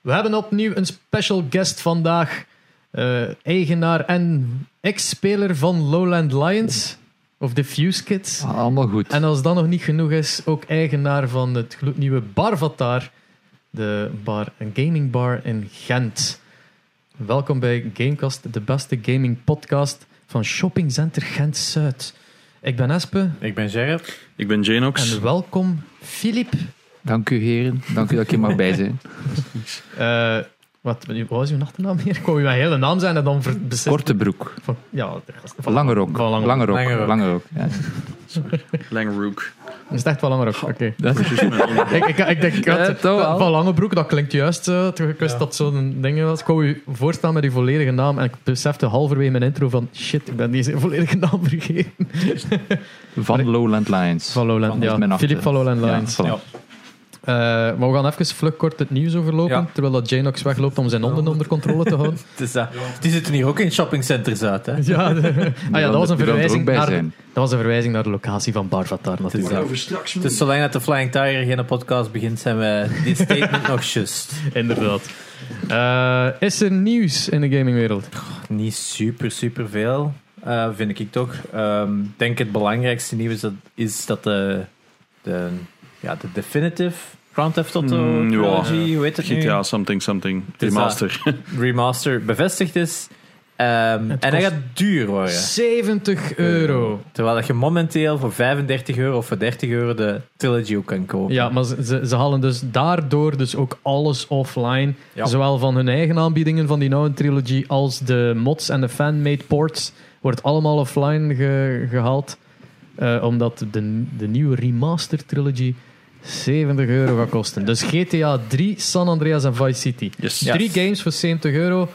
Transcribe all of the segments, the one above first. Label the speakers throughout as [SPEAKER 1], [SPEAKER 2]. [SPEAKER 1] We hebben opnieuw een special guest vandaag. Eh, eigenaar en ex-speler van Lowland Lions, of The Fuse Kids.
[SPEAKER 2] Ah, Allemaal goed.
[SPEAKER 1] En als dat nog niet genoeg is, ook eigenaar van het gloednieuwe Barvataar, de bar, een gamingbar in Gent. Welkom bij Gamecast, de beste gaming podcast van Shoppingcenter Gent Zuid. Ik ben Espe
[SPEAKER 3] Ik ben Gerrit.
[SPEAKER 4] Ik ben Janox.
[SPEAKER 1] en welkom Filip.
[SPEAKER 2] Dank u, heren. Dank u dat ik hier mag bij zijn.
[SPEAKER 1] Eh, wat, wat was uw achternaam hier? Ik wou je hele naam zijn en dan ver- besef-
[SPEAKER 2] Korte broek.
[SPEAKER 1] van- ja, dat is- van-
[SPEAKER 2] Lange rok.
[SPEAKER 1] Van lange-
[SPEAKER 2] Lange rok.
[SPEAKER 3] Lange rok.
[SPEAKER 2] Lange rok. Ja.
[SPEAKER 4] Langrook.
[SPEAKER 1] dat is echt wel langer ook. Oké.
[SPEAKER 2] Dat
[SPEAKER 4] Precies mijn andere.
[SPEAKER 1] ik, ik, ik denk
[SPEAKER 2] Ja,
[SPEAKER 1] dat
[SPEAKER 2] toch wel.
[SPEAKER 1] van Langebroek, dat klinkt juist. eh, terwijl ik wist
[SPEAKER 3] Ja.
[SPEAKER 1] dat zo'n ding was. Ik wou u voorstellen met die volledige naam. En ik besefte halverwege mijn intro van shit, ik ben deze volledige naam vergeten.
[SPEAKER 2] Van Lowland Lions.
[SPEAKER 1] Van Lowland,
[SPEAKER 2] Dat is mijn
[SPEAKER 1] ja.
[SPEAKER 2] achter-
[SPEAKER 1] Philip van Lowland
[SPEAKER 2] Ja,
[SPEAKER 1] Lions.
[SPEAKER 2] voilà.
[SPEAKER 3] Ja.
[SPEAKER 1] Eh, maar we gaan even vlug kort het nieuws overlopen.
[SPEAKER 3] Ja.
[SPEAKER 1] Terwijl dat Janox wegloopt om zijn honden onder controle te houden.
[SPEAKER 3] Het is, dat. Die zitten hier ook in shoppingcenters uit, hè?
[SPEAKER 1] ja, de- ah, ja,
[SPEAKER 2] wil-
[SPEAKER 1] dat was een
[SPEAKER 2] die wil er
[SPEAKER 1] verwijzing
[SPEAKER 2] ook bij
[SPEAKER 1] naar, dat
[SPEAKER 2] zijn.
[SPEAKER 1] was een verwijzing naar de locatie van Barvatar natuurlijk.
[SPEAKER 3] dat.
[SPEAKER 5] Over straks. man.
[SPEAKER 3] Dus zolang dat de Flying Tiger geen podcast begint, zijn we dit statement nog just.
[SPEAKER 1] Inderdaad. Eh, is er nieuws in de gamingwereld?
[SPEAKER 3] Niet super, super veel, eh, vind ik toch. Ehm, Ik denk het belangrijkste nieuws dat, is dat de, de, ja, de Definitive Grand Theft Auto
[SPEAKER 4] Mm, ja.
[SPEAKER 3] trilogy, hoe heet het nu?
[SPEAKER 4] GTA something something.
[SPEAKER 3] is
[SPEAKER 4] Remaster.
[SPEAKER 3] Remaster bevestigd is. Ehm, en
[SPEAKER 1] Het
[SPEAKER 3] dat
[SPEAKER 1] kost-
[SPEAKER 3] gaat duur
[SPEAKER 1] Oh,
[SPEAKER 3] worden.
[SPEAKER 1] 70 euro.
[SPEAKER 3] Terwijl dat je momenteel voor 35 euro of voor 30 euro de trilogy ook kan kopen.
[SPEAKER 1] Ja, maar ze, ze, ze halen dus daardoor dus ook alles offline.
[SPEAKER 3] Ja.
[SPEAKER 1] Zowel van hun eigen aanbiedingen van die Now Trilogy als de mods en de fanmade ports wordt allemaal offline ge- gehaald. Eh, omdat de, de nieuwe remaster trilogy 70 euro gaat kosten. Dus GTA 3, San Andreas en Vice City.
[SPEAKER 4] Yes.
[SPEAKER 3] Ja.
[SPEAKER 1] Drie games voor 70 euro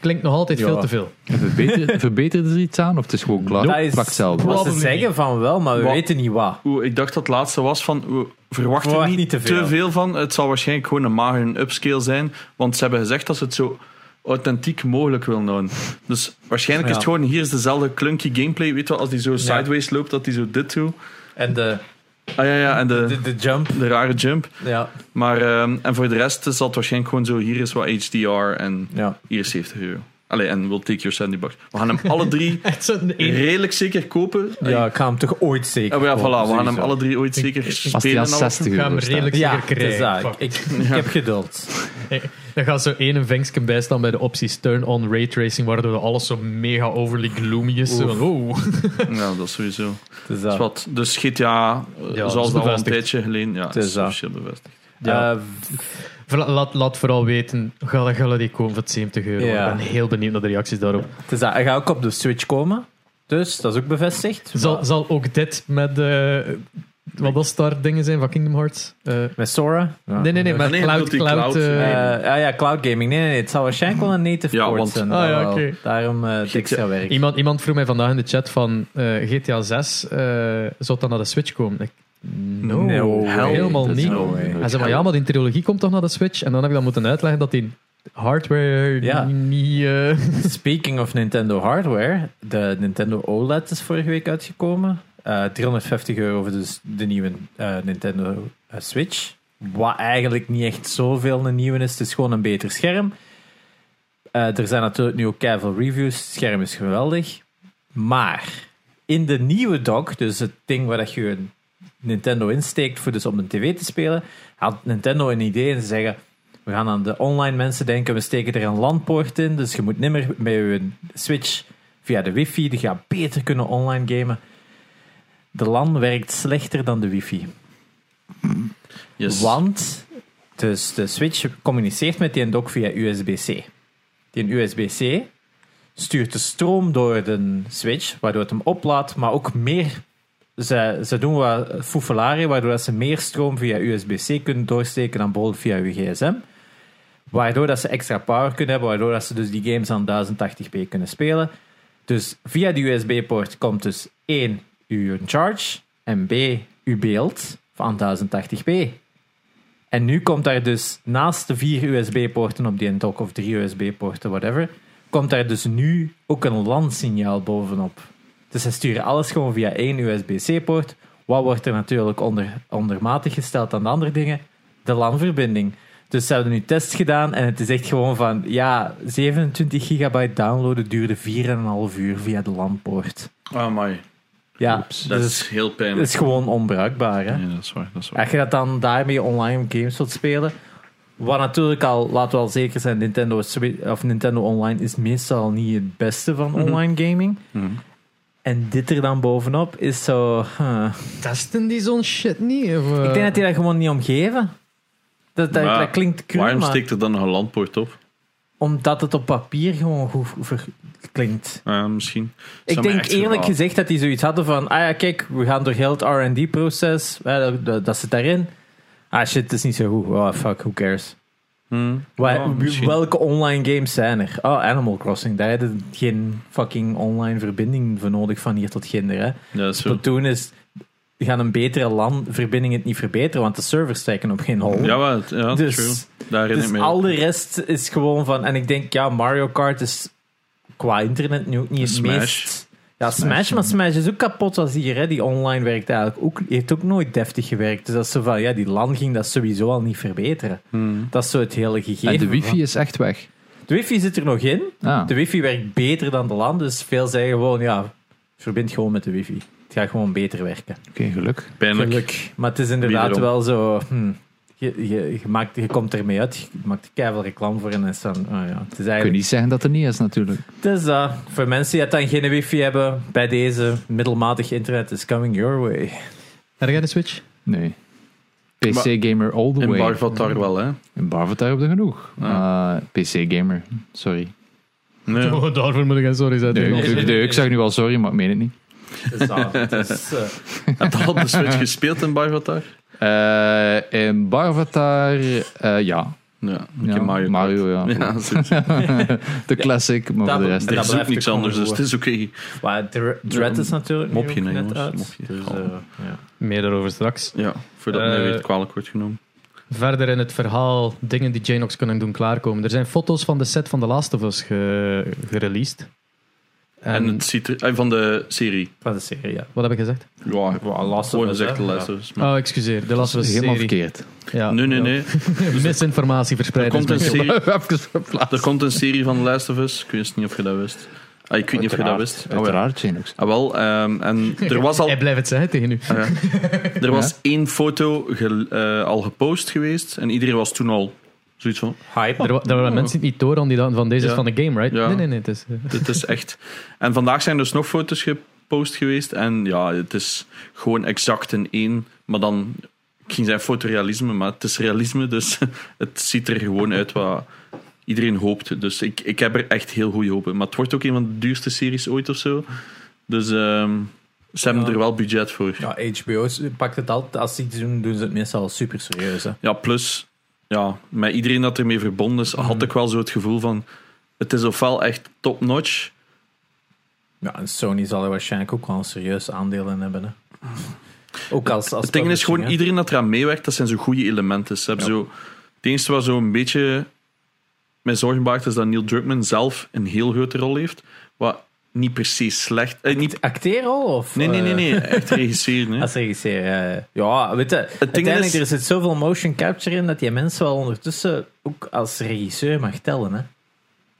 [SPEAKER 1] klinkt nog altijd
[SPEAKER 3] Ja.
[SPEAKER 1] veel te veel.
[SPEAKER 2] Verbeter, verbeterde er iets aan of het is gewoon klaar?
[SPEAKER 3] Dat is-
[SPEAKER 2] Plak zelf.
[SPEAKER 3] Wat ze
[SPEAKER 1] Probably
[SPEAKER 3] zeggen van wel, maar we
[SPEAKER 4] Wat?
[SPEAKER 3] weten niet wat.
[SPEAKER 4] Oeh, ik dacht dat het laatste was van. We verwachten
[SPEAKER 3] Verwacht
[SPEAKER 4] niet,
[SPEAKER 3] niet te
[SPEAKER 4] te,
[SPEAKER 3] veel.
[SPEAKER 4] veel. van. Het zal waarschijnlijk gewoon een magere upscale zijn. Want ze hebben gezegd dat ze het zo authentiek mogelijk willen houden. Dus waarschijnlijk
[SPEAKER 3] Ja.
[SPEAKER 4] is het gewoon. Hier is dezelfde clunky gameplay. Weet je wel, als die zo sideways loopt, dat die zo dit doet.
[SPEAKER 3] En de,
[SPEAKER 4] Ah ja, ja, en de,
[SPEAKER 3] de, de jump.
[SPEAKER 4] de rare jump.
[SPEAKER 3] Ja,
[SPEAKER 4] Maar ehm, en voor de rest zal het waarschijnlijk gewoon zo. Hier is wat HDR en
[SPEAKER 3] ja.
[SPEAKER 4] hier is 70 euro. Allee, en we'll take your 70 bucks. We gaan hem alle drie
[SPEAKER 1] Echt zo'n
[SPEAKER 4] redelijk zeker kopen.
[SPEAKER 3] ja ik ga hem toch ooit zeker
[SPEAKER 4] Ja, maar Oh, ja, voilà, we gaan hem
[SPEAKER 3] sowieso.
[SPEAKER 4] alle drie ooit zeker
[SPEAKER 2] Als die
[SPEAKER 4] spelen.
[SPEAKER 2] aan
[SPEAKER 4] en alles.
[SPEAKER 2] 60 euro staat.
[SPEAKER 1] redelijk
[SPEAKER 3] Ja,
[SPEAKER 1] zeker
[SPEAKER 3] het is
[SPEAKER 1] krijgen.
[SPEAKER 3] dat.
[SPEAKER 1] Fuck.
[SPEAKER 3] Ik, ik, ik heb geduld.
[SPEAKER 1] Dan gaat zo één vinkje bij staan bij de opties turn-on raytracing, waardoor alles zo mega overly gloomy is. Zo van, oh.
[SPEAKER 4] Ja, dat is sowieso.
[SPEAKER 3] Het is
[SPEAKER 4] Dat
[SPEAKER 3] dat.
[SPEAKER 4] is wat. Dus GTA, eh,
[SPEAKER 1] Ja, dat is
[SPEAKER 4] zoals dat al een
[SPEAKER 1] bevestigd.
[SPEAKER 4] tijdje geleden, ja,
[SPEAKER 3] is eh,
[SPEAKER 4] is
[SPEAKER 3] dat.
[SPEAKER 4] officieel bevestigd.
[SPEAKER 1] Ja.
[SPEAKER 3] Eh,
[SPEAKER 1] Vla- laat, laat vooral weten, ga ga die komen van 70 euro?
[SPEAKER 3] Ja.
[SPEAKER 1] Ik ben heel benieuwd naar de reacties daarop.
[SPEAKER 3] het is dat. Hij gaat ook op de Switch komen. Dus dat is ook bevestigd.
[SPEAKER 1] Zal, zal ook dit met eh wat was daar dingen zijn van Kingdom Hearts? Eh,
[SPEAKER 3] Met Sora. Ja.
[SPEAKER 1] nee, nee, nee, met
[SPEAKER 4] Nee,
[SPEAKER 1] Cloud.
[SPEAKER 4] bedoelt die
[SPEAKER 1] cloud,
[SPEAKER 4] cloud,
[SPEAKER 1] eh,
[SPEAKER 4] ja.
[SPEAKER 3] Eh, ah ja, Cloud Gaming. Nee, nee, nee. Het zal waarschijnlijk wel een native
[SPEAKER 4] Ja,
[SPEAKER 3] port
[SPEAKER 4] want-
[SPEAKER 3] zijn.
[SPEAKER 1] Ah
[SPEAKER 3] dat
[SPEAKER 1] ja,
[SPEAKER 3] wel.
[SPEAKER 1] oké.
[SPEAKER 3] Daarom eh, het extra werk.
[SPEAKER 1] iemand, iemand vroeg mij vandaag in de chat van eh, GTA 6, eh zou dat naar de Switch komen? Ik, no,
[SPEAKER 3] No way.
[SPEAKER 1] helemaal
[SPEAKER 2] Dat is
[SPEAKER 1] niet.
[SPEAKER 2] no way.
[SPEAKER 1] Hij zei van ja, maar die trilogie komt toch naar de Switch? En dan heb ik dan moeten uitleggen dat die hardware
[SPEAKER 3] Ja.
[SPEAKER 1] niet... eh,
[SPEAKER 3] Speaking of Nintendo hardware, de Nintendo OLED is vorige week uitgekomen. Eh, 350 euro voor dus de nieuwe eh, Nintendo eh, Switch. Wat eigenlijk niet echt zoveel een nieuwe is. Het is gewoon een beter scherm. Eh, er zijn natuurlijk nu ook keiveel reviews. Het scherm is geweldig. Maar in de nieuwe dock, dus het ding waar dat je een Nintendo insteekt voor dus op een tv te spelen, had Nintendo een idee en ze zeggen... We gaan aan de online mensen denken, we steken er een landpoort in, dus je moet nimmer met je Switch via de wifi, die gaat beter kunnen online gamen. De LAN werkt slechter dan de wifi.
[SPEAKER 4] Yes.
[SPEAKER 3] Want dus de Switch communiceert met die dock via USB-C. Die USB-C stuurt de stroom door de Switch, waardoor het hem oplaadt, maar ook meer. Ze, ze doen wat foefelaren, waardoor dat ze meer stroom via USB-C kunnen doorsteken dan bijvoorbeeld via uw gsm. Waardoor dat ze extra power kunnen hebben, waardoor dat ze dus die games aan 1080p kunnen spelen. Dus via die USB-poort komt dus één uw charge en B uw beeld van 1080p. En nu komt daar dus naast de vier USB-poorten op die dock of drie USB-poorten, whatever, komt daar dus nu ook een LAN-signaal bovenop. Dus ze sturen alles gewoon via één USB-C-poort. Wat wordt er natuurlijk onder, ondermatig gesteld aan de andere dingen? De LAN-verbinding. Dus ze hebben nu test gedaan en het is echt gewoon van, ja, 27 gigabyte downloaden duurde 4,5 uur via de landpoort.
[SPEAKER 4] Oh my,
[SPEAKER 3] Ja,
[SPEAKER 4] dat
[SPEAKER 3] dus
[SPEAKER 4] is heel
[SPEAKER 3] het
[SPEAKER 4] pijnlijk.
[SPEAKER 3] is gewoon onbruikbaar. Hè?
[SPEAKER 4] Nee, dat is waar, dat is waar.
[SPEAKER 3] Als je dat dan daarmee online games wilt spelen. Wat natuurlijk al, laten we al zeker zijn, Nintendo, Swi- of Nintendo Online is meestal niet het beste van online gaming.
[SPEAKER 4] Mhm.
[SPEAKER 3] En dit er dan bovenop is zo. huh.
[SPEAKER 1] Testen die zo'n shit niet? Of, eh?
[SPEAKER 3] Ik denk dat die dat gewoon niet omgeven. Dat, dat,
[SPEAKER 4] Maar
[SPEAKER 3] dat klinkt cru,
[SPEAKER 4] Waarom
[SPEAKER 3] maar
[SPEAKER 4] steekt er dan nog een landpoort op?
[SPEAKER 3] omdat het op papier gewoon goed ver- klinkt.
[SPEAKER 4] Eh, misschien.
[SPEAKER 3] Ik denk eerlijk gezegd dat die zoiets hadden van, ah ja, kijk, we gaan door heel het R&D-proces, dat, dat, dat zit daarin. Ah shit, het is niet zo goed. Oh fuck, who cares. Wa-
[SPEAKER 4] Ja,
[SPEAKER 3] wie-
[SPEAKER 4] misschien.
[SPEAKER 3] welke online games zijn er? Oh, Animal Crossing. Daar hadden geen fucking online verbinding voor nodig van hier tot ginder. Hè?
[SPEAKER 4] Ja, dat is zo.
[SPEAKER 3] Tot toen is gaan een betere LAN-verbinding het niet verbeteren, want de servers steken op geen hol.
[SPEAKER 4] Ja, wat, ja
[SPEAKER 3] dus
[SPEAKER 4] true. Daar herinner ik
[SPEAKER 3] dus
[SPEAKER 4] me.
[SPEAKER 3] al de rest is gewoon van... En ik denk, ja, Mario Kart is qua internet nu ook niet het
[SPEAKER 4] Smash.
[SPEAKER 3] meest... Ja, Smash,
[SPEAKER 2] Smash,
[SPEAKER 3] maar Smash is ook kapot als hier. Hè? Die online werkt eigenlijk ook, heeft ook nooit deftig gewerkt. Dus dat is zo van, ja, die LAN ging dat sowieso al niet verbeteren.
[SPEAKER 4] Hmm.
[SPEAKER 3] Dat is zo het hele gegeven.
[SPEAKER 2] En de
[SPEAKER 3] van-
[SPEAKER 2] wifi is echt weg.
[SPEAKER 3] de wifi zit er nog in.
[SPEAKER 2] Ah.
[SPEAKER 3] De wifi werkt beter dan de LAN, dus veel zeggen gewoon, ja, verbind gewoon met de wifi. Het gaat gewoon beter werken.
[SPEAKER 2] Oké, geluk.
[SPEAKER 4] Pijnlijk.
[SPEAKER 3] Geluk. Maar het is inderdaad
[SPEAKER 4] Wederom.
[SPEAKER 3] wel zo... hm, je, je, je maakt, je komt ermee uit, je maakt keihard reclame voor en dan is dan... Oh ja, het is
[SPEAKER 2] Ik kan
[SPEAKER 3] eigenlijk...
[SPEAKER 2] niet zeggen dat er niet is, natuurlijk.
[SPEAKER 3] Het is dat. Voor mensen die dan geen wifi hebben, bij deze middelmatig internet is coming your way.
[SPEAKER 1] Heb jij de Switch?
[SPEAKER 2] Nee. PC-gamer all the
[SPEAKER 4] In
[SPEAKER 2] way.
[SPEAKER 4] Barvatar wel, hè?
[SPEAKER 2] In Barvatar heb je genoeg.
[SPEAKER 1] Ah.
[SPEAKER 2] Ah, PC-gamer, sorry.
[SPEAKER 4] Nee.
[SPEAKER 1] Oh, daarvoor moet ik een sorry zeggen.
[SPEAKER 2] Nee,
[SPEAKER 1] tegen
[SPEAKER 2] ik-
[SPEAKER 1] ons.
[SPEAKER 3] nee, nee,
[SPEAKER 2] nee, ik zeg nu al sorry, maar ik meen het niet.
[SPEAKER 3] Het is dat. Het is, eh,
[SPEAKER 4] Heb je al de Switch gespeeld in Barvatar?
[SPEAKER 2] Eh, in Barvatar, eh, ja.
[SPEAKER 4] Ja, ik
[SPEAKER 2] Ja,
[SPEAKER 4] heb Mario.
[SPEAKER 2] Mario, ja.
[SPEAKER 4] Ja, zoiets. er
[SPEAKER 2] De classic, maar
[SPEAKER 3] dat-
[SPEAKER 2] voor de rest.
[SPEAKER 4] is ook
[SPEAKER 3] blijft
[SPEAKER 4] niks
[SPEAKER 3] ook
[SPEAKER 4] anders, dus
[SPEAKER 3] gewoon
[SPEAKER 4] het is oké.
[SPEAKER 3] maar Dre- Dread is natuurlijk nu
[SPEAKER 4] Mopje,
[SPEAKER 3] ook
[SPEAKER 4] nee,
[SPEAKER 3] net
[SPEAKER 4] jongens,
[SPEAKER 3] uit.
[SPEAKER 4] mopje.
[SPEAKER 3] Dus, eh, ja.
[SPEAKER 1] Meer daarover straks.
[SPEAKER 4] Ja, voordat
[SPEAKER 1] Eh,
[SPEAKER 4] mij weer het kwalijk wordt genomen.
[SPEAKER 1] Verder in het verhaal dingen die Janox kunnen doen klaarkomen. Er zijn foto's van de set van The Last of Us ge- gereleased. En,
[SPEAKER 4] En, het ziet er, eh, van de serie.
[SPEAKER 3] Van de serie, ja.
[SPEAKER 1] wat heb ik gezegd?
[SPEAKER 4] Ja,
[SPEAKER 3] Wow, Last of
[SPEAKER 4] gewoon
[SPEAKER 3] Us,
[SPEAKER 4] gezegd
[SPEAKER 3] hè?
[SPEAKER 4] de Last
[SPEAKER 3] Ja.
[SPEAKER 4] of Us, maar-
[SPEAKER 1] Oh, excuseer. The Last of Us
[SPEAKER 2] Helemaal
[SPEAKER 1] serie.
[SPEAKER 2] verkeerd.
[SPEAKER 1] Ja.
[SPEAKER 4] nee, nee, nee.
[SPEAKER 1] Misinformatie
[SPEAKER 4] Er
[SPEAKER 1] verspreid.
[SPEAKER 4] komt, een
[SPEAKER 1] is
[SPEAKER 4] serie,
[SPEAKER 2] Even verplaatst.
[SPEAKER 4] er komt een serie van The Last of Us. Ik wist niet of je dat wist. Ah, ik weet niet of je dat wist. Oh, ja.
[SPEAKER 2] Uiteraard, Genox.
[SPEAKER 4] Ah, wel, ehm, en er was
[SPEAKER 1] mijn-
[SPEAKER 4] al
[SPEAKER 1] Hij blijft het zeggen tegen u.
[SPEAKER 4] Ah ja. Er was één foto ge- eh, al gepost geweest en iedereen was toen al zoiets van:
[SPEAKER 3] Hype.
[SPEAKER 1] Er, wa- er waren mensen die het niet door aan die dan van deze is
[SPEAKER 4] Ja.
[SPEAKER 1] van de game, right?
[SPEAKER 4] Ja.
[SPEAKER 1] Nee, nee, nee. Het is, eh,
[SPEAKER 4] dit is echt. En vandaag zijn er dus nog foto's gepost geweest en ja, het is gewoon exact een één, maar dan. Ik ging zeggen fotorealisme, maar het is realisme, dus het ziet er gewoon uit wat iedereen hoopt. Dus ik, ik heb er echt heel goede hoop in. Maar het wordt ook een van de duurste series ooit of zo. Dus ehm, ze hebben
[SPEAKER 3] Ja.
[SPEAKER 4] er wel budget voor.
[SPEAKER 3] Ja, HBO pakt het altijd. Als ze iets doen, doen ze het meestal super serieus. Hè.
[SPEAKER 4] Ja, plus, ja, met iedereen dat ermee verbonden is, had ik wel zo het gevoel van... Het is ofwel echt top-notch,
[SPEAKER 3] Ja, en Sony zal er waarschijnlijk ook wel een serieus aandeel in hebben. Hè. Ook als, als
[SPEAKER 4] Het ding is gewoon,
[SPEAKER 3] publishing,
[SPEAKER 4] iedereen dat eraan meewerkt, dat zijn zo goede elementen. Ze hebben
[SPEAKER 3] Ja.
[SPEAKER 4] zo, het enige wat zo een beetje mijn zorgen baart, is dat Neil Druckmann zelf een heel grote rol heeft. Wat niet per se slecht... eh, niet,
[SPEAKER 3] hè. Acteerrol? Of,
[SPEAKER 4] nee, nee, nee,
[SPEAKER 3] eh,
[SPEAKER 4] nee, echt regisseren. Hè.
[SPEAKER 3] Als regisseur. eh, ja, weet je. uiteindelijk
[SPEAKER 4] is-
[SPEAKER 3] er zit zoveel motion capture in dat die mensen wel ondertussen ook als regisseur mag tellen. Hè.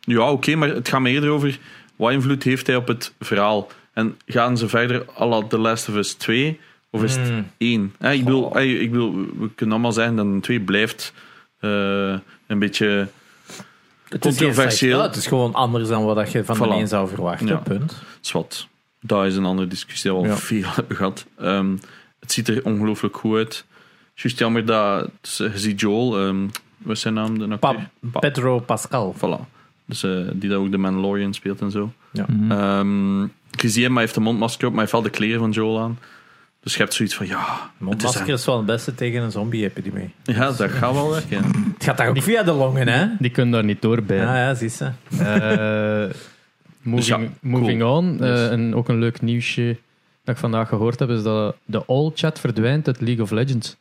[SPEAKER 4] Ja, oké, maar het gaat me eerder over wat invloed heeft hij op het verhaal. En gaan ze verder à la The Last of Us 2 of is het
[SPEAKER 3] Mm.
[SPEAKER 4] 1? Hè, ik, bedoel,
[SPEAKER 3] Goh.
[SPEAKER 4] hè, ik bedoel, we kunnen allemaal zeggen dat een 2 blijft eh, een beetje.
[SPEAKER 3] Het is
[SPEAKER 4] Controversieel.
[SPEAKER 3] geen slecht- ja, het is gewoon anders dan wat dat je van
[SPEAKER 4] Voilà.
[SPEAKER 3] de een zou verwachten.
[SPEAKER 4] Ja.
[SPEAKER 3] Punt.
[SPEAKER 4] Zwat. Dat is een andere discussie die we al
[SPEAKER 3] Ja.
[SPEAKER 4] veel hebben gehad. Ehm, het ziet er ongelooflijk goed uit. Juist jammer dat dus, eh, je ziet Joel, ehm, wat is zijn naam? De acteur?
[SPEAKER 3] Pa-
[SPEAKER 4] Pa-
[SPEAKER 3] Pedro Pascal.
[SPEAKER 4] Voilà. Dus, eh, die dat ook de Mandalorian speelt en zo.
[SPEAKER 2] Mhm.
[SPEAKER 4] Ehm je ziet hem, hij heeft een mondmasker op, maar hij valt de kleren van Joel aan. Dus je hebt zoiets van, ja, het is
[SPEAKER 3] Masker is wel het beste tegen een zombie-epidemie.
[SPEAKER 4] hem. Ja, dat gaat wel werken.
[SPEAKER 3] Het gaat daar ook via de longen, hè?
[SPEAKER 1] die kunnen daar niet door bij.
[SPEAKER 3] Ah, Ja, ja, zie ze.
[SPEAKER 1] Eh,
[SPEAKER 4] Dus ja,
[SPEAKER 1] moving moving on. Eh,
[SPEAKER 4] Yes.
[SPEAKER 1] en ook een leuk nieuwsje dat ik vandaag gehoord heb, is dat de all-chat verdwijnt uit League of Legends.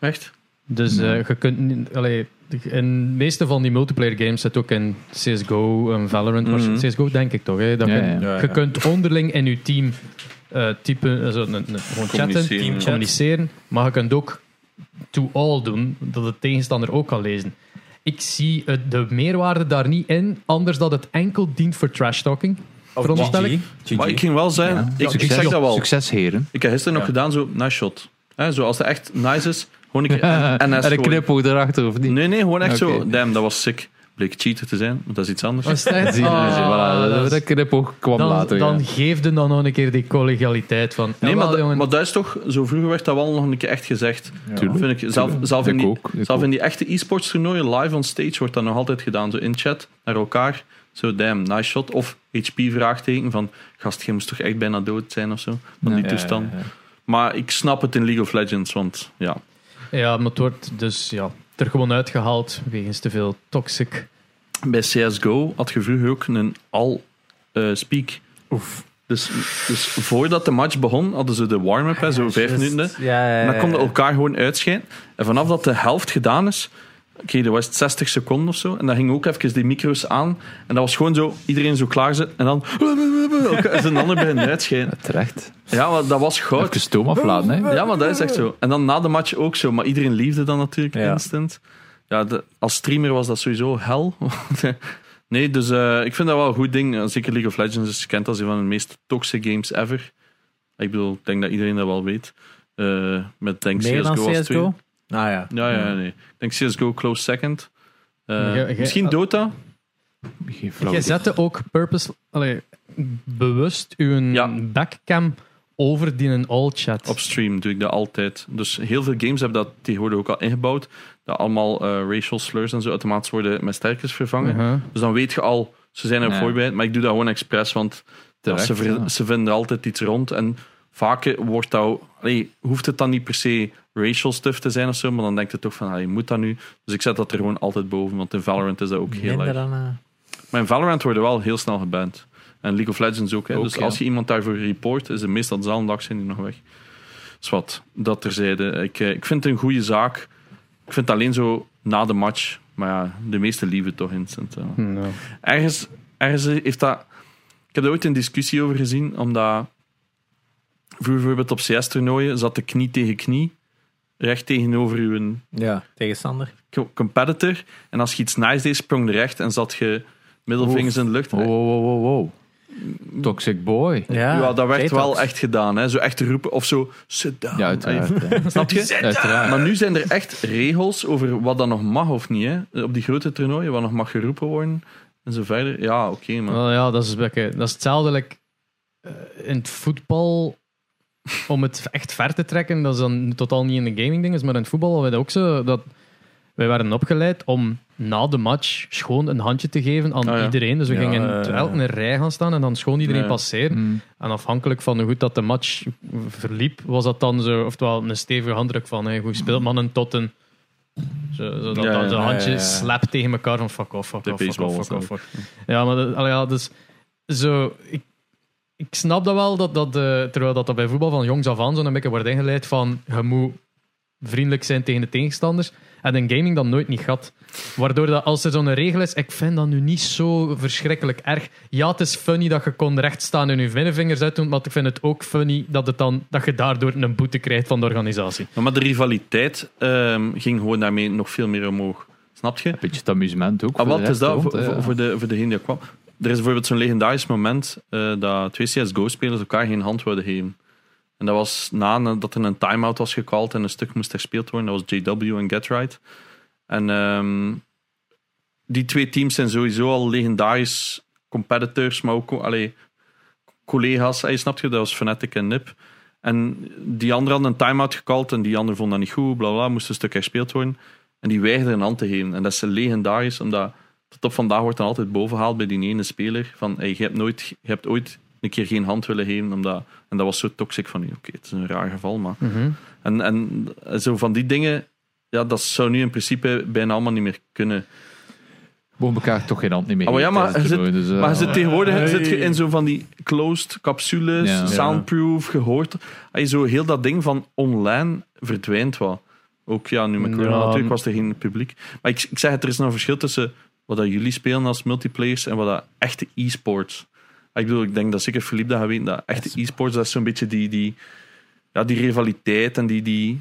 [SPEAKER 4] Echt?
[SPEAKER 1] Dus
[SPEAKER 2] Ja.
[SPEAKER 1] eh, je kunt niet... Allee, in de meeste van die multiplayer games zit ook in CSGO en um, Valorant. maar
[SPEAKER 4] Mhm.
[SPEAKER 1] CSGO denk ik toch, hè? Dat
[SPEAKER 2] Ja,
[SPEAKER 1] je,
[SPEAKER 2] ja.
[SPEAKER 3] Ja,
[SPEAKER 1] je
[SPEAKER 3] ja.
[SPEAKER 1] kunt onderling in je team eh, typen, eh, zo, een- een- gewoon chatten,
[SPEAKER 4] Communiceren.
[SPEAKER 1] communiceren. Maar je kunt ook to all doen, dat de tegenstander ook kan lezen. Ik zie het, de meerwaarde daar niet in, anders dat het enkel dient voor trash talking.
[SPEAKER 3] Of
[SPEAKER 1] Veronderstel
[SPEAKER 3] GG.
[SPEAKER 1] ik?
[SPEAKER 3] GG.
[SPEAKER 4] Maar ik ging wel zeggen, ik, ik
[SPEAKER 2] Succes-
[SPEAKER 4] zeg dat wel.
[SPEAKER 2] Succes, heren.
[SPEAKER 4] Ik heb gisteren nog
[SPEAKER 3] Ja.
[SPEAKER 4] gedaan, zo, nice shot. Hè, zo, als het echt nice is, gewoon een keer en
[SPEAKER 2] en een knipoog erachter, of niet?
[SPEAKER 4] Nee, nee, gewoon echt
[SPEAKER 2] Oké.
[SPEAKER 4] zo, damn, dat was sick. Bleek cheater te zijn, want dat Oh, is iets anders.
[SPEAKER 1] Was het echt?
[SPEAKER 2] Zie je,
[SPEAKER 1] Ah,
[SPEAKER 2] zie je, voilà,
[SPEAKER 1] dat is-
[SPEAKER 2] dat, dat knipoog kwam
[SPEAKER 1] dan,
[SPEAKER 2] later.
[SPEAKER 1] dan
[SPEAKER 2] ja.
[SPEAKER 1] geef hem dan nog een keer die collegialiteit van.
[SPEAKER 4] Nee,
[SPEAKER 1] jawel,
[SPEAKER 4] maar, da-
[SPEAKER 1] jongen,
[SPEAKER 4] maar dat is toch, zo vroeger werd dat wel nog een keer echt gezegd.
[SPEAKER 2] Tuurlijk.
[SPEAKER 4] Vind ik, zelf, zelf, in
[SPEAKER 2] Ik
[SPEAKER 4] die,
[SPEAKER 2] ook, ik
[SPEAKER 4] zelf in
[SPEAKER 2] ook.
[SPEAKER 4] die echte e-sports toernooien, live on stage, wordt dat nog altijd gedaan. Zo in chat, naar elkaar. Zo, damn, nice shot. Of HP-vraagteken van, gast, je moest toch echt bijna dood zijn of zo. Van
[SPEAKER 2] Ja.
[SPEAKER 4] die
[SPEAKER 2] Ja,
[SPEAKER 4] toestand. Maar ik snap het in League of Legends, want ja.
[SPEAKER 1] Ja, maar het wordt dus ja, er gewoon uitgehaald wegens te veel toxic.
[SPEAKER 4] Bij CSGO had je vroeger ook een all-speak.
[SPEAKER 3] Oef.
[SPEAKER 4] dus, dus voordat de match begon, hadden ze de warm-up, hè, zo vijf
[SPEAKER 3] Just-
[SPEAKER 4] minuten. hè.
[SPEAKER 3] Ja, ja, ja.
[SPEAKER 4] En dan konden elkaar gewoon uitschijnen. En vanaf dat de helft gedaan is, oké, dat was het 60 seconden of zo. En dan gingen ook even die micro's aan. En dat was gewoon zo, iedereen zo klaar zit. En dan elkaar zijn handen beginnen uitschijnen.
[SPEAKER 2] Terecht.
[SPEAKER 4] Ja, maar dat was goud.
[SPEAKER 2] Even stoom aflaten, hè.
[SPEAKER 4] Ja, maar dat is echt zo. En dan na de match ook zo. Maar iedereen liefde dan natuurlijk
[SPEAKER 3] Ja.
[SPEAKER 4] instant. Ja, de- als streamer was dat sowieso hel. nee, dus eh, ik vind dat wel een goed ding. Eh, Zeker League of Legends is gekend als een van de meest toxic games ever. Ik bedoel, ik denk dat iedereen dat wel weet. Eh, met denk
[SPEAKER 3] Meer dan
[SPEAKER 4] CSGO als tweede.
[SPEAKER 3] CSGO? Ah ja.
[SPEAKER 4] Ja, ja, nee. Ik denk CSGO close second. Eh,
[SPEAKER 1] Ge- ge-
[SPEAKER 4] misschien Dota?
[SPEAKER 2] Geen flauw
[SPEAKER 1] Je
[SPEAKER 2] idee.
[SPEAKER 1] zette ook purpose, allee, bewust uw
[SPEAKER 4] Ja.
[SPEAKER 1] backcam over die een all-chat.
[SPEAKER 4] Op stream doe ik dat altijd. Dus heel veel games hebben dat tegenwoordig ook al ingebouwd. Dat allemaal eh, racial slurs en zo automatisch worden met sterkers vervangen.
[SPEAKER 1] Uh-huh.
[SPEAKER 4] Dus dan weet je al, ze zijn er
[SPEAKER 2] Ja.
[SPEAKER 4] voorbereid. Maar ik doe dat gewoon expres, want ja,
[SPEAKER 2] Terecht,
[SPEAKER 4] ze, ver-
[SPEAKER 2] ja.
[SPEAKER 4] ze vinden altijd iets rond. En vaak eh, wordt dat, allee, hoeft het dan niet per se racial stuff te zijn of zo. Maar dan denkt het toch van, allee, moet dat nu? Dus ik zet dat er gewoon altijd boven, want in Valorant is dat ook heel
[SPEAKER 3] Minder
[SPEAKER 4] erg.
[SPEAKER 3] dan... eh,
[SPEAKER 4] Maar in Valorant worden wel heel snel geband. En League of Legends ook. Hè.
[SPEAKER 2] Ook,
[SPEAKER 4] dus
[SPEAKER 2] ja.
[SPEAKER 4] als je iemand daarvoor report, is het meestal dezelfde dag zijn die nog weg. Dus wat, dat terzijde. Ik, eh, ik vind het een goede zaak. Ik vind het alleen zo na de match. Maar ja, de meeste lieven toch instant. hè.
[SPEAKER 1] Nou.
[SPEAKER 4] Ergens, ergens heeft dat... Ik heb daar ooit een discussie over gezien, omdat... Vroeger bijvoorbeeld op CS-toernooien zat de knie tegen knie. Recht tegenover uw
[SPEAKER 3] Ja, tegenstander.
[SPEAKER 4] co- competitor. En als je iets nice deed, sprong er recht en zat je middelvingers in de lucht.
[SPEAKER 2] Wow, wow, wow, wow, wow. Toxic boy.
[SPEAKER 4] Ja, dat werd
[SPEAKER 3] Jay
[SPEAKER 4] wel
[SPEAKER 3] Talks.
[SPEAKER 4] echt gedaan. Hè? Zo echt roepen of zo, sit down.
[SPEAKER 2] Ja, uiteraard. hè.
[SPEAKER 4] Allee, snap je?
[SPEAKER 2] uiteraard.
[SPEAKER 4] Maar nu zijn er echt regels over wat dan nog mag of niet. Hè? Op die grote toernooien, wat nog mag geroepen worden. En zo verder. Ja, oké, maar...
[SPEAKER 1] Wel ja, dat is, een beetje- dat is hetzelfde like, eh, in het voetbal. Om het echt ver te trekken, dat is dan totaal niet in de gaming ding. Maar in het voetbal hadden wij dat ook zo. Dat wij werden opgeleid om na de match schoon een handje te geven aan
[SPEAKER 4] Ah, ja.
[SPEAKER 1] iedereen. Dus we
[SPEAKER 3] Ja,
[SPEAKER 1] gingen
[SPEAKER 3] eh,
[SPEAKER 1] in elk een rij gaan staan en dan schoon iedereen
[SPEAKER 4] Ja.
[SPEAKER 1] passeren.
[SPEAKER 2] Mm.
[SPEAKER 1] En afhankelijk van hoe goed dat de match verliep, was dat dan zo, oftewel een stevige handdruk van hey, goed speelt mannen tot een. Zo, zo dat,
[SPEAKER 4] Ja, ja,
[SPEAKER 1] dat de
[SPEAKER 4] ja,
[SPEAKER 1] handje
[SPEAKER 3] ja, ja.
[SPEAKER 1] slap tegen elkaar van fuck off, fuck
[SPEAKER 4] De
[SPEAKER 1] off, fuck
[SPEAKER 4] baseball
[SPEAKER 1] off,
[SPEAKER 4] was
[SPEAKER 1] fuck
[SPEAKER 4] dat
[SPEAKER 1] off. fuck- Ja, maar dat, allee, ja, dus zo, ik, ik snap dat wel, dat, dat, eh, terwijl dat, dat bij voetbal van jongs af aan zo'n beetje wordt ingeleid van je moet vriendelijk zijn tegen de tegenstanders. En in gaming dat nooit niet gaat. Waardoor dat als er zo'n regel is, ik vind dat nu niet zo verschrikkelijk erg. Ja, het is funny dat je kon rechtstaan en je middenvingers uitdoen, maar ik vind het ook funny dat, het dan, dat je daardoor een boete krijgt van de organisatie.
[SPEAKER 4] Ja, Maar de rivaliteit ehm, ging gewoon daarmee nog veel meer omhoog. Snap je?
[SPEAKER 2] Beetje het amusement ook.
[SPEAKER 4] Ah,
[SPEAKER 2] voor
[SPEAKER 4] wat
[SPEAKER 2] de
[SPEAKER 4] is
[SPEAKER 2] rest
[SPEAKER 4] dat
[SPEAKER 2] rond,
[SPEAKER 4] voor,
[SPEAKER 2] hè, ja.
[SPEAKER 4] voor, voor de, voor degene die kwam? Er is bijvoorbeeld zo'n legendarisch moment eh, dat twee CSGO-spelers elkaar geen hand wilden geven. En dat was na dat er een timeout was gecalled en een stuk moest gespeeld worden. Dat was JW en Get Right. En ehm, die twee teams zijn sowieso al legendarisch competitors, maar ook co- allee, collega's. Hey, snap je? Dat was Fnatic en Nip. En die andere had een timeout gecalled en die andere vond dat niet goed, bla bla, bla, moest een stuk gespeeld worden. En die weigerde een hand te geven. En dat is legendarisch, omdat tot op vandaag wordt dan altijd bovengehaald bij die ene speler. Van, hey, je, hebt nooit, je hebt ooit een keer geen hand willen geven, omdat... En dat was zo toxic van, u. oké, het is een raar geval, maar... En, en zo van die dingen, ja, dat zou nu in principe bijna allemaal niet meer kunnen.
[SPEAKER 2] Mogen elkaar toch geen hand niet meer
[SPEAKER 4] Ah, maar ja,
[SPEAKER 2] geven
[SPEAKER 4] maar
[SPEAKER 2] tijdens het
[SPEAKER 4] er
[SPEAKER 2] toernooi, dus, eh,
[SPEAKER 4] Maar je zit tegenwoordig
[SPEAKER 3] Hey.
[SPEAKER 4] zit je in zo van die closed capsules,
[SPEAKER 2] Ja.
[SPEAKER 4] soundproof, gehoord. Hey, zo heel dat ding van online verdwijnt wat. Ook ja, nu met corona
[SPEAKER 1] Ja.
[SPEAKER 4] natuurlijk was er geen publiek. Maar ik, ik zeg het, er is nog een verschil tussen wat dat jullie spelen als multiplayers en wat dat echte e-sports. Ah, Ik bedoel, ik denk dat zeker Philippe dat gaat weten, dat echte e-sports, dat is zo'n beetje die, die, ja, die rivaliteit en die, die...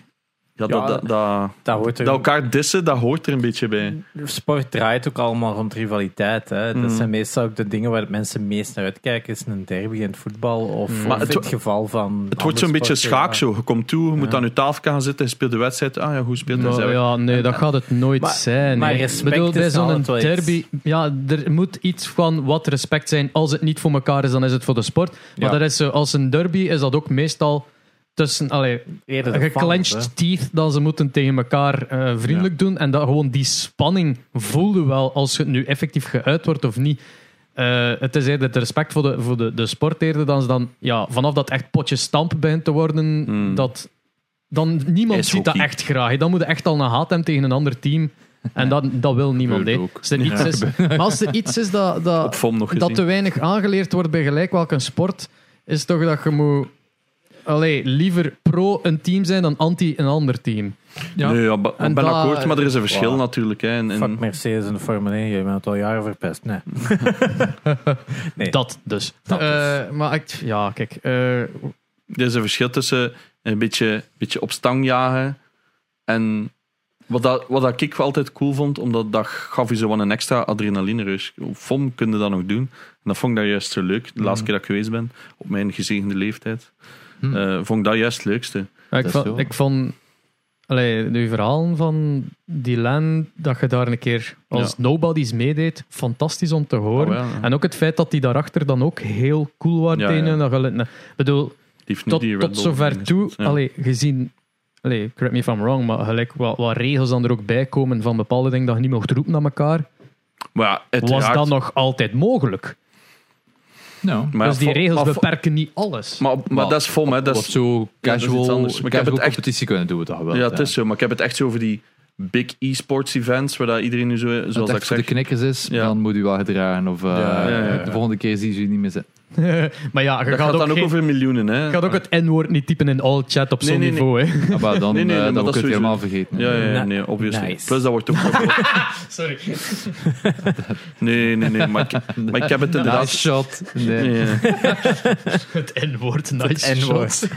[SPEAKER 4] Ja,
[SPEAKER 3] Ja,
[SPEAKER 4] dat, dat, dat,
[SPEAKER 3] Dat hoort er-
[SPEAKER 4] dat elkaar dissen, dat hoort er een beetje bij.
[SPEAKER 3] Sport draait ook allemaal rond rivaliteit. Hè.
[SPEAKER 4] Mm.
[SPEAKER 3] Dat zijn meestal ook de dingen waar mensen meest naar uitkijken. Is een derby in het voetbal of, of
[SPEAKER 4] Mm. Maar
[SPEAKER 3] in
[SPEAKER 4] het
[SPEAKER 3] het,
[SPEAKER 4] wo-
[SPEAKER 3] geval van...
[SPEAKER 4] Het wordt zo'n beetje
[SPEAKER 1] eh,
[SPEAKER 4] schaak
[SPEAKER 3] schaakzo.
[SPEAKER 4] zo. Je komt toe, je moet aan je tafel gaan zitten, je speelt de wedstrijd. Ah ja, hoe speelt hij?
[SPEAKER 1] Nou,
[SPEAKER 4] Zijn we-
[SPEAKER 1] ja, nee, dat gaat het nooit
[SPEAKER 3] Maar-
[SPEAKER 1] zijn.
[SPEAKER 3] maar
[SPEAKER 1] hè.
[SPEAKER 3] respect
[SPEAKER 1] Ik bedoel,
[SPEAKER 3] is
[SPEAKER 1] bij zo'n
[SPEAKER 3] altijd wel iets.
[SPEAKER 1] derby, ja, er moet iets van wat respect zijn. Als het niet voor elkaar is, dan is het voor de sport. Maar
[SPEAKER 3] Ja.
[SPEAKER 1] dat is zo, als een derby is dat ook meestal tussen allee, geclenched teeth dan ze moeten tegen elkaar eh, vriendelijk doen. En dat gewoon die spanning voelde wel als het nu effectief geuit wordt of niet. Eh, het is eerder het respect voor de, voor de, de sport eerder dan ze dan ja, vanaf dat echt potje stamp begint te worden,
[SPEAKER 4] Hmm.
[SPEAKER 1] dat dan niemand
[SPEAKER 4] Is
[SPEAKER 1] ziet dat
[SPEAKER 4] hockey.
[SPEAKER 1] echt graag. hè. Dan moet je echt al een haat hebben tegen een ander team. En dat, dat wil niemand. hè.
[SPEAKER 2] Gebeurt ook.
[SPEAKER 1] Als er iets is, maar als er iets is dat,
[SPEAKER 4] Op
[SPEAKER 1] dat,
[SPEAKER 4] FOM nog gezien.
[SPEAKER 1] dat te weinig aangeleerd wordt bij gelijk welke sport, is toch dat je moet allee, liever pro een team zijn dan anti een ander team.
[SPEAKER 2] Ja.
[SPEAKER 4] Nee, ja, ba-
[SPEAKER 1] En
[SPEAKER 4] ik ben
[SPEAKER 1] dat-
[SPEAKER 4] akkoord, maar er is een verschil
[SPEAKER 3] Wow.
[SPEAKER 4] natuurlijk. Hè. En, en-
[SPEAKER 3] Fuck Mercedes en de Formule 1, je bent het al jaren verpest. Nee. Nee.
[SPEAKER 1] Dat dus.
[SPEAKER 3] Dat dus.
[SPEAKER 1] Eh, maar ik, ja, kijk. eh,
[SPEAKER 4] er is een verschil tussen een beetje, beetje op stang jagen en wat, dat, wat dat ik wel altijd cool vond, omdat dat gaf je zo wat een extra adrenalinereus. FOM kun je dat nog doen. En dat vond ik dat juist zo leuk. De
[SPEAKER 1] Mhm.
[SPEAKER 4] laatste keer dat ik geweest ben, op mijn gezegende leeftijd,
[SPEAKER 2] Hmm.
[SPEAKER 4] eh, vond ik dat juist het leukste.
[SPEAKER 1] Maar ik,
[SPEAKER 2] Dat is
[SPEAKER 1] vond,
[SPEAKER 2] wel-
[SPEAKER 1] ik vond. Allee, de verhalen van die Len, dat je daar een keer als
[SPEAKER 4] Ja.
[SPEAKER 1] Nobody's meedeed, fantastisch om te horen.
[SPEAKER 4] Oh, ja.
[SPEAKER 1] En ook het feit dat die daarachter dan ook heel cool waren.
[SPEAKER 4] Ja,
[SPEAKER 1] tegen
[SPEAKER 4] ja.
[SPEAKER 1] hun, dat je- Ik bedoel,
[SPEAKER 4] Die heeft nu
[SPEAKER 1] tot,
[SPEAKER 4] die Red
[SPEAKER 1] tot
[SPEAKER 4] Bull
[SPEAKER 1] zover
[SPEAKER 4] dingen
[SPEAKER 1] toe,
[SPEAKER 4] gespeeld, ja.
[SPEAKER 1] allee, gezien, allee, correct me if I'm wrong, maar gelijk wat, wat regels dan er ook bij komen van bepaalde dingen dat je niet mocht roepen naar elkaar,
[SPEAKER 4] Maar ja,
[SPEAKER 1] was
[SPEAKER 4] uiteraard-
[SPEAKER 1] dat nog altijd mogelijk.
[SPEAKER 2] Nou,
[SPEAKER 4] Maar ja,
[SPEAKER 1] dus die
[SPEAKER 4] fo-
[SPEAKER 1] regels
[SPEAKER 4] maar fo-
[SPEAKER 1] beperken niet alles.
[SPEAKER 4] Maar, maar dat is FOM, hè. Dat
[SPEAKER 2] op
[SPEAKER 4] is,
[SPEAKER 2] zo
[SPEAKER 4] dat is iets
[SPEAKER 2] casual,
[SPEAKER 4] anders. Maar ik
[SPEAKER 2] casual
[SPEAKER 4] heb het echt-
[SPEAKER 2] competitie kunnen doen we dat wel.
[SPEAKER 4] ja, het is zo. Maar ik heb het echt zo over die big e-sports events, waar dat iedereen nu zo,
[SPEAKER 2] Als
[SPEAKER 4] zoals
[SPEAKER 2] het
[SPEAKER 4] ik
[SPEAKER 2] echt voor de
[SPEAKER 4] zeg...
[SPEAKER 2] knikkers is,
[SPEAKER 4] Ja.
[SPEAKER 2] dan moet u wel gedragen. Of eh,
[SPEAKER 3] Ja,
[SPEAKER 4] ja, ja, ja.
[SPEAKER 2] de volgende keer zie je niet meer zitten.
[SPEAKER 1] maar ja, je
[SPEAKER 4] Dat
[SPEAKER 1] gaat,
[SPEAKER 4] gaat
[SPEAKER 1] ook,
[SPEAKER 4] dan ook
[SPEAKER 1] geen-
[SPEAKER 4] over miljoenen, hè.
[SPEAKER 1] je gaat ook het N-woord niet typen in all chat op
[SPEAKER 4] Nee,
[SPEAKER 1] zo'n
[SPEAKER 4] nee, nee.
[SPEAKER 1] niveau. Hè.
[SPEAKER 2] Ah, Maar dan,
[SPEAKER 4] Nee,
[SPEAKER 2] nee,
[SPEAKER 4] nee,
[SPEAKER 2] dan
[SPEAKER 4] nee, maar
[SPEAKER 2] ook
[SPEAKER 4] dat
[SPEAKER 2] het
[SPEAKER 4] is
[SPEAKER 2] helemaal vergeten.
[SPEAKER 4] Ja, ja, ja,
[SPEAKER 3] Nee.
[SPEAKER 4] nee, obviously.
[SPEAKER 3] Nice.
[SPEAKER 4] Plus, dat wordt ook...
[SPEAKER 1] Sorry.
[SPEAKER 4] Nee, nee, nee, maar ik, maar ik heb het
[SPEAKER 2] Nice
[SPEAKER 4] inderdaad...
[SPEAKER 2] shot. Nee.
[SPEAKER 4] Nee, nee.
[SPEAKER 1] Het N-woord, nice
[SPEAKER 3] Het N-woord.
[SPEAKER 1] shot.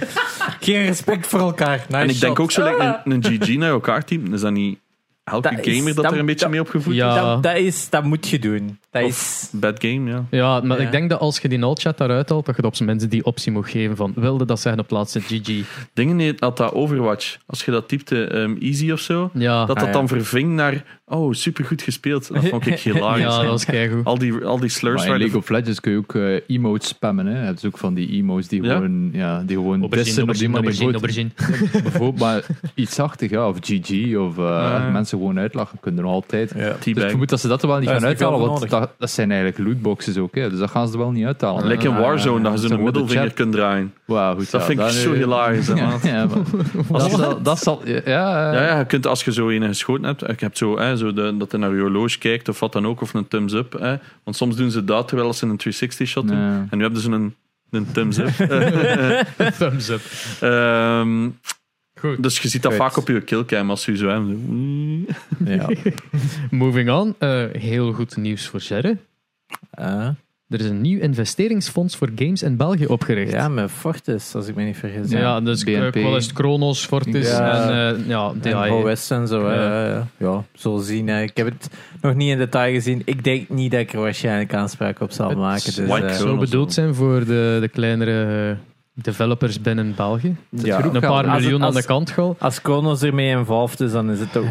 [SPEAKER 3] Geen respect voor elkaar. Nice
[SPEAKER 4] En ik
[SPEAKER 3] shot.
[SPEAKER 4] denk ook zo lekker een, een GG naar elkaar team. Is dat niet elke
[SPEAKER 3] Dat is-
[SPEAKER 4] gamer dat,
[SPEAKER 3] dat-
[SPEAKER 4] er een beetje
[SPEAKER 3] dat-
[SPEAKER 4] mee opgevoed
[SPEAKER 1] Ja.
[SPEAKER 4] is?
[SPEAKER 3] Dat, dat, is, dat moet je doen. Dat
[SPEAKER 4] Of-
[SPEAKER 3] is...
[SPEAKER 4] Bad game, ja.
[SPEAKER 1] Ja, maar
[SPEAKER 3] Ja.
[SPEAKER 1] ik denk dat als je die all chat daaruit haalt, dat je het op zijn mensen die optie moet geven van wilde dat zeggen op laatste GG.
[SPEAKER 4] Dingen heet dat dat Overwatch. Als je dat typte ehm, easy of zo,
[SPEAKER 1] Ja,
[SPEAKER 3] Ah,
[SPEAKER 4] dat dat
[SPEAKER 3] ja.
[SPEAKER 4] dan verving naar oh, supergoed gespeeld. Dat vond ik hilarisch.
[SPEAKER 1] ja dat was keigoed.
[SPEAKER 4] Al die, al die slurs
[SPEAKER 2] Maar in
[SPEAKER 4] waar
[SPEAKER 2] League
[SPEAKER 4] de-
[SPEAKER 2] of Legends kun je ook eh, emotes spammen. Hè. Je hebt ook van die emotes die
[SPEAKER 4] Ja?
[SPEAKER 2] gewoon, ja, die gewoon dissen op die manier.
[SPEAKER 1] aubergine,
[SPEAKER 2] Goed,
[SPEAKER 1] aubergine.
[SPEAKER 2] Bijvoorbeeld, maar iets zachtig, ja, of GG, of eh,
[SPEAKER 4] Ja.
[SPEAKER 2] mensen gewoon uitlachen kunnen er altijd.
[SPEAKER 3] Ja.
[SPEAKER 2] Dus ik
[SPEAKER 4] Teabag.
[SPEAKER 2] vermoed dat ze dat er wel niet
[SPEAKER 3] Daar
[SPEAKER 2] gaan
[SPEAKER 3] is niet
[SPEAKER 2] uithalen,
[SPEAKER 3] veel
[SPEAKER 2] want
[SPEAKER 3] nodig.
[SPEAKER 2] dat, dat zijn eigenlijk lootboxes ook, hè. dus dat gaan ze er wel niet uithalen.
[SPEAKER 4] Like in
[SPEAKER 2] Ah,
[SPEAKER 4] Warzone, dat je
[SPEAKER 2] ze
[SPEAKER 4] zo'n
[SPEAKER 2] moeten
[SPEAKER 4] middelvinger
[SPEAKER 2] chat-
[SPEAKER 4] kunt draaien.
[SPEAKER 2] Wauw, goed,
[SPEAKER 4] Dat
[SPEAKER 2] ja,
[SPEAKER 4] vind ik zo
[SPEAKER 2] eh,
[SPEAKER 4] hilarisch. hè, maat.
[SPEAKER 2] Ja, maar- dat, zal, dat eh, zal, ja, ja,
[SPEAKER 4] Ja, ja, je kunt, als je zo een geschoten hebt, ik heb zo, hè, zo de, dat hij naar je horloge kijkt of wat dan ook, of een thumbs up. Hè. Want soms doen ze dat terwijl ze een 360 shot doen.
[SPEAKER 2] Ja.
[SPEAKER 4] En nu hebben ze een, een thumbs up. Eh, eh,
[SPEAKER 1] Thumbs up.
[SPEAKER 4] ehm,
[SPEAKER 1] Goed.
[SPEAKER 4] dus je ziet dat
[SPEAKER 3] Goed.
[SPEAKER 4] vaak op je killcam als je zo hem zo, mm.
[SPEAKER 2] ja.
[SPEAKER 1] Moving on. Eh, heel goed nieuws voor Gerre.
[SPEAKER 3] Eh,
[SPEAKER 1] Er is een nieuw investeringsfonds voor games in België opgericht.
[SPEAKER 3] ja, met Fortis, als ik me niet vergis.
[SPEAKER 1] Ja, dus
[SPEAKER 2] BNP.
[SPEAKER 1] ook wel eens Kronos, Fortis
[SPEAKER 3] Ja.
[SPEAKER 1] en eh ja,
[SPEAKER 3] En
[SPEAKER 1] DAE.
[SPEAKER 3] OS en zo. hè.
[SPEAKER 1] Ja.
[SPEAKER 3] Ja, ja. ja zullen we zien. hè. Ik heb het nog niet in detail gezien. Ik denk niet dat ik er waarschijnlijk aanspraak op zal
[SPEAKER 1] Het
[SPEAKER 3] maken. Dus,
[SPEAKER 4] lijkt
[SPEAKER 3] eh,
[SPEAKER 4] zo.
[SPEAKER 1] Zou bedoeld zijn voor de, de kleinere eh, developers binnen België.
[SPEAKER 3] ja.
[SPEAKER 1] Een paar
[SPEAKER 3] Als het-
[SPEAKER 1] miljoen aan
[SPEAKER 3] als-
[SPEAKER 1] de kant gaan.
[SPEAKER 3] Als Kronos ermee involved is, dan is het ook
[SPEAKER 1] Ja,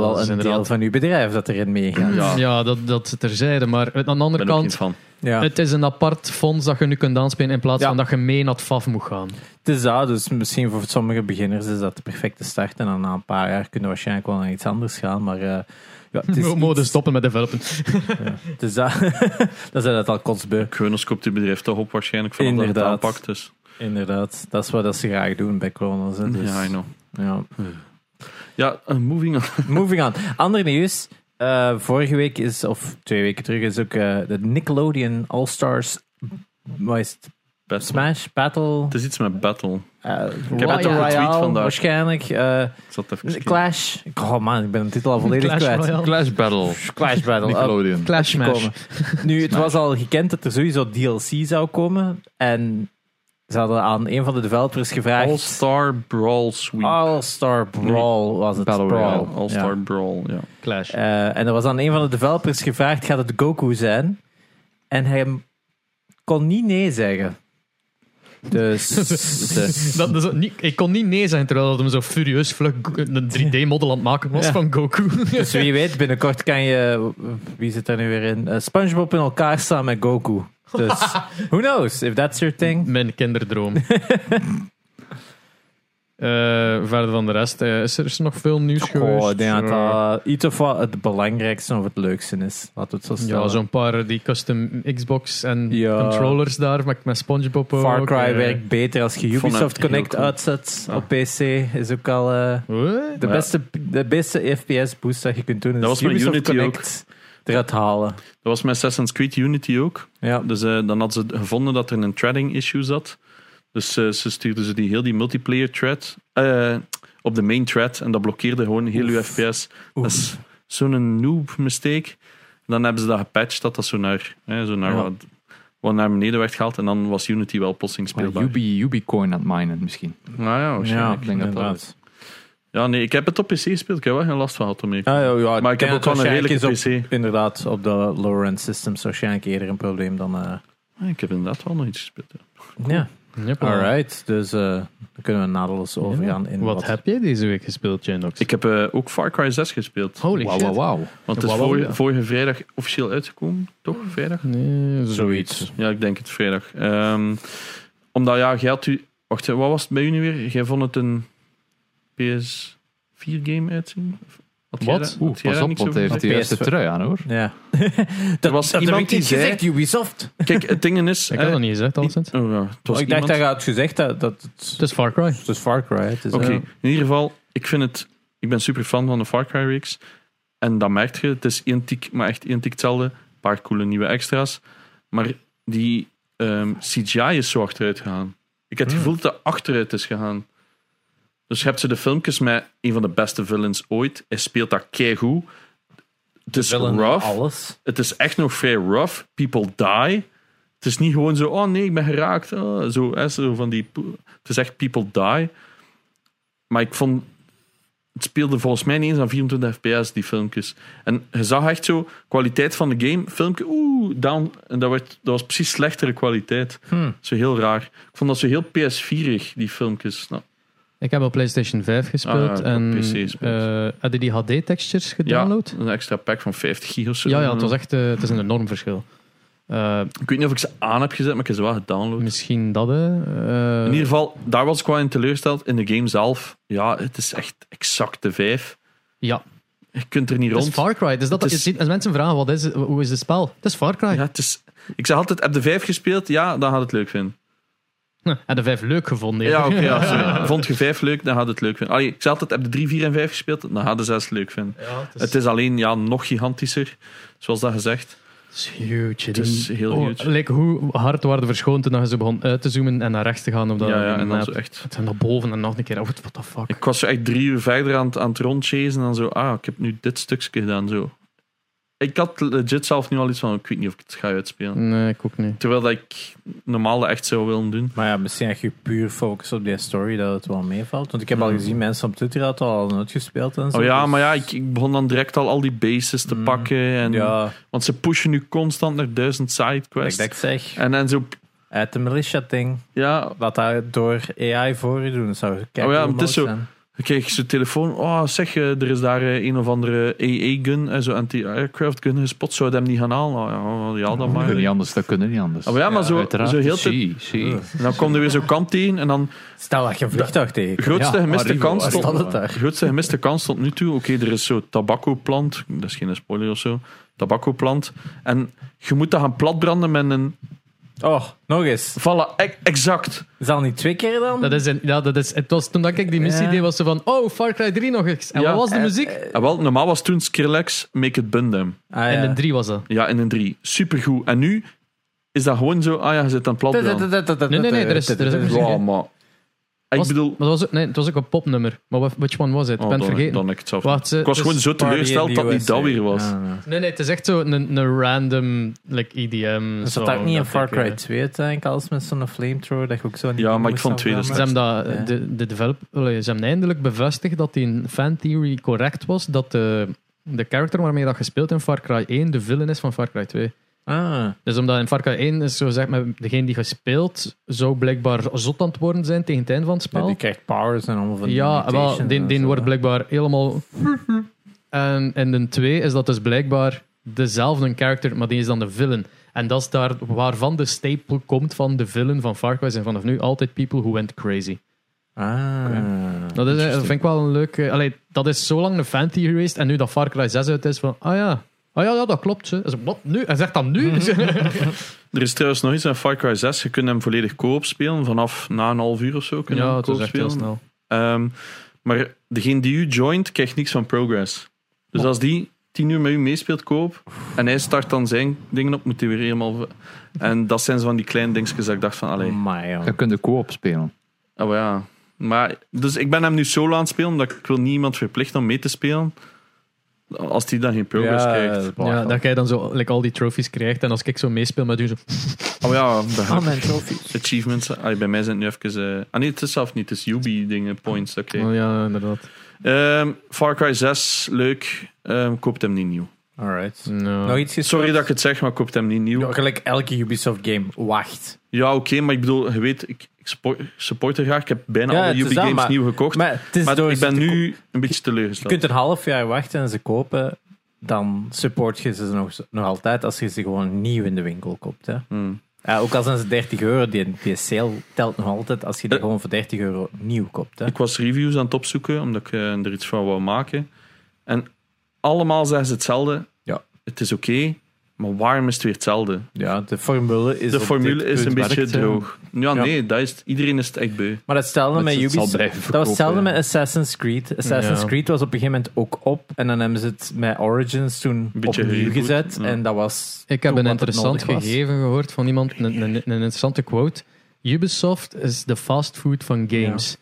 [SPEAKER 1] dat
[SPEAKER 3] wel
[SPEAKER 1] is
[SPEAKER 3] een deel
[SPEAKER 1] inderdaad-
[SPEAKER 3] van uw bedrijf dat erin meegaat.
[SPEAKER 4] Ja,
[SPEAKER 1] Ja, dat, dat terzijde. Maar aan de
[SPEAKER 4] ik
[SPEAKER 1] andere
[SPEAKER 4] ben ook niet
[SPEAKER 1] kant,
[SPEAKER 4] van.
[SPEAKER 3] Ja.
[SPEAKER 1] het is een apart fonds dat je nu kunt aanspelen in plaats
[SPEAKER 3] Ja.
[SPEAKER 1] van dat je mee naar het FAF moet gaan.
[SPEAKER 3] Het is dat, dus misschien voor sommige beginners is dat de perfecte start. En dan na een paar jaar kunnen we waarschijnlijk wel naar iets anders gaan. Maar eh, ja, het, is
[SPEAKER 1] We moeten
[SPEAKER 3] iets-
[SPEAKER 1] stoppen met developen.
[SPEAKER 3] het is dat. dan zijn dat al kotsbeu.
[SPEAKER 4] Kronos koopt die bedrijf toch op waarschijnlijk vanaf dat het
[SPEAKER 3] Inderdaad.
[SPEAKER 4] aanpakt. Dus.
[SPEAKER 3] Inderdaad, dat is wat dat ze graag doen bij Kronos. hè. Dus,
[SPEAKER 4] Ja, I know.
[SPEAKER 3] ja.
[SPEAKER 4] Ja, eh, moving on.
[SPEAKER 3] Moving on. Ander nieuws. Eh, vorige week is, of twee weken terug, is ook eh, de Nickelodeon All-Stars wat is het?
[SPEAKER 4] Best man.
[SPEAKER 3] Smash Battle.
[SPEAKER 4] Het is iets met battle.
[SPEAKER 3] eh,
[SPEAKER 4] heb het
[SPEAKER 3] Royale
[SPEAKER 4] ook getweet vandaag.
[SPEAKER 3] Waarschijnlijk. eh,
[SPEAKER 4] Ik zat even kijken.
[SPEAKER 3] Clash. Oh man, ik ben de titel al volledig
[SPEAKER 1] Clash
[SPEAKER 3] kwijt.
[SPEAKER 1] Royale.
[SPEAKER 2] Clash Battle,
[SPEAKER 3] Clash Battle. Oh,
[SPEAKER 2] Nickelodeon.
[SPEAKER 1] Clash Smash.
[SPEAKER 3] komen. Nu, het was al gekend dat er sowieso DLC zou komen. En Ze hadden aan een van de developers gevraagd...
[SPEAKER 4] All-Star Brawl Sweep.
[SPEAKER 3] All-Star Brawl was het.
[SPEAKER 2] Battle Royale.
[SPEAKER 3] Brawl.
[SPEAKER 4] Ja, All-Star
[SPEAKER 3] Oh, Ja.
[SPEAKER 4] Brawl, ja.
[SPEAKER 1] Clash.
[SPEAKER 3] Eh, en er was aan een van de developers gevraagd, gaat het Goku zijn? En hij kon niet nee zeggen. Dus...
[SPEAKER 1] Dat, dat is ook niet, ik kon niet nee zijn terwijl dat hem zo furieus vlug een 3D-model aan het maken was
[SPEAKER 3] Ja.
[SPEAKER 1] van Goku.
[SPEAKER 3] Dus wie weet, binnenkort kan je, wie zit er nu weer in? Eh, SpongeBob in elkaar staan met Goku. Dus who knows if that's your thing.
[SPEAKER 1] Mijn kinderdroom. Eh, verder van de rest, eh, is er is er nog veel nieuws geweest?
[SPEAKER 3] Goh, ik denk dat dat iets of wat het belangrijkste of het leukste is. Laten we het zo stellen.
[SPEAKER 1] ja, zo'n paar eh, die custom Xbox en
[SPEAKER 3] Ja.
[SPEAKER 1] controllers daar, maar met SpongeBob
[SPEAKER 3] Far
[SPEAKER 1] ook,
[SPEAKER 3] Cry
[SPEAKER 1] eh.
[SPEAKER 3] werkt beter als je
[SPEAKER 4] vond het
[SPEAKER 3] Ubisoft
[SPEAKER 4] heel
[SPEAKER 3] Connect
[SPEAKER 4] cool.
[SPEAKER 3] uitzet
[SPEAKER 4] Ja.
[SPEAKER 3] op PC. Is ook al eh,
[SPEAKER 1] Wat?
[SPEAKER 3] de,
[SPEAKER 4] Ja.
[SPEAKER 3] beste, de beste FPS boost dat je kunt doen. Is
[SPEAKER 4] Dat was met
[SPEAKER 3] Ubisoft
[SPEAKER 4] Unity
[SPEAKER 3] Connect eruit halen.
[SPEAKER 4] Dat was met Assassin's Creed Unity ook.
[SPEAKER 3] Ja.
[SPEAKER 4] Dus eh, dan hadden ze gevonden dat er een threading issue zat. Dus eh, ze stuurden ze die, heel die multiplayer thread eh, op de main thread. En dat blokkeerde gewoon heel uw FPS. Dat is zo'n noob mistake. En dan hebben ze dat gepatcht, dat dat zo naar, hè, zo naar
[SPEAKER 3] Ja.
[SPEAKER 4] wat, wat naar beneden werd gehaald. En dan was Unity wel plotseling speelbaar.
[SPEAKER 2] Ubi, Ubicoin aan het minen misschien.
[SPEAKER 4] Nou ja,
[SPEAKER 3] Ja,
[SPEAKER 4] waarschijnlijk.
[SPEAKER 2] ik denk dat dat
[SPEAKER 3] inderdaad.
[SPEAKER 2] is.
[SPEAKER 4] Ja, nee, ik heb het op PC gespeeld. Ik heb wel geen last van gehad om even.
[SPEAKER 3] Ah, Ja, ja, ja,
[SPEAKER 4] Maar ik heb
[SPEAKER 3] denk
[SPEAKER 4] ook wel
[SPEAKER 3] dat
[SPEAKER 4] een
[SPEAKER 3] waarschijnlijk
[SPEAKER 4] redelijke
[SPEAKER 3] is op- Inderdaad, op de lower-end systems waarschijnlijk eerder een probleem dan... eh,
[SPEAKER 4] Ah, Ik heb inderdaad wel nog iets gespeeld. ja.
[SPEAKER 3] ja,
[SPEAKER 1] Yep.
[SPEAKER 3] alright. Dus eh, dan kunnen we naadloos overgaan in
[SPEAKER 1] Wat heb jij deze week gespeeld, Janox?
[SPEAKER 4] Ik heb eh, ook Far Cry 6 gespeeld.
[SPEAKER 1] Holy
[SPEAKER 2] Wauw,
[SPEAKER 1] shit.
[SPEAKER 2] wauw, wauw.
[SPEAKER 4] Want het is
[SPEAKER 1] Wauw,
[SPEAKER 4] vorige,
[SPEAKER 1] ja.
[SPEAKER 4] vorige vrijdag officieel uitgekomen, toch? Vrijdag?
[SPEAKER 1] Nee,
[SPEAKER 3] Zoiets.
[SPEAKER 4] Ja, ik denk het vrijdag. Ehm, omdat ja, jij had u. Wacht, hè, wat was het bij u nu weer? Jij vond het een PS4-game uitzien? Of had jij
[SPEAKER 1] Wat?
[SPEAKER 4] daar- had
[SPEAKER 2] Oeh,
[SPEAKER 4] jij
[SPEAKER 2] pas
[SPEAKER 4] daar
[SPEAKER 2] op,
[SPEAKER 4] niks
[SPEAKER 2] want
[SPEAKER 4] over
[SPEAKER 2] hij heeft
[SPEAKER 4] gezegd?
[SPEAKER 2] de eerste
[SPEAKER 3] PS5.
[SPEAKER 2] trui aan hoor.
[SPEAKER 3] Ja.
[SPEAKER 4] Er was iemand
[SPEAKER 3] heb ik
[SPEAKER 4] die
[SPEAKER 3] niet
[SPEAKER 4] zei-
[SPEAKER 3] gezegd, Ubisoft.
[SPEAKER 4] Kijk, het ding is.
[SPEAKER 1] Ik had
[SPEAKER 4] eh,
[SPEAKER 1] dat niet gezegd, Alcent.
[SPEAKER 4] oh, ja, het was
[SPEAKER 3] ik dacht
[SPEAKER 4] iemand-
[SPEAKER 3] dat je had gezegd dat, dat het,
[SPEAKER 1] Het is Far Cry.
[SPEAKER 3] het is Far Cry. Het is,
[SPEAKER 4] Oké,
[SPEAKER 3] eh,
[SPEAKER 4] Dus, in ieder geval, ik vind het. Ik ben super fan van de Far Cry reeks. En dat merk je. Het is identiek, maar echt identiek hetzelfde. Een paar coole nieuwe extra's. Maar die ehm, CGI is zo achteruit gegaan. Ik heb het gevoel dat dat achteruit is gegaan. Dus je hebt ze de filmpjes met een van de beste villains ooit. Hij speelt dat keigoed. Het is
[SPEAKER 3] villain,
[SPEAKER 4] rough.
[SPEAKER 3] Alles.
[SPEAKER 4] Het is echt nog vrij rough. People die. Het is niet gewoon zo, oh nee, ik ben geraakt. oh, zo, hè, zo van die, po- het is echt people die. Maar ik vond... Het speelde volgens mij niet eens aan 24 fps, die filmpjes. En je zag echt zo, kwaliteit van de game, filmpje, oeh, down. En dat, werd, dat was precies slechtere kwaliteit.
[SPEAKER 1] Hmm.
[SPEAKER 4] Zo heel raar. Ik vond dat zo heel PS4-ig, die filmpjes. Nou,
[SPEAKER 1] Ik heb op PlayStation 5
[SPEAKER 4] Ah, ja,
[SPEAKER 1] gespeeld
[SPEAKER 4] ik heb
[SPEAKER 1] en
[SPEAKER 4] op PC gespeeld.
[SPEAKER 1] eh, hadden die HD-textures
[SPEAKER 4] ja,
[SPEAKER 1] gedownload?
[SPEAKER 4] een extra pack van 50 gig of zo.
[SPEAKER 1] Ja, ja, het, was echt, eh, het is een enorm verschil. Eh,
[SPEAKER 4] Ik weet niet of ik ze aan heb gezet, maar ik heb ze wel gedownload.
[SPEAKER 1] misschien dat, hè. Eh,
[SPEAKER 4] In ieder geval, daar was ik wel in teleurgesteld. In de game zelf, ja, het is echt exact de vijf.
[SPEAKER 1] Ja,
[SPEAKER 4] Je kunt er niet
[SPEAKER 1] het is
[SPEAKER 4] rond.
[SPEAKER 1] Far Cry. Dus dat,
[SPEAKER 4] Het is-
[SPEAKER 1] je ziet- als mensen vragen, wat is, het- hoe is het spel? Het is Far Cry.
[SPEAKER 4] Ja, het is, ik zeg altijd, heb de vijf gespeeld? Ja, dan gaat het leuk vinden.
[SPEAKER 1] Hm, En de vijf leuk gevonden.
[SPEAKER 4] Ja, oké. ja, sorry. Vond je vijf leuk, dan gaat het leuk vinden. Allee, ik zeg altijd, heb de drie, vier en vijf gespeeld? Dan gaat de zes leuk vinden.
[SPEAKER 1] het, is,
[SPEAKER 4] Het is alleen ja, nog gigantischer, zoals dat gezegd.
[SPEAKER 1] het is huge.
[SPEAKER 4] Het is
[SPEAKER 1] Die-
[SPEAKER 4] heel
[SPEAKER 1] oh,
[SPEAKER 4] huge.
[SPEAKER 1] like hoe hard waren de verschonen toen je ze begon uit te zoomen en naar rechts te gaan op dat
[SPEAKER 4] Ja, ja,
[SPEAKER 1] op de
[SPEAKER 4] en dan
[SPEAKER 1] map.
[SPEAKER 4] zo echt.
[SPEAKER 1] En naar boven en nog een keer. Oh, what the fuck.
[SPEAKER 4] Ik was zo echt drie uur verder aan het, aan het rondchasen en dan zo, ah, ik heb nu dit stukje gedaan. Zo. Ik had legit zelf nu al iets van, ik weet niet of ik het ga uitspelen.
[SPEAKER 1] Nee, ik ook niet.
[SPEAKER 4] Terwijl dat ik normaal dat echt zou willen doen.
[SPEAKER 3] Maar ja, misschien als je puur focust op die story, dat het wel meevalt. Want ik heb al
[SPEAKER 4] Hmm.
[SPEAKER 3] gezien, mensen op Twitter hadden al uitgespeeld en zo.
[SPEAKER 4] Oh ja,
[SPEAKER 3] dus-
[SPEAKER 4] maar ja, ik, ik begon dan direct al al die bases te
[SPEAKER 3] Mm.
[SPEAKER 4] pakken. En,
[SPEAKER 3] Ja,
[SPEAKER 4] Want ze pushen nu constant naar duizend
[SPEAKER 3] wat
[SPEAKER 4] sidequests.
[SPEAKER 3] ik dat zeg.
[SPEAKER 4] En dan zo...
[SPEAKER 3] Uit de militia-ding.
[SPEAKER 4] Ja,
[SPEAKER 3] Laat dat door AI voor je doen. Dat zou kijk,
[SPEAKER 4] Oh ja, het is zo. dan kreeg ik zo'n telefoon. Oh, zeg, eh, er is daar eh, een of andere AA-gun, eh, zo'n anti-aircraft gun gespot. Zou je hem niet gaan halen? Oh, ja, ja, dat
[SPEAKER 2] Dat
[SPEAKER 4] maar.
[SPEAKER 2] kunnen niet anders, dat kunnen niet anders.
[SPEAKER 4] Oh ja, maar
[SPEAKER 3] Ja,
[SPEAKER 4] zo,
[SPEAKER 2] Uiteraard.
[SPEAKER 4] zo heel te-
[SPEAKER 2] zie, zie.
[SPEAKER 4] En dan kwam er weer zo'n kant tegen. En dan
[SPEAKER 3] Stel dat je een vliegtuig tegen.
[SPEAKER 4] grootste
[SPEAKER 2] Ja,
[SPEAKER 4] gemiste
[SPEAKER 2] Arrivo,
[SPEAKER 4] kans
[SPEAKER 2] waar
[SPEAKER 4] tot,
[SPEAKER 3] staat het daar?
[SPEAKER 4] grootste gemiste kans tot nu toe. Oké, er is zo'n tabakoplant. Dat is geen spoiler of zo. Tabakoplant. En je moet dat gaan platbranden met een...
[SPEAKER 3] Oh, nog eens.
[SPEAKER 4] Voilà, e- exact.
[SPEAKER 3] Is dat niet twee keer dan?
[SPEAKER 1] Dat is een- ja, dat is, het was toen dat ik die missie
[SPEAKER 3] Ja.
[SPEAKER 1] deed, was ze van, oh, Far Cry 3 nog eens. En
[SPEAKER 4] Ja.
[SPEAKER 1] wat was de
[SPEAKER 3] Eh,
[SPEAKER 1] muziek?
[SPEAKER 3] eh,
[SPEAKER 4] Ah, wel, normaal was toen Skrillex Make It Bundem.
[SPEAKER 3] ah,
[SPEAKER 1] En
[SPEAKER 3] ja.
[SPEAKER 1] in 3 was dat.
[SPEAKER 4] Ja, in een 3. Supergoed. En nu is dat gewoon zo... Ah ja, je zit aan het platbranden.
[SPEAKER 1] Nee, nee, nee, er is- er is ook muziek.
[SPEAKER 4] Ja, maar...
[SPEAKER 1] Was-
[SPEAKER 4] ik bedoel...
[SPEAKER 1] Maar dat was ook, nee, het was ook een popnummer. Maar wat- which one was het?
[SPEAKER 4] Oh,
[SPEAKER 1] ik ben het
[SPEAKER 4] dan,
[SPEAKER 1] vergeten.
[SPEAKER 4] dan heb ik het zelf.
[SPEAKER 1] Wacht, ze-
[SPEAKER 4] ik was
[SPEAKER 1] dus
[SPEAKER 4] gewoon zo
[SPEAKER 3] Party in
[SPEAKER 4] teleurgesteld
[SPEAKER 3] the
[SPEAKER 4] dat niet
[SPEAKER 3] USA.
[SPEAKER 4] dat weer was.
[SPEAKER 3] Ja, ja.
[SPEAKER 1] Nee, nee, het is echt zo een, een random like, E EDM.
[SPEAKER 3] Er zat
[SPEAKER 1] song
[SPEAKER 3] ook niet in
[SPEAKER 1] dat
[SPEAKER 3] Far
[SPEAKER 1] ik,
[SPEAKER 3] Cry
[SPEAKER 1] eh,
[SPEAKER 3] 2 denk ik, als met zo'n flamethrower, dat je ook zo niet
[SPEAKER 4] Ja, maar ik vond twee
[SPEAKER 1] Ze
[SPEAKER 4] dus
[SPEAKER 1] hebben, dat,
[SPEAKER 3] Ja.
[SPEAKER 1] de, de develop, allee, ze hebben eindelijk bevestigd dat die fan theory correct was. Dat de, de character waarmee dat gespeeld in Far Cry 1 de villain is van Far Cry 2.
[SPEAKER 3] Ah,
[SPEAKER 1] Dus omdat in Far Cry 1 is zo zeg maar, degene die gespeeld zou blijkbaar zot aan het worden zijn tegen het einde van het
[SPEAKER 3] ja,
[SPEAKER 1] spel.
[SPEAKER 3] die krijgt powers en allemaal van die
[SPEAKER 1] Ja, wel,
[SPEAKER 3] mutations
[SPEAKER 1] die,
[SPEAKER 3] en
[SPEAKER 1] die
[SPEAKER 3] zo,
[SPEAKER 1] wordt
[SPEAKER 3] hè.
[SPEAKER 1] blijkbaar helemaal. en in de 2 is dat dus blijkbaar dezelfde character, maar die is dan de villain. En dat is daar waarvan de staple komt van de villain van Far Cry. En vanaf nu altijd people who went crazy.
[SPEAKER 3] Ah.
[SPEAKER 1] Dat, is, eh, vind ik wel een leuk. eh, allee, dat is zo lang een fan theory geweest. En nu dat Far Cry 6 uit is, van. Ah ja, ah, ja, ja dat klopt. hè. Dus, wat nu? Hij zegt dat
[SPEAKER 3] Mhm.
[SPEAKER 1] nu.
[SPEAKER 4] Er is trouwens nog iets aan Far Cry 6. Je kunt hem volledig co-op spelen. Vanaf na een half uur of zo kun je
[SPEAKER 1] ja,
[SPEAKER 4] hem
[SPEAKER 1] het is
[SPEAKER 4] co-op
[SPEAKER 1] echt heel
[SPEAKER 4] spelen.
[SPEAKER 1] snel.
[SPEAKER 4] Ehm, maar degene die u joint, krijgt niks van progress. Dus als die tien uur met u meespeelt, koop. En hij start dan zijn dingen op, moet hij weer helemaal... v- En dat zijn zo van die kleine dingetjes dat ik dacht van, allee.
[SPEAKER 3] Amai, joh.
[SPEAKER 2] Dan kun je co-op spelen.
[SPEAKER 4] Oh ja. Maar, dus ik ben hem nu solo aan het spelen, omdat ik wil niemand verplicht om mee te spelen. Als die dan geen progress krijgt.
[SPEAKER 3] bah,
[SPEAKER 1] Ja,
[SPEAKER 3] joh.
[SPEAKER 1] dat jij dan zo like, al die trophies krijgt. En als ik zo meespeel met u, zo.
[SPEAKER 4] Oh ja, de
[SPEAKER 3] Ah, mijn trophies.
[SPEAKER 4] achievements. Allee, bij mij zijn het nu even... eh, ah nee, het is zelf niet. Het is Yubi-dingen, points. Oké.
[SPEAKER 1] Oh, ja, inderdaad.
[SPEAKER 4] Ehm, Far Cry 6, leuk. Ehm koopt hem niet nieuw.
[SPEAKER 3] Alright.
[SPEAKER 1] Nou.
[SPEAKER 3] Nog iets gespeeld?
[SPEAKER 4] Sorry dat ik het zeg, maar koopt hem niet nieuw.
[SPEAKER 3] Ja, gelijk elke Ubisoft game. Wacht.
[SPEAKER 4] Ja, oké, maar ik bedoel, je weet, ik, ik spo- support er graag. Ik heb bijna
[SPEAKER 3] Ja,
[SPEAKER 4] alle
[SPEAKER 3] het is
[SPEAKER 4] Ubi
[SPEAKER 3] dat,
[SPEAKER 4] Games
[SPEAKER 3] maar-
[SPEAKER 4] nieuw gekocht. Maar,
[SPEAKER 3] Maar het is door
[SPEAKER 4] ik
[SPEAKER 3] ze
[SPEAKER 4] ben
[SPEAKER 3] te ko-
[SPEAKER 4] nu een beetje
[SPEAKER 3] Je
[SPEAKER 4] teleurgesteld.
[SPEAKER 3] kunt een half jaar wachten en ze kopen. Dan support je ze nog, nog altijd als je ze gewoon nieuw in de winkel koopt. Hè.
[SPEAKER 4] Hmm.
[SPEAKER 3] Ja, ook al zijn ze 30 euro, die, die sale telt nog altijd als je die
[SPEAKER 4] Eh.
[SPEAKER 3] gewoon voor 30 euro nieuw koopt. Hè.
[SPEAKER 4] Ik was reviews aan het opzoeken, omdat ik eh, er iets van wou maken. En allemaal zeggen ze hetzelfde.
[SPEAKER 3] Ja.
[SPEAKER 4] Het is oké, maar waarom is het weer hetzelfde?
[SPEAKER 3] Ja, de formule is
[SPEAKER 4] De
[SPEAKER 3] op
[SPEAKER 4] formule
[SPEAKER 3] dit
[SPEAKER 4] is
[SPEAKER 3] punt
[SPEAKER 4] een beetje
[SPEAKER 3] werkt, hè.
[SPEAKER 4] droog. Ja,
[SPEAKER 3] Ja.
[SPEAKER 4] nee, dat is, iedereen is het echt beu.
[SPEAKER 3] Maar hetzelfde
[SPEAKER 2] Dat
[SPEAKER 3] met
[SPEAKER 2] ze het zal
[SPEAKER 3] Ubisoft.
[SPEAKER 2] blijven
[SPEAKER 3] Dat was hetzelfde
[SPEAKER 2] verkopen,
[SPEAKER 3] met Assassin's Creed. Assassin's
[SPEAKER 1] Ja.
[SPEAKER 3] Creed was op een gegeven moment ook op. En dan hebben ze het met Origins toen
[SPEAKER 4] Beetje
[SPEAKER 3] opnieuw
[SPEAKER 4] reboot,
[SPEAKER 3] gezet.
[SPEAKER 4] ja.
[SPEAKER 3] En dat was.
[SPEAKER 1] Ik heb
[SPEAKER 3] toen
[SPEAKER 1] een
[SPEAKER 3] wat het
[SPEAKER 1] interessant
[SPEAKER 3] nodig was.
[SPEAKER 1] gegeven gehoord van iemand, een, een, een interessante quote. Ubisoft is de fastfood van games.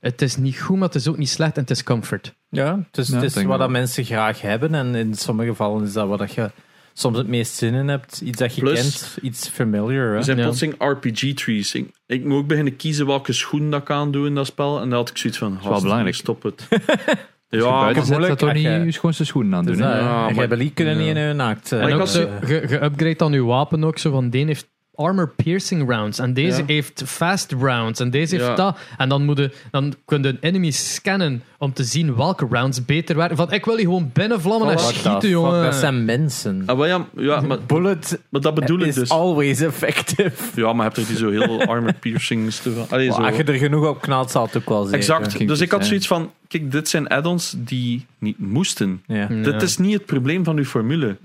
[SPEAKER 1] Het is niet goed, maar het is ook niet slecht en het is comfort.
[SPEAKER 3] Ja, dus
[SPEAKER 2] Ja,
[SPEAKER 3] het
[SPEAKER 2] denk
[SPEAKER 3] is
[SPEAKER 2] ik
[SPEAKER 3] wat dat
[SPEAKER 2] wel.
[SPEAKER 3] mensen graag hebben. En in sommige gevallen is dat wat dat je soms het meest zin in hebt. Iets dat je
[SPEAKER 4] Plus-
[SPEAKER 3] kent, iets familiar. Hè?
[SPEAKER 4] Er zijn
[SPEAKER 1] Ja.
[SPEAKER 4] plotseling RPG-trees. Ik, ik moet ook beginnen kiezen welke schoen dat ik aan doe in dat spel. En dan had ik zoiets van,
[SPEAKER 2] wel belangrijk.
[SPEAKER 4] stop het.
[SPEAKER 2] Als je
[SPEAKER 4] ja,
[SPEAKER 2] buiten zit,
[SPEAKER 3] moeilijk
[SPEAKER 2] dat toch
[SPEAKER 3] als
[SPEAKER 2] niet
[SPEAKER 3] je-
[SPEAKER 2] je schoonste schoenen aan
[SPEAKER 3] Dus
[SPEAKER 2] doen.
[SPEAKER 3] dat,
[SPEAKER 2] hè?
[SPEAKER 3] hè.
[SPEAKER 4] Ja,
[SPEAKER 3] en
[SPEAKER 4] maar-
[SPEAKER 3] rebellie kunnen niet
[SPEAKER 1] Ja.
[SPEAKER 3] in hun naakt. eh,
[SPEAKER 1] En
[SPEAKER 4] Maar ik
[SPEAKER 1] ook
[SPEAKER 4] had-
[SPEAKER 1] zo ge- geüpgrade aan uw wapen ook zo van die heeft armor piercing rounds en deze
[SPEAKER 4] Ja.
[SPEAKER 1] heeft fast rounds en deze heeft
[SPEAKER 4] Ja.
[SPEAKER 1] dat. En dan moeten dan kunnen enemies scannen om te zien welke rounds beter werken. Van ik wil die gewoon binnenvlammen en
[SPEAKER 3] Oh, what the fuck,
[SPEAKER 1] schieten, oh, jongen.
[SPEAKER 3] Dat zijn mensen.
[SPEAKER 4] Ah, wel ja, ja maar,
[SPEAKER 3] Bullet
[SPEAKER 4] maar dat bedoel ik
[SPEAKER 3] is
[SPEAKER 4] dus.
[SPEAKER 3] always effective.
[SPEAKER 4] Ja, maar heb je die zo heel armor piercings te van? Allee,
[SPEAKER 3] Maar
[SPEAKER 4] zo.
[SPEAKER 3] als je er genoeg op knalt, zal het ook wel zeker.
[SPEAKER 4] Exact.
[SPEAKER 2] ging
[SPEAKER 4] Dus
[SPEAKER 2] het
[SPEAKER 4] ik had
[SPEAKER 2] zijn.
[SPEAKER 4] zoiets van: kijk, dit zijn add-ons die niet moesten.
[SPEAKER 3] Ja.
[SPEAKER 1] Ja.
[SPEAKER 4] Dit is niet het probleem van uw formule.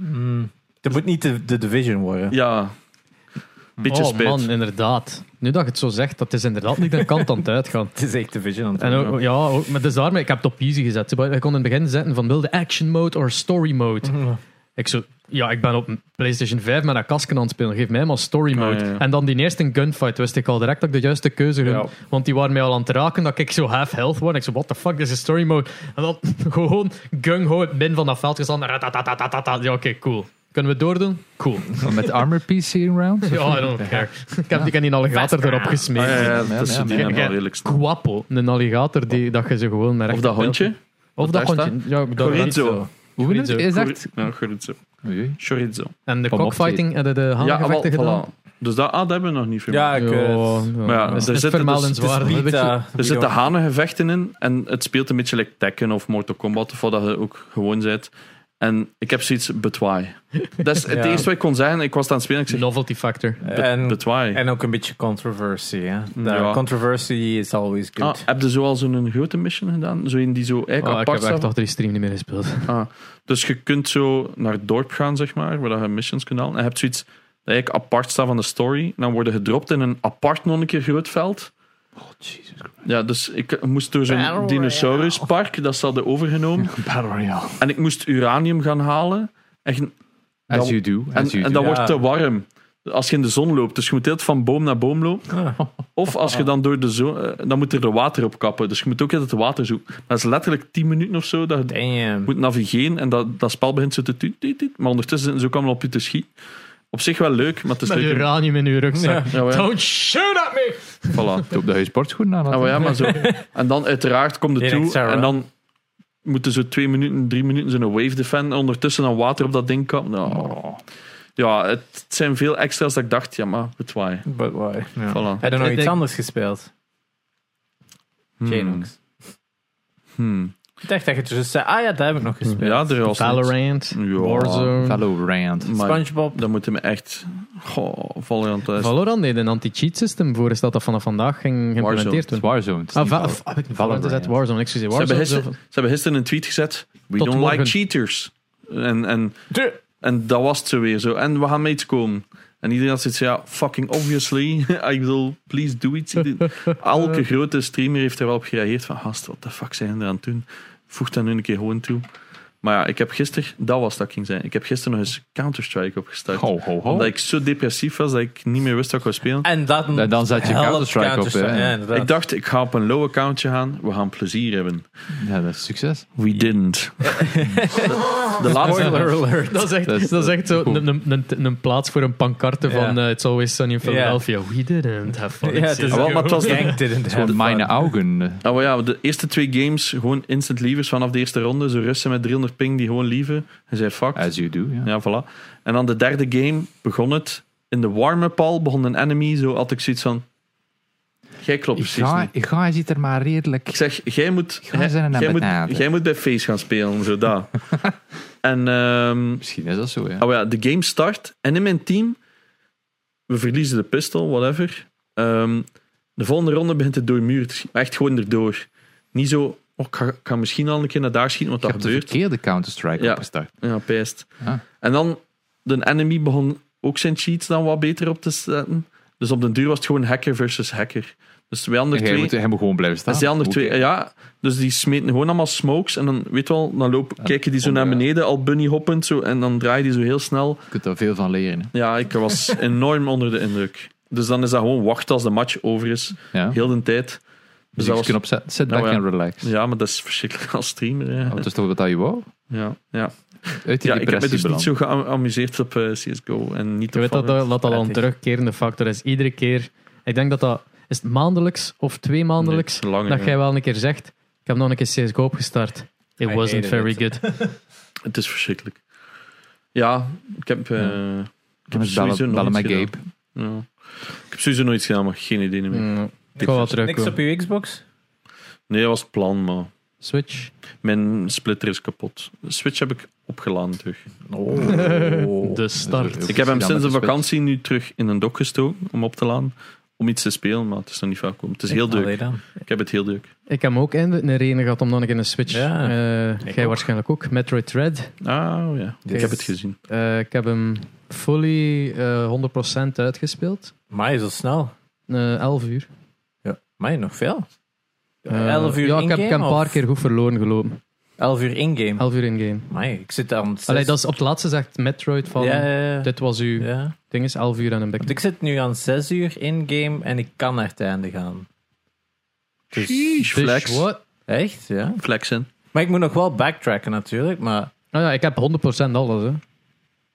[SPEAKER 3] Dat moet niet de, de Division worden.
[SPEAKER 4] Ja, beetje
[SPEAKER 1] oh
[SPEAKER 4] spijt.
[SPEAKER 1] man, inderdaad. Nu dat je het zo zegt, dat is inderdaad niet de kant aan het uitgaan.
[SPEAKER 3] Het is echt Division aan het
[SPEAKER 1] En
[SPEAKER 3] doen,
[SPEAKER 1] ook, ja, ook, maar dus daarmee, ik heb het op easy gezet. Maar Ik kon in het begin zetten van wilde action mode of story mode.
[SPEAKER 3] ja.
[SPEAKER 1] Ik zo, ja, ik ben op een PlayStation 5 met dat kasken aan het spelen. Geef mij maar story mode.
[SPEAKER 4] Ah, ja, ja.
[SPEAKER 1] En dan die eerste gunfight wist ik al direct dat ik de juiste keuze ging.
[SPEAKER 3] Ja.
[SPEAKER 1] Want die waren mij al aan het raken dat ik zo half health was. Ik zo, what the fuck, dit is story mode. En dan gewoon gung ho het min van dat veld gestaan. Ratatatatata. Ja, oké, cool. Kunnen we doordoen? Cool.
[SPEAKER 2] Met armor piercing rounds?
[SPEAKER 1] Ja, I don't care. Ik heb die in een alligator erop
[SPEAKER 4] Ah,
[SPEAKER 1] gesmeed.
[SPEAKER 4] ja, ja,
[SPEAKER 2] Ja,
[SPEAKER 4] dat is
[SPEAKER 2] ja, ja.
[SPEAKER 4] die zijn wel
[SPEAKER 1] Ja.
[SPEAKER 4] redelijk snel.
[SPEAKER 1] Guapo, een alligator die, dat je ze gewoon naar
[SPEAKER 4] Of dat hondje?
[SPEAKER 1] Of dat
[SPEAKER 4] Wat daar
[SPEAKER 1] hondje. Ja, dat
[SPEAKER 4] Chorizo.
[SPEAKER 2] Hoe
[SPEAKER 1] Chorizo.
[SPEAKER 2] noemt het? Is echt...
[SPEAKER 4] Chori- Ja, chorizo.
[SPEAKER 2] Oei, oei.
[SPEAKER 4] Chorizo.
[SPEAKER 1] En de
[SPEAKER 2] Kom op,
[SPEAKER 1] cockfighting en de, de
[SPEAKER 4] Ja, ah, wel,
[SPEAKER 1] handengevechten gedaan.
[SPEAKER 4] voilà. Dus dat, ah, dat hebben we nog niet veel.
[SPEAKER 3] Ja, ik, eh,
[SPEAKER 4] Maar ja, er
[SPEAKER 1] dat is
[SPEAKER 4] zitten
[SPEAKER 1] het vermeldenswaardig.
[SPEAKER 3] Het is
[SPEAKER 1] Een beetje-
[SPEAKER 3] beta,
[SPEAKER 4] Er
[SPEAKER 3] we
[SPEAKER 4] zitten
[SPEAKER 3] don't-
[SPEAKER 4] hanengevechten in en het speelt een beetje like Tekken of Mortal Kombat, of wat dat je ook gewoon bent. En ik heb zoiets betwaai. Dat is het
[SPEAKER 3] Ja.
[SPEAKER 4] eerste wat ik kon zeggen. Ik was aan het spelen en ik zeg
[SPEAKER 1] Novelty factor. Ah,
[SPEAKER 4] "Be-
[SPEAKER 3] En,
[SPEAKER 4] betwaai.
[SPEAKER 3] en ook een beetje controversy. Hè? De
[SPEAKER 4] Mm, Ja.
[SPEAKER 3] Controversy is always
[SPEAKER 4] Ah,
[SPEAKER 3] good.
[SPEAKER 4] heb je zo al zo'n grote mission gedaan? Zo een die zo eigenlijk
[SPEAKER 1] Oh, ik
[SPEAKER 4] apart
[SPEAKER 1] heb echt
[SPEAKER 4] staat?
[SPEAKER 1] achter die stream niet meer gespeeld.
[SPEAKER 4] Ah, dus je kunt zo naar het dorp gaan, zeg maar, waar dat je missions kunt halen. En je hebt zoiets dat eigenlijk apart staat van de story. En dan worden gedropt in een apart nog een keer groot veld. Ja, dus ik moest door zo'n
[SPEAKER 3] Battle
[SPEAKER 4] dinosauruspark, dat ze hadden overgenomen.
[SPEAKER 2] Battle Royale.
[SPEAKER 4] En ik moest uranium gaan halen. En, je-
[SPEAKER 2] As
[SPEAKER 4] dat-
[SPEAKER 2] you do.
[SPEAKER 4] en,
[SPEAKER 2] As you
[SPEAKER 4] en
[SPEAKER 2] do.
[SPEAKER 4] dat
[SPEAKER 3] Ja.
[SPEAKER 4] wordt te warm. als je in de zon loopt. Dus je moet altijd van boom naar boom lopen. Of als je dan door de zon... eh, dan moet er de water op kappen. Dus je moet ook altijd het water zoeken. Maar dat is letterlijk 10 minuten of zo dat je
[SPEAKER 3] Damn.
[SPEAKER 4] moet navigeren. En dat, dat spel begint zo te... tuut, tuut, tuut. maar ondertussen zitten ze ook allemaal op je te schieten. Op zich wel leuk, maar het is
[SPEAKER 1] Met
[SPEAKER 4] leuk.
[SPEAKER 1] uranium in uw rugzak.
[SPEAKER 4] Ja, maar ja.
[SPEAKER 1] Don't shoot at me!
[SPEAKER 4] Voilà.
[SPEAKER 2] Ik hoop dat je sportschoenen aan had.
[SPEAKER 4] Ah, maar ja, maar zo. En dan uiteraard komt het
[SPEAKER 3] Direct
[SPEAKER 4] toe
[SPEAKER 3] Sarah.
[SPEAKER 4] en dan moeten ze twee minuten, drie minuten zo'n wave defend ondertussen dan water op dat ding kappen. Nou,
[SPEAKER 2] Oh,
[SPEAKER 4] Ja, het, het zijn veel extra's dat ik dacht, ja maar, het why.
[SPEAKER 3] But why? Ja.
[SPEAKER 4] Voilà.
[SPEAKER 3] Heb je nog
[SPEAKER 1] Ik
[SPEAKER 3] iets
[SPEAKER 1] denk-
[SPEAKER 3] anders gespeeld? Genox.
[SPEAKER 4] Hmm.
[SPEAKER 3] Ik dacht dat je het dus zei, ah ja, daar heb ik nog gespeeld.
[SPEAKER 4] Ja, er was
[SPEAKER 1] Valorant,
[SPEAKER 4] Ja.
[SPEAKER 1] Warzone.
[SPEAKER 2] Valorant.
[SPEAKER 4] niks. Maar
[SPEAKER 3] Spongebob.
[SPEAKER 4] dan moeten we echt... Goh, Valorant thuis.
[SPEAKER 1] Valorant deed een anti-cheat system voor, is dat dat vanaf vandaag ging geïmplementeerd
[SPEAKER 2] Het is
[SPEAKER 1] worden.
[SPEAKER 2] Warzone. het is
[SPEAKER 1] Ah,
[SPEAKER 2] niet
[SPEAKER 1] va-
[SPEAKER 2] Valorant.
[SPEAKER 1] of- heb ik niet Valorant gezet? Warzone, excuseer.
[SPEAKER 4] ze, hebben
[SPEAKER 1] Warzone.
[SPEAKER 4] gisteren, ze hebben gisteren een tweet gezet. We
[SPEAKER 1] Tot
[SPEAKER 4] don't
[SPEAKER 1] morgen.
[SPEAKER 4] like cheaters. En, en, en dat was het zo weer zo. En we gaan mee te komen. En iedereen had zoiets ja, fucking obviously. Ik bedoel, please do iets. Elke grote streamer heeft er wel op gereageerd van, gast, wat de fuck zijn we aan het doen? Voeg dat nu een keer gewoon toe. Maar ja, ik heb gisteren, dat was dat ik ging zijn. Ik heb gisteren nog eens Counter-Strike opgestart.
[SPEAKER 2] Ho, ho, ho.
[SPEAKER 4] Omdat ik zo depressief was dat ik niet meer wist wat ik wou spelen.
[SPEAKER 3] En dan,
[SPEAKER 2] Dan- dan zet je
[SPEAKER 3] helpt
[SPEAKER 2] Counter-Strike op,
[SPEAKER 3] Counter-Strike.
[SPEAKER 2] hè.
[SPEAKER 3] Ja, inderdaad.
[SPEAKER 4] Ik dacht, ik ga op een low accountje gaan. We gaan plezier hebben.
[SPEAKER 2] Ja, dat is succes.
[SPEAKER 4] We didn't. de laatste...
[SPEAKER 3] Spoiler alert.
[SPEAKER 1] Dat is echt,
[SPEAKER 2] Dat is-
[SPEAKER 1] dat is echt zo
[SPEAKER 2] Goed.
[SPEAKER 1] een, een, een, een plaats voor een pancarte van
[SPEAKER 3] Ja.
[SPEAKER 1] eh, It's Always Sunny in Philadelphia. We didn't have fun.
[SPEAKER 3] Ja, het is
[SPEAKER 4] Ah, wel, maar het was-
[SPEAKER 3] Gang didn't have
[SPEAKER 2] Voor mijn
[SPEAKER 3] fun.
[SPEAKER 2] ogen. eh,
[SPEAKER 4] Nou ja, de eerste twee games gewoon instant lievers vanaf de eerste ronde. Zo Russen met 300 ping die gewoon lieven. En zei fuck.
[SPEAKER 2] As you do, ja.
[SPEAKER 4] Ja, voilà. En dan de derde game begon het. In de warm-up al begon een enemy. Zo had ik zoiets van... Jij klopt
[SPEAKER 2] Ik
[SPEAKER 4] precies
[SPEAKER 2] ga,
[SPEAKER 4] niet.
[SPEAKER 2] ik ga, ziet er maar redelijk.
[SPEAKER 4] Ik zeg, jij moet,
[SPEAKER 2] ga eens naar
[SPEAKER 4] jij, moet,
[SPEAKER 2] beneden.
[SPEAKER 4] jij moet bij Face gaan spelen. Zo, daar. en... ehm,
[SPEAKER 2] Misschien is dat zo, ja.
[SPEAKER 4] Oh ja, de game start. En in mijn team, we verliezen de pistol, whatever. Ehm, de volgende ronde begint het door de muur te schieten. Echt gewoon erdoor. Niet zo, oh, ik, ga, ik ga misschien al een keer naar daar schieten,
[SPEAKER 2] Ik
[SPEAKER 4] want dat
[SPEAKER 2] heb de
[SPEAKER 4] gebeurt.
[SPEAKER 2] verkeerde Counter-Strike
[SPEAKER 4] Ja.
[SPEAKER 2] opgestart.
[SPEAKER 4] Ja, pest.
[SPEAKER 2] Ah.
[SPEAKER 4] En dan, de enemy begon ook zijn cheats dan wat beter op te zetten. Dus op den duur was het gewoon hacker versus hacker. Dus wij andere
[SPEAKER 2] En Jij
[SPEAKER 4] twee...
[SPEAKER 2] moet, Ah, jij moet gewoon blijven
[SPEAKER 4] Dat
[SPEAKER 2] staan.
[SPEAKER 4] is die andere
[SPEAKER 2] Hoe-
[SPEAKER 4] twee, ja. Dus die smeten gewoon allemaal smokes. En dan, weet je wel, dan lopen, kijken die zo naar
[SPEAKER 2] onder-
[SPEAKER 4] beneden, al bunny hoppend. Zo, en dan draaien die zo heel snel.
[SPEAKER 2] Je kunt daar veel van leren. hè.
[SPEAKER 4] Ja, ik was enorm onder de indruk. Dus dan is dat gewoon wachten als de match over is.
[SPEAKER 2] Ja.
[SPEAKER 4] Heel de tijd.
[SPEAKER 2] Dus je
[SPEAKER 4] Dus dat was,
[SPEAKER 2] kunt opzetten. Sit
[SPEAKER 4] Nou
[SPEAKER 2] back
[SPEAKER 4] ja.
[SPEAKER 2] and relax.
[SPEAKER 4] ja, maar dat is verschrikkelijk als streamer. hè.
[SPEAKER 2] Oh, dat is toch wat je wou?
[SPEAKER 4] Ja, ja.
[SPEAKER 2] Uit die
[SPEAKER 4] ja ik heb me
[SPEAKER 2] depressie
[SPEAKER 4] dus niet
[SPEAKER 2] beland.
[SPEAKER 4] zo geamuseerd op eh, CSGO. En niet
[SPEAKER 1] Je
[SPEAKER 4] op
[SPEAKER 1] weet dat
[SPEAKER 4] Valorant.
[SPEAKER 1] dat, dat al een
[SPEAKER 3] Prettig.
[SPEAKER 1] terugkerende factor is. Iedere keer, ik denk dat dat, is het maandelijks of twee maandelijks,
[SPEAKER 4] Nee, langer,
[SPEAKER 1] dat
[SPEAKER 4] ja.
[SPEAKER 1] jij wel een keer zegt, ik heb nog een keer CSGO opgestart. It
[SPEAKER 3] I
[SPEAKER 1] wasn't
[SPEAKER 3] hated
[SPEAKER 1] very
[SPEAKER 3] it.
[SPEAKER 1] good.
[SPEAKER 4] Het is verschrikkelijk. Ja, ik heb, eh, ik heb
[SPEAKER 2] Dus Bellen,
[SPEAKER 4] sowieso
[SPEAKER 2] bellen
[SPEAKER 4] nooit
[SPEAKER 2] met
[SPEAKER 4] gedaan.
[SPEAKER 2] Gabe.
[SPEAKER 4] Ja. Ik heb sowieso nooit gedaan, maar geen idee meer.
[SPEAKER 1] Mm, ik ga wel
[SPEAKER 3] Niks op
[SPEAKER 1] terugkomen.
[SPEAKER 3] je Xbox?
[SPEAKER 4] Nee, dat was het plan, maar
[SPEAKER 1] Switch.
[SPEAKER 4] mijn splitter is kapot. Switch heb ik opgeladen terug.
[SPEAKER 3] Oh.
[SPEAKER 4] Dus,
[SPEAKER 1] De
[SPEAKER 2] Dat is
[SPEAKER 1] start.
[SPEAKER 2] ook-
[SPEAKER 4] Ik heb hem
[SPEAKER 2] Ja,
[SPEAKER 4] sinds de
[SPEAKER 2] met de
[SPEAKER 4] vakantie nu terug in een dok gestoken om op te laden. Om iets te spelen, maar het is nog niet vaak komen. Het is heel
[SPEAKER 3] Allee
[SPEAKER 4] druk.
[SPEAKER 3] dan.
[SPEAKER 4] Ik heb het heel druk.
[SPEAKER 1] Ik heb hem ook einde- een reden gehad om dan een keer een Switch.
[SPEAKER 3] Ja,
[SPEAKER 1] Eh,
[SPEAKER 3] ik
[SPEAKER 1] jij
[SPEAKER 3] ook.
[SPEAKER 1] waarschijnlijk ook. Metroid Red.
[SPEAKER 4] Ah ja, ik
[SPEAKER 1] is-
[SPEAKER 4] heb het gezien.
[SPEAKER 1] Eh, ik heb hem fully eh 100% uitgespeeld.
[SPEAKER 3] Maar zo snel.
[SPEAKER 1] Eh 11 uur.
[SPEAKER 3] Ja. Maar nog veel.
[SPEAKER 1] Eh,
[SPEAKER 3] 11 uur
[SPEAKER 1] Ja, ik heb, ik
[SPEAKER 3] in-game,
[SPEAKER 1] heb een paar
[SPEAKER 3] of?
[SPEAKER 1] keer goed verloren gelopen.
[SPEAKER 3] 11 uur in-game.
[SPEAKER 1] 11 uur in-game.
[SPEAKER 3] Amai, ik zit aan het
[SPEAKER 1] Allee, dat is op het laatste zegt Metroid van...
[SPEAKER 3] Ja, ja, ja.
[SPEAKER 1] Dit was uw
[SPEAKER 3] ja.
[SPEAKER 1] ding, is 11 uur aan een
[SPEAKER 3] Want
[SPEAKER 1] bek.
[SPEAKER 3] ik zit nu aan 6 uur in-game en ik kan naar het einde gaan. Dus-
[SPEAKER 4] Sheesh,
[SPEAKER 1] Dus
[SPEAKER 4] flex.
[SPEAKER 1] what?
[SPEAKER 3] Echt? Ja.
[SPEAKER 4] Flexen.
[SPEAKER 3] Maar ik moet nog wel backtracken natuurlijk, maar...
[SPEAKER 1] Nou ja, ik heb 100% alles. Hè.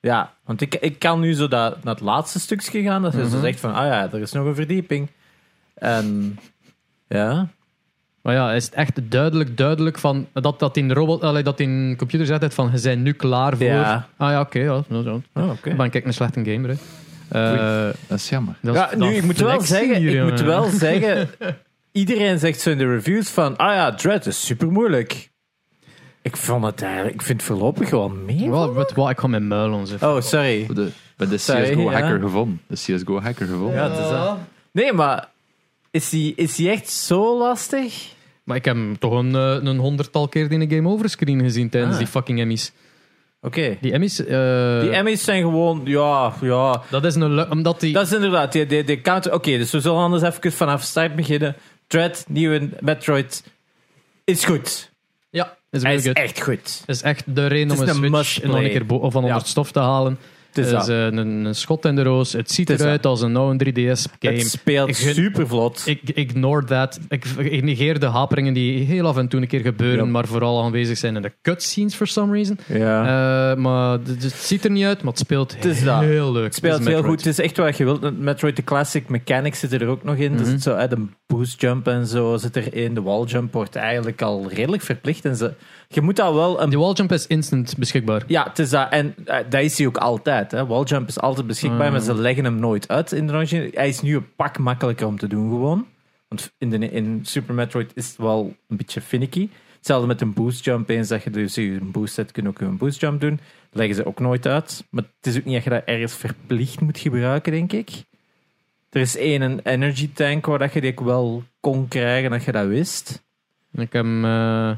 [SPEAKER 3] Ja, want ik, ik kan nu zo dat, naar het laatste stukje gaan. Dat is dus
[SPEAKER 1] Mhm.
[SPEAKER 3] echt van, ah ja, er is nog een verdieping. En ja,
[SPEAKER 1] Maar ja, is het echt duidelijk, duidelijk van dat dat in robot, allee, dat in computer zegt het van je bent nu klaar voor.
[SPEAKER 3] Ja.
[SPEAKER 1] Ah ja, oké, ja, nou, zo.
[SPEAKER 3] oh, oké.
[SPEAKER 1] Dan ben ik een slechte gamer. Hè. Eh,
[SPEAKER 2] Dat is jammer.
[SPEAKER 1] dat is-
[SPEAKER 3] Ja, nu,
[SPEAKER 1] dat
[SPEAKER 3] ik moet wel
[SPEAKER 1] flexen
[SPEAKER 3] zeggen,
[SPEAKER 1] hier,
[SPEAKER 3] ik moet
[SPEAKER 1] jongen.
[SPEAKER 3] wel zeggen, iedereen zegt zo in de reviews van, ah ja, Dread is super moeilijk. Ik vond het eigenlijk, ik vind het voorlopig wel meer.
[SPEAKER 1] Wel, weet wat, ik ga mijn muil onze.
[SPEAKER 3] Oh, sorry.
[SPEAKER 2] De, bij de
[SPEAKER 3] Sorry,
[SPEAKER 2] CSGO
[SPEAKER 3] ja.
[SPEAKER 2] hacker gevonden. De CSGO hacker gevonden.
[SPEAKER 3] Ja, het is dat. Nee, maar is die, is die echt zo lastig?
[SPEAKER 1] Maar ik heb hem toch een, eh, een honderdtal keer in de game overscreen gezien tijdens
[SPEAKER 3] Ah.
[SPEAKER 1] die fucking Emmys.
[SPEAKER 3] Oké.
[SPEAKER 1] Die Emmys, eh,
[SPEAKER 3] Die Emmys zijn gewoon, ja, ja.
[SPEAKER 1] dat is een lu- omdat die
[SPEAKER 3] Dat is inderdaad, die, die, die counter... Oké, dus we zullen anders even vanaf start beginnen. Dread, nieuwe Metroid, is goed.
[SPEAKER 1] ja, is
[SPEAKER 3] Hij
[SPEAKER 1] heel
[SPEAKER 3] is
[SPEAKER 1] good.
[SPEAKER 3] echt goed.
[SPEAKER 1] is echt de reden
[SPEAKER 3] Het
[SPEAKER 1] om een
[SPEAKER 3] is een
[SPEAKER 1] Switch
[SPEAKER 3] must-play.
[SPEAKER 1] nog een keer bo- of van onder
[SPEAKER 3] Ja.
[SPEAKER 1] het stof te halen.
[SPEAKER 3] is
[SPEAKER 1] Het is
[SPEAKER 3] dat.
[SPEAKER 1] eh, een, een schot in de roos. Het ziet
[SPEAKER 3] Het is
[SPEAKER 1] eruit als een oude 3DS-game.
[SPEAKER 3] Het speelt
[SPEAKER 1] Ik gun-
[SPEAKER 3] super vlot.
[SPEAKER 1] Ik ignore that. Ik, ik negeer de haperingen die heel af en toe een keer gebeuren,
[SPEAKER 3] Ja.
[SPEAKER 1] maar vooral aanwezig zijn in de cutscenes for some reason.
[SPEAKER 3] Ja.
[SPEAKER 1] Eh, maar d- d- het ziet er niet uit, maar het speelt
[SPEAKER 3] is dat.
[SPEAKER 1] heel leuk.
[SPEAKER 3] Het speelt
[SPEAKER 1] Het is
[SPEAKER 3] heel goed.
[SPEAKER 1] Metroid.
[SPEAKER 3] Het is echt wat je wilt. Metroid de Classic Mechanics zit er ook nog in.
[SPEAKER 1] Mhm.
[SPEAKER 3] Dus het zo, eh, de boost jump en zo zit erin. De wall jump wordt eigenlijk al redelijk verplicht. En ze, je moet dat wel een
[SPEAKER 1] Die walljump is instant beschikbaar.
[SPEAKER 3] Ja, het is dat. En eh, dat is hij ook altijd. Hè. Walljump is altijd beschikbaar,
[SPEAKER 1] Ah.
[SPEAKER 3] maar ze leggen hem nooit uit in de originele. Hij is nu een pak makkelijker om te doen gewoon. Want in, de, in Super Metroid is het wel een beetje finicky. Hetzelfde met een boostjump. Eens dat je dus je een boost zet, kun je ook een boostjump doen. Dat leggen ze ook nooit uit. Maar het is ook niet dat je dat ergens verplicht moet gebruiken, denk ik. Er is één een energy tank waar dat je die ook wel kon krijgen dat je dat wist.
[SPEAKER 1] Ik heb, eh,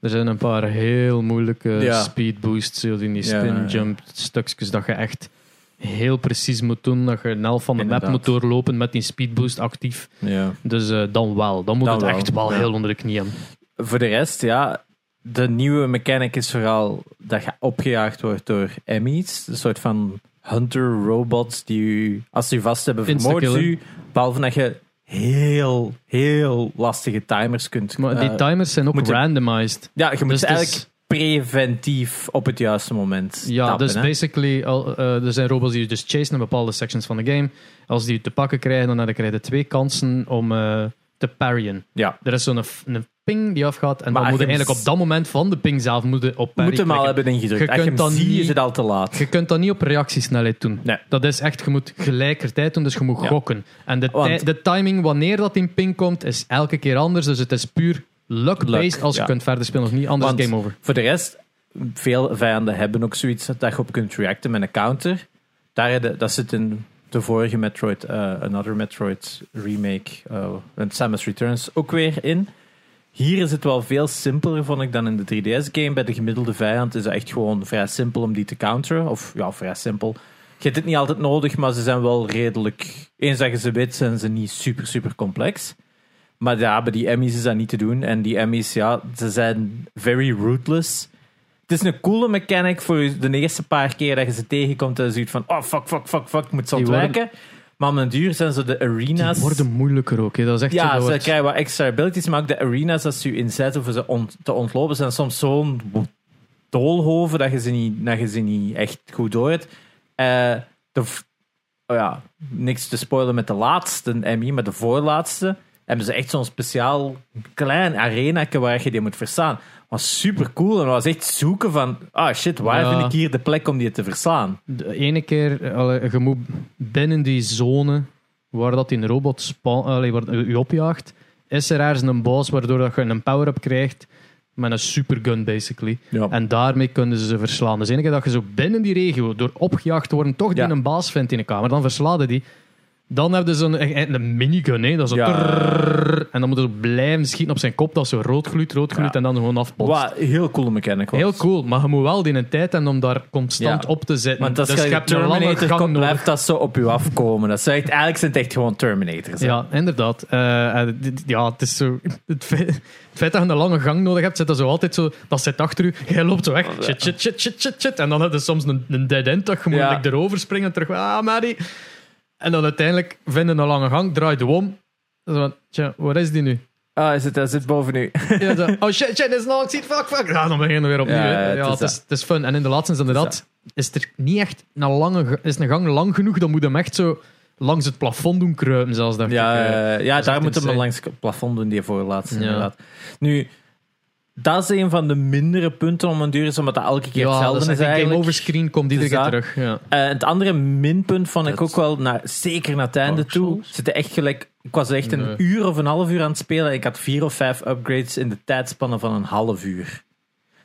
[SPEAKER 1] er zijn een paar heel moeilijke
[SPEAKER 3] Ja.
[SPEAKER 1] speed boosts, zo die die
[SPEAKER 3] Ja,
[SPEAKER 1] spin
[SPEAKER 3] ja, ja.
[SPEAKER 1] jump stukjes, dat je echt heel precies moet doen, dat je een helft van de map
[SPEAKER 3] Inderdaad.
[SPEAKER 1] moet doorlopen met die speed boost actief.
[SPEAKER 3] Ja.
[SPEAKER 1] Dus eh, dan wel. Dan moet
[SPEAKER 3] Dan
[SPEAKER 1] het
[SPEAKER 3] wel,
[SPEAKER 1] echt wel
[SPEAKER 3] ja.
[SPEAKER 1] heel onder de knie hebben.
[SPEAKER 3] voor de rest, ja. De nieuwe mechanic is vooral dat je opgejaagd wordt door Emmys. Een soort van hunter-robots die u, als ze u vast hebben, vermoord
[SPEAKER 1] Instakillen.
[SPEAKER 3] u. Behalve dat je heel, heel lastige timers kunt...
[SPEAKER 1] Maar
[SPEAKER 3] eh,
[SPEAKER 1] die timers zijn ook
[SPEAKER 3] moet je-
[SPEAKER 1] randomized.
[SPEAKER 3] ja, je moet
[SPEAKER 1] dus het is-
[SPEAKER 3] eigenlijk preventief op het juiste moment
[SPEAKER 1] Ja,
[SPEAKER 3] tappen,
[SPEAKER 1] dus
[SPEAKER 3] hè.
[SPEAKER 1] basically, al, eh, er zijn robots die je dus chasen in bepaalde sections van de game. Als die je te pakken krijgen, dan heb je- krijg je twee kansen om eh, te parryen.
[SPEAKER 3] Ja.
[SPEAKER 1] Er is zo'n f- een ping die afgaat en
[SPEAKER 3] Maar
[SPEAKER 1] dan moet je
[SPEAKER 3] je moet-
[SPEAKER 1] eigenlijk op dat moment van de ping zelf moet je op
[SPEAKER 3] Je
[SPEAKER 1] parry
[SPEAKER 3] moet hem al
[SPEAKER 1] klikken.
[SPEAKER 3] hebben ingedrukt.
[SPEAKER 1] Je
[SPEAKER 3] Als je
[SPEAKER 1] kunt
[SPEAKER 3] hem
[SPEAKER 1] dan
[SPEAKER 3] ziet,
[SPEAKER 1] niet-
[SPEAKER 3] is het al te laat.
[SPEAKER 1] Je kunt dat niet op reactiesnelheid doen.
[SPEAKER 3] Nee.
[SPEAKER 1] Dat is echt, je moet gelijkertijd doen, dus je moet
[SPEAKER 3] Ja.
[SPEAKER 1] gokken. En de,
[SPEAKER 3] Want-
[SPEAKER 1] ti- de timing wanneer dat in ping komt, is elke keer anders. Dus het is puur luck-based
[SPEAKER 3] Luck,
[SPEAKER 1] als je
[SPEAKER 3] ja.
[SPEAKER 1] kunt verder spelen of niet, anders
[SPEAKER 3] Want-
[SPEAKER 1] game over.
[SPEAKER 3] Voor de rest, veel vijanden hebben ook zoiets dat je op kunt reacten met een counter. Daar, hadden- dat zit in de vorige Metroid, eh, Another Metroid remake, eh, en Samus Returns ook weer in. Hier is het wel veel simpeler, vond ik, dan in de 3DS-game. Bij de gemiddelde vijand is het echt gewoon vrij simpel om die te counteren. Of ja, vrij simpel. Je hebt het niet altijd nodig, maar ze zijn wel redelijk... Eens dat je ze weet, zijn ze niet super, super complex. Maar ja, bij die Emmys is dat niet te doen. En die Emmys, ja, ze zijn very ruthless. Het is een coole mechanic voor de eerste paar keer dat je ze tegenkomt. Dat je zoiets van, oh fuck, fuck, fuck, fuck, ik moet ze
[SPEAKER 1] Die worden-
[SPEAKER 3] ontwijken. Maar om een duur zijn ze de
[SPEAKER 1] Die
[SPEAKER 3] arena's...
[SPEAKER 1] worden moeilijker ook. Hè. Dat is echt zo,
[SPEAKER 3] Ja,
[SPEAKER 1] dat
[SPEAKER 3] ze
[SPEAKER 1] wordt-
[SPEAKER 3] krijgen wat extra abilities, maar ook de arenas als ze u inzetten om ze ont- te ontlopen zijn soms zo'n bo- doolhoven dat je ze niet, dat je ze niet echt goed door hebt. Eh, de v- oh ja, niks te spoilen met de laatste Emmy, maar de voorlaatste hebben ze echt zo'n speciaal klein arenake waar je die moet verstaan. Was super cool en was echt zoeken van, ah shit, waar
[SPEAKER 1] Ja.
[SPEAKER 3] vind ik hier de plek om die te verslaan?
[SPEAKER 1] De ene keer, eh, allee, je moet binnen die zone waar dat die robot spa- allee, waar u u opjaagt, is er ergens een boss waardoor dat je een power-up krijgt met een supergun, basically.
[SPEAKER 3] Ja.
[SPEAKER 1] En daarmee kunnen ze ze verslaan. Dus de ene keer dat je zo binnen die regio door opgejaagd te worden, toch
[SPEAKER 3] Ja.
[SPEAKER 1] die een baas vindt in de kamer, dan verslaat je die. Dan heb je zo'n echt- echt een minigun, hè. Dat is zo
[SPEAKER 3] Ja.
[SPEAKER 1] trrrr. en dan moet je zo blijven schieten op zijn kop, dat zo rood gloeit, rood gloeit,
[SPEAKER 3] Ja.
[SPEAKER 1] en dan gewoon afbotst.
[SPEAKER 3] Wat een heel coole mechanic was.
[SPEAKER 1] Heel cool, maar je moet wel die een tijd hebben om daar constant
[SPEAKER 3] Ja.
[SPEAKER 1] op te zitten.
[SPEAKER 3] Want als
[SPEAKER 1] dus
[SPEAKER 3] je
[SPEAKER 1] je hebt een lange
[SPEAKER 3] Terminator
[SPEAKER 1] gang
[SPEAKER 3] komt,
[SPEAKER 1] nodig.
[SPEAKER 3] blijft dat zo op je afkomen. Dat zijn echt, eigenlijk zijn het echt gewoon Terminators. hè.
[SPEAKER 1] Ja, inderdaad. Eh, eh, dit- ja, het is zo... Het feit, het feit dat je een lange gang nodig hebt, zit dat zo altijd zo... Dat zit achter u, jij loopt zo weg. Shit, shit, shit, shit, shit, shit. En dan heb je soms een, een dead end, dat je moet
[SPEAKER 3] Ja.
[SPEAKER 1] like, erover springen en terug... Ah, Maddie. En dan uiteindelijk vinden een lange gang, draait je om. Dan zo van, tja, waar is die nu?
[SPEAKER 3] Ah, hij zit, hij zit boven u.
[SPEAKER 1] Ja, zo, oh shit, shit, dit is lang, ziet, fuck, fuck. Ja, dan beginnen we weer opnieuw.
[SPEAKER 3] Ja,
[SPEAKER 1] hè. Ja,
[SPEAKER 3] het is eh,
[SPEAKER 1] het, is, het is fun. En in de laatste is inderdaad, is er niet echt een lange, ge- is een gang lang genoeg, dan moet je hem echt zo langs het plafond doen kruipen, zelfs dacht
[SPEAKER 3] Ja,
[SPEAKER 1] ik. eh.
[SPEAKER 3] eh, ja daar
[SPEAKER 1] echt
[SPEAKER 3] moeten we
[SPEAKER 1] insane.
[SPEAKER 3] langs het plafond doen, die voorlaatste.
[SPEAKER 1] Ja.
[SPEAKER 3] Inderdaad. Nu, dat is een van de mindere punten om een duur is, omdat dat elke keer
[SPEAKER 1] Ja,
[SPEAKER 3] hetzelfde
[SPEAKER 1] dat is
[SPEAKER 3] is
[SPEAKER 1] een game
[SPEAKER 3] eigenlijk.
[SPEAKER 1] over screen komt iedere
[SPEAKER 3] Dus
[SPEAKER 1] keer
[SPEAKER 3] dat-
[SPEAKER 1] terug. Ja.
[SPEAKER 3] Eh, het andere minpunt vond ik
[SPEAKER 4] Dat-
[SPEAKER 3] ook wel, naar, zeker naar het einde
[SPEAKER 4] Dark
[SPEAKER 3] toe,
[SPEAKER 4] Souls?
[SPEAKER 3] zitten echt gelijk... Ik was echt een
[SPEAKER 1] Nee.
[SPEAKER 3] uur of een half uur aan het spelen en ik had vier of vijf upgrades in de tijdspanne van een half uur.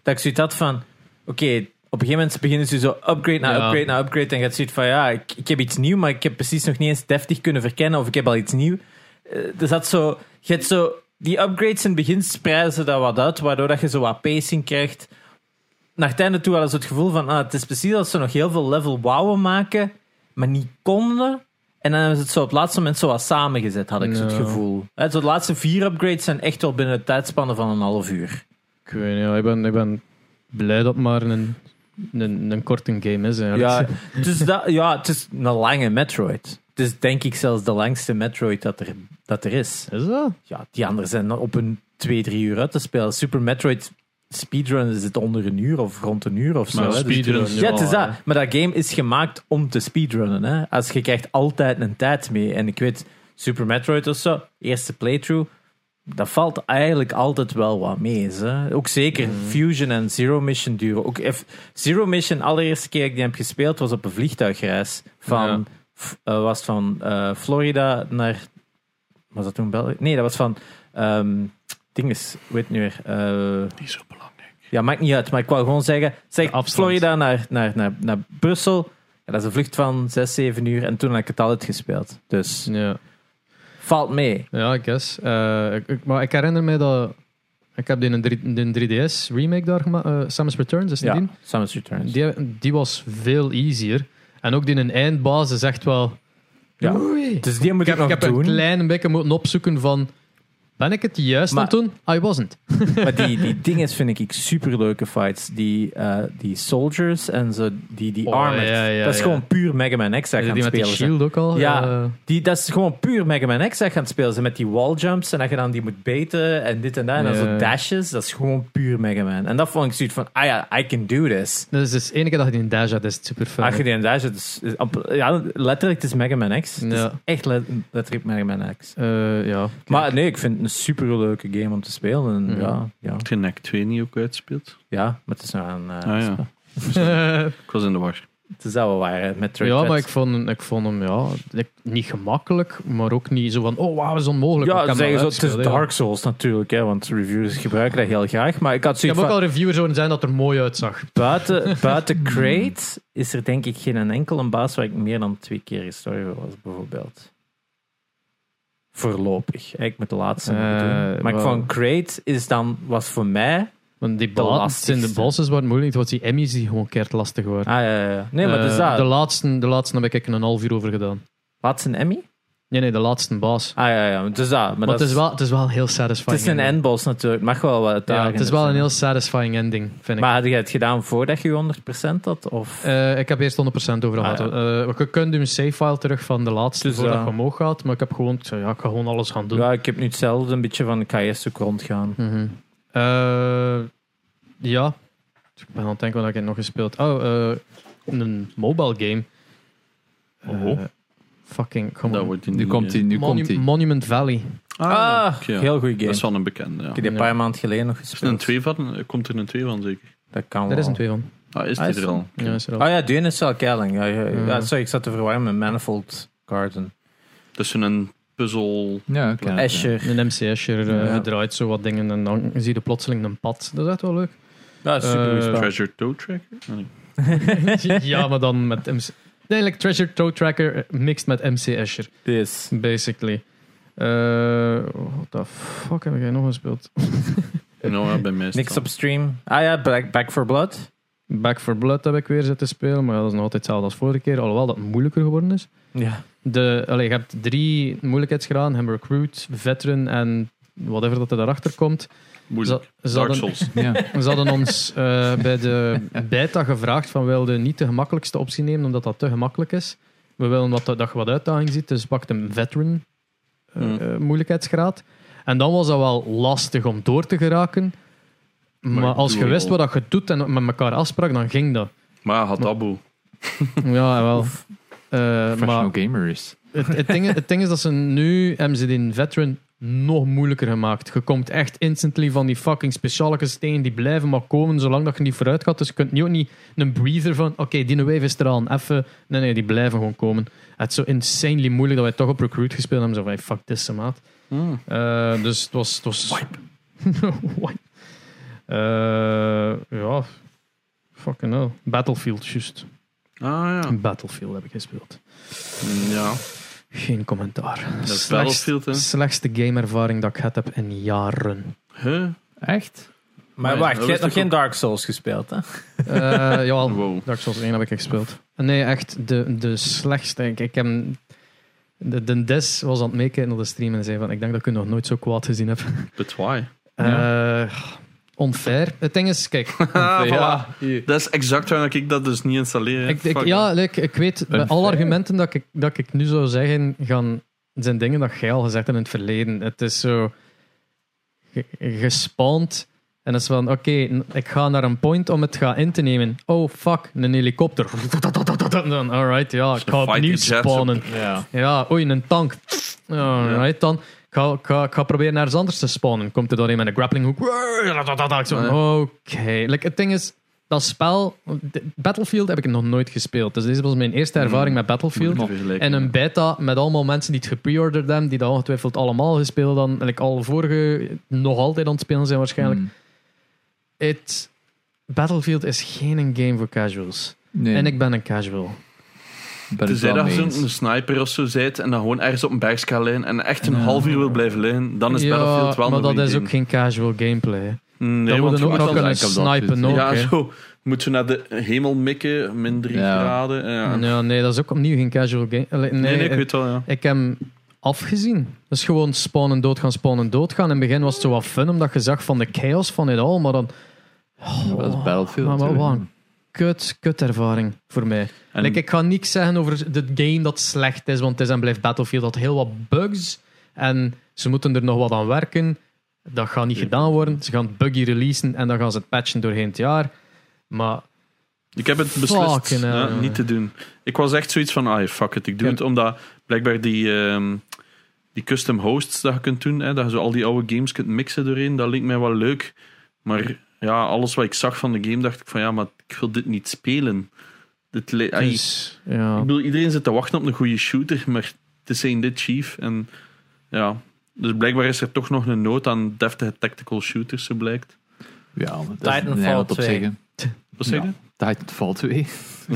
[SPEAKER 3] Dat ik zoiets had van, oké, op een gegeven moment beginnen ze zo upgrade na
[SPEAKER 1] Ja.
[SPEAKER 3] upgrade na upgrade en je had zoiets van, ja, ik, ik heb iets nieuw, maar ik heb precies nog niet eens deftig kunnen verkennen of ik heb al iets nieuw. Eh, dus dat zo... Je hebt zo... Die upgrades in het begin spreiden ze dat wat uit, waardoor dat je zo wat pacing krijgt naar het einde toe hadden ze het gevoel van, ah, het is precies dat ze nog heel veel level wowen maken, maar niet konden. En dan hebben ze het zo op het laatste moment zo wat samengezet, had ik zo het
[SPEAKER 1] Ja.
[SPEAKER 3] gevoel. Hè, zo de laatste vier upgrades zijn echt wel binnen de tijdspanne van een half uur.
[SPEAKER 1] Ik weet niet, ja, ik ben, ik ben blij dat het maar een een, een korte game is. Eigenlijk.
[SPEAKER 3] Ja, het is, dat, ja, het is een lange Metroid. Het is denk ik zelfs de langste Metroid dat er, dat er is.
[SPEAKER 1] Is dat?
[SPEAKER 3] Ja, die anderen zijn op een 2, 3 uur uit te spelen. Super Metroid speedrun is het onder een uur of rond een uur of zo.
[SPEAKER 4] Maar
[SPEAKER 3] hè. Dus-
[SPEAKER 4] speedrun,
[SPEAKER 3] ja, het is
[SPEAKER 1] ja,
[SPEAKER 3] dat. Maar dat game is gemaakt om te speedrunnen. Hè. Als je krijgt altijd een tijd mee. En ik weet, Super Metroid of zo, eerste playthrough, dat valt eigenlijk altijd wel wat mee. Hè. Ook zeker Fusion en Zero Mission duren. Ook eff- Zero Mission, allereerste keer dat ik die heb gespeeld, was op een vliegtuigreis. Van,
[SPEAKER 4] Ja.
[SPEAKER 3] f- eh, was van eh, Florida naar... Was dat toen België? Nee, dat was van... ehm dinges, weet nu weer... eh,
[SPEAKER 4] Niet zo belangrijk.
[SPEAKER 3] ja, maakt niet uit, maar ik wou gewoon zeggen: zeg
[SPEAKER 1] afstand.
[SPEAKER 3] Florida naar, naar, naar, naar Brussel. Ja, dat is een vlucht van 6, 7 uur. En toen heb ik het al uitgespeeld. Dus
[SPEAKER 1] Ja.
[SPEAKER 3] valt mee.
[SPEAKER 1] Ja, I guess. Eh, ik, ik- maar ik herinner me dat... Ik heb die een, drie- een 3DS remake daar gemaakt. eh, Samus Returns is die.
[SPEAKER 3] Ja,
[SPEAKER 1] die?
[SPEAKER 3] Samus Returns.
[SPEAKER 1] Die, die was veel easier. En ook die een eindbaas is echt wel...
[SPEAKER 3] Ja.
[SPEAKER 1] Oei.
[SPEAKER 3] Dus die moet
[SPEAKER 1] Ik
[SPEAKER 3] ik,
[SPEAKER 1] heb, ik
[SPEAKER 3] nog
[SPEAKER 1] heb een
[SPEAKER 3] doen.
[SPEAKER 1] klein beetje moeten opzoeken van... Ben ik het juist
[SPEAKER 3] Maar-
[SPEAKER 1] aan het doen? I wasn't.
[SPEAKER 3] Maar die, die dinges vind ik super leuke fights. Die, eh, die soldiers en zo, die, die
[SPEAKER 1] Oh,
[SPEAKER 3] armored.
[SPEAKER 1] ja, ja,
[SPEAKER 3] dat is
[SPEAKER 1] ja.
[SPEAKER 3] gewoon puur Mega Man X dat
[SPEAKER 1] Eh, Die
[SPEAKER 3] gaan
[SPEAKER 1] met die
[SPEAKER 3] spelen. zijn.
[SPEAKER 1] shield ook al.
[SPEAKER 3] Ja.
[SPEAKER 1] eh,
[SPEAKER 3] Die, dat is gewoon puur Mega Man X dat gaan spelen. zijn met die walljumps en dat je dan die moet beten en dit en dat. En dan
[SPEAKER 1] Ja.
[SPEAKER 3] zo dashes. Dat is gewoon puur Mega Man. En dat vond ik zoiets van, ah ja, I can do this.
[SPEAKER 1] dat is dus de enige dag die in Dash had, is het super fun.
[SPEAKER 3] Ach, die en daar zit dus- is amper- ja, letterlijk, het is Mega Man X. Het
[SPEAKER 1] Ja.
[SPEAKER 3] is echt let- letterlijk Mega Man X.
[SPEAKER 1] Eh, ja.
[SPEAKER 3] Maar nee, ik vind het een superleuke game om te spelen. En
[SPEAKER 1] Mhm.
[SPEAKER 3] ja, ja,
[SPEAKER 4] Heb je NEC 2 niet ook uitspeelt?
[SPEAKER 3] ja, maar het is nog aan... eh,
[SPEAKER 4] Ah, ja. Ik was in de war.
[SPEAKER 3] Het is dat wel waar, hè, met
[SPEAKER 1] ja,
[SPEAKER 3] Dread.
[SPEAKER 1] maar ik vond, ik vond hem ja, ik- niet gemakkelijk, maar ook niet zo van, oh wauw, is onmogelijk.
[SPEAKER 3] Ja,
[SPEAKER 1] Ik heb hem
[SPEAKER 3] zeggen
[SPEAKER 1] al
[SPEAKER 3] zo, het is
[SPEAKER 1] uitgespeeld, ja.
[SPEAKER 3] Dark Souls natuurlijk, hè, want reviewers gebruiken dat heel graag. Maar ik had
[SPEAKER 1] Ik
[SPEAKER 3] zoiets
[SPEAKER 1] heb ook
[SPEAKER 3] van,
[SPEAKER 1] al reviewers horen zijn dat er mooi uitzag.
[SPEAKER 3] buiten, buiten Crate is er denk ik geen enkele baas waar ik meer dan twee keer gestorven was, bijvoorbeeld. Voorlopig. Ik moet de laatste nog
[SPEAKER 1] Eh,
[SPEAKER 3] doen. Maar ik
[SPEAKER 1] wel.
[SPEAKER 3] vond Crate is dan, was voor mij ah,
[SPEAKER 1] Want die
[SPEAKER 3] De
[SPEAKER 1] baas in
[SPEAKER 3] lastigste.
[SPEAKER 1] de bosses waren moeilijk, want die Emmys die gewoon keert lastig waren.
[SPEAKER 3] Ah, ja, ja, ja. Nee, maar het is
[SPEAKER 1] Eh,
[SPEAKER 3] dat.
[SPEAKER 1] de, laatste, de laatste heb ik een half uur over gedaan.
[SPEAKER 3] Laatste een Emmy?
[SPEAKER 1] Nee, nee, de laatste baas.
[SPEAKER 3] Ah, ja, ja. Het is dat. Maar,
[SPEAKER 1] maar
[SPEAKER 3] dat
[SPEAKER 1] het, is wel, het is wel heel satisfying.
[SPEAKER 3] het is een
[SPEAKER 1] ending.
[SPEAKER 3] endboss natuurlijk. Het mag wel wat
[SPEAKER 1] Ja,
[SPEAKER 3] uitdagender
[SPEAKER 1] het is wel een
[SPEAKER 3] zijn.
[SPEAKER 1] heel satisfying ending, vind ik.
[SPEAKER 3] dus Maar had je het gedaan voordat je 100% had? Of...
[SPEAKER 1] Eh, ik heb eerst 100% over gehad.
[SPEAKER 3] Ah,
[SPEAKER 1] Eh, je kunt een save file terug van de laatste
[SPEAKER 3] Dus,
[SPEAKER 1] voordat
[SPEAKER 3] ja.
[SPEAKER 1] je omhoog gaat, maar ik heb gewoon, ik zei, ja, ik ga gewoon alles gaan doen.
[SPEAKER 3] ja, ik heb nu hetzelfde een beetje van de KS ook rondgaan.
[SPEAKER 1] Mhm. Eh, ja. Ik ben aan het denken wat heb ik nog gespeeld. Oh, eh, een mobile game. Eh,
[SPEAKER 4] Oh.
[SPEAKER 1] fucking, come
[SPEAKER 4] Dat
[SPEAKER 1] on.
[SPEAKER 4] wordt die
[SPEAKER 2] Nu
[SPEAKER 4] niet,
[SPEAKER 2] komt
[SPEAKER 4] eh.
[SPEAKER 2] hij, nu
[SPEAKER 1] Monu-
[SPEAKER 2] komt hij.
[SPEAKER 1] Monument Valley.
[SPEAKER 4] Ah,
[SPEAKER 3] Ah,
[SPEAKER 4] oké, ja.
[SPEAKER 3] heel goede game.
[SPEAKER 4] Dat is wel een bekende. Ja.
[SPEAKER 3] Ik heb die een
[SPEAKER 1] Ja.
[SPEAKER 3] paar maanden geleden nog
[SPEAKER 4] Is er een
[SPEAKER 3] gespeeld.
[SPEAKER 4] twee van? Eh, Komt er een 2 van zeker?
[SPEAKER 3] Dat kan wel.
[SPEAKER 1] Daar is een twee van.
[SPEAKER 4] Ah, is
[SPEAKER 3] Ah,
[SPEAKER 4] die
[SPEAKER 3] is
[SPEAKER 4] er al?
[SPEAKER 1] Ja, is er al.
[SPEAKER 3] Oh ja, die ene is wel keiling. Ja, ja, ja.
[SPEAKER 1] Ja.
[SPEAKER 3] Ja, sorry, ik zat te verwarren met Manifold Garden.
[SPEAKER 4] Dus een puzzel.
[SPEAKER 2] Ja, oké.
[SPEAKER 4] Ja.
[SPEAKER 3] Escher.
[SPEAKER 1] Een MCS'er eh,
[SPEAKER 2] Ja.
[SPEAKER 1] je draait zo wat dingen en dan zie je plotseling een pad. Dat is echt wel leuk.
[SPEAKER 3] Ja, super
[SPEAKER 1] Eh,
[SPEAKER 3] goed
[SPEAKER 4] Treasure Toe Tracker? Ah, nee.
[SPEAKER 1] ja, maar dan met MC... Nee, like Treasure Toe Tracker eh, mixed met MC Escher,
[SPEAKER 3] This.
[SPEAKER 1] basically. Eh what the fuck heb jij nog gespeeld?
[SPEAKER 4] Nou, ja, bij mij is het
[SPEAKER 3] Niks
[SPEAKER 4] al.
[SPEAKER 3] op stream. Ah ja, Back, Back for Blood.
[SPEAKER 1] Back for Blood heb ik weer zitten spelen, maar ja, dat is nog altijd hetzelfde als vorige keer, alhoewel dat moeilijker geworden is.
[SPEAKER 3] Ja.
[SPEAKER 1] De, allee, je hebt drie moeilijkheidsgraden, hebben recruit, veteran en whatever dat er daarachter komt.
[SPEAKER 4] Moeilijk.
[SPEAKER 1] Ze- ze
[SPEAKER 4] Dark
[SPEAKER 1] hadden-
[SPEAKER 4] Souls.
[SPEAKER 2] Ja.
[SPEAKER 1] Ze hadden ons eh, bij de beta gevraagd van wilde niet de gemakkelijkste optie nemen, omdat dat te gemakkelijk is. We willen wat, dat je wat uitdaging ziet, dus pakt een veteran eh,
[SPEAKER 4] Mm.
[SPEAKER 1] eh, moeilijkheidsgraad. En dan was dat wel lastig om door te geraken. Maar,
[SPEAKER 4] ik
[SPEAKER 1] als
[SPEAKER 4] doe
[SPEAKER 1] je
[SPEAKER 4] wel.
[SPEAKER 1] wist wat dat je doet en met elkaar afsprak, dan ging dat.
[SPEAKER 4] Maar Hadabu.
[SPEAKER 1] Ja, wel. Eh, maar
[SPEAKER 2] Professional gamer is.
[SPEAKER 1] het, het, ding, het ding is dat ze nu hebben ze die veteran nog moeilijker gemaakt. Je komt echt instantly van die fucking speciale stenen die blijven maar komen zolang dat je niet vooruit gaat. Dus je kunt nu ook niet een breather van oké, die wave is er aan, even. Nee, nee, die blijven gewoon komen. Het is zo insanely moeilijk dat wij toch op recruit gespeeld hebben. Zo van, hey, fuck this, maat.
[SPEAKER 4] Hmm.
[SPEAKER 1] Eh, dus het was... Het was... Wipe. Eh, ja, fucking hell. Battlefield, juist.
[SPEAKER 4] Ah ja.
[SPEAKER 1] Battlefield heb ik gespeeld. Hm.
[SPEAKER 4] Ja.
[SPEAKER 1] Geen commentaar.
[SPEAKER 4] Dat is
[SPEAKER 1] Slechtst-
[SPEAKER 4] Battlefield, hè?
[SPEAKER 1] Slechtste gameervaring dat ik gehad heb in jaren.
[SPEAKER 4] Huh?
[SPEAKER 2] Echt?
[SPEAKER 3] Maar
[SPEAKER 4] Ja,
[SPEAKER 3] wacht,
[SPEAKER 4] dat
[SPEAKER 3] je hebt
[SPEAKER 4] wist
[SPEAKER 3] nog
[SPEAKER 4] ik
[SPEAKER 3] geen
[SPEAKER 4] ook.
[SPEAKER 3] Dark Souls gespeeld, hè?
[SPEAKER 1] Eh jawel,
[SPEAKER 4] Wow.
[SPEAKER 1] Dark Souls 1 heb ik gespeeld. Nee, echt de, de slechtste. Ik, ik heb... De, de Des was aan het meekijken naar de stream en zei van ik denk dat ik u nog nooit zo kwaad gezien heb.
[SPEAKER 4] But why?
[SPEAKER 1] Eh, Onfair. Het ding is, kijk.
[SPEAKER 4] Ah,
[SPEAKER 2] Ja.
[SPEAKER 4] voilà. Dat is exact waarom ik dat dus niet installeer.
[SPEAKER 1] ik, ik,
[SPEAKER 4] Fuck.
[SPEAKER 1] ja, like, ik weet, bij alle argumenten dat ik, dat ik nu zou zeggen, gaan, zijn dingen dat jij al gezegd hebt in het verleden. Het is zo ge- gespawnd. En dat is van, oké, n- ik ga naar een point om het gaan in te nemen. Oh, fuck, een helikopter. En Dan, alright, ja, ik ga
[SPEAKER 4] Fighter
[SPEAKER 1] opnieuw
[SPEAKER 4] jets op-
[SPEAKER 1] spawnen.
[SPEAKER 3] Ja.
[SPEAKER 1] Ja, oei, een tank. Alright, dan. Ik ga, ik ga, ik ga proberen naar iets anders te spawnen. Komt er dan een met een grapplinghoek? Ik zo, Oké. Like, het ding is, dat spel... de- Battlefield heb ik nog nooit gespeeld. Dus deze was mijn eerste ervaring met Battlefield.
[SPEAKER 4] Mm. Moet je vergelijken,
[SPEAKER 1] En
[SPEAKER 4] ja.
[SPEAKER 1] een beta met allemaal mensen die het gepreorderd hebben, die dat ongetwijfeld allemaal gespeeld dan like, al vorige nog altijd aan het spelen zijn waarschijnlijk.
[SPEAKER 2] Mm.
[SPEAKER 4] Mm.
[SPEAKER 1] Het Battlefield is geen game voor casuals.
[SPEAKER 2] Nee,
[SPEAKER 1] En ik ben een casual.
[SPEAKER 2] ben het
[SPEAKER 4] Tenzij
[SPEAKER 2] wel
[SPEAKER 4] dat
[SPEAKER 2] mee
[SPEAKER 4] je
[SPEAKER 2] eens.
[SPEAKER 4] zo'n sniper of zo zijt en dan gewoon ergens op een berg gaat liggen en echt een
[SPEAKER 2] Ja.
[SPEAKER 4] half uur wil blijven liggen, dan is Battlefield wel
[SPEAKER 1] maar
[SPEAKER 4] een
[SPEAKER 1] dat
[SPEAKER 4] goeie
[SPEAKER 1] is ook
[SPEAKER 4] game.
[SPEAKER 1] geen casual gameplay. hè.
[SPEAKER 4] Nee,
[SPEAKER 1] dan
[SPEAKER 4] want
[SPEAKER 1] moeten
[SPEAKER 4] je
[SPEAKER 1] ook nog
[SPEAKER 4] moet dan-
[SPEAKER 1] kunnen
[SPEAKER 2] ik heb dat
[SPEAKER 1] snipen.
[SPEAKER 2] gezien.
[SPEAKER 1] Ook,
[SPEAKER 4] Ja,
[SPEAKER 1] hè.
[SPEAKER 4] zo. Moet je naar de hemel mikken, min 3
[SPEAKER 2] Ja.
[SPEAKER 4] graden. Ja. Nee,
[SPEAKER 1] Ja, nee, dat is ook opnieuw geen casual game. Allee, Nee,
[SPEAKER 4] nee, ik
[SPEAKER 1] het-
[SPEAKER 4] weet wel, ja.
[SPEAKER 1] ik heb hem afgezien. Dus gewoon spawnen, doodgaan, spawnen, doodgaan. In het begin was het zo wat fun, omdat je zag van de chaos van dit al. Maar dan... Oh,
[SPEAKER 2] Dat was Battlefield.
[SPEAKER 1] Maar, maar
[SPEAKER 2] hoor.
[SPEAKER 1] wat een kut, kut ervaring voor mij.
[SPEAKER 4] En-
[SPEAKER 1] Like, ik ga niks zeggen over de game dat slecht is, want het is en blijft Battlefield. Dat heel wat bugs en ze moeten er nog wat aan werken. Dat gaat niet gedaan worden. Ze gaan het buggy releasen en dan gaan ze het patchen doorheen het jaar. Maar
[SPEAKER 4] Ik heb het beslist
[SPEAKER 1] Fucking hell,
[SPEAKER 4] ja,
[SPEAKER 1] jongen.
[SPEAKER 4] niet te doen. Ik was echt zoiets van, ah fuck it, ik doe
[SPEAKER 1] Ja.
[SPEAKER 4] het. Omdat blijkbaar die, ehm, die custom hosts dat je kunt doen, hè, dat je zo al die oude games kunt mixen doorheen, dat lijkt mij wel leuk. Maar ja, alles wat ik zag van de game, dacht ik van, ja, maar ik wil dit niet spelen. Dit le- ai,
[SPEAKER 1] dus, ja.
[SPEAKER 4] ik bedoel, iedereen zit te wachten op een goede shooter, maar het is een dit chief. En ja... Dus blijkbaar is er toch nog een nood aan deftige tactical shooters, zo blijkt.
[SPEAKER 2] Ja, maar dat
[SPEAKER 3] Titanfall
[SPEAKER 2] nee, wat op
[SPEAKER 3] 2.
[SPEAKER 2] zeggen.
[SPEAKER 4] Wat zeg je?
[SPEAKER 2] Ja. Titanfall 2.
[SPEAKER 4] Ja.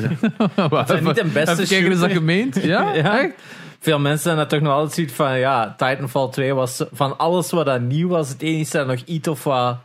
[SPEAKER 2] Wat,
[SPEAKER 3] Het is niet de beste
[SPEAKER 2] Even kijken, is dat
[SPEAKER 3] shooter.
[SPEAKER 2] gemeend? Ja,
[SPEAKER 3] Ja.
[SPEAKER 2] echt?
[SPEAKER 3] Veel mensen hebben dat toch nog altijd zoiets van, ja, Titanfall 2 was van alles wat dat nieuw was, het enige dat nog iets of wat...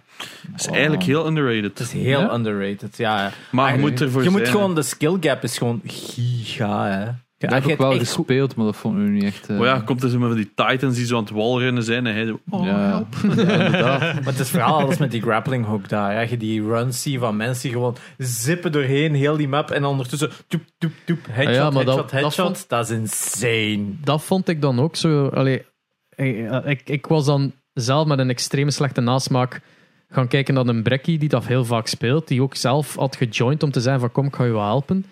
[SPEAKER 4] Het is eigenlijk heel underrated.
[SPEAKER 3] Het is heel
[SPEAKER 2] Ja?
[SPEAKER 3] underrated, ja.
[SPEAKER 4] Maar je
[SPEAKER 3] Eigenlijk-
[SPEAKER 4] moet ervoor
[SPEAKER 3] Je moet
[SPEAKER 4] zijn, hè.
[SPEAKER 3] gewoon, de skill gap is gewoon giga, hè.
[SPEAKER 2] Dat
[SPEAKER 3] Ja,
[SPEAKER 2] heb
[SPEAKER 3] je
[SPEAKER 2] ik wel
[SPEAKER 3] hebt echt
[SPEAKER 2] gespeeld, maar dat vond ik nu niet echt... eh,
[SPEAKER 4] Maar ja, komt dus iemand van die Titans die zo aan het walrennen zijn en hij zo, oh,
[SPEAKER 2] ja.
[SPEAKER 4] help.
[SPEAKER 2] Ja, inderdaad.
[SPEAKER 3] Maar het is vooral alles met die grappling hook daar. hè. Je die runs ziet van mensen die gewoon zippen doorheen heel die map en dan ondertussen toep, toep, toep, headshot,
[SPEAKER 1] Ja, maar dat-
[SPEAKER 3] headshot,
[SPEAKER 1] dat
[SPEAKER 3] headshot.
[SPEAKER 1] vond-
[SPEAKER 3] Dat is insane.
[SPEAKER 1] dat vond ik dan ook zo. Allee, eh, ik, ik was dan zelf met een extreem slechte nasmaak gaan kijken naar een Brekkie die dat heel vaak speelt. Die ook zelf had gejoind om te zijn van kom, ik ga je wel helpen.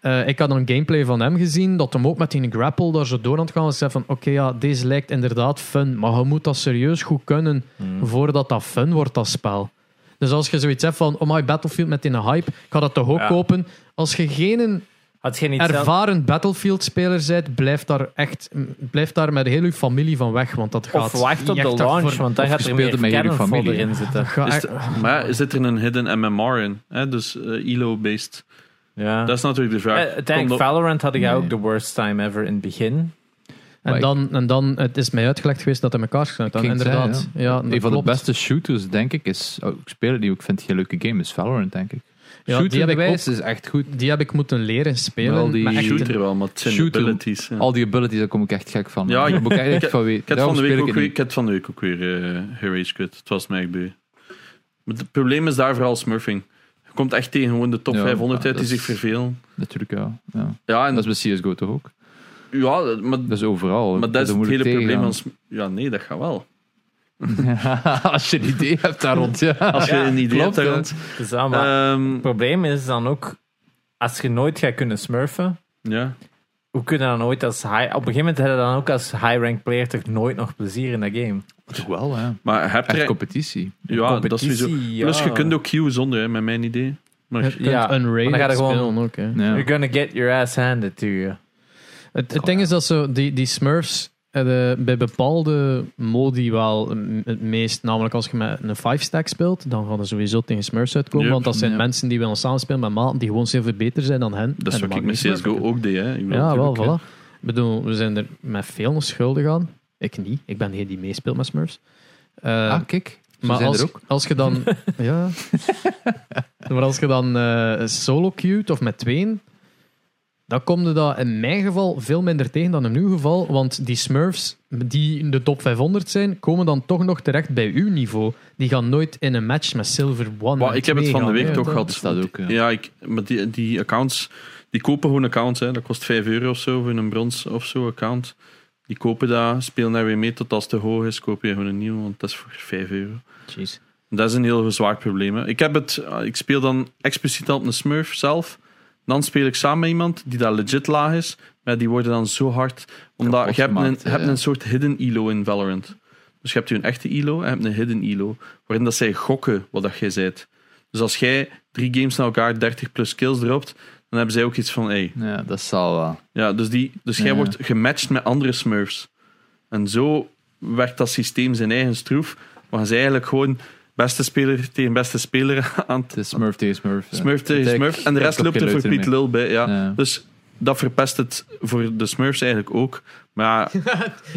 [SPEAKER 1] Eh, ik had een gameplay van hem gezien, dat hem ook met die grapple daar zo door aan het gaan was. Ik zei van, oké, ja, deze lijkt inderdaad fun, maar je moet dat serieus goed kunnen voordat dat fun wordt, dat spel. Dus als je zoiets hebt van, oh my, Battlefield met die hype, ik ga dat toch ook
[SPEAKER 3] Ja.
[SPEAKER 1] kopen. Als je geen
[SPEAKER 3] Had je niet zelf...
[SPEAKER 1] ervaren Battlefield-speler bent, blijf daar echt blijf daar met heel uw familie van weg. Want dat gaat
[SPEAKER 3] Of wacht op
[SPEAKER 1] niet
[SPEAKER 3] de
[SPEAKER 1] echt
[SPEAKER 3] launch,
[SPEAKER 1] voor-
[SPEAKER 3] want dan
[SPEAKER 2] of
[SPEAKER 3] gaat
[SPEAKER 2] je
[SPEAKER 3] er
[SPEAKER 2] speelt
[SPEAKER 3] meer
[SPEAKER 2] met jullie
[SPEAKER 3] Titanfall
[SPEAKER 2] familie.
[SPEAKER 3] erin zitten.
[SPEAKER 1] dat gaat
[SPEAKER 4] Is
[SPEAKER 1] echt-
[SPEAKER 4] het- maar ja, zit er een hidden MMR in? Hè? Dus eh, ELO-based.
[SPEAKER 3] Ja.
[SPEAKER 4] Dat is natuurlijk de vraag.
[SPEAKER 3] Eh, uiteindelijk,
[SPEAKER 4] Komt
[SPEAKER 3] Valorant had ik
[SPEAKER 2] Nee.
[SPEAKER 3] ook de worst time ever in het begin.
[SPEAKER 1] en, dan, en dan, het is mij uitgelegd geweest dat hij elkaar schuilt.
[SPEAKER 2] Ik ging het
[SPEAKER 1] Inderdaad.
[SPEAKER 2] zeggen,
[SPEAKER 1] ja. dat
[SPEAKER 2] Een van de
[SPEAKER 1] klopt.
[SPEAKER 2] beste shooters, denk ik, is... Oh, ik speel het niet, ik vind het geen leuke game, is Valorant, denk ik.
[SPEAKER 1] Ja, die heb ik
[SPEAKER 2] Shooter-wijs is echt goed.
[SPEAKER 1] Die heb ik moeten leren
[SPEAKER 2] Maar al
[SPEAKER 1] spelen.
[SPEAKER 2] die
[SPEAKER 1] Maar
[SPEAKER 4] op-
[SPEAKER 1] echt,
[SPEAKER 4] shooter wel, maar het zijn
[SPEAKER 2] Shooter.
[SPEAKER 4] abilities. ja.
[SPEAKER 2] Al die abilities, daar kom ik echt gek van.
[SPEAKER 4] Ja,
[SPEAKER 2] Ja,
[SPEAKER 4] ik-
[SPEAKER 2] daar moet ik echt
[SPEAKER 4] ik-
[SPEAKER 2] van weten.
[SPEAKER 4] Ik had, van
[SPEAKER 2] Daarom
[SPEAKER 4] de week
[SPEAKER 2] speel
[SPEAKER 4] ook
[SPEAKER 2] het
[SPEAKER 4] weer,
[SPEAKER 2] niet.
[SPEAKER 4] ik had van de week ook weer eh Rage Quit. Het was mij gebeurd. Maar het probleem is daar vooral smurfing. Je komt echt tegen gewoon de top
[SPEAKER 2] Ja,
[SPEAKER 4] 500
[SPEAKER 2] maar
[SPEAKER 4] uit die
[SPEAKER 2] dat
[SPEAKER 4] zich
[SPEAKER 2] is-
[SPEAKER 4] vervelen.
[SPEAKER 2] Natuurlijk, ja. ja.
[SPEAKER 4] Ja, en,
[SPEAKER 2] En dat is bij CSGO toch ook?
[SPEAKER 4] ja maar,
[SPEAKER 2] Dat is overal.
[SPEAKER 4] maar dat is
[SPEAKER 2] Daar
[SPEAKER 4] het
[SPEAKER 2] moet
[SPEAKER 4] hele
[SPEAKER 2] ik
[SPEAKER 4] probleem.
[SPEAKER 2] tegenaan.
[SPEAKER 4] Als, ja, nee, dat gaat wel.
[SPEAKER 2] Als je een idee hebt daar rond, ja.
[SPEAKER 4] Als je een idee
[SPEAKER 2] klopt,
[SPEAKER 4] hebt
[SPEAKER 2] hè.
[SPEAKER 4] daar rond.
[SPEAKER 3] Dus ja, maar
[SPEAKER 4] Ehm,
[SPEAKER 3] het probleem is dan ook, als je nooit gaat kunnen smurfen,
[SPEAKER 4] ja.
[SPEAKER 3] hoe kun je dan ooit als high... Op een gegeven moment heb je dan ook als high-rank player toch nooit nog plezier in dat game.
[SPEAKER 2] Toch wel, hè.
[SPEAKER 4] Maar heb
[SPEAKER 2] Echt
[SPEAKER 4] je
[SPEAKER 2] competitie.
[SPEAKER 4] Ja, dat is
[SPEAKER 3] Competitie,
[SPEAKER 4] sowieso.
[SPEAKER 3] ja.
[SPEAKER 4] Plus, je kunt ook Q zonder, hè, met mijn idee. Maar
[SPEAKER 1] je kunt
[SPEAKER 3] Ja,
[SPEAKER 1] unrated
[SPEAKER 3] maar dan ga je gewoon-
[SPEAKER 1] spelen ook. Hè.
[SPEAKER 2] Ja.
[SPEAKER 3] You're gonna get your ass handed to you.
[SPEAKER 1] Het, het ding is dat zo, die, die Smurfs hebben bij bepaalde modi wel m- het meest, namelijk als je met een 5-stack speelt, dan gaan er sowieso tegen Smurfs uitkomen,
[SPEAKER 4] Yep.
[SPEAKER 1] want dat zijn
[SPEAKER 2] Ja.
[SPEAKER 1] mensen die willen samenspelen met maten die gewoon zoveel beter zijn dan hen.
[SPEAKER 4] dat is
[SPEAKER 1] En
[SPEAKER 4] wat ik
[SPEAKER 1] maakt
[SPEAKER 4] met
[SPEAKER 1] niet uit.
[SPEAKER 4] CSGO ook deed. Hè. Ik bedoel,
[SPEAKER 1] Ja, wel,
[SPEAKER 4] natuurlijk, hè.
[SPEAKER 1] voilà. Ik bedoel, we zijn er met veel nog schuldig aan. Ik niet. Ik ben degene die meespeelt met Smurfs. Eh,
[SPEAKER 2] Ah, kijk. Ze
[SPEAKER 1] maar
[SPEAKER 2] zijn
[SPEAKER 1] als,
[SPEAKER 2] er ook.
[SPEAKER 1] als je dan... ja. Maar als je dan eh, solo queued of met tweeën, dan komt dat in mijn geval veel minder tegen dan in uw geval. Want die Smurfs, die in de top 500 zijn, komen dan toch nog terecht bij uw niveau. Die gaan nooit in een match met Silver One.
[SPEAKER 4] Maar
[SPEAKER 1] en
[SPEAKER 4] ik heb het
[SPEAKER 1] twee
[SPEAKER 4] van de
[SPEAKER 1] gaan,
[SPEAKER 4] week
[SPEAKER 1] hè.
[SPEAKER 4] toch
[SPEAKER 1] Dat-
[SPEAKER 4] gehad.
[SPEAKER 2] bestaat ook, ja.
[SPEAKER 4] Ja, ik, maar die, die accounts, die kopen gewoon accounts. Hè. Dat kost 5 euro of zo voor een brons of zo account. Die kopen dat, spelen daar weer mee tot als het te hoog is, koop je gewoon een nieuw, want dat is voor 5 euro.
[SPEAKER 1] Jeez.
[SPEAKER 4] Dat is een heel zwaar probleem. hè. Ik, heb het, eh, ik speel dan expliciet al op een smurf zelf. Dan speel ik samen met iemand die daar legit laag is. Maar die worden dan zo hard. Omdat
[SPEAKER 2] Kapot
[SPEAKER 4] je hebt, een,
[SPEAKER 2] gemaakt,
[SPEAKER 4] je hebt
[SPEAKER 2] ja.
[SPEAKER 4] een soort hidden elo in Valorant. Dus je hebt je een echte elo en je hebt een hidden elo. Waarin dat zij gokken wat dat jij zijt. Dus als jij drie games na elkaar 30 plus kills dropt. Dan hebben zij ook iets van... Hey.
[SPEAKER 2] Ja, dat zal wel.
[SPEAKER 4] Ja, dus, die, dus jij
[SPEAKER 2] Ja.
[SPEAKER 4] wordt gematcht met andere smurfs. En zo werkt dat systeem zijn eigen stroef. Maar ze eigenlijk gewoon beste speler tegen beste speler aan het
[SPEAKER 2] Het is Smurf tegen Smurf. ja.
[SPEAKER 4] Smurf tegen
[SPEAKER 2] Kijk,
[SPEAKER 4] Smurf. En de
[SPEAKER 2] ik
[SPEAKER 4] rest
[SPEAKER 2] heb
[SPEAKER 4] loopt er
[SPEAKER 2] geen
[SPEAKER 4] voor
[SPEAKER 2] leuter
[SPEAKER 4] Piet Lul bij. Ja.
[SPEAKER 2] Ja.
[SPEAKER 4] Dus dat verpest het voor de Smurfs eigenlijk ook. Maar, ja,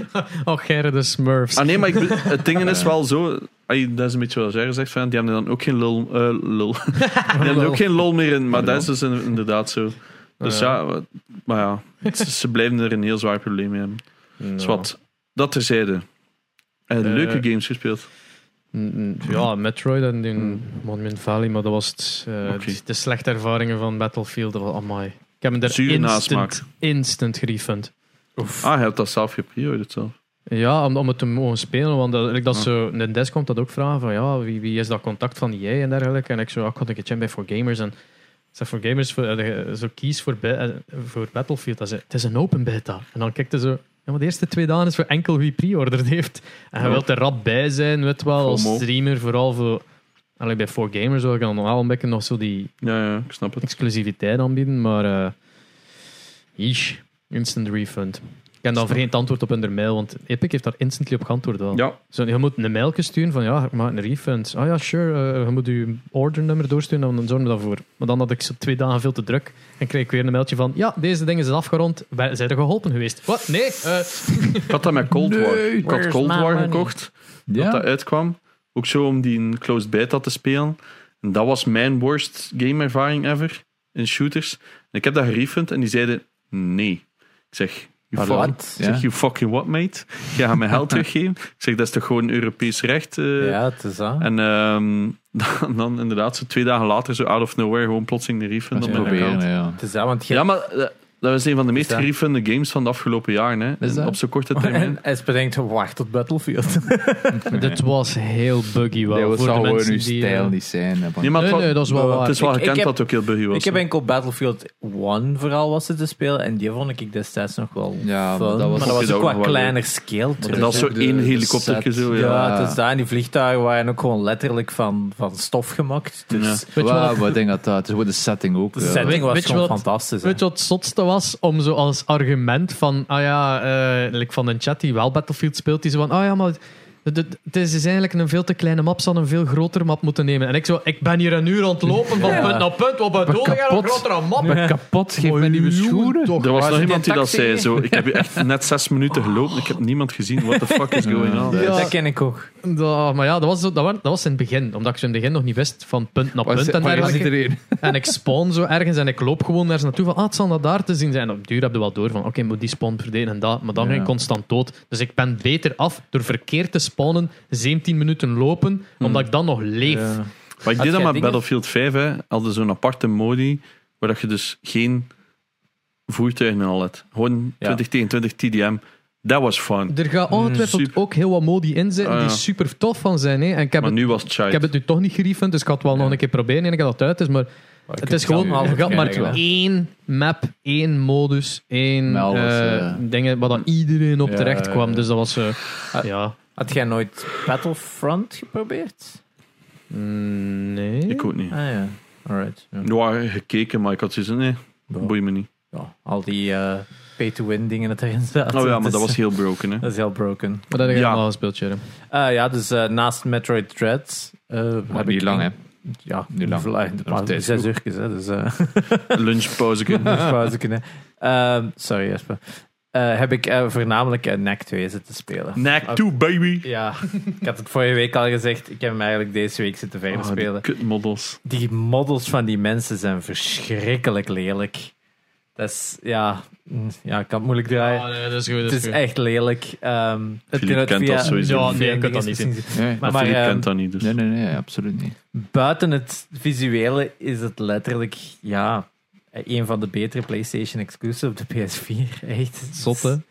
[SPEAKER 1] Och, Gerre Oh, de Smurfs.
[SPEAKER 4] ah nee, maar ik, bedoel, het ding is wel zo. ai, dat is een beetje wat jij zegt. Van, die hebben er dan ook geen lul, eh, lul. Die hebben er ook geen lol meer in. Maar dat is dus in- inderdaad zo. Dus ja, wat- maar ja, het- ze blijven er een heel zwaar probleem mee hebben. Dus wat, dat terzijde. En
[SPEAKER 1] Eh,
[SPEAKER 4] leuke games gespeeld.
[SPEAKER 1] Mm, mm, Ja, Metroid en die Monument Valley, maar dat was het, eh,
[SPEAKER 4] Mm. Oké.
[SPEAKER 1] de, de slechte ervaringen van Battlefield. Dat was, amai. Ik heb hem daar
[SPEAKER 4] Zure nasmaak.
[SPEAKER 1] instant, instant gerefund.
[SPEAKER 4] Ah, je hebt dat zelf geprioriteerd zelf.
[SPEAKER 1] Ja, om, om het te mogen spelen. Want dat, like, dat zo, een desk komt dat ook vragen van ja, wie, wie is dat contact van jij en dergelijke. En ik zo, ah, ik had een keertje bij For Gamers. En ik zeg, For Gamers, voor, eh, zo kies voor, be- eh, voor Battlefield. Dat ze, het is een open beta. En dan kijkt hij zo, ja, maar de eerste twee dagen is voor enkel wie pre-ordered heeft. En je
[SPEAKER 4] Ja.
[SPEAKER 1] wilt er rap bij zijn, weet wel, als
[SPEAKER 4] FOMO.
[SPEAKER 1] streamer. Vooral voor, allee, bij For Gamers wil ik dan normaal een beetje nog zo die
[SPEAKER 4] Ja, ja, ik snap het.
[SPEAKER 1] exclusiviteit aanbieden. Maar, eh yeesh, instant refund. Ik heb dan voor geen antwoord op hun mail, want Epic heeft daar instantly op geantwoord wel.
[SPEAKER 4] Ja,
[SPEAKER 1] Zo, je moet een mailje sturen van ja, ik maak een refund. Ah ja, sure, eh, je moet je ordernummer doorsturen en dan zorgen we daarvoor. Maar dan had ik zo twee dagen veel te druk en kreeg ik weer een mailtje van ja, deze ding is afgerond, wij zijn er geholpen geweest. Wat? Nee? eh,
[SPEAKER 4] Ik had dat met Cold War.
[SPEAKER 2] Nee,
[SPEAKER 4] ik had
[SPEAKER 1] where's
[SPEAKER 4] Cold
[SPEAKER 1] my
[SPEAKER 4] War
[SPEAKER 1] money?
[SPEAKER 4] gekocht.
[SPEAKER 2] Ja.
[SPEAKER 4] Dat dat uitkwam. Ook zo om die in closed beta te spelen. En dat was mijn worst gameervaring ever. In shooters. En ik heb dat gerefund en die zeiden nee. Ik zeg... You
[SPEAKER 2] Pardon?
[SPEAKER 4] fuck,
[SPEAKER 3] Wat?
[SPEAKER 4] ik zeg,
[SPEAKER 2] Ja.
[SPEAKER 4] you fucking what, mate? Jij gaat mijn geld teruggeven. Ik zeg, dat is toch gewoon Europees recht? eh?
[SPEAKER 3] Ja, het is dat.
[SPEAKER 4] En ehm, dan, dan inderdaad, zo twee dagen later, zo out of nowhere, gewoon plotseling de refund
[SPEAKER 2] Dat
[SPEAKER 4] op
[SPEAKER 2] is
[SPEAKER 4] mijn account.
[SPEAKER 2] proberen,
[SPEAKER 4] Ja,
[SPEAKER 2] ja.
[SPEAKER 3] Het is dat, want je-
[SPEAKER 4] maar eh, dat was een van de meest
[SPEAKER 3] dat? Oh,
[SPEAKER 4] gerefunde games van de afgelopen jaren. Hè.
[SPEAKER 2] Is
[SPEAKER 4] En
[SPEAKER 2] dat?
[SPEAKER 4] Op zo'n korte termijn.
[SPEAKER 3] en ze bedenkt, wacht tot Battlefield.
[SPEAKER 1] Dit was heel buggy wel.
[SPEAKER 2] Dat
[SPEAKER 1] voor de
[SPEAKER 2] zou gewoon
[SPEAKER 1] mensen
[SPEAKER 2] uw
[SPEAKER 1] die, eh,
[SPEAKER 2] stijl niet zijn. hè, want-
[SPEAKER 4] Nee, maar het
[SPEAKER 1] Nee,
[SPEAKER 4] wa-
[SPEAKER 1] nee, dat is wel
[SPEAKER 4] Het
[SPEAKER 1] waar.
[SPEAKER 4] is wel
[SPEAKER 3] Ik- ik
[SPEAKER 4] gekend
[SPEAKER 3] heb-
[SPEAKER 4] dat het ook heel buggy was.
[SPEAKER 3] Ik heb enkel Battlefield 1 vooral was het te spelen. En die vond ik destijds nog wel
[SPEAKER 2] Ja,
[SPEAKER 3] fun.
[SPEAKER 2] maar dat was-
[SPEAKER 3] maar dat was ook
[SPEAKER 4] Vond je dat ook
[SPEAKER 3] wat
[SPEAKER 4] nog wel
[SPEAKER 3] kleiner scale
[SPEAKER 4] En
[SPEAKER 3] terug.
[SPEAKER 4] dat is zo
[SPEAKER 2] ook de-
[SPEAKER 4] één
[SPEAKER 2] de
[SPEAKER 4] helikoptertje
[SPEAKER 2] set.
[SPEAKER 4] zo, ja.
[SPEAKER 3] ja,
[SPEAKER 2] ja.
[SPEAKER 3] het is daar. En die vliegtuigen waren ook gewoon letterlijk van, van stof gemaakt. Dus
[SPEAKER 1] Weet je
[SPEAKER 2] Wauw,
[SPEAKER 1] wat-
[SPEAKER 2] maar ik denk dat dat... Het is gewoon de setting ook. eh,
[SPEAKER 3] de
[SPEAKER 2] ja.
[SPEAKER 3] setting
[SPEAKER 1] Weet-
[SPEAKER 3] was
[SPEAKER 1] weet je
[SPEAKER 3] gewoon
[SPEAKER 1] wat-
[SPEAKER 3] fantastisch. hè.
[SPEAKER 1] Weet je wat het zotste was? Om zo als argument van, ah ja, eh, like van een chat die wel Battlefield speelt, die zo van, ah ja, maar het- het het is is eigenlijk een veel te kleine map, ze hadden een veel grotere map moeten nemen. En ik zo, ik ben hier een uur aan het lopen van
[SPEAKER 2] Ja.
[SPEAKER 1] punt naar punt, wat bedoel je aan een
[SPEAKER 2] kapot.
[SPEAKER 1] grotere map?
[SPEAKER 2] Ik ben kapot, geef mij nieuwe schoenen.
[SPEAKER 4] Er was
[SPEAKER 2] Waar
[SPEAKER 4] nog
[SPEAKER 2] is
[SPEAKER 4] iemand die dat
[SPEAKER 2] taxi?
[SPEAKER 4] zei. Zo, ik heb hier echt net zes minuten gelopen. Ik heb niemand gezien. What the fuck is going on?
[SPEAKER 2] Ja.
[SPEAKER 1] Ja.
[SPEAKER 3] Dat ken ik ook.
[SPEAKER 1] Da- maar ja, dat was, zo, dat, wa- dat was in het begin, omdat ik zo in het begin nog niet wist van punt naar
[SPEAKER 2] Waar is-
[SPEAKER 1] punt en
[SPEAKER 2] waar is
[SPEAKER 1] dergelijke.
[SPEAKER 2] iedereen?
[SPEAKER 1] En ik spawn zo ergens en ik loop gewoon ergens naartoe van, ah, het zal dat daar te zien zijn. En op duur heb je wel door van, oké, moet die spawn verdedigen en dat. Maar dan
[SPEAKER 2] Ja.
[SPEAKER 1] ging ik constant dood. Dus ik ben beter af door verkeerd te spawnen, 17 minuten lopen, omdat ik dan nog leef.
[SPEAKER 3] Ja.
[SPEAKER 4] Maar ik
[SPEAKER 3] jij
[SPEAKER 4] deed dat met
[SPEAKER 3] dingen?
[SPEAKER 4] Battlefield 5. Hè, hadden zo'n aparte modi waar dat je dus geen voertuigen al had. Gewoon
[SPEAKER 3] Ja.
[SPEAKER 4] 20 tegen 20 TDM. Dat was fun.
[SPEAKER 1] Er gaat ongetwijfeld
[SPEAKER 4] super.
[SPEAKER 1] ook heel wat modi in zitten
[SPEAKER 4] Ah, ja.
[SPEAKER 1] die super tof van zijn. Hè. En ik heb,
[SPEAKER 4] Maar
[SPEAKER 1] het,
[SPEAKER 4] nu was het
[SPEAKER 1] ik heb
[SPEAKER 4] shite.
[SPEAKER 1] het nu toch niet gerefund, dus ik ga het wel nog een keer proberen en ik ga dat het uit is. Maar het is gewoon,
[SPEAKER 3] allemaal
[SPEAKER 1] je gaat maar
[SPEAKER 3] verkrijgen, hè.
[SPEAKER 1] één map, één modus, één
[SPEAKER 2] Met alles,
[SPEAKER 1] eh,
[SPEAKER 2] ja.
[SPEAKER 1] dingen waar dat iedereen op
[SPEAKER 2] Ja,
[SPEAKER 1] terecht
[SPEAKER 2] ja,
[SPEAKER 1] kwam.
[SPEAKER 2] ja.
[SPEAKER 1] Dus dat was... eh, ja.
[SPEAKER 3] Had jij nooit Battlefront geprobeerd?
[SPEAKER 1] Mm, Nee.
[SPEAKER 4] Ik ook niet.
[SPEAKER 3] Ah ja, alright. Ja.
[SPEAKER 4] Ja, gekeken, maar ik had zoiets van, nee,
[SPEAKER 3] Ja.
[SPEAKER 4] boeit me niet.
[SPEAKER 3] Ja, al die eh, pay-to-win dingen dat erin zaten.
[SPEAKER 4] Oh ja, maar
[SPEAKER 3] Dus,
[SPEAKER 4] dat was heel broken. Hè.
[SPEAKER 3] dat is heel broken.
[SPEAKER 1] Maar dat heb ik
[SPEAKER 4] Ja.
[SPEAKER 1] allemaal gespeeld, Jerry.
[SPEAKER 3] Eh, ja, dus eh, naast Metroid Dread... eh
[SPEAKER 2] Maar
[SPEAKER 3] heb
[SPEAKER 2] niet
[SPEAKER 3] ik
[SPEAKER 2] lang, hè.
[SPEAKER 3] Ja,
[SPEAKER 2] Niet lang.
[SPEAKER 3] vla-
[SPEAKER 2] Nog
[SPEAKER 3] maar
[SPEAKER 2] steeds
[SPEAKER 3] zes uurtjes, hè. Dus, eh
[SPEAKER 4] Lunchpauze.
[SPEAKER 3] pauze kunnen. Ehm, sorry, Jesper. Eh, heb ik eh, voornamelijk uh, NAC 2 zitten spelen.
[SPEAKER 4] Knack 2, baby!
[SPEAKER 3] Ja, ik had het vorige week al gezegd. Ik heb hem eigenlijk deze week zitten verder
[SPEAKER 4] Oh, die
[SPEAKER 3] spelen.
[SPEAKER 4] kutmodels.
[SPEAKER 3] Die models van die mensen zijn verschrikkelijk lelijk. Dat is, ja, mm, ja, ik kan het moeilijk draaien.
[SPEAKER 1] Ah, nee, dat is goed.
[SPEAKER 3] het is echt lelijk. Ehm het
[SPEAKER 4] Philippe kent dat sowieso.
[SPEAKER 1] Ja, nee, ik kan dat niet zien.
[SPEAKER 2] Ja,
[SPEAKER 3] Maar-
[SPEAKER 4] Maar,
[SPEAKER 3] maar,
[SPEAKER 4] Philippe
[SPEAKER 3] ehm,
[SPEAKER 4] kent dat niet, dus.
[SPEAKER 2] nee, nee, nee, absoluut niet.
[SPEAKER 3] Buiten het visuele is het letterlijk, ja, een van de betere PlayStation exclusives op de PS4. Echt.
[SPEAKER 1] Zot, hè?
[SPEAKER 4] Het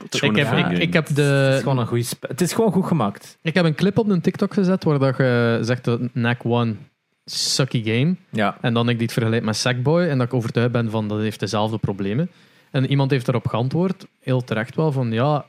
[SPEAKER 4] is
[SPEAKER 1] Ik
[SPEAKER 4] gewoon
[SPEAKER 1] heb,
[SPEAKER 4] een
[SPEAKER 1] ik,
[SPEAKER 4] fun
[SPEAKER 1] ik,
[SPEAKER 4] game.
[SPEAKER 1] heb
[SPEAKER 3] Het is
[SPEAKER 1] de,
[SPEAKER 3] gewoon een goede sp- Het is gewoon goed gemaakt.
[SPEAKER 1] ik heb een clip op een TikTok gezet waar dat je zegt dat NAC 1 sucky game.
[SPEAKER 3] Ja.
[SPEAKER 1] En dan ik dit vergelijk met Sackboy en dat ik overtuigd ben van dat heeft dezelfde problemen. En iemand heeft daarop geantwoord, heel terecht wel, van ja,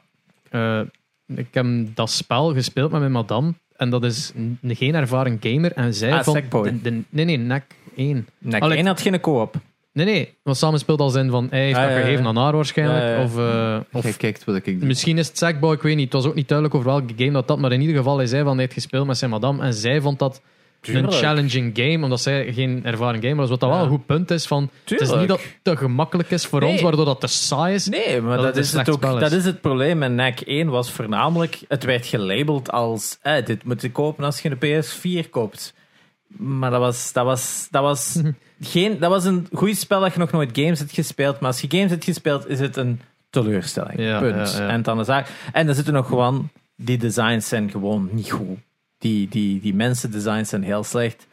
[SPEAKER 1] eh, ik heb dat spel gespeeld met mijn madame en dat is n- geen ervaren gamer. En zij
[SPEAKER 3] Ah,
[SPEAKER 1] van...
[SPEAKER 3] Sackboy.
[SPEAKER 1] de- de- nee, nee, NAC 1.
[SPEAKER 3] Nek
[SPEAKER 1] Allee,
[SPEAKER 3] 1 had geen co-op.
[SPEAKER 1] Nee, nee, want samen speelt al zijn van hij heeft
[SPEAKER 3] Ah,
[SPEAKER 1] dat
[SPEAKER 3] ja, ja,
[SPEAKER 1] gegeven
[SPEAKER 3] ja.
[SPEAKER 1] aan haar waarschijnlijk.
[SPEAKER 3] Ja, ja, ja.
[SPEAKER 1] Of, eh,
[SPEAKER 2] Jij
[SPEAKER 1] of
[SPEAKER 2] kijkt wat ik doe.
[SPEAKER 1] misschien is het Sackboy, ik weet niet. Het was ook niet duidelijk over welke game dat dat, maar in ieder geval, hij zei van hij heeft gespeeld met zijn madame en zij vond dat
[SPEAKER 3] Tuurlijk.
[SPEAKER 1] een challenging game, omdat zij geen ervaren gamer was. Wat dat
[SPEAKER 3] Ja.
[SPEAKER 1] wel een goed punt is van... Het is niet dat het te gemakkelijk is voor
[SPEAKER 3] Nee.
[SPEAKER 1] ons, waardoor dat te saai is.
[SPEAKER 3] Nee,
[SPEAKER 1] Dat
[SPEAKER 3] maar dat,
[SPEAKER 1] het een
[SPEAKER 3] is
[SPEAKER 1] slecht
[SPEAKER 3] het ook,
[SPEAKER 1] spel is.
[SPEAKER 3] dat is het probleem. En NAC 1 was voornamelijk... Het werd gelabeld als... eh, dit moet je kopen als je een PS4 koopt. Maar dat was... Dat was, dat was, geen, dat was een goed spel dat je nog nooit games hebt gespeeld. Maar als je games hebt gespeeld, is het een teleurstelling.
[SPEAKER 1] Ja,
[SPEAKER 3] Punt.
[SPEAKER 1] ja, ja.
[SPEAKER 3] En dan is dat... En dan zitten nog gewoon... Die designs zijn gewoon niet goed. Die, die, die mensen designs zijn heel slecht.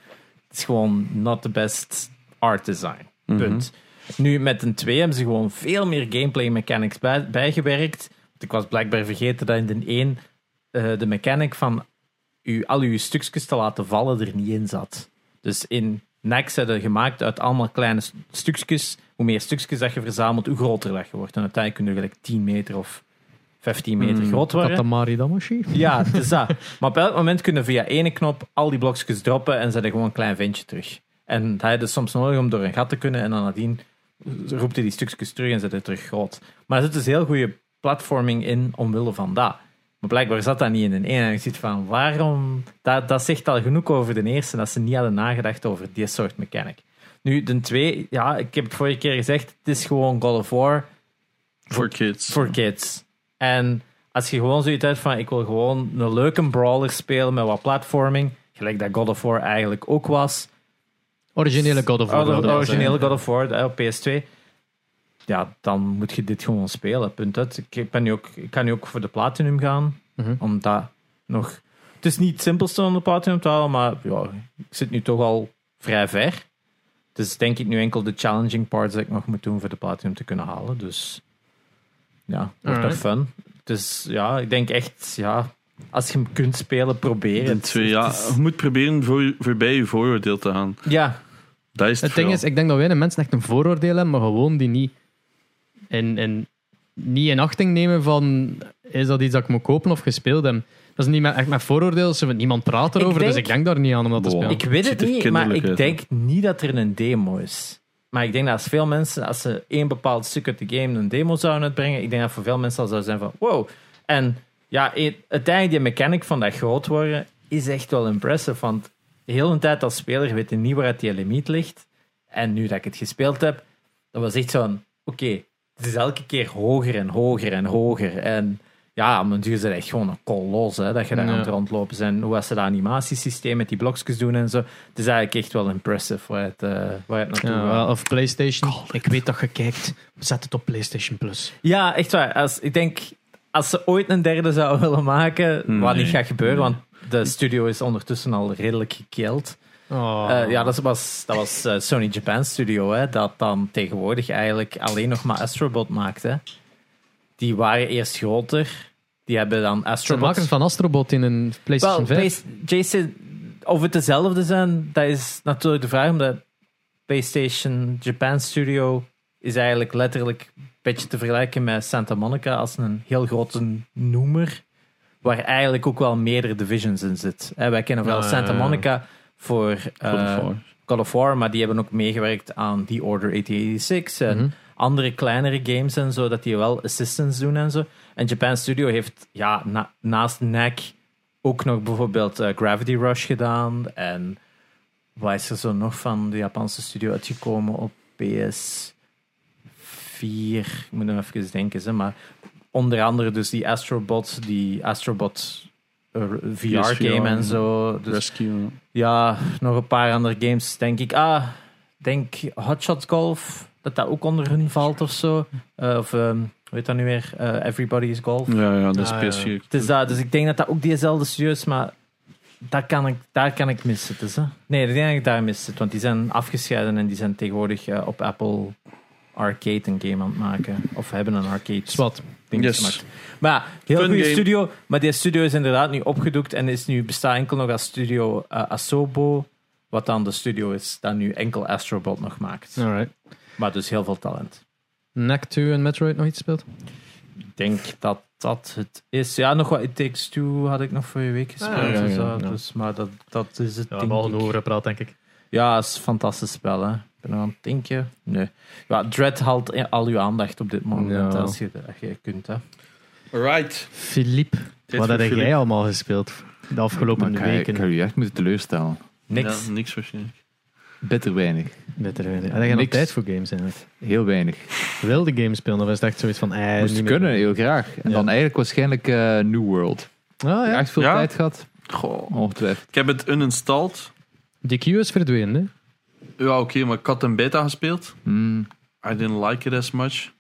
[SPEAKER 3] Het is gewoon not the best art design. Punt. Nu, met een 2 hebben ze gewoon veel meer gameplay mechanics bij- bijgewerkt. Want ik was blijkbaar vergeten dat in de 1 eh, de mechanic van u, al uw stukjes te laten vallen er niet in zat. Dus in Nex hebben gemaakt uit allemaal kleine s- stukjes. Hoe meer stukjes dat je verzamelt, hoe groter dat je wordt. En uiteindelijk kun je gelijk 10 meter of 15 meter groot worden.
[SPEAKER 1] Katamari Damashi.
[SPEAKER 3] Ja, het is dat. Maar op elk moment kunnen via ene knop al die blokjes droppen en zijn er gewoon een klein ventje terug. En dat heb je dus soms nodig om door een gat te kunnen en dan nadien roept hij die stukjes terug en zet het terug groot. Maar er zit dus heel goede platforming in omwille van dat. Maar blijkbaar zat dat niet in de ene. En ik zit van, waarom... Dat, dat zegt al genoeg over de eerste, dat ze niet hadden nagedacht over dit soort mechanic. Nu, de twee, ja, ik heb het vorige keer gezegd, het is gewoon God of War
[SPEAKER 4] Voor kids.
[SPEAKER 3] voor kids. En als je gewoon zoiets hebt van ik wil gewoon een leuke brawler spelen met wat platforming, gelijk dat God of War eigenlijk ook was.
[SPEAKER 1] Originele God of War.
[SPEAKER 3] Or-
[SPEAKER 1] wilde dat
[SPEAKER 3] Oh, originele
[SPEAKER 1] zeggen.
[SPEAKER 3] God of War eh, op PS2. Ja, dan moet je dit gewoon spelen. Punt uit. Ik- Ik, ben nu ook, ik kan nu ook voor de Platinum gaan,
[SPEAKER 1] Mhm.
[SPEAKER 3] omdat nog... Het is niet het simpelste om de Platinum te halen, maar ja, ik zit nu toch al vrij ver. Dus denk ik nu enkel de challenging parts dat ik nog moet doen voor de Platinum te kunnen halen. Dus ja, wordt dat
[SPEAKER 1] Alright.
[SPEAKER 3] fun. Dus ja, ik denk echt, ja, als je hem kunt spelen, probeer
[SPEAKER 4] In
[SPEAKER 3] het.
[SPEAKER 4] twee,
[SPEAKER 3] Het
[SPEAKER 4] ja.
[SPEAKER 3] is-
[SPEAKER 4] Je moet proberen voor, voorbij je vooroordeel te gaan.
[SPEAKER 3] ja,
[SPEAKER 4] Dat
[SPEAKER 1] Het
[SPEAKER 4] is het,
[SPEAKER 1] ding
[SPEAKER 4] vooral.
[SPEAKER 1] is, ik denk dat weinig mensen echt een vooroordeel hebben, maar gewoon die niet in, in, niet in achting nemen van is dat iets dat ik moet kopen of gespeeld heb. Dat is niet met, echt met vooroordeel, ze- niemand praat erover,
[SPEAKER 3] denk-
[SPEAKER 1] dus ik denk daar niet aan om dat te
[SPEAKER 4] Wow.
[SPEAKER 1] spelen.
[SPEAKER 3] Ik weet
[SPEAKER 4] ziet
[SPEAKER 3] het
[SPEAKER 4] er
[SPEAKER 3] niet, maar
[SPEAKER 4] kinderlijk
[SPEAKER 3] ik
[SPEAKER 4] uit,
[SPEAKER 3] denk niet dat er een demo is. Maar ik denk dat als veel mensen, als ze één bepaald stuk uit de game een demo zouden uitbrengen, ik denk dat voor veel mensen al zou zijn van wow. En ja, e- uiteindelijk die mechanic van dat groot worden is echt wel impressive. Want de hele tijd als speler weet je niet waar het je limiet ligt. En nu dat ik het gespeeld heb, dat was echt zo'n oké, het is elke keer hoger en hoger en hoger. En ja, op een duur is het echt gewoon een kolos hè, dat je daar
[SPEAKER 1] Ja.
[SPEAKER 3] aan het rondlopen bent. En hoe als ze dat animatiesysteem met die blokjes doen en zo. Het is eigenlijk echt wel impressive waar het, eh, waar het naartoe
[SPEAKER 1] Ja,
[SPEAKER 3] gaat.
[SPEAKER 1] wel, of PlayStation. Ik weet dat je kijkt. Zet het op PlayStation Plus.
[SPEAKER 3] Ja, echt waar. Als, ik denk, als ze ooit een derde zou willen maken, wat
[SPEAKER 4] Nee.
[SPEAKER 3] niet gaat gebeuren, want de studio is ondertussen al redelijk gekild.
[SPEAKER 1] Oh.
[SPEAKER 3] Eh, ja, dat was, dat was eh, Sony Japan Studio, hè, dat dan tegenwoordig eigenlijk alleen nog maar Astrobot maakt. Hè. Die waren eerst groter. Die hebben dan
[SPEAKER 1] de
[SPEAKER 3] Astrobot...
[SPEAKER 1] makers van Astrobot in een
[SPEAKER 3] Wel,
[SPEAKER 1] PlayStation 5.
[SPEAKER 3] Play- Jason, of het dezelfde zijn, dat is natuurlijk de vraag, omdat PlayStation Japan Studio is eigenlijk letterlijk een beetje te vergelijken met Santa Monica als een heel grote noemer, waar eigenlijk ook wel meerdere divisions in zit. Hè, wij kennen wel
[SPEAKER 1] Ah,
[SPEAKER 3] Santa
[SPEAKER 1] ja, ja.
[SPEAKER 3] Monica voor eh,
[SPEAKER 4] God of War.
[SPEAKER 3] God of War, maar die hebben ook meegewerkt aan The Order 1886 en
[SPEAKER 1] Mhm.
[SPEAKER 3] andere kleinere games en zo, dat die wel assistants doen en zo. En Japan Studio heeft ja, na- naast NAC ook nog bijvoorbeeld eh, Gravity Rush gedaan. En wat is er zo nog van de Japanse studio uitgekomen op PS4? Ik moet nog even denken, hè, maar onder andere dus die Astrobot, die Astrobot
[SPEAKER 4] PSVR,
[SPEAKER 3] VR-game en zo. Dus
[SPEAKER 4] Rescue.
[SPEAKER 3] ja, nog een paar andere games, denk ik. Ah, denk Hotshot Golf. dat dat ook onder hun valt of zo. Eh, of, ehm, hoe heet dat nu weer? Eh, Everybody's Golf.
[SPEAKER 4] Ja, ja, dat
[SPEAKER 1] Ah,
[SPEAKER 4] is PS4.
[SPEAKER 1] ja.
[SPEAKER 3] Het is dat, dus ik denk dat dat ook diezelfde studios, maar daar kan ik, daar kan ik mis zitten. Zo. Nee, ik denk dat ik daar mis zit, want die zijn afgescheiden en die zijn tegenwoordig eh, op Apple Arcade een game aan het maken. Of hebben een arcade
[SPEAKER 1] Zwat.
[SPEAKER 3] ding
[SPEAKER 4] Yes.
[SPEAKER 3] gemaakt. Maar ja, heel
[SPEAKER 4] Fun
[SPEAKER 3] goede
[SPEAKER 4] game.
[SPEAKER 3] studio, maar die studio is inderdaad nu opgedoekt en is nu, bestaat enkel nog als studio eh, Asobo, wat dan de studio is dat nu enkel Astrobot nog maakt.
[SPEAKER 1] Alright.
[SPEAKER 3] Maar dus heel veel talent.
[SPEAKER 1] Knack 2 en Metroid nog iets speelt?
[SPEAKER 3] Ik denk dat dat het is. Ja, nog wat It Takes Two had ik nog vorige week gespeeld.
[SPEAKER 1] Ah, ja,
[SPEAKER 3] dus,
[SPEAKER 1] ja,
[SPEAKER 3] eh,
[SPEAKER 1] ja.
[SPEAKER 3] dus, maar dat, dat is het.
[SPEAKER 1] Ja, we
[SPEAKER 3] denk
[SPEAKER 1] hebben al
[SPEAKER 3] ik.
[SPEAKER 1] over gepraat, denk ik.
[SPEAKER 3] ja, is een fantastisch spel. Hè. Ik ben nog aan het denken. Nee. Ja, Dread haalt i- al uw aandacht op dit moment.
[SPEAKER 1] Ja.
[SPEAKER 3] Als, je, als je kunt. Hè.
[SPEAKER 4] Right.
[SPEAKER 1] Philippe,
[SPEAKER 4] Dit
[SPEAKER 1] wat
[SPEAKER 4] voor
[SPEAKER 1] heb
[SPEAKER 4] Philippe.
[SPEAKER 1] jij allemaal gespeeld de afgelopen
[SPEAKER 2] Maar ik, ik
[SPEAKER 1] weken?
[SPEAKER 2] heb u echt moeten teleurstellen.
[SPEAKER 3] Niks.
[SPEAKER 4] Ja, niks waarschijnlijk.
[SPEAKER 2] Bitter weinig.
[SPEAKER 1] Bitter weinig. Had jij nog
[SPEAKER 2] Niks.
[SPEAKER 1] tijd voor games eigenlijk?
[SPEAKER 2] Heel weinig.
[SPEAKER 1] Wil de games spelen of is het echt zoiets van... Eh,
[SPEAKER 2] Moest
[SPEAKER 1] niet meer.
[SPEAKER 2] kunnen, heel graag. En
[SPEAKER 1] Ja.
[SPEAKER 2] dan eigenlijk waarschijnlijk eh, New World.
[SPEAKER 1] Ah, ja.
[SPEAKER 2] Echt veel
[SPEAKER 4] Ja.
[SPEAKER 2] tijd gehad,
[SPEAKER 4] Goh.
[SPEAKER 2] ongetwijfeld.
[SPEAKER 4] Ik heb het uninstalled.
[SPEAKER 1] Die queue is verdwenen, hè?
[SPEAKER 4] Ja, oké, maar ik had een beta gespeeld.
[SPEAKER 2] Hmm.
[SPEAKER 4] I didn't like it as much.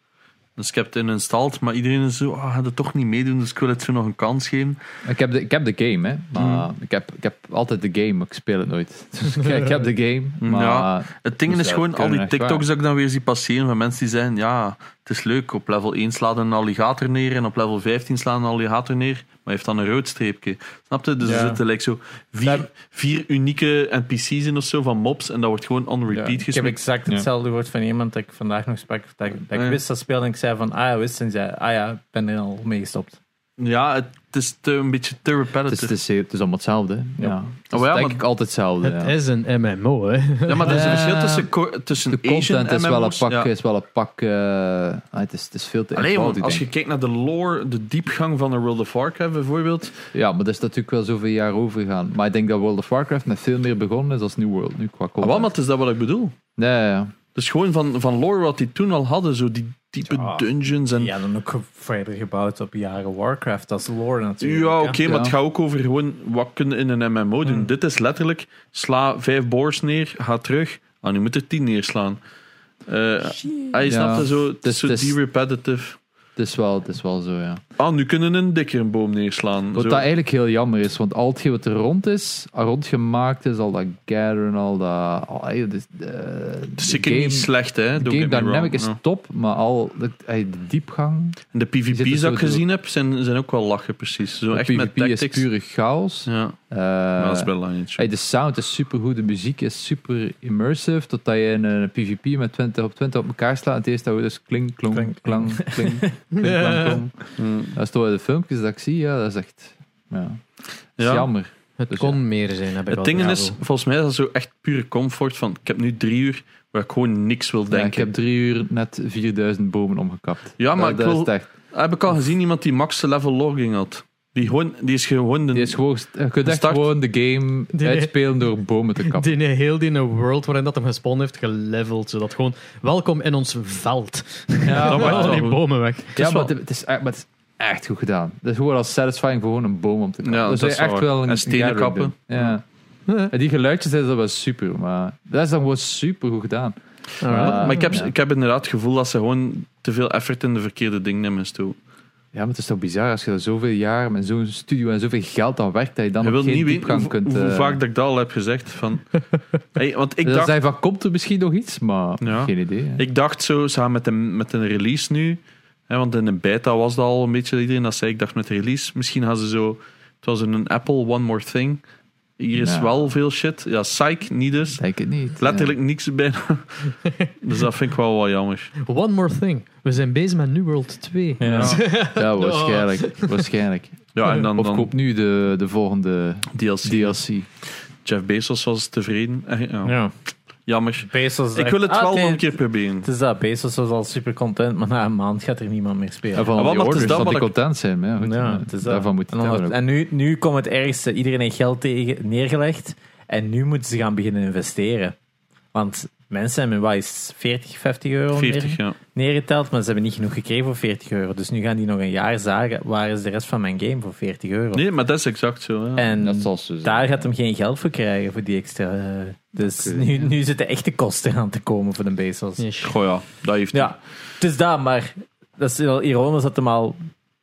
[SPEAKER 4] Dus ik heb het uninstalled, maar iedereen is zo, ah, gaat het toch niet meedoen, dus ik wil het zo nog een kans geven.
[SPEAKER 2] Ik heb, de, ik heb de game, hè. Maar
[SPEAKER 4] Hmm.
[SPEAKER 2] ik, heb, ik heb altijd de game, maar ik speel het nooit. Dus ik, ik heb de game, maar...
[SPEAKER 4] Hmm. Ja. Het ding
[SPEAKER 2] Dus
[SPEAKER 4] is
[SPEAKER 2] dat
[SPEAKER 4] gewoon al
[SPEAKER 2] kunnen
[SPEAKER 4] die
[SPEAKER 2] echt waar.
[SPEAKER 4] TikToks dat ik dan weer zie passeren van mensen die zeggen, ja, het is leuk, op level 1 slaat een alligator neer en op level 15 slaat een alligator neer, maar heeft dan een rood streepje. Snap je? Dus
[SPEAKER 3] Ja.
[SPEAKER 4] er zitten like, zo vier, vier unieke NPC's in of zo van mobs en dat wordt gewoon on
[SPEAKER 3] Ja, Ah,
[SPEAKER 4] repeat
[SPEAKER 3] ik heb
[SPEAKER 4] gespeeld.
[SPEAKER 3] exact hetzelfde woord van iemand dat ik vandaag nog sprak. Dat, ik- dat ik
[SPEAKER 4] Ja.
[SPEAKER 3] wist dat speelde en ik zei van, ah ja, wist. En zei, ah ja, ik ben er al mee gestopt.
[SPEAKER 4] Ja, het is te, een beetje te
[SPEAKER 2] Het is,
[SPEAKER 4] repetitive.
[SPEAKER 2] het, is, heel- het is allemaal hetzelfde. hè. Ja. Het is
[SPEAKER 4] Oh ja,
[SPEAKER 2] denk
[SPEAKER 4] maar-
[SPEAKER 2] ik altijd hetzelfde.
[SPEAKER 1] Het
[SPEAKER 2] ja.
[SPEAKER 1] is een MMO, hè?
[SPEAKER 4] Ja, maar er is een
[SPEAKER 2] Eh,
[SPEAKER 4] verschil tussen, ko- tussen
[SPEAKER 2] De
[SPEAKER 4] Asian
[SPEAKER 2] content is wel, een
[SPEAKER 4] MMO's,
[SPEAKER 2] pak,
[SPEAKER 4] ja.
[SPEAKER 2] is wel een pak... eh, ah, het, is, het is veel te
[SPEAKER 4] Allee, want
[SPEAKER 2] eenvoudig,
[SPEAKER 4] als je
[SPEAKER 2] denk
[SPEAKER 4] kijkt naar de lore, de diepgang van een World of Warcraft bijvoorbeeld.
[SPEAKER 2] ik. Ja, maar dat is natuurlijk wel zoveel jaar overgegaan. Maar ik denk dat World of Warcraft met veel meer begonnen is als New World. Nu qua
[SPEAKER 4] Ah,
[SPEAKER 2] content.
[SPEAKER 4] wel, maar het is dat wat ik bedoel.
[SPEAKER 2] Nee, ja, ja.
[SPEAKER 4] Dus gewoon van, van lore wat die toen al hadden, zo die diepe
[SPEAKER 3] Ja.
[SPEAKER 4] dungeons en... Ja,
[SPEAKER 3] Ja, dan ook ge- verder gebouwd op jaren Warcraft. Dat is lore natuurlijk. hè.
[SPEAKER 4] oké, maar het
[SPEAKER 2] Ja. Hmm.
[SPEAKER 4] gaat ook over gewoon wat kunnen in een MMO doen. Dit is letterlijk, sla vijf boors neer, ga terug. Ah, nu moet er tien neerslaan. Eh ah, je
[SPEAKER 2] Ja.
[SPEAKER 4] snapt dat zo? Het is
[SPEAKER 2] Dus
[SPEAKER 4] zo
[SPEAKER 2] het is-
[SPEAKER 4] de-repetitive.
[SPEAKER 2] Het is wel, het is wel zo, ja.
[SPEAKER 4] Ah, nu kunnen een dikkere boom neerslaan.
[SPEAKER 2] Wat
[SPEAKER 4] Zo.
[SPEAKER 2] dat eigenlijk heel jammer is, want al hetgeen wat er rond is, al rondgemaakt is, al dat gatheren, al dat... Al, hey, de, de,
[SPEAKER 4] Het
[SPEAKER 2] de
[SPEAKER 4] is zeker
[SPEAKER 2] game,
[SPEAKER 4] niet slecht, hè?
[SPEAKER 2] de
[SPEAKER 4] don't
[SPEAKER 2] game
[SPEAKER 4] get me wrong.
[SPEAKER 2] dynamic is
[SPEAKER 4] Ja.
[SPEAKER 2] top, maar al de, hey, de diepgang...
[SPEAKER 4] En de
[SPEAKER 2] zitten
[SPEAKER 4] PvP's dat ik
[SPEAKER 2] sowieso-
[SPEAKER 4] gezien heb, zijn, zijn ook wel lachen, precies. Zo
[SPEAKER 2] de
[SPEAKER 4] echt met
[SPEAKER 2] PvP is
[SPEAKER 4] tactics.
[SPEAKER 2] pure chaos.
[SPEAKER 4] Ja,
[SPEAKER 2] Eh,
[SPEAKER 4] maar dat is wel lang niet zo.
[SPEAKER 2] hey, de sound is supergoed, de muziek is super immersive, totdat je in een PvP met 20 op 20 op elkaar slaat en het eerste dat we dus kling, klong,
[SPEAKER 3] Klank.
[SPEAKER 2] klang, kling, kling, klang, klong. Dat is toch de filmpjes dat ik zie, ja, dat is echt... Ja. Dat is
[SPEAKER 4] Ja.
[SPEAKER 2] jammer.
[SPEAKER 1] Het
[SPEAKER 2] Dus
[SPEAKER 1] kon meer zijn, heb ik
[SPEAKER 4] Het
[SPEAKER 1] al
[SPEAKER 4] ding
[SPEAKER 1] gehad,
[SPEAKER 4] is,
[SPEAKER 1] hoor.
[SPEAKER 4] volgens mij is dat zo echt pure comfort van ik heb nu drie uur waar ik gewoon niks wil
[SPEAKER 2] Ja, ik
[SPEAKER 4] denken.
[SPEAKER 2] heb drie uur net 4000 bomen omgekapt.
[SPEAKER 4] Ja, maar
[SPEAKER 2] dat,
[SPEAKER 4] ik
[SPEAKER 2] dat
[SPEAKER 4] wil-
[SPEAKER 2] is echt.
[SPEAKER 4] Ah, Heb ik al gezien iemand die max level logging had? Die, gewoon, die is gewoon... De,
[SPEAKER 2] Die is gewoon, je kunt echt
[SPEAKER 4] Start.
[SPEAKER 2] gewoon de game
[SPEAKER 1] Die-
[SPEAKER 2] uitspelen door bomen te kappen.
[SPEAKER 1] Die in heel die world waarin dat hem gespannen heeft, geleveld. Zodat gewoon, welkom in ons veld.
[SPEAKER 2] ja,
[SPEAKER 1] Dan
[SPEAKER 4] dat
[SPEAKER 2] maar,
[SPEAKER 4] maakt
[SPEAKER 1] waren
[SPEAKER 4] wel
[SPEAKER 1] al die
[SPEAKER 4] goed.
[SPEAKER 1] bomen weg.
[SPEAKER 2] het is wel- het is echt- maar het is echt goed gedaan. Het is gewoon als satisfying voor gewoon een boom om te kappen.
[SPEAKER 4] Ja,
[SPEAKER 2] dus
[SPEAKER 4] dat
[SPEAKER 2] je
[SPEAKER 4] is
[SPEAKER 2] echt
[SPEAKER 4] waar.
[SPEAKER 2] wel een
[SPEAKER 4] En stenen
[SPEAKER 2] gathering
[SPEAKER 4] kappen.
[SPEAKER 2] doen. Ja. En die geluidjes zijn dat wel super, maar dat is dan gewoon super goed gedaan.
[SPEAKER 4] maar ik heb,
[SPEAKER 2] Ja.
[SPEAKER 4] ik heb inderdaad het gevoel dat ze gewoon te veel effort in de verkeerde dingen nemen. Toe.
[SPEAKER 2] Ja, maar het is toch bizar als je er zoveel jaar met zo'n studio en zoveel geld aan werkt, dat je dan
[SPEAKER 4] Je
[SPEAKER 2] nog
[SPEAKER 4] wil
[SPEAKER 2] geen
[SPEAKER 4] niet weten
[SPEAKER 2] diepgang
[SPEAKER 4] hoe,
[SPEAKER 2] kunt...
[SPEAKER 4] hoe
[SPEAKER 2] eh, Dus
[SPEAKER 4] vaak dat ik dat al heb gezegd. Van, hey, want ik
[SPEAKER 2] dat
[SPEAKER 4] dacht,
[SPEAKER 2] zei van, komt er misschien nog iets? Maar
[SPEAKER 4] Ja.
[SPEAKER 2] geen idee. hè.
[SPEAKER 4] Ik dacht zo, samen met een, met een release nu. Hè, want in de beta was dat al een beetje iedereen dat zei. Ik dacht met de release, misschien gaan ze zo. Het was een Apple One More Thing. Hier is
[SPEAKER 2] Ja.
[SPEAKER 4] wel veel shit. Ja, psych, niet dus.
[SPEAKER 2] Denk het niet. ja.
[SPEAKER 4] Letterlijk niks bijna. dus dat vind ik wel wel jammer.
[SPEAKER 1] One more thing. We zijn bezig met New World 2.
[SPEAKER 3] Ja.
[SPEAKER 2] Ja, waarschijnlijk. waarschijnlijk.
[SPEAKER 4] Ja, en dan,
[SPEAKER 2] Of
[SPEAKER 4] dan
[SPEAKER 2] koop nu de, de volgende
[SPEAKER 4] DLC.
[SPEAKER 2] DLC.
[SPEAKER 4] Jeff Bezos was tevreden. Eh, ja.
[SPEAKER 3] Ja.
[SPEAKER 4] Jammer.
[SPEAKER 3] Bezos is
[SPEAKER 4] Ik
[SPEAKER 3] echt-
[SPEAKER 4] wil het
[SPEAKER 3] Ah,
[SPEAKER 4] wel
[SPEAKER 3] oké,
[SPEAKER 4] nog een keer proberen.
[SPEAKER 3] Het is dat, Bezos was al super content, maar na een maand gaat er niemand meer spelen.
[SPEAKER 2] En van
[SPEAKER 4] maar
[SPEAKER 2] die
[SPEAKER 4] dat is
[SPEAKER 2] orders
[SPEAKER 4] dat
[SPEAKER 2] zal die
[SPEAKER 4] wat ik-
[SPEAKER 2] content zijn. maar Ja, goed,
[SPEAKER 3] Ja,
[SPEAKER 2] ja,
[SPEAKER 3] het is dat.
[SPEAKER 2] daarvan moet
[SPEAKER 3] En,
[SPEAKER 2] hij het
[SPEAKER 3] dan-
[SPEAKER 2] hebben ook.
[SPEAKER 3] en nu, nu komt het ergste, iedereen heeft geld tegen, neergelegd en nu moeten ze gaan beginnen investeren. Want mensen hebben wat is het, 40, 50 euro
[SPEAKER 4] 40,
[SPEAKER 3] neer-
[SPEAKER 4] ja.
[SPEAKER 3] neergeteld, maar ze hebben niet genoeg gekregen voor 40 euro. Dus nu gaan die nog een jaar zagen, waar is de rest van mijn game voor 40 euro?
[SPEAKER 4] Nee, maar dat is exact zo. Ja.
[SPEAKER 3] En
[SPEAKER 2] Dat zal zo zijn.
[SPEAKER 3] daar gaat hem geen geld voor krijgen, voor die extra. eh, dus
[SPEAKER 2] Oké.
[SPEAKER 3] nu, nu zitten echte kosten aan te komen voor de bezels.
[SPEAKER 1] Nee, shit.
[SPEAKER 4] Goh ja, dat heeft hij.
[SPEAKER 3] Ja, het is dat, maar dat is wel ironisch dat hem al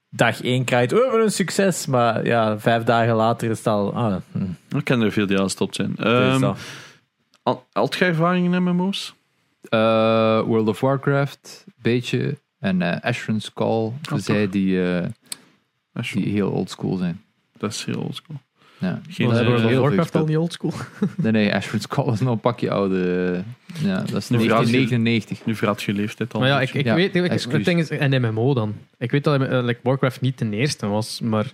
[SPEAKER 3] dag één krijgt. Oh, wat een succes! Maar ja, vijf dagen later is het al. Ah, hm, het
[SPEAKER 4] Ik ken er veel die al stopt zijn.
[SPEAKER 3] is
[SPEAKER 4] Ehm
[SPEAKER 3] dat.
[SPEAKER 4] al- had jij ervaring in MMO's?
[SPEAKER 2] Eh, World of Warcraft, beetje. En eh Ashran's Call, voor
[SPEAKER 4] toch.
[SPEAKER 2] zij die, eh,
[SPEAKER 4] Dat is-
[SPEAKER 2] die heel oldschool zijn.
[SPEAKER 4] Dat is heel oldschool.
[SPEAKER 2] Ja.
[SPEAKER 4] Geen
[SPEAKER 1] Was
[SPEAKER 4] eh,
[SPEAKER 1] World of
[SPEAKER 2] heel
[SPEAKER 1] Warcraft
[SPEAKER 2] veel
[SPEAKER 1] al
[SPEAKER 2] dus
[SPEAKER 1] niet oldschool?
[SPEAKER 2] Nee, nee, Ashran's Call is nog een pakje oude. eh, ja, dat is
[SPEAKER 4] Nu vraag je-
[SPEAKER 2] 1999.
[SPEAKER 4] Nu verraadt je leeftijd al.
[SPEAKER 1] Maar ja,
[SPEAKER 4] een
[SPEAKER 1] ik, ik
[SPEAKER 2] Ja,
[SPEAKER 1] weet... Ik,
[SPEAKER 2] excuus.
[SPEAKER 1] het ding is, eh, en MMO dan. Ik weet dat eh, like, Warcraft niet de eerste was, maar...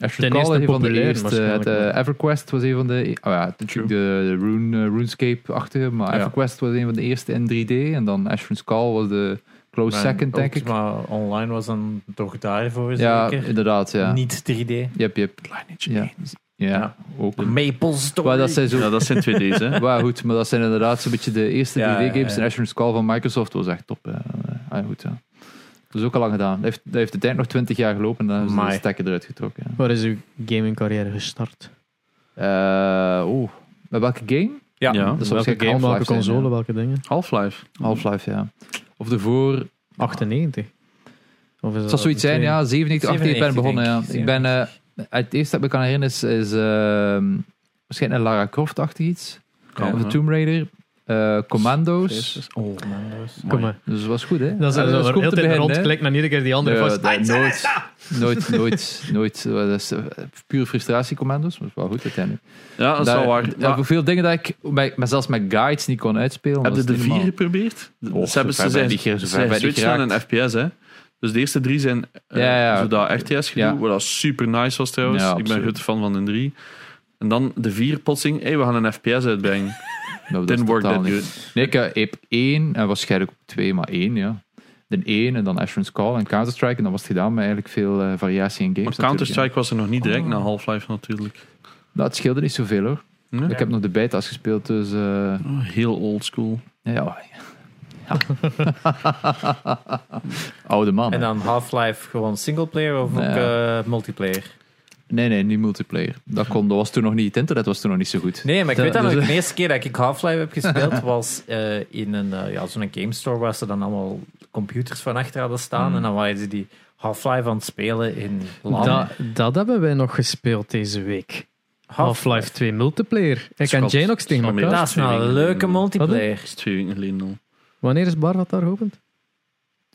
[SPEAKER 2] Ashran's
[SPEAKER 1] Ten
[SPEAKER 2] Call
[SPEAKER 1] eerste
[SPEAKER 2] is een van de
[SPEAKER 1] populair,
[SPEAKER 2] eerste.
[SPEAKER 1] waarschijnlijk,
[SPEAKER 2] Het, eh,
[SPEAKER 1] ja.
[SPEAKER 2] EverQuest was een van de. Oh ja, natuurlijk de, de Rune, eh, RuneScape-achtige. Maar
[SPEAKER 4] Ja.
[SPEAKER 2] EverQuest was een van de eerste in 3D. En dan Ashran's Call was de close second, denk ik.
[SPEAKER 3] Maar online was dan toch daarvoor
[SPEAKER 2] Ja,
[SPEAKER 3] zeker.
[SPEAKER 2] inderdaad, ja.
[SPEAKER 3] Niet 3D.
[SPEAKER 2] Yep, yep. Ja, ja,
[SPEAKER 3] Ja.
[SPEAKER 2] ook.
[SPEAKER 3] Maple Story.
[SPEAKER 2] Maar dat zijn zo
[SPEAKER 4] Ja, dat zijn 2D's, hè.
[SPEAKER 2] Maar goed, maar dat zijn inderdaad zo'n beetje de eerste
[SPEAKER 3] Ja,
[SPEAKER 2] 3D-games.
[SPEAKER 3] ja, ja.
[SPEAKER 2] En Ashram's Call van Microsoft was echt top. hè. Ah, goed, ja. Dat is ook al lang gedaan. Dat heeft, dat heeft uiteindelijk nog 20 jaar gelopen en dan hebben ze de
[SPEAKER 3] Amai.
[SPEAKER 2] stekker eruit getrokken. ja.
[SPEAKER 1] Waar is uw gamingcarrière gestart?
[SPEAKER 2] Eh, Oeh, met welke game?
[SPEAKER 3] ja.
[SPEAKER 4] Ja.
[SPEAKER 2] Dat is
[SPEAKER 1] welke
[SPEAKER 2] waarschijnlijk
[SPEAKER 1] game, welke
[SPEAKER 2] Half-Life zijn,
[SPEAKER 1] console,
[SPEAKER 2] ja.
[SPEAKER 1] welke dingen?
[SPEAKER 4] Half-Life.
[SPEAKER 2] Half-Life, ja. Of ervoor,
[SPEAKER 1] 98? Of is
[SPEAKER 2] het zal zoiets zijn, ja, 97, 98 ik ben
[SPEAKER 3] 97,
[SPEAKER 2] begonnen. Ja.
[SPEAKER 3] denk ik.
[SPEAKER 2] Ik ben, eh, het eerste dat ik me kan herinneren is, is ehm, waarschijnlijk een Lara Croft-achtig iets.
[SPEAKER 4] Ja.
[SPEAKER 2] Of een Tomb Raider, eh, Commando's.
[SPEAKER 4] Jezus.
[SPEAKER 3] Oh, man, dat is-
[SPEAKER 1] Kom maar.
[SPEAKER 2] Dus dat was goed, hè?
[SPEAKER 1] Dat is
[SPEAKER 2] Ja,
[SPEAKER 1] een
[SPEAKER 2] goed
[SPEAKER 1] heel
[SPEAKER 2] te
[SPEAKER 1] tijd
[SPEAKER 2] beginnen, hè.
[SPEAKER 1] rondklikken en iedere keer die andere
[SPEAKER 2] Ja,
[SPEAKER 1] vast.
[SPEAKER 2] dat- nooit, nooit, nooit, nooit. Eh, Dat is eh, puur frustratiecomando's, maar het is wel goed uiteindelijk.
[SPEAKER 4] Ja, dat is
[SPEAKER 2] Daar-
[SPEAKER 4] wel waar.
[SPEAKER 2] daar
[SPEAKER 4] Maar
[SPEAKER 2] heb ik veel dingen dat ik met, met zelfs met guides niet kon uitspelen. dat
[SPEAKER 4] heb je
[SPEAKER 2] is
[SPEAKER 4] de
[SPEAKER 2] niet
[SPEAKER 4] 4
[SPEAKER 2] normaal.
[SPEAKER 4] geprobeerd?
[SPEAKER 2] Oh,
[SPEAKER 4] ze
[SPEAKER 2] zo
[SPEAKER 4] hebben ze
[SPEAKER 2] ver ben
[SPEAKER 4] zijn,
[SPEAKER 2] ik niet ge- zo
[SPEAKER 4] ze
[SPEAKER 2] ver ben ik
[SPEAKER 4] switchen aan
[SPEAKER 2] geraakt.
[SPEAKER 4] een FPS, hè. Dus de eerste drie zijn eh,
[SPEAKER 2] Ja, ja.
[SPEAKER 4] zo dat RTS gedoe,
[SPEAKER 2] Ja.
[SPEAKER 4] wat dat super nice was trouwens.
[SPEAKER 2] Ja,
[SPEAKER 4] ik ben
[SPEAKER 2] absoluut.
[SPEAKER 4] goed fan van de drie. En dan de vier potsing, hey, we gaan een FPS uitbrengen.
[SPEAKER 2] Nou, dat is
[SPEAKER 4] Didn't work
[SPEAKER 2] totaal
[SPEAKER 4] that
[SPEAKER 2] niet.
[SPEAKER 4] good.
[SPEAKER 2] Nee, ik eh, heb één, en waarschijnlijk ook twee, maar één, ja. De één en dan Ashran's Call en Counter-Strike. En dan was het gedaan met eigenlijk veel eh, variatie in
[SPEAKER 4] Maar
[SPEAKER 2] games. natuurlijk,
[SPEAKER 4] Counter-Strike was er nog niet
[SPEAKER 2] Oh.
[SPEAKER 4] direct na Half-Life natuurlijk.
[SPEAKER 2] ja. Nou, het scheelde niet zoveel, hoor.
[SPEAKER 4] Nee?
[SPEAKER 2] Ik heb nog de beta's gespeeld, dus... eh,
[SPEAKER 4] Oh, heel oldschool.
[SPEAKER 2] ja. ja. Oude man.
[SPEAKER 3] En
[SPEAKER 2] hè.
[SPEAKER 3] dan Half-Life gewoon singleplayer of ook
[SPEAKER 2] Ja.
[SPEAKER 3] eh, multiplayer?
[SPEAKER 2] Nee, nee, niet multiplayer. Dat, kon, dat was toen nog niet. Het internet was toen nog niet zo goed.
[SPEAKER 3] Nee, maar ik
[SPEAKER 2] Dat-
[SPEAKER 3] weet dat
[SPEAKER 2] dat-
[SPEAKER 3] nog, de eerste keer dat ik Half-Life heb gespeeld was eh, in een, eh, ja, zo'n game store waar ze dan allemaal computers van achter hadden staan. En dan waren ze die Half-Life aan het spelen in LAN.
[SPEAKER 1] Dat, dat hebben wij nog gespeeld deze week. Half-Life 2 multiplayer. Ik en
[SPEAKER 4] Schat,
[SPEAKER 1] Janox tegen
[SPEAKER 4] Schat,
[SPEAKER 1] elkaar.
[SPEAKER 4] ja.
[SPEAKER 3] Dat is nou een leuke multiplayer.
[SPEAKER 4] Dat is twee weken geleden al.
[SPEAKER 1] Wanneer is Barvat daar geopend?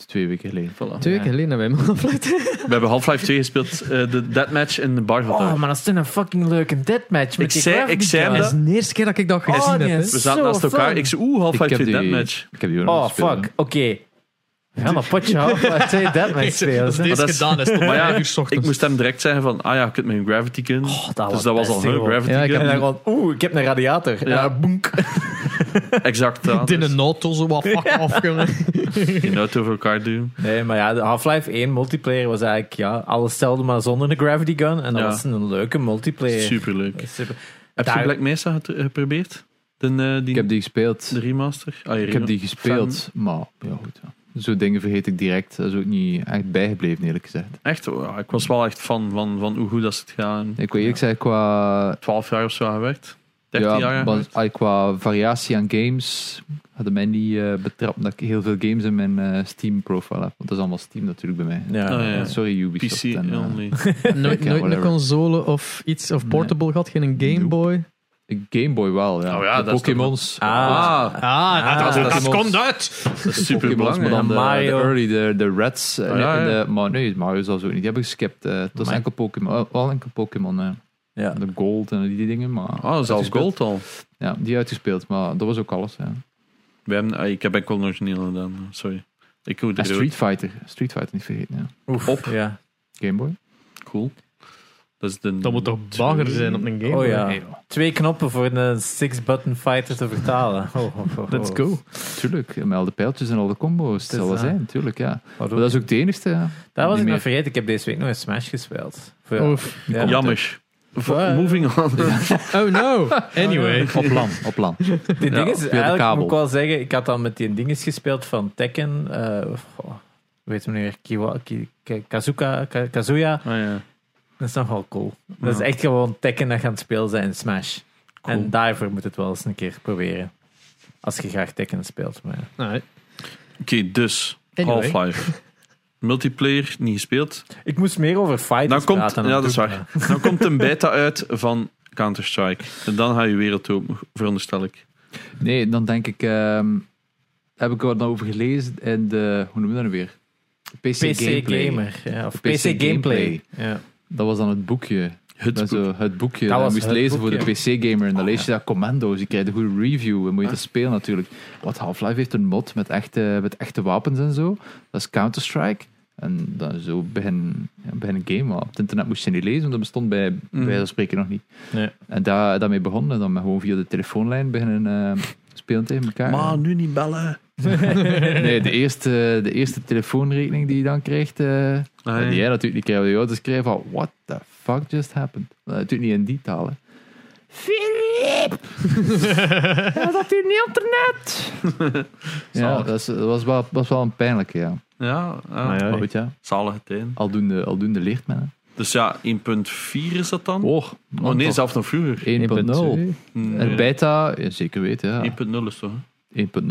[SPEAKER 2] Twee weken geleden.
[SPEAKER 4] Voilà.
[SPEAKER 1] Twee weken geleden hebben wij Half-Life 2.
[SPEAKER 4] We hebben Half-Life 2 gespeeld, eh, de deathmatch in de bar van
[SPEAKER 3] Oh,
[SPEAKER 4] daar.
[SPEAKER 3] maar dat is toen een fucking leuke deathmatch. Met
[SPEAKER 4] Ik
[SPEAKER 3] die
[SPEAKER 4] zei-
[SPEAKER 3] graphic
[SPEAKER 4] ik zei
[SPEAKER 3] guns.
[SPEAKER 1] Dat is de eerste keer dat ik dat gezien
[SPEAKER 3] Oh,
[SPEAKER 1] heb.
[SPEAKER 3] die
[SPEAKER 1] hè.
[SPEAKER 4] We
[SPEAKER 3] is-
[SPEAKER 4] zaten
[SPEAKER 3] Zo
[SPEAKER 4] naast elkaar.
[SPEAKER 3] fun.
[SPEAKER 4] Ik zei, oeh, Half-Life 2
[SPEAKER 2] die,
[SPEAKER 4] deathmatch.
[SPEAKER 2] Ik heb die ook nog
[SPEAKER 3] Oh,
[SPEAKER 2] gespeeld.
[SPEAKER 3] fuck. Oké. Ga maar potje Half-Life 2 deathmatch spelen.
[SPEAKER 4] Maar dat is-
[SPEAKER 1] is tot
[SPEAKER 4] Maar ja,
[SPEAKER 1] vijf uur 's
[SPEAKER 4] ik
[SPEAKER 1] ochtends.
[SPEAKER 4] moest hem direct zeggen van, ah ja, je kunt met een gravity gun.
[SPEAKER 3] Oh, dat
[SPEAKER 4] dus dat was al
[SPEAKER 3] best,
[SPEAKER 4] hun
[SPEAKER 3] joh.
[SPEAKER 4] gravity
[SPEAKER 2] Ja, ik
[SPEAKER 4] gun.
[SPEAKER 3] En dan gewoon, oeh, ik heb een radiator. En
[SPEAKER 4] Ja.
[SPEAKER 3] dan boenk.
[SPEAKER 4] Exact. ja,
[SPEAKER 1] in
[SPEAKER 4] dus
[SPEAKER 1] een auto zo wat fuck af. jongen.
[SPEAKER 4] geen auto voor elkaar doen.
[SPEAKER 3] Nee, maar ja, de Half-Life 1 multiplayer was eigenlijk ja, alles hetzelfde, maar zonder een gravity gun. En dat
[SPEAKER 4] Ja.
[SPEAKER 3] was een leuke multiplayer.
[SPEAKER 4] Superleuk.
[SPEAKER 3] Super.
[SPEAKER 4] Heb je
[SPEAKER 3] Daar-
[SPEAKER 4] Black Mesa get- geprobeerd? De, eh, die,
[SPEAKER 2] Ik heb die gespeeld.
[SPEAKER 4] de remaster? Ah, je
[SPEAKER 2] Ik heb die
[SPEAKER 4] rem-
[SPEAKER 2] gespeeld, maar ja, goed. Ja. Zo dingen vergeet ik direct. Dat is ook niet echt bijgebleven, eerlijk gezegd.
[SPEAKER 4] Fan. Echt, oh, ja, ik was wel echt fan van, van hoe goed dat ze het gaan.
[SPEAKER 2] Ik wil eerlijk zeggen, qua,
[SPEAKER 4] 12 jaar of zo aan gewerkt. 13 jaar aan
[SPEAKER 2] maar
[SPEAKER 4] gewerkt.
[SPEAKER 2] eigenlijk qua variatie aan games hadden mij niet eh, betrapt dat ik heel veel games in mijn eh, Steam-profile heb. Want dat is allemaal Steam natuurlijk bij mij.
[SPEAKER 3] Ja.
[SPEAKER 4] Oh, ja.
[SPEAKER 2] Eh, Sorry, Ubisoft.
[SPEAKER 4] PC
[SPEAKER 2] en, eh,
[SPEAKER 4] only.
[SPEAKER 1] Nooit,
[SPEAKER 2] Ja,
[SPEAKER 1] nooit een
[SPEAKER 2] whatever.
[SPEAKER 1] console of iets of portable gehad, geen een Game
[SPEAKER 2] Nope.
[SPEAKER 1] Boy.
[SPEAKER 2] Game Boy wel, ja.
[SPEAKER 4] Oh ja,
[SPEAKER 2] De
[SPEAKER 4] dat is toch-
[SPEAKER 2] Pokémons.
[SPEAKER 4] Ah,
[SPEAKER 1] Ah,
[SPEAKER 4] dat- dat
[SPEAKER 1] komt uit!
[SPEAKER 4] dat is super
[SPEAKER 2] Pokémon's, maar
[SPEAKER 4] belangrijk.
[SPEAKER 2] dan de,
[SPEAKER 3] Mario.
[SPEAKER 2] de early, de, de Reds. eh,
[SPEAKER 4] Ah, ja,
[SPEAKER 2] en
[SPEAKER 4] ja.
[SPEAKER 2] de- maar nee, Mario zelfs ook niet. Die hebben geskipt. eh het was
[SPEAKER 3] Amai.
[SPEAKER 2] enkel Pokémon. wel- Wel enkel Pokémon. eh,
[SPEAKER 3] Ja.
[SPEAKER 2] De Gold en die dingen. Maar,
[SPEAKER 4] Ah, zelfs
[SPEAKER 2] uitgespeeld.
[SPEAKER 4] gold al.
[SPEAKER 2] Ja, die uitgespeeld. Maar dat was ook alles. Ja.
[SPEAKER 4] We hebben, ah, ik heb enkel origineel gedaan, sorry. Ik hoor
[SPEAKER 2] En
[SPEAKER 4] de rood.
[SPEAKER 2] Street Fighter. Street Fighter niet vergeten. Ja.
[SPEAKER 3] Oef,
[SPEAKER 4] Op.
[SPEAKER 3] Ja.
[SPEAKER 2] Game Boy.
[SPEAKER 4] Cool. Dat, is de
[SPEAKER 1] Dat moet toch bagger zijn op een Game
[SPEAKER 3] Oh
[SPEAKER 1] Boy?
[SPEAKER 3] ja.
[SPEAKER 2] Hey, joh.
[SPEAKER 3] Twee knoppen voor een eh, six-button fighter te vertalen. Oh, oh, oh, oh.
[SPEAKER 1] Let's go.
[SPEAKER 2] Tuurlijk. Met al de pijltjes en al de combo's. Het
[SPEAKER 3] Dat is
[SPEAKER 2] zal wel
[SPEAKER 3] waar.
[SPEAKER 2] zijn. Tuurlijk, ja.
[SPEAKER 3] Wat
[SPEAKER 2] Maar
[SPEAKER 3] doe
[SPEAKER 2] dat
[SPEAKER 3] ik?
[SPEAKER 2] is ook de enigste. Ja.
[SPEAKER 3] Dat was
[SPEAKER 2] Niet
[SPEAKER 3] ik nog
[SPEAKER 2] meer.
[SPEAKER 3] vergeten. Ik heb deze week nog een Smash gespeeld. Voor-
[SPEAKER 1] Oef.
[SPEAKER 3] ja.
[SPEAKER 4] Jammer. Fuck, Moving on.
[SPEAKER 1] Oh no! Anyway.
[SPEAKER 2] Op plan, op plan.
[SPEAKER 3] Die
[SPEAKER 4] Ja,
[SPEAKER 3] ding
[SPEAKER 2] via
[SPEAKER 3] is,
[SPEAKER 2] de
[SPEAKER 3] eigenlijk
[SPEAKER 2] kabel.
[SPEAKER 3] moet ik wel zeggen, ik had dan met die dinges gespeeld van Tekken. eh, of, goh, weet meneer Kiwa, Ki- Ki- Kazuka, Ka- Kazuya.
[SPEAKER 4] Ah, ja.
[SPEAKER 3] Dat is nogal cool. Dat is echt gewoon Tekken dat je aan het spelen zijn en Smash.
[SPEAKER 4] Cool.
[SPEAKER 3] En daarvoor moet het wel eens een keer proberen. Als je graag Tekken speelt. Maar...
[SPEAKER 1] Alright.
[SPEAKER 4] Oké, dus.
[SPEAKER 1] Anyway.
[SPEAKER 4] Half-Life. Multiplayer, niet gespeeld.
[SPEAKER 3] Ik moest meer over fighters
[SPEAKER 4] Dan komt,
[SPEAKER 3] praten.
[SPEAKER 4] ja, dat is
[SPEAKER 3] doe ik
[SPEAKER 4] waar. Dan komt een beta uit van Counter-Strike. En dan ga je wereld open, veronderstel ik.
[SPEAKER 2] Nee, dan denk ik... ehm, heb ik wat nou over gelezen in de... Hoe noemen we dat nu weer? PC,
[SPEAKER 3] niet. PC
[SPEAKER 2] Gameplay.
[SPEAKER 3] Gamer. Ja, of PC,
[SPEAKER 2] PC
[SPEAKER 3] Gameplay.
[SPEAKER 2] Gameplay.
[SPEAKER 3] Ja.
[SPEAKER 2] Dat was dan het boekje.
[SPEAKER 4] Het
[SPEAKER 2] Dat is
[SPEAKER 4] boek.
[SPEAKER 2] zo het boekje
[SPEAKER 3] Dat
[SPEAKER 2] dat,
[SPEAKER 3] was
[SPEAKER 2] je moest
[SPEAKER 3] het
[SPEAKER 2] lezen voor de
[SPEAKER 3] boekje. Ah,
[SPEAKER 2] PC-gamer. En dan lees je daar commando's. Je krijgt een goede review. En moet je dat spelen natuurlijk. Want Half-Life heeft een mod met echte, met echte wapens en zo. Dat is Counter-Strike. En dan zo begin, ja, begin een game. Op het internet moest je niet lezen, want dat bestond bij, bij wijze van spreken nog niet.
[SPEAKER 3] Mm. Nee.
[SPEAKER 2] En daar, daarmee begonnen. Dan met gewoon via de telefoonlijn beginnen eh, spelen tegen elkaar.
[SPEAKER 4] Maar nu niet bellen.
[SPEAKER 2] Nee, de eerste, de eerste telefoonrekening die je dan krijgt... eh,
[SPEAKER 4] Ah,
[SPEAKER 2] die
[SPEAKER 4] ja.
[SPEAKER 2] jij natuurlijk niet krijgt. want Je ouders schrijven van, what the fuck just happened? Dat is natuurlijk niet in die taal, hè. Philip! ja, dat u niet internet! ja,
[SPEAKER 4] Zalig.
[SPEAKER 2] dat, is- dat was, wel, was wel een pijnlijke, ja.
[SPEAKER 4] Ja, ja.
[SPEAKER 1] Maar ja,
[SPEAKER 2] Maar goed, ja.
[SPEAKER 4] zalige tijden.
[SPEAKER 2] Aldoende, aldoende leert men, hè.
[SPEAKER 4] Dus ja, 1.4 is dat dan? Oh,
[SPEAKER 2] Oh, man,
[SPEAKER 4] nee,
[SPEAKER 2] toch.
[SPEAKER 4] zelfs nog vroeger.
[SPEAKER 2] 1.0.
[SPEAKER 1] 1.2.
[SPEAKER 2] En
[SPEAKER 4] Nee.
[SPEAKER 2] beta, ja, zeker weten, ja.
[SPEAKER 4] 1.0 is toch? hè?
[SPEAKER 2] 1.0.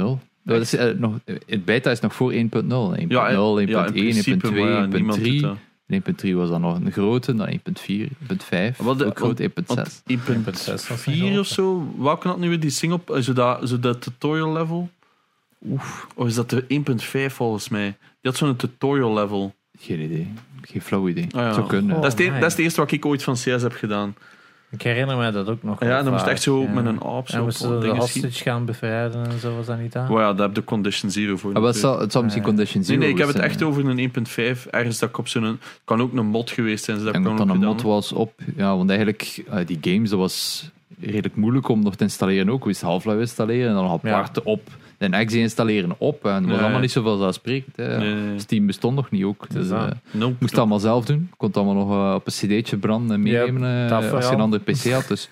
[SPEAKER 2] Dat is, eh, nog, het beta is nog voor 1.0. 1.0, 1.1, 1.2,
[SPEAKER 4] Ja, en- ja, in principe, maar ja, niemand doet
[SPEAKER 2] 1.3.
[SPEAKER 4] dat.
[SPEAKER 2] 1.3 was dan nog een grote, dan 1.4, 1.5,
[SPEAKER 4] Wat de-
[SPEAKER 2] ook groot 1.6.
[SPEAKER 4] Want
[SPEAKER 3] 1.6 was mijn
[SPEAKER 4] 1.4 of
[SPEAKER 3] grote.
[SPEAKER 4] zo, welke had nu weer die single, eh, zo dat, zo dat tutorial level? Oef, of is dat de 1.5 volgens mij? Die had zo'n tutorial level.
[SPEAKER 2] Geen idee. Geen flauw idee.
[SPEAKER 4] Ah, ja.
[SPEAKER 2] Zou kunnen.
[SPEAKER 3] Oh,
[SPEAKER 4] dat, is de,
[SPEAKER 3] my.
[SPEAKER 4] dat is de eerste wat ik ooit van CS heb gedaan. Ah
[SPEAKER 3] Ik herinner me dat ook nog.
[SPEAKER 4] Ja,
[SPEAKER 3] wel
[SPEAKER 4] en dan moest
[SPEAKER 3] vaak,
[SPEAKER 4] echt zo
[SPEAKER 3] ja.
[SPEAKER 4] met een aap
[SPEAKER 3] En
[SPEAKER 4] zo
[SPEAKER 3] moesten
[SPEAKER 4] op
[SPEAKER 3] we de
[SPEAKER 4] dingen
[SPEAKER 3] hostage
[SPEAKER 4] schieten.
[SPEAKER 3] gaan bevrijden en zo, was dat niet aan?
[SPEAKER 4] Maar ja, daar heb de Condition Zero voor.
[SPEAKER 2] Ah, wel, het,
[SPEAKER 4] natuurlijk.
[SPEAKER 2] zal, het zal misschien
[SPEAKER 3] Eh,
[SPEAKER 2] Condition
[SPEAKER 4] Nee,
[SPEAKER 2] Zero
[SPEAKER 4] nee, ik heb het
[SPEAKER 2] zijn,
[SPEAKER 4] echt
[SPEAKER 2] hè.
[SPEAKER 4] over een 1.5. Ergens dat ik op zo'n... Het kan ook een mod geweest zijn. Dus dat
[SPEAKER 2] En
[SPEAKER 4] ik
[SPEAKER 2] dat
[SPEAKER 4] dan
[SPEAKER 2] dan
[SPEAKER 4] ook
[SPEAKER 2] een
[SPEAKER 4] gedaan
[SPEAKER 2] mod was op. Ja, want eigenlijk, eh, die games, dat was redelijk moeilijk om nog te installeren ook. We moesten Half-Life installeren en dan apart op. En X E installeren op. En dat was
[SPEAKER 4] Ja,
[SPEAKER 2] allemaal
[SPEAKER 4] ja.
[SPEAKER 2] niet zoveel als spreekt. Hè.
[SPEAKER 4] Nee, nee, nee.
[SPEAKER 2] Steam bestond nog niet ook. Dus,
[SPEAKER 3] dat.
[SPEAKER 2] eh,
[SPEAKER 4] Nope.
[SPEAKER 2] moest het allemaal zelf doen. Kon het allemaal nog eh, op een cd'tje branden en
[SPEAKER 3] Ja,
[SPEAKER 2] meenemen eh,
[SPEAKER 3] dat
[SPEAKER 2] als je
[SPEAKER 3] vooral.
[SPEAKER 2] een andere pc had. Dus,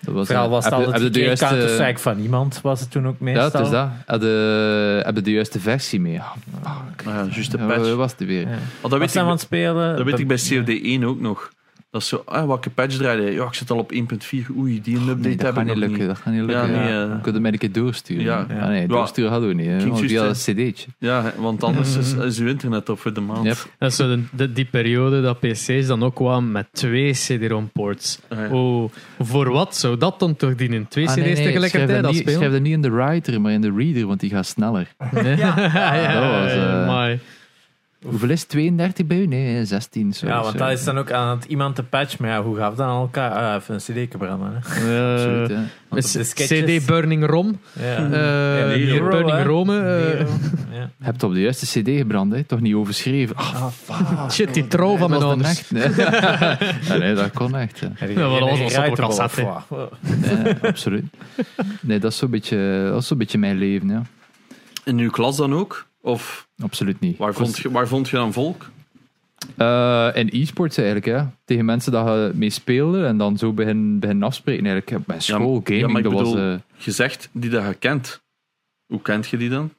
[SPEAKER 2] dat was,
[SPEAKER 3] Vooral
[SPEAKER 2] eh,
[SPEAKER 3] was het
[SPEAKER 2] heb je- heb
[SPEAKER 3] altijd
[SPEAKER 2] je de
[SPEAKER 3] geen
[SPEAKER 2] juiste-
[SPEAKER 3] Counter-Strike van iemand, was het toen ook
[SPEAKER 2] Ja,
[SPEAKER 3] meestal.
[SPEAKER 2] het is dat. Hebben heb je de juiste versie mee? Ah, fuck.
[SPEAKER 4] Ah, ja, juist de
[SPEAKER 2] Ja,
[SPEAKER 4] patch.
[SPEAKER 2] waar was die weer?
[SPEAKER 3] Ja.
[SPEAKER 4] Ah, dat
[SPEAKER 3] Wat
[SPEAKER 4] weet
[SPEAKER 3] zijn we aan
[SPEAKER 4] ik
[SPEAKER 3] het spelen?
[SPEAKER 4] Dat
[SPEAKER 2] Eh,
[SPEAKER 4] weet ik bij COD1 ook nog. Dat is zo, ah, welke patch draaide? hij? Ja, ik zit al op 1.4. Oei, die
[SPEAKER 2] Nee,
[SPEAKER 4] update
[SPEAKER 2] dat
[SPEAKER 4] heb ik
[SPEAKER 2] gaat
[SPEAKER 4] nog
[SPEAKER 2] niet lukken.
[SPEAKER 4] niet.
[SPEAKER 2] Dat gaat niet
[SPEAKER 4] Ja,
[SPEAKER 2] lukken.
[SPEAKER 4] nee,
[SPEAKER 2] Ja.
[SPEAKER 4] eh.
[SPEAKER 2] We kunnen mij een keer doorsturen.
[SPEAKER 4] Ja.
[SPEAKER 2] Ah, nee,
[SPEAKER 4] Ja.
[SPEAKER 2] doorsturen hadden we niet. Hè,
[SPEAKER 4] Ging
[SPEAKER 2] want die
[SPEAKER 4] juist,
[SPEAKER 2] hadden een cd'tje.
[SPEAKER 4] Ja, want anders is, is uw internet op voor de maand.
[SPEAKER 2] Mm-hmm. Yep.
[SPEAKER 1] Dat is zo de, de- die periode dat PC's dan ook kwamen met twee CD-ROM-ports.
[SPEAKER 4] Ah, ja.
[SPEAKER 1] Oh, voor wat zou dat dan toch dienen? Twee
[SPEAKER 2] Ah,
[SPEAKER 1] CD's
[SPEAKER 2] nee, nee, schrijf
[SPEAKER 1] tegelijkertijd
[SPEAKER 2] dat niet,
[SPEAKER 1] afspelen?
[SPEAKER 2] schrijf dat niet in de writer, maar in de reader, want die gaat sneller.
[SPEAKER 1] ja,
[SPEAKER 2] dat was, eh,
[SPEAKER 1] amai.
[SPEAKER 2] Hoeveel is 32 bij u? Nee, 16. Sorry,
[SPEAKER 3] ja, want dat
[SPEAKER 2] sorry.
[SPEAKER 3] is dan ook aan het iemand te patch. Maar ja, hoe gaat dat aan elkaar? Ah, even een cd branden. Hè?
[SPEAKER 1] Eh,
[SPEAKER 2] Absoluut, hè.
[SPEAKER 3] Want op de
[SPEAKER 1] is
[SPEAKER 3] sketches-
[SPEAKER 1] CD Burning ROM.
[SPEAKER 3] Ja.
[SPEAKER 1] eh,
[SPEAKER 3] Ja,
[SPEAKER 1] hier
[SPEAKER 3] Nero,
[SPEAKER 1] Burning
[SPEAKER 3] hè.
[SPEAKER 1] Rome. eh,
[SPEAKER 3] Nero, ja.
[SPEAKER 2] Heb het op de juiste cd gebrand, hè? toch niet overschreven. Ah, fuck.
[SPEAKER 1] shit, die trouw van mijn
[SPEAKER 2] Dat was
[SPEAKER 1] ouders.
[SPEAKER 2] echt,
[SPEAKER 4] dus?
[SPEAKER 2] nee. Ja, nee, dat kon echt. hè.
[SPEAKER 3] Ja, die-
[SPEAKER 1] Ja, maar dat was
[SPEAKER 3] die
[SPEAKER 1] wel
[SPEAKER 3] ruiten
[SPEAKER 1] zo'n
[SPEAKER 3] wel
[SPEAKER 1] cassette.
[SPEAKER 3] af, hoor.
[SPEAKER 2] Nee, absoluut. Nee, dat is zo'n beetje, dat is zo'n beetje mijn leven, ja.
[SPEAKER 4] In uw klas dan ook? Of
[SPEAKER 2] Absoluut niet.
[SPEAKER 4] waar vond je, waar vond je dan volk?
[SPEAKER 2] Eh, en e-sports eigenlijk, ja. Tegen mensen dat je mee speelde en dan zo begin, begin afspreken. Eigenlijk, bij school,
[SPEAKER 4] ja,
[SPEAKER 2] gaming,
[SPEAKER 4] maar ik
[SPEAKER 2] dat was
[SPEAKER 4] bedoel-
[SPEAKER 2] eh,
[SPEAKER 4] Je zegt die dat je kent. Hoe kent je die dan?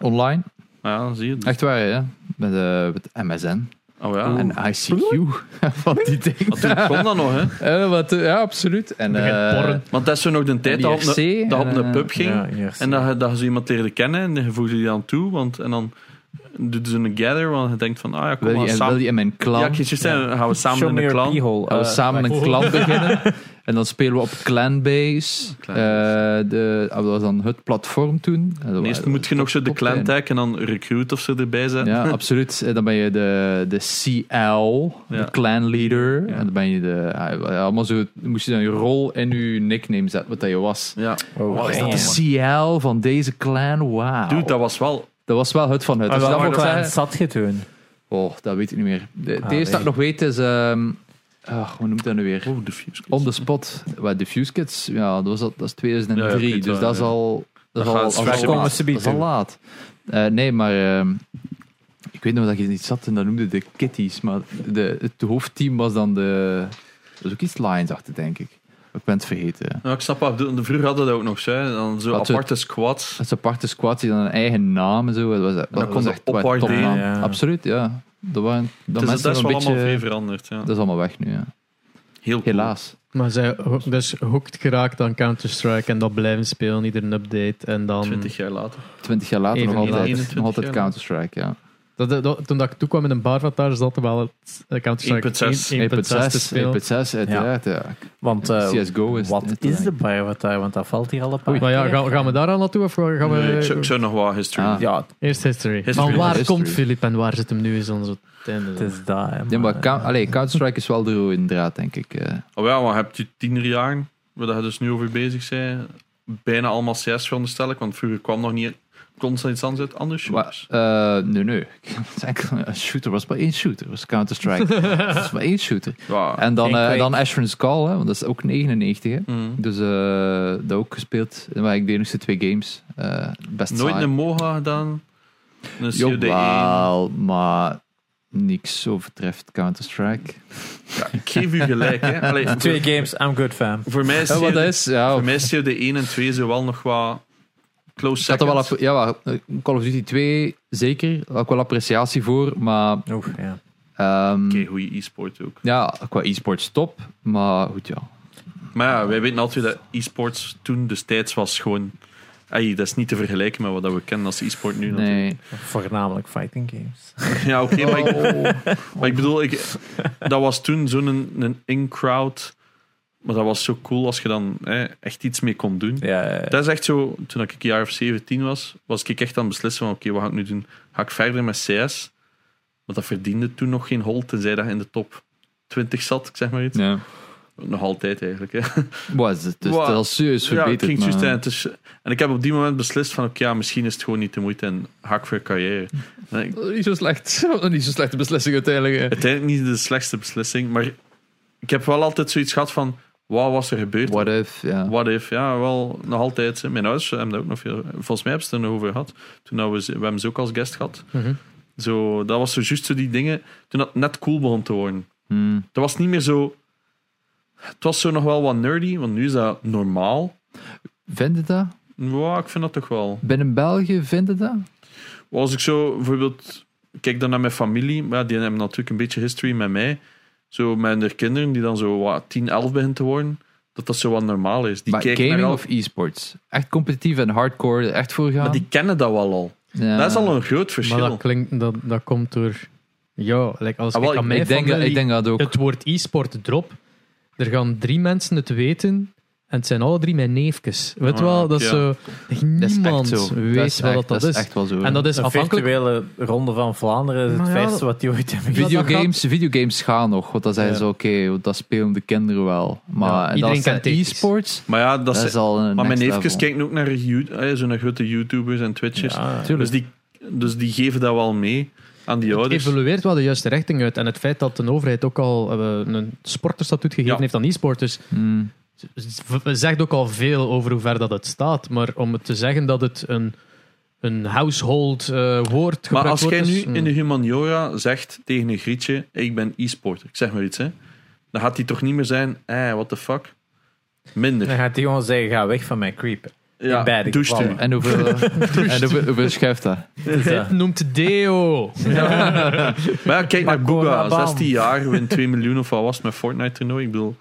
[SPEAKER 2] online.
[SPEAKER 4] Ja, zie je. Dus-
[SPEAKER 2] Echt waar, ja. Met, eh, met MSN
[SPEAKER 4] Oh ja.
[SPEAKER 2] en ICQ. Van die dingen.
[SPEAKER 4] Maar toen kon dat nog, hè?
[SPEAKER 2] Eh, wat, eh, ja, absoluut. En,
[SPEAKER 1] Begint
[SPEAKER 2] eh,
[SPEAKER 1] porren.
[SPEAKER 4] Want dat is zo nog de tijd dat op een,
[SPEAKER 2] IRC,
[SPEAKER 4] dat op
[SPEAKER 2] en,
[SPEAKER 4] een
[SPEAKER 2] eh,
[SPEAKER 4] pub ging.
[SPEAKER 3] Ja, hier zie
[SPEAKER 4] En dat je, dat je zo iemand leerde kennen en je voegde die dan toe. Want, en dan doet ze een gather, want je denkt van, ah ja, kom
[SPEAKER 2] wil,
[SPEAKER 4] maar
[SPEAKER 2] je, wil
[SPEAKER 4] samen.
[SPEAKER 2] je in mijn clan?
[SPEAKER 4] Ja, ik Oh, ging juist zeggen, gaan we samen
[SPEAKER 3] Show
[SPEAKER 4] in
[SPEAKER 3] me
[SPEAKER 4] de
[SPEAKER 3] your
[SPEAKER 4] clan.
[SPEAKER 3] pee-hole.
[SPEAKER 2] Gaan we
[SPEAKER 3] Eh,
[SPEAKER 2] samen een clan beginnen. En dan spelen we op Clanbase.
[SPEAKER 4] Clanbase.
[SPEAKER 2] Eh, de, ah, dat was dan het platform toen. Eh, dat
[SPEAKER 4] Eerst
[SPEAKER 2] wa-
[SPEAKER 4] moet je nog zo de
[SPEAKER 2] top zijn.
[SPEAKER 4] clan tag en dan recruit of zo erbij zetten.
[SPEAKER 2] Ja, absoluut. En dan ben je de, de CL,
[SPEAKER 4] Ja.
[SPEAKER 2] de clan leader. En dan ben je de. ah, Allemaal zo, moest je dan je rol en je nickname zetten, wat dat je was.
[SPEAKER 4] Ja.
[SPEAKER 3] oh,
[SPEAKER 4] Wat is
[SPEAKER 3] man.
[SPEAKER 4] dat
[SPEAKER 2] De CL van deze clan, wauw.
[SPEAKER 4] Dude, dat was wel...
[SPEAKER 2] Dat was wel het van het.
[SPEAKER 3] Maar
[SPEAKER 2] Dus dat
[SPEAKER 3] welke
[SPEAKER 2] moet ik
[SPEAKER 3] clan
[SPEAKER 2] zeggen-
[SPEAKER 3] zat je toen?
[SPEAKER 2] oh, dat weet ik niet meer. De, het
[SPEAKER 3] Ah,
[SPEAKER 2] eerste dat
[SPEAKER 3] nee.
[SPEAKER 2] ik nog weet is. ehm ah, hoe noemt dat nu weer?
[SPEAKER 4] Oh, de fuse.
[SPEAKER 2] On the spot. Waar de Fuse Kids, ja, dat, was, al- dat is 2003.
[SPEAKER 4] Ja, ja, ik weet
[SPEAKER 2] dus
[SPEAKER 4] wel,
[SPEAKER 2] dat is
[SPEAKER 4] ja.
[SPEAKER 2] al. Dat is
[SPEAKER 4] Dat
[SPEAKER 2] al,
[SPEAKER 4] gaat
[SPEAKER 2] dat is al
[SPEAKER 4] straks
[SPEAKER 2] laat.
[SPEAKER 4] komen
[SPEAKER 3] ze bij
[SPEAKER 2] Dat is al
[SPEAKER 3] toe.
[SPEAKER 2] laat. Eh, nee, maar. ehm, ik weet nog dat je niet zat en dat noemde de Kitties. Maar de, het hoofdteam was dan de. Dat is ook iets Lions achter, denk ik. Ik ben het vergeten.
[SPEAKER 4] Nou, ik snap wat je bedoelt. Vroeger hadden we dat ook nog zo. hè. Dan zo
[SPEAKER 2] Wat zo-
[SPEAKER 4] aparte squads.
[SPEAKER 2] Dat is een aparte squad die dan een eigen naam en zo. Dat was, dat
[SPEAKER 4] dan kon
[SPEAKER 2] was
[SPEAKER 4] je
[SPEAKER 2] echt waar
[SPEAKER 4] opwaarderen,
[SPEAKER 2] topnaam.
[SPEAKER 3] ja.
[SPEAKER 2] Absoluut, ja. Dat waren dat
[SPEAKER 4] Het Dus is
[SPEAKER 2] mensen
[SPEAKER 4] best
[SPEAKER 2] een
[SPEAKER 4] wel
[SPEAKER 2] beetje...
[SPEAKER 4] allemaal veel veranderd. Ja.
[SPEAKER 2] dat is allemaal weg nu, ja.
[SPEAKER 4] Heel cool.
[SPEAKER 2] Helaas.
[SPEAKER 1] Maar zij ho- dus hooked geraakt aan Counter-Strike en dat blijven spelen, ieder een update. En dan,
[SPEAKER 4] 20 jaar later.
[SPEAKER 2] Twintig jaar later
[SPEAKER 1] Even
[SPEAKER 2] nog
[SPEAKER 1] niet
[SPEAKER 2] altijd,
[SPEAKER 4] 21
[SPEAKER 2] nog altijd
[SPEAKER 4] jaar
[SPEAKER 2] Counter-Strike, ja.
[SPEAKER 1] dat, dat- toen dat ik toekwam met een barvataar, zat er wel het, eh, Counter-Strike
[SPEAKER 4] 1.6.
[SPEAKER 1] 1.6 te
[SPEAKER 2] 1.6, 1.6
[SPEAKER 1] spelen.
[SPEAKER 2] E uiteraard, ja.
[SPEAKER 3] Want eh,
[SPEAKER 2] CSGO is...
[SPEAKER 3] wat
[SPEAKER 2] het-
[SPEAKER 3] is de barwataar? Want dat valt hier al een paar
[SPEAKER 1] Maar ja,
[SPEAKER 3] keer.
[SPEAKER 1] gaan, gaan we daar al naartoe of gaan we...
[SPEAKER 4] Nee, ik, zou, ik zou nog wel history.
[SPEAKER 2] Ah.
[SPEAKER 3] Ja,
[SPEAKER 1] Eerst history.
[SPEAKER 4] History.
[SPEAKER 1] Van waar
[SPEAKER 2] History.
[SPEAKER 1] komt Philip en waar zit hem nu? Is dan zo het einde.
[SPEAKER 3] het is dat. hè,
[SPEAKER 2] Ja, maar
[SPEAKER 3] man.
[SPEAKER 2] Coun- allee, Counter-Strike is wel de rode draad, denk ik. eh.
[SPEAKER 4] Oh ja, maar heb je tienerjaren, waar je dus nu over bezig bent, bijna allemaal CS veronderstel ik, want vroeger kwam nog niet constant iets anders uit, anders shooters.
[SPEAKER 2] Maar, eh, nee, nee. Het is eigenlijk Een shooter was maar één shooter. was Counter-Strike. Het was maar één shooter.
[SPEAKER 4] Ja.
[SPEAKER 2] En dan,
[SPEAKER 3] Oh, Geen
[SPEAKER 2] eh,
[SPEAKER 3] Quake.
[SPEAKER 2] dan Ashran's Call, hè, want dat is ook 99. Hè.
[SPEAKER 4] Mm.
[SPEAKER 2] Dus eh, dat ook gespeeld. Maar ik deed nog steeds twee games. Eh, best
[SPEAKER 4] Nooit
[SPEAKER 2] saai.
[SPEAKER 4] een MOGA gedaan, een COD1. Ja,
[SPEAKER 2] Jawel, maar niks overtreft Counter-Strike.
[SPEAKER 4] ik geef u gelijk. Hè. Allee, voor-
[SPEAKER 3] Twee games, I'm good fam.
[SPEAKER 4] Voor mij is
[SPEAKER 2] Ja, wat
[SPEAKER 4] COD
[SPEAKER 2] dat is, ja,
[SPEAKER 4] voor mij is COD1 en 2 zo wel nog wat close
[SPEAKER 2] ik had er wel
[SPEAKER 4] seconds.
[SPEAKER 2] app- ja, wel, eh, Call of Duty 2, zeker. Ook wel appreciatie voor, maar...
[SPEAKER 3] Oeh, ja.
[SPEAKER 2] ehm,
[SPEAKER 4] Oké, goede e-sport ook.
[SPEAKER 2] Ja, qua e-sports top, maar goed ja.
[SPEAKER 4] Maar ja, wij weten altijd dat e-sports toen destijds was gewoon... Ey, dat is niet te vergelijken met wat dat we kennen als e-sport nu. natuurlijk.
[SPEAKER 2] Nee.
[SPEAKER 3] Voornamelijk fighting games.
[SPEAKER 4] Ja, oké, maar ik,
[SPEAKER 2] Oh.
[SPEAKER 4] Maar ik bedoel, ik, dat was toen zo'n een, in-crowd. Maar dat was zo cool als je dan hè, echt iets mee kon doen.
[SPEAKER 3] Ja, ja, ja.
[SPEAKER 4] Dat is echt zo, toen ik een jaar of 17 was, was ik echt aan het beslissen van oké, wat ga ik nu doen? Ga ik verder met CS? Want dat verdiende toen nog geen hol, tenzij dat je in de top 20 zat, ik zeg maar iets.
[SPEAKER 2] Ja.
[SPEAKER 4] Nog altijd eigenlijk. Hè.
[SPEAKER 2] Was het dus
[SPEAKER 4] Wow.
[SPEAKER 2] dat is serieus
[SPEAKER 4] Ja, ik
[SPEAKER 2] verbeterd.
[SPEAKER 4] ging
[SPEAKER 2] maar-
[SPEAKER 4] juist en, het is- en ik heb op die moment beslist van oké, ja, misschien is het gewoon niet de moeite en ga ik voor carrière. En ik-
[SPEAKER 2] Dat is Niet zo slecht. Dat is Niet zo'n slechte beslissing uiteindelijk. hè.
[SPEAKER 4] uiteindelijk niet de slechtste beslissing, maar ik heb wel altijd zoiets gehad van wat was er gebeurd?
[SPEAKER 2] What if, ja.
[SPEAKER 4] What if, ja, wel nog altijd. hè. Mijn ouders hebben daar ook nog veel. Volgens mij hebben ze het er nog over gehad. Toen dat we, ze- we hebben ze ook als guest gehad.
[SPEAKER 1] Mhm.
[SPEAKER 4] Zo, dat was zo juist zo die dingen. Toen dat net cool begon te worden.
[SPEAKER 2] Hmm.
[SPEAKER 4] Dat was niet meer zo. Het was zo nog wel wat nerdy, want nu is dat normaal.
[SPEAKER 2] Vind je dat?
[SPEAKER 4] Ja, ik vind dat toch wel.
[SPEAKER 2] Binnen België vind je dat?
[SPEAKER 4] Als ik zo bijvoorbeeld kijk dan naar mijn familie, maar ja, die hebben natuurlijk een beetje history met mij. Zo met hun kinderen die dan zo wat, 10, 11 beginnen te worden. Dat dat zo wat normaal is. Die
[SPEAKER 2] maar
[SPEAKER 4] kijken
[SPEAKER 2] gaming
[SPEAKER 4] naar al-
[SPEAKER 2] of e-sports? Echt competitief en hardcore, er echt voor gaan?
[SPEAKER 4] Maar die kennen dat wel al.
[SPEAKER 2] Ja.
[SPEAKER 4] Dat is al een groot verschil.
[SPEAKER 1] Maar dat klinkt, dat, dat komt door. Ja, like als
[SPEAKER 4] Ah, wel,
[SPEAKER 1] ik aan
[SPEAKER 4] ik-
[SPEAKER 1] mijn
[SPEAKER 2] ik, denk, dat-
[SPEAKER 1] familie
[SPEAKER 2] ik denk dat ook.
[SPEAKER 1] het woord e-sport drop, er gaan drie mensen het weten en het zijn alle drie mijn neefjes. Weet
[SPEAKER 4] Ah,
[SPEAKER 1] wel, dat is
[SPEAKER 4] ja.
[SPEAKER 1] zo.
[SPEAKER 2] dat is echt
[SPEAKER 1] Niemand
[SPEAKER 2] zo.
[SPEAKER 1] weet
[SPEAKER 2] dat is
[SPEAKER 1] wat
[SPEAKER 2] echt,
[SPEAKER 1] dat, dat is.
[SPEAKER 2] echt wel zo.
[SPEAKER 1] En dat is
[SPEAKER 3] Een
[SPEAKER 1] afhankelijk.
[SPEAKER 3] virtuele ronde van Vlaanderen is het
[SPEAKER 1] Maar ja,
[SPEAKER 3] beste wat die ooit hebben
[SPEAKER 1] Ja, dat
[SPEAKER 2] videogames, videogames gaan nog, want dan zeggen
[SPEAKER 1] Ja.
[SPEAKER 2] ze oké, want dat spelen de kinderen wel. Maar
[SPEAKER 1] Ja,
[SPEAKER 2] en
[SPEAKER 1] iedereen
[SPEAKER 2] dan zijn
[SPEAKER 1] kent Tetris.
[SPEAKER 2] e-sports,
[SPEAKER 4] Maar ja, dat,
[SPEAKER 2] dat,
[SPEAKER 4] is-
[SPEAKER 2] is al een
[SPEAKER 4] maar mijn
[SPEAKER 2] next
[SPEAKER 4] neefjes
[SPEAKER 2] level.
[SPEAKER 4] kijken ook naar You- eh, zo naar grote YouTubers en Twitchers.
[SPEAKER 3] Ja.
[SPEAKER 4] dus, die, dus die geven dat wel mee aan die
[SPEAKER 1] Het
[SPEAKER 4] ouders.
[SPEAKER 1] evolueert wel de juiste richting uit. En het feit dat de overheid ook al eh, een sporterstatuut gegeven
[SPEAKER 4] Ja.
[SPEAKER 1] heeft aan Dus e-sporters,
[SPEAKER 4] Dus-
[SPEAKER 2] Hmm.
[SPEAKER 1] v- zegt ook al veel over hoe ver dat het staat. Maar om het te zeggen dat het een, een household eh woord
[SPEAKER 4] Maar
[SPEAKER 1] gebruikt
[SPEAKER 4] als
[SPEAKER 1] wordt, dus
[SPEAKER 4] jij nu
[SPEAKER 1] is- hmm.
[SPEAKER 4] in de humaniora zegt tegen een grietje, ik ben e-sporter, ik zeg maar iets, hè, dan gaat die toch niet meer zijn, eh, what the fuck? Minder.
[SPEAKER 3] Dan gaat die jongen zeggen, ga weg van mijn creep. in
[SPEAKER 4] ja,
[SPEAKER 3] beide
[SPEAKER 4] douche
[SPEAKER 3] gevallen.
[SPEAKER 4] u.
[SPEAKER 2] En hoeveel, en hoeveel, hoeveel schuift dat?
[SPEAKER 3] Dus, eh,
[SPEAKER 1] Dit noemt Deo.
[SPEAKER 4] Maar ja, kijk naar
[SPEAKER 3] Maar Gora
[SPEAKER 4] Googa,
[SPEAKER 3] Bam.
[SPEAKER 4] 16 jaar, wint 2 miljoen of wat was het met Fortnite toernooi. Ik bedoel,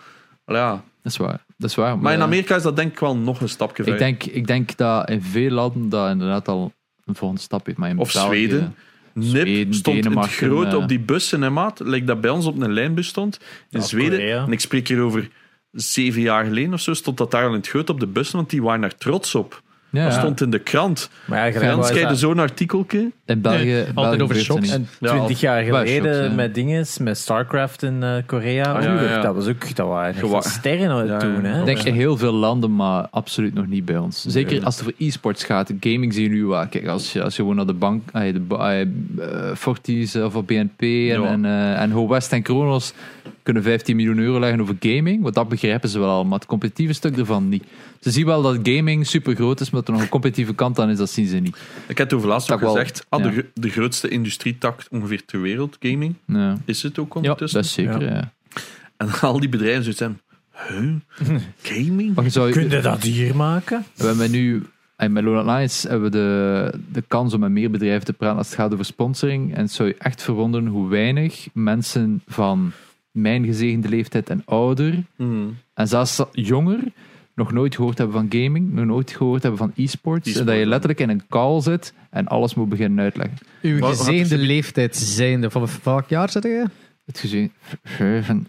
[SPEAKER 4] ja.
[SPEAKER 2] Dat is waar. Dat is waar.
[SPEAKER 4] Maar in
[SPEAKER 2] ja.
[SPEAKER 4] Amerika is dat denk ik wel nog een stapje
[SPEAKER 2] Ik
[SPEAKER 4] verder.
[SPEAKER 2] denk, ik denk dat in veel landen dat inderdaad al een volgende stap is. Maar in
[SPEAKER 4] Of
[SPEAKER 2] België-
[SPEAKER 4] Zweden. Nip
[SPEAKER 2] Zweden,
[SPEAKER 4] stond
[SPEAKER 2] Denemarken,
[SPEAKER 4] in het groot
[SPEAKER 2] eh.
[SPEAKER 4] op die bussen, hè, maat. Like dat bij ons op een lijnbus stond. In
[SPEAKER 3] Ja,
[SPEAKER 4] Zweden,
[SPEAKER 3] Korea.
[SPEAKER 4] en ik spreek hier over zeven jaar geleden of zo, stond dat daar al in het groot op de bussen, want die waren daar trots op.
[SPEAKER 2] Ja,
[SPEAKER 4] Dat stond in de krant.
[SPEAKER 3] Maar ja,
[SPEAKER 4] En dan
[SPEAKER 3] gelijk
[SPEAKER 4] schrijf je
[SPEAKER 3] was dat
[SPEAKER 4] zo'n artikeltje.
[SPEAKER 2] in België.
[SPEAKER 1] Nee,
[SPEAKER 2] België
[SPEAKER 1] altijd over
[SPEAKER 2] gebeurt er
[SPEAKER 1] shops.
[SPEAKER 2] niet.
[SPEAKER 1] En-
[SPEAKER 4] Ja,
[SPEAKER 3] 20 jaar
[SPEAKER 2] Bioshock,
[SPEAKER 3] geleden
[SPEAKER 2] ja.
[SPEAKER 3] met dinges, met StarCraft in eh, Korea.
[SPEAKER 4] Ah, ja,
[SPEAKER 3] Oeh,
[SPEAKER 4] ja.
[SPEAKER 3] Dat was ook, dat waren echt
[SPEAKER 4] Gewa-
[SPEAKER 3] wel sterren
[SPEAKER 4] Ja,
[SPEAKER 3] toen.
[SPEAKER 4] ja.
[SPEAKER 3] Hè?
[SPEAKER 2] Ik denk in heel veel landen, maar absoluut nog niet bij ons. Zeker als het voor e-sports gaat. Gaming zie je nu wel. Kijk, als je, als je gewoon naar de bank, ah, je de ba- eh, eh, Fortis of op BNP en, en, eh, en Ho West en Kronos kunnen 15 miljoen euro leggen over gaming. Want dat begrijpen ze wel al, maar het competitieve stuk ervan niet. Ze zien wel dat gaming super groot is, maar dat er nog een competitieve kant aan is, dat zien ze niet.
[SPEAKER 4] Ik heb het over laatst ook
[SPEAKER 2] Dat wel,
[SPEAKER 4] gezegd. Ah, de,
[SPEAKER 2] ja.
[SPEAKER 4] gro- de grootste industrietak ongeveer ter wereld, gaming,
[SPEAKER 2] Ja, dus-
[SPEAKER 4] is het ook
[SPEAKER 1] Ja,
[SPEAKER 2] dat
[SPEAKER 4] ondertussen.
[SPEAKER 2] is zeker.
[SPEAKER 3] Ja.
[SPEAKER 2] ja.
[SPEAKER 4] En al die bedrijven zoiets hebben. Huh? Gaming?
[SPEAKER 2] Maar je zou,
[SPEAKER 3] Kun je dat hier maken?
[SPEAKER 2] We hebben nu, en met Lone Alliance hebben we de, de kans om met meer bedrijven te praten als het gaat over sponsoring. En het zou je echt verwonderen hoe weinig mensen van mijn gezegende leeftijd en ouder,
[SPEAKER 4] Hmm.
[SPEAKER 2] en zelfs jonger, nog nooit gehoord hebben van gaming, nog nooit gehoord hebben van e-sports. en
[SPEAKER 4] E-sport,
[SPEAKER 2] dat je
[SPEAKER 4] ja.
[SPEAKER 2] letterlijk in een call zit en alles moet beginnen uitleggen.
[SPEAKER 1] Uw
[SPEAKER 4] Wat- wat-
[SPEAKER 1] gezegende leeftijd zijnde. Van welk jaar zit je?
[SPEAKER 2] Het gezien,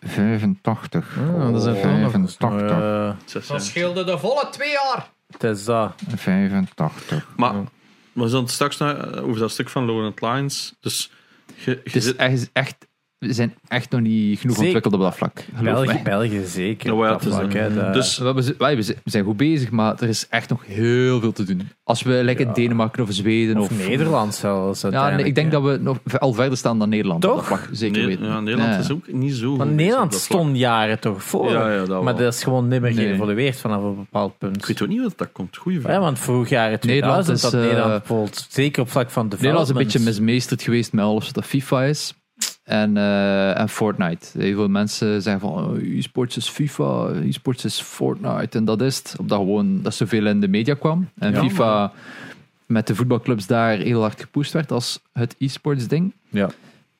[SPEAKER 2] 85.
[SPEAKER 1] Ah, dat is een film.
[SPEAKER 2] 85.
[SPEAKER 3] Eh,
[SPEAKER 4] Zes
[SPEAKER 1] Dat
[SPEAKER 4] jaar.
[SPEAKER 1] scheelde de volle twee jaar.
[SPEAKER 3] het is dat.
[SPEAKER 2] 85.
[SPEAKER 4] Maar we zullen het straks naar, eh, over dat stuk van Lowland Lines. Dus je, je
[SPEAKER 2] Het is
[SPEAKER 4] zit-
[SPEAKER 2] echt, echt, we zijn echt nog niet genoeg
[SPEAKER 3] Zeker.
[SPEAKER 2] ontwikkeld op dat vlak. Geloof mij.
[SPEAKER 3] België, België zeker.
[SPEAKER 4] Ja, maar ja,
[SPEAKER 3] op dat
[SPEAKER 4] het is
[SPEAKER 3] vlak, hè. Dat-
[SPEAKER 4] dus
[SPEAKER 2] We, hebben ze- wij- we zijn- we zijn goed bezig, maar er is echt nog heel veel te doen. Als we lekker
[SPEAKER 3] Ja.
[SPEAKER 2] Denemarken of Zweden of,
[SPEAKER 3] of Nederland zelfs.
[SPEAKER 2] Ja, nee, ik denk dat we nog ve- al verder staan dan Nederland.
[SPEAKER 3] Toch?
[SPEAKER 2] op dat vlak, zeker
[SPEAKER 4] Ne-
[SPEAKER 2] weten.
[SPEAKER 4] ja, Nederland
[SPEAKER 2] Ja.
[SPEAKER 4] is ook niet zo.
[SPEAKER 3] Want
[SPEAKER 4] goed
[SPEAKER 3] Nederland
[SPEAKER 4] op dat vlak.
[SPEAKER 3] stond jaren toch voor.
[SPEAKER 4] Ja, ja, dat wel.
[SPEAKER 3] maar dat is gewoon niet meer
[SPEAKER 2] Nee.
[SPEAKER 3] geëvolueerd vanaf een bepaald
[SPEAKER 4] Ik
[SPEAKER 3] punt.
[SPEAKER 4] weet ook niet wat dat komt. Goeie vraag.
[SPEAKER 3] Ja, want vroeg jaren 2000
[SPEAKER 2] Nederland is,
[SPEAKER 3] dat
[SPEAKER 2] eh,
[SPEAKER 3] Nederland bijvoorbeeld, zeker op vlak van de
[SPEAKER 2] Nederland is een beetje mismeesterd geweest met alles wat FIFA is. En, eh, en Fortnite. Heel veel mensen zeggen van oh, e-sports is FIFA, e-sports is Fortnite. En dat is het. Omdat gewoon dat zoveel in de media kwam. En
[SPEAKER 3] Ja.
[SPEAKER 2] FIFA met de voetbalclubs daar heel hard gepusht werd als het e-sports ding.
[SPEAKER 3] Ja.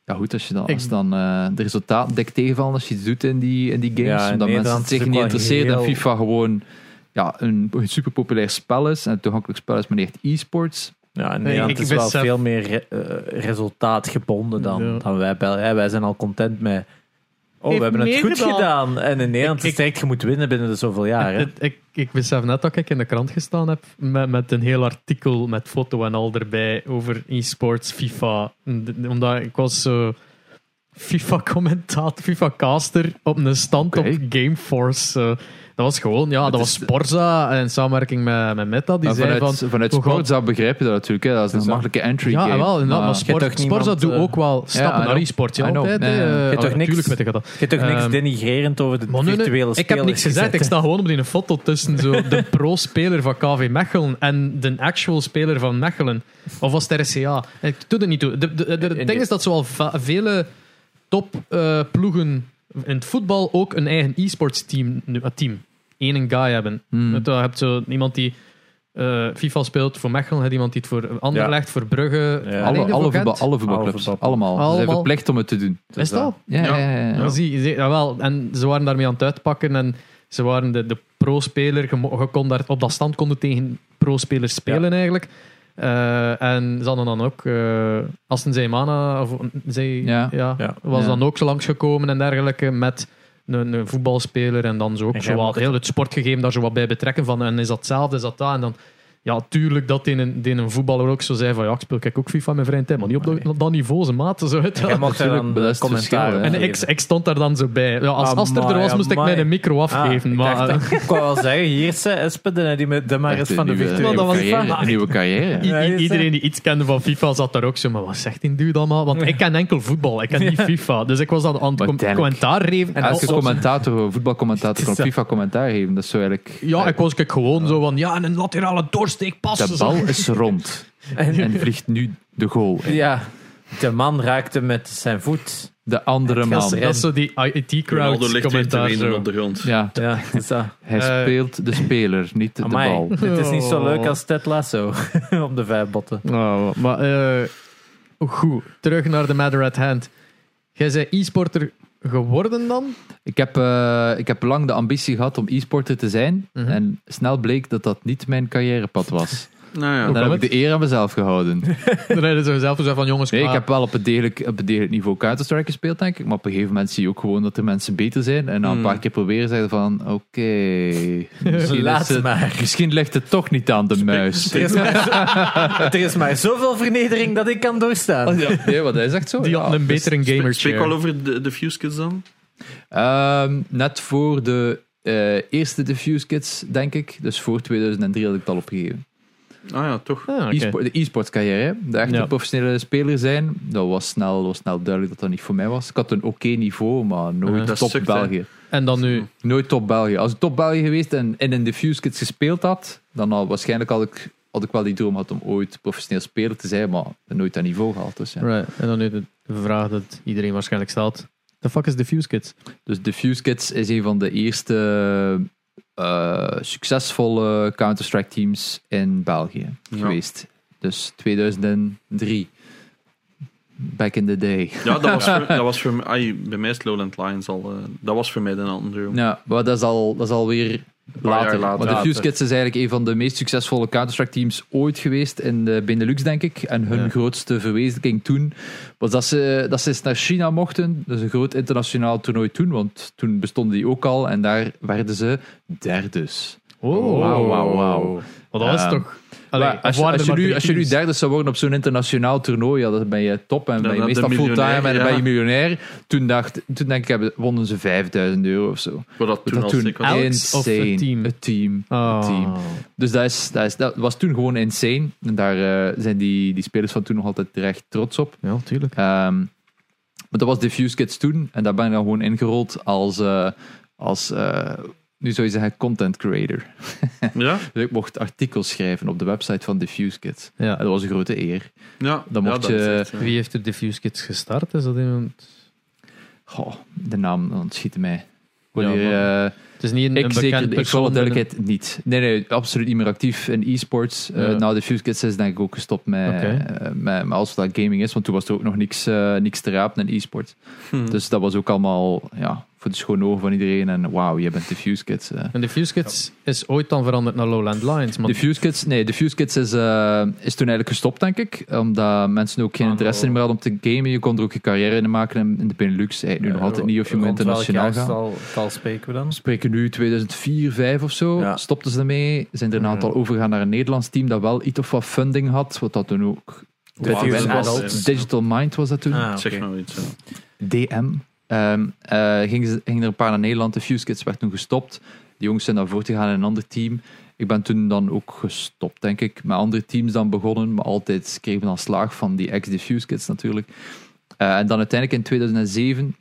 [SPEAKER 2] Ja goed, als je dan,
[SPEAKER 1] Ik-
[SPEAKER 2] als dan eh, de resultaten dik tegenvallen als je iets doet in die, in die games.
[SPEAKER 3] Ja, in
[SPEAKER 2] omdat mensen
[SPEAKER 3] Nederland
[SPEAKER 2] het zich
[SPEAKER 3] is ook
[SPEAKER 2] niet
[SPEAKER 3] wel
[SPEAKER 2] interesseren en
[SPEAKER 3] heel-
[SPEAKER 2] FIFA gewoon ja, een, een super populair spel is. En een toegankelijk spel is, maar niet echt e-sports.
[SPEAKER 3] Ja, in
[SPEAKER 1] Nee,
[SPEAKER 3] Nederland
[SPEAKER 1] ik- ik
[SPEAKER 3] is wel
[SPEAKER 1] besef-
[SPEAKER 3] veel meer re- eh, resultaatgebonden dan,
[SPEAKER 1] Ja.
[SPEAKER 3] dan wij Belgen. Hè, Wij zijn al content met... Oh,
[SPEAKER 1] Heeft
[SPEAKER 3] we hebben het
[SPEAKER 1] meer
[SPEAKER 3] goed
[SPEAKER 1] gedaan.
[SPEAKER 3] gedaan. En in Nederland
[SPEAKER 1] Ik-
[SPEAKER 3] is het direct, je moet winnen binnen de zoveel jaar. Hè.
[SPEAKER 1] Het- ik, ik besef net dat ik in de krant gestaan heb met, met een heel artikel met foto en al erbij over e-sports, FIFA. D- Omdat ik was eh, zo FIFA-commentator, FIFA-caster op een stand
[SPEAKER 2] Oké.
[SPEAKER 1] op Gameforce. eh. dat was gewoon, ja, dat was Sporza in samenwerking met, met Meta. Die
[SPEAKER 2] Maar
[SPEAKER 1] zei
[SPEAKER 2] vanuit,
[SPEAKER 1] van...
[SPEAKER 2] vanuit
[SPEAKER 1] hoe
[SPEAKER 2] sport zou begrijp je dat natuurlijk. Hè. Dat is een
[SPEAKER 3] Dus dan-
[SPEAKER 2] makkelijke entry
[SPEAKER 1] Ja,
[SPEAKER 2] game.
[SPEAKER 1] wel, inderdaad, maar
[SPEAKER 2] Maar-
[SPEAKER 1] sport,
[SPEAKER 3] Je hebt toch
[SPEAKER 1] Sporza
[SPEAKER 3] niemand,
[SPEAKER 1] doet
[SPEAKER 3] eh,
[SPEAKER 1] ook wel stappen
[SPEAKER 2] I
[SPEAKER 1] naar
[SPEAKER 2] know.
[SPEAKER 1] e-sport. Ja,
[SPEAKER 2] I know,
[SPEAKER 1] altijd.
[SPEAKER 2] ja, ja. Je
[SPEAKER 1] eh.
[SPEAKER 2] hebt
[SPEAKER 3] toch
[SPEAKER 1] Ah,
[SPEAKER 3] niks-
[SPEAKER 1] Tuurlijk weet je dat.
[SPEAKER 3] Je hebt toch niks
[SPEAKER 1] Ehm,
[SPEAKER 3] denigrerend over de
[SPEAKER 1] Maar nu, nu,
[SPEAKER 3] virtuele
[SPEAKER 1] ik heb niks gezegd. Ik sta gewoon op die foto tussen zo de pro-speler van KV Mechelen en de actual speler van Mechelen. Of was het RCA? Ik doe er niet toe. De, de, de- het
[SPEAKER 3] In
[SPEAKER 1] ding
[SPEAKER 3] die-
[SPEAKER 1] is dat zowel va- vele topploegen in het voetbal ook een eigen e-sports team, nu- eh, team. Eén een guy hebben.
[SPEAKER 2] Hmm.
[SPEAKER 1] Want eh, Je hebt zo iemand die eh, FIFA speelt voor Mechelen, je hebt iemand die het voor Anderlecht, voor Brugge. alleen
[SPEAKER 3] Ja.
[SPEAKER 2] alle,
[SPEAKER 1] ervoor
[SPEAKER 2] alle,
[SPEAKER 1] kent.
[SPEAKER 2] voetbal, alle voetbalclubs.
[SPEAKER 3] voetbalclubs.
[SPEAKER 2] allemaal. Ze zijn
[SPEAKER 1] Allemaal.
[SPEAKER 2] verplicht om het te doen.
[SPEAKER 1] Is dat?
[SPEAKER 2] Ja, ja.
[SPEAKER 4] Ja.
[SPEAKER 2] ja, ja.
[SPEAKER 1] Ja. Zie, zie, jawel. En ze waren daarmee aan het uitpakken. En ze waren de, de pro-speler. Je, mo- je kon daar op dat stand konden tegen pro-spelers spelen eigenlijk. Eh, en ze hadden dan ook eh Aston Zeymana, of zij,
[SPEAKER 2] Ja.
[SPEAKER 1] ja.
[SPEAKER 3] Ja.
[SPEAKER 1] was
[SPEAKER 2] Ja.
[SPEAKER 1] dan ook langsgekomen en dergelijke met een, een voetbalspeler en dan zo ook
[SPEAKER 3] En
[SPEAKER 1] zo
[SPEAKER 3] jij
[SPEAKER 1] wat,
[SPEAKER 3] mocht-
[SPEAKER 1] heel het sportgegeven daar zo wat bij betrekken van en is dat hetzelfde, is dat dat en dan ja, tuurlijk dat in een, die een voetballer ook zo zei van ja, ik speel kijk ook FIFA in mijn vrije tijd, maar niet op, dat-
[SPEAKER 3] Nee.
[SPEAKER 1] op dat niveau, ze maten zo uit.
[SPEAKER 3] Jij mocht daar
[SPEAKER 2] natuurlijk, dat
[SPEAKER 3] dan
[SPEAKER 2] is het
[SPEAKER 3] commentaar
[SPEAKER 2] verschil, hè.
[SPEAKER 3] op
[SPEAKER 1] En ik,
[SPEAKER 3] geven.
[SPEAKER 1] ik stond daar dan zo bij. Ja, als, als er er was,
[SPEAKER 3] Amai,
[SPEAKER 1] moest ik
[SPEAKER 3] amai.
[SPEAKER 1] mijn micro
[SPEAKER 3] Ah,
[SPEAKER 1] afgeven.
[SPEAKER 3] ik
[SPEAKER 1] maar,
[SPEAKER 3] dacht- Ik wou wel zeggen, hier is eh, Espen, eh, die met de maar is
[SPEAKER 2] Echt eh,
[SPEAKER 3] van de
[SPEAKER 2] een nieuwe-
[SPEAKER 3] virtuele.
[SPEAKER 1] dat was
[SPEAKER 2] nieuwe carrière,
[SPEAKER 1] van-
[SPEAKER 2] een nieuwe
[SPEAKER 1] i-
[SPEAKER 2] carrière.
[SPEAKER 1] i-
[SPEAKER 3] Ja, is, eh.
[SPEAKER 1] iedereen die iets kende van FIFA zat daar ook zo. Maar wat zegt die dude allemaal? Want ik ken enkel voetbal, ik ken niet FIFA. Dus ik was dan aan
[SPEAKER 2] Maar
[SPEAKER 1] het com-
[SPEAKER 2] duidelijk.
[SPEAKER 1] commentaar geven.
[SPEAKER 2] En
[SPEAKER 1] En
[SPEAKER 2] elke
[SPEAKER 1] als-
[SPEAKER 2] commentator, voetbalcommentator, kan
[SPEAKER 3] Het is
[SPEAKER 2] FIFA commentaar geven. Dat is zo eigenlijk...
[SPEAKER 1] ja, ik was kijk gewoon zo van ja, en een laterale doorsteek passen.
[SPEAKER 2] De bal is rond en vliegt nu de goal. in.
[SPEAKER 3] Ja, de man raakte met zijn voet.
[SPEAKER 2] De andere
[SPEAKER 1] Dat is,
[SPEAKER 2] man.
[SPEAKER 1] dat is zo die
[SPEAKER 4] Ronaldo
[SPEAKER 1] IT-crowd
[SPEAKER 4] ligt weer te
[SPEAKER 1] commentaar.
[SPEAKER 4] wenen
[SPEAKER 1] zo.
[SPEAKER 4] op de grond.
[SPEAKER 2] Ja,
[SPEAKER 3] Ja, dat is dat.
[SPEAKER 2] hij
[SPEAKER 1] Eh,
[SPEAKER 2] speelt de speler, niet de
[SPEAKER 3] Amai,
[SPEAKER 2] bal.
[SPEAKER 3] dit is niet zo
[SPEAKER 1] Oh.
[SPEAKER 3] leuk als Ted Lasso op de vijf botten.
[SPEAKER 2] Oh,
[SPEAKER 1] Nou, maar eh, goed, terug naar de matter at hand. Jij zei e-sporter geworden dan?
[SPEAKER 2] Ik heb, eh, ik heb lang de ambitie gehad om e-sporter te zijn.
[SPEAKER 1] Mhm.
[SPEAKER 2] En snel bleek dat dat niet mijn carrièrepad was.
[SPEAKER 4] Nou ja.
[SPEAKER 2] En dan
[SPEAKER 1] kan
[SPEAKER 2] heb ik de eer aan mezelf gehouden.
[SPEAKER 1] Dan rijden ze zelf zo van jongens,
[SPEAKER 2] Nee, ik
[SPEAKER 1] klaar.
[SPEAKER 2] heb wel op een degelijk, op een degelijk niveau Counter-Strike gespeeld, denk ik. Maar op een gegeven moment zie je ook gewoon dat er mensen beter zijn. En na een
[SPEAKER 4] Hmm.
[SPEAKER 2] paar keer proberen zeggen van... Oké, misschien,
[SPEAKER 3] Laat
[SPEAKER 2] is het-
[SPEAKER 3] maar.
[SPEAKER 2] misschien ligt het toch niet aan de muis.
[SPEAKER 3] Er is, maar zo- er is maar zoveel vernedering dat ik kan doorstaan.
[SPEAKER 2] Nee, wat hij zegt zo.
[SPEAKER 1] Die
[SPEAKER 2] ja. dus,
[SPEAKER 1] hadden een betere
[SPEAKER 4] Spreek-
[SPEAKER 1] gamer
[SPEAKER 4] Spreek wel
[SPEAKER 1] chair.
[SPEAKER 4] over de, de Fuse Kids dan?
[SPEAKER 2] Ehm, net voor de eh, eerste Diffuse Kids, denk ik. Dus voor 2003 had ik het al opgegeven.
[SPEAKER 4] Ah ja, toch.
[SPEAKER 1] Ah, oké.
[SPEAKER 2] E-sport- de e-sports carrière, hè. de echte
[SPEAKER 1] Ja.
[SPEAKER 2] professionele speler zijn, dat was snel, was snel duidelijk dat dat niet voor mij was. Ik had een oké niveau, maar nooit
[SPEAKER 1] Ja.
[SPEAKER 4] Dat
[SPEAKER 2] top
[SPEAKER 4] sukt, hè.
[SPEAKER 2] België.
[SPEAKER 1] En dan nu.
[SPEAKER 2] Nooit top België. Als ik top België geweest en in een Diffuse Kids gespeeld had, dan had, waarschijnlijk had ik, had ik wel die droom gehad om ooit professioneel speler te zijn, maar nooit dat niveau gehaald. Dus, ja.
[SPEAKER 1] Right. En dan nu de vraag dat iedereen waarschijnlijk stelt. The fuck is Diffuse Kids?
[SPEAKER 2] Dus Diffuse Kids is een van de eerste eh, succesvolle Counter-Strike teams in België
[SPEAKER 4] Ja.
[SPEAKER 2] geweest. Dus 2003. Back in the day.
[SPEAKER 4] Ja, dat was voor, dat was voor mij, ai, bij mij is Lowland Lions al, eh, dat was voor mij de andere.
[SPEAKER 2] Ja, maar dat is, al, dat is alweer
[SPEAKER 4] paar
[SPEAKER 2] later.
[SPEAKER 4] jaar
[SPEAKER 2] Maar
[SPEAKER 4] later.
[SPEAKER 2] de
[SPEAKER 3] Later.
[SPEAKER 2] Fuse Kids is eigenlijk een van de meest succesvolle Counter-Strike teams ooit geweest in de Benelux, denk ik. En hun
[SPEAKER 4] Ja.
[SPEAKER 2] grootste verwezenlijking toen was dat ze, dat ze eens naar China mochten. Dat is een groot internationaal toernooi toen, want toen bestonden die ook al. En daar werden ze derdes.
[SPEAKER 1] Oh,
[SPEAKER 2] Wauw, wauw, wauw.
[SPEAKER 1] Maar dat is
[SPEAKER 2] Ehm,
[SPEAKER 1] toch... Allee,
[SPEAKER 2] Maar als,
[SPEAKER 1] of
[SPEAKER 2] je,
[SPEAKER 1] waren
[SPEAKER 2] als,
[SPEAKER 1] er maar
[SPEAKER 2] je nu,
[SPEAKER 1] drie
[SPEAKER 2] als je nu
[SPEAKER 1] teams?
[SPEAKER 2] derde zou worden op zo'n internationaal toernooi, ja, dan ben je top en
[SPEAKER 4] Dan
[SPEAKER 2] ben je
[SPEAKER 4] ben je
[SPEAKER 2] meestal fulltime en
[SPEAKER 4] miljonair,
[SPEAKER 2] dan ben je
[SPEAKER 4] ja.
[SPEAKER 2] miljonair. Toen, dacht, toen denk ik, hebben- wonnen ze 5000 euro of zo.
[SPEAKER 4] Wat dat toen
[SPEAKER 2] Dat
[SPEAKER 4] al
[SPEAKER 2] toen
[SPEAKER 4] sick was.
[SPEAKER 1] elk-
[SPEAKER 2] insane.
[SPEAKER 1] of het team?
[SPEAKER 2] Het team.
[SPEAKER 1] Ah.
[SPEAKER 2] Het team. Dus dat, is, dat, is, dat was toen gewoon insane. En daar eh, zijn die, die spelers van toen nog altijd terecht trots op.
[SPEAKER 1] Ja, tuurlijk.
[SPEAKER 2] Ehm, maar dat was Diffuse Kids toen. En daar ben ik dan gewoon ingerold als, eh, als eh, nu zou je zeggen, content creator.
[SPEAKER 4] Ja,
[SPEAKER 2] Dus ik mocht artikels schrijven op de website van Diffuse Kids.
[SPEAKER 1] Ja.
[SPEAKER 2] En dat was een grote eer.
[SPEAKER 4] ja,
[SPEAKER 2] Dan
[SPEAKER 4] ja,
[SPEAKER 2] mocht
[SPEAKER 4] dat is
[SPEAKER 2] je-
[SPEAKER 4] echt, ja.
[SPEAKER 1] Wie heeft de Diffuse Kids gestart? Is dat iemand...
[SPEAKER 2] Goh, de naam ontschiet mij. Wanneer, eh,
[SPEAKER 1] Het is niet een,
[SPEAKER 2] ik
[SPEAKER 1] een
[SPEAKER 2] zeker,
[SPEAKER 1] bekend
[SPEAKER 2] ik zal de
[SPEAKER 1] persoon. binnen-
[SPEAKER 2] duidelijkheid niet. Nee, nee, absoluut niet meer actief in e-sports. Eh,
[SPEAKER 1] Ja.
[SPEAKER 2] Na de Fuse Kids is denk ik ook gestopt met,
[SPEAKER 1] Oké.
[SPEAKER 2] eh, met, met alles wat gaming is, want toen was er ook nog niks, eh, niks te rapen in e-sports.
[SPEAKER 4] Hm.
[SPEAKER 2] Dus dat was ook allemaal ja, voor de schone ogen van iedereen. En wauw, je bent de Fuse Kids. eh.
[SPEAKER 1] En Diffuse Kids is ooit dan veranderd naar Lowland Lions. Maar
[SPEAKER 2] De Fuse Kids, nee, de Fuse Kids is, eh, is toen eigenlijk gestopt, denk ik. Omdat mensen ook geen
[SPEAKER 3] Ah,
[SPEAKER 2] interesse
[SPEAKER 3] nou.
[SPEAKER 2] meer hadden om te gamen. Je kon er ook je carrière in maken in- in de Benelux. Eigenlijk nu nog altijd niet of je moet
[SPEAKER 3] Rond welk
[SPEAKER 2] internationaal gaan.
[SPEAKER 3] jaartal spreken we dan?
[SPEAKER 2] We spreken nu 2004, 5 of zo.
[SPEAKER 3] Ja.
[SPEAKER 2] Stopten ze ermee. Zijn er een aantal overgegaan naar een Nederlands team dat wel iets of wat funding had. Wat dat toen ook.
[SPEAKER 3] Diffuse
[SPEAKER 2] Wat dat
[SPEAKER 3] Adult.
[SPEAKER 2] was. Digital Mind was dat toen.
[SPEAKER 3] Ah,
[SPEAKER 4] Zeg
[SPEAKER 3] oké.
[SPEAKER 4] maar iets. ja.
[SPEAKER 2] DM. Ehm eh, gingen, ze- gingen er een paar naar Nederland. De Fuse Kids werd toen gestopt. De jongens zijn daarvoor te gaan in een ander team. Ik ben toen dan ook gestopt, denk ik. Met andere teams dan begonnen. Maar altijd kregen we dan slaag van die ex-Diffuse Kids natuurlijk. Eh, en dan uiteindelijk in 2007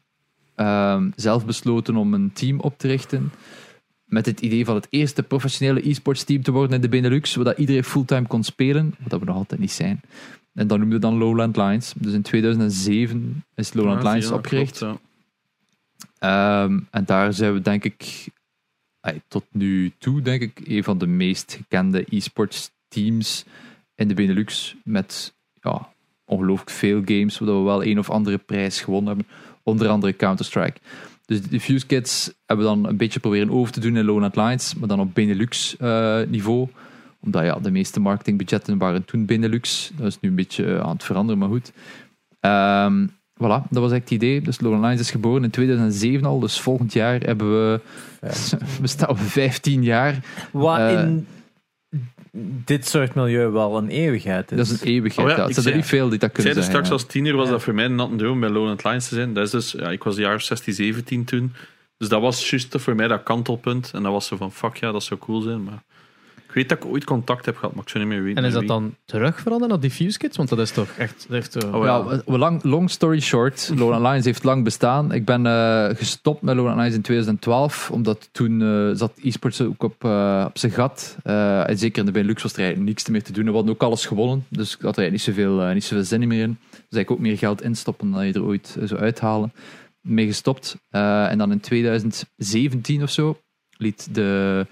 [SPEAKER 2] ehm, zelf besloten om een team op te richten. Met het idee van het eerste professionele e-sports team te worden in de Benelux. Zodat iedereen fulltime kon spelen. Wat we nog altijd niet zijn. En dat noemde dan Lowland Lines. Dus in 2007 is Lowland
[SPEAKER 4] Ah, Ja,
[SPEAKER 2] Lines
[SPEAKER 4] zie je, dat
[SPEAKER 2] opgericht.
[SPEAKER 4] klopt, ja.
[SPEAKER 2] Ehm, en daar zijn we denk ik ai, tot nu toe denk ik een van de meest gekende e-sports teams in de Benelux met ja, ongelooflijk veel games waar we wel een of andere prijs gewonnen hebben, onder andere Counter-Strike. Dus de Fuse Kids hebben we dan een beetje proberen over te doen in Lone Lines, maar dan op Benelux eh, niveau. Omdat ja, de meeste marketingbudgetten waren toen Benelux. Dat is nu een beetje eh, aan het veranderen, maar goed. Ehm, voilà, dat was echt het idee. Dus Lone Lines is geboren in 2007 al, dus volgend jaar hebben we... We staan op 15 jaar.
[SPEAKER 3] Wat
[SPEAKER 2] Eh,
[SPEAKER 3] in dit soort milieu wel een eeuwigheid is.
[SPEAKER 2] Dat is een eeuwigheid.
[SPEAKER 4] Oh ja,
[SPEAKER 2] ja. Het
[SPEAKER 4] ik
[SPEAKER 2] zijn er
[SPEAKER 4] zei-
[SPEAKER 2] niet veel die dat
[SPEAKER 4] Ik
[SPEAKER 2] kunnen
[SPEAKER 4] zei dus
[SPEAKER 2] zijn.
[SPEAKER 4] straks
[SPEAKER 2] ja.
[SPEAKER 4] als tiener was dat voor mij een natte droom bij Lowland Lions te zijn. Dat is dus, ja, ik was een jaar of 16, 17 toen. Dus dat was juist voor mij dat kantelpunt. En dat was zo van, fuck ja, dat zou cool zijn. Maar ik weet dat ik ooit contact heb gehad, maar ik zou niet meer weten
[SPEAKER 1] En is
[SPEAKER 4] met
[SPEAKER 1] dat
[SPEAKER 4] wie.
[SPEAKER 1] dan terug veranderd naar Diffuse Kids? Want dat is toch echt... Dat heeft, eh,
[SPEAKER 4] Oh,
[SPEAKER 2] Ja, we- we lang, long story short, Lone Lines heeft lang bestaan. Ik ben eh, gestopt met Lone Lines in 2012, omdat toen eh, zat e-sports ook op, eh, op zijn gat. Eh, en zeker in de Benelux was er eigenlijk niks meer te doen. We hadden ook alles gewonnen, dus ik had er eigenlijk niet zoveel, eh, niet zoveel zin meer in. Dus eigenlijk ook meer geld instoppen dan je er ooit eh, zou uithalen. Mee gestopt. Eh, en dan in 2017 of zo liet de,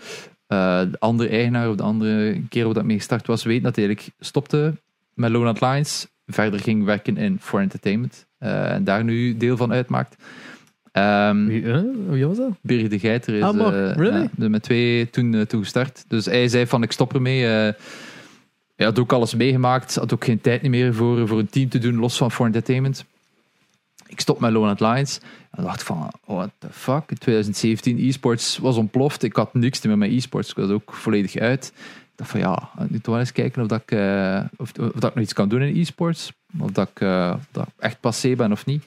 [SPEAKER 2] eh, de andere eigenaar of de andere keer waar dat mee gestart was weten dat hij eigenlijk stopte met Lonat Lines verder ging werken in For Entertainment. eh, en daar nu deel van uitmaakt. Ehm
[SPEAKER 1] Wie, eh? Wie was dat?
[SPEAKER 2] Birgit de Geiter is
[SPEAKER 1] Ah, maar,
[SPEAKER 2] eh,
[SPEAKER 1] really?
[SPEAKER 2] ja, met twee toen eh, toen gestart. Dus hij zei van ik stop ermee. eh hij had ook alles meegemaakt. Had ook geen tijd meer voor, voor een team te doen, los van For Entertainment. Ik stop met Lone Lions. En dacht van, what the fuck? In 2017, e-sports was ontploft. Ik had niks meer met e-sports. Ik was ook volledig uit. Ik dacht van, ja, nu toch wel eens kijken of, dat ik, eh, of, of dat ik nog iets kan doen in e-sports. Of dat ik, eh, of dat ik echt passé ben of niet.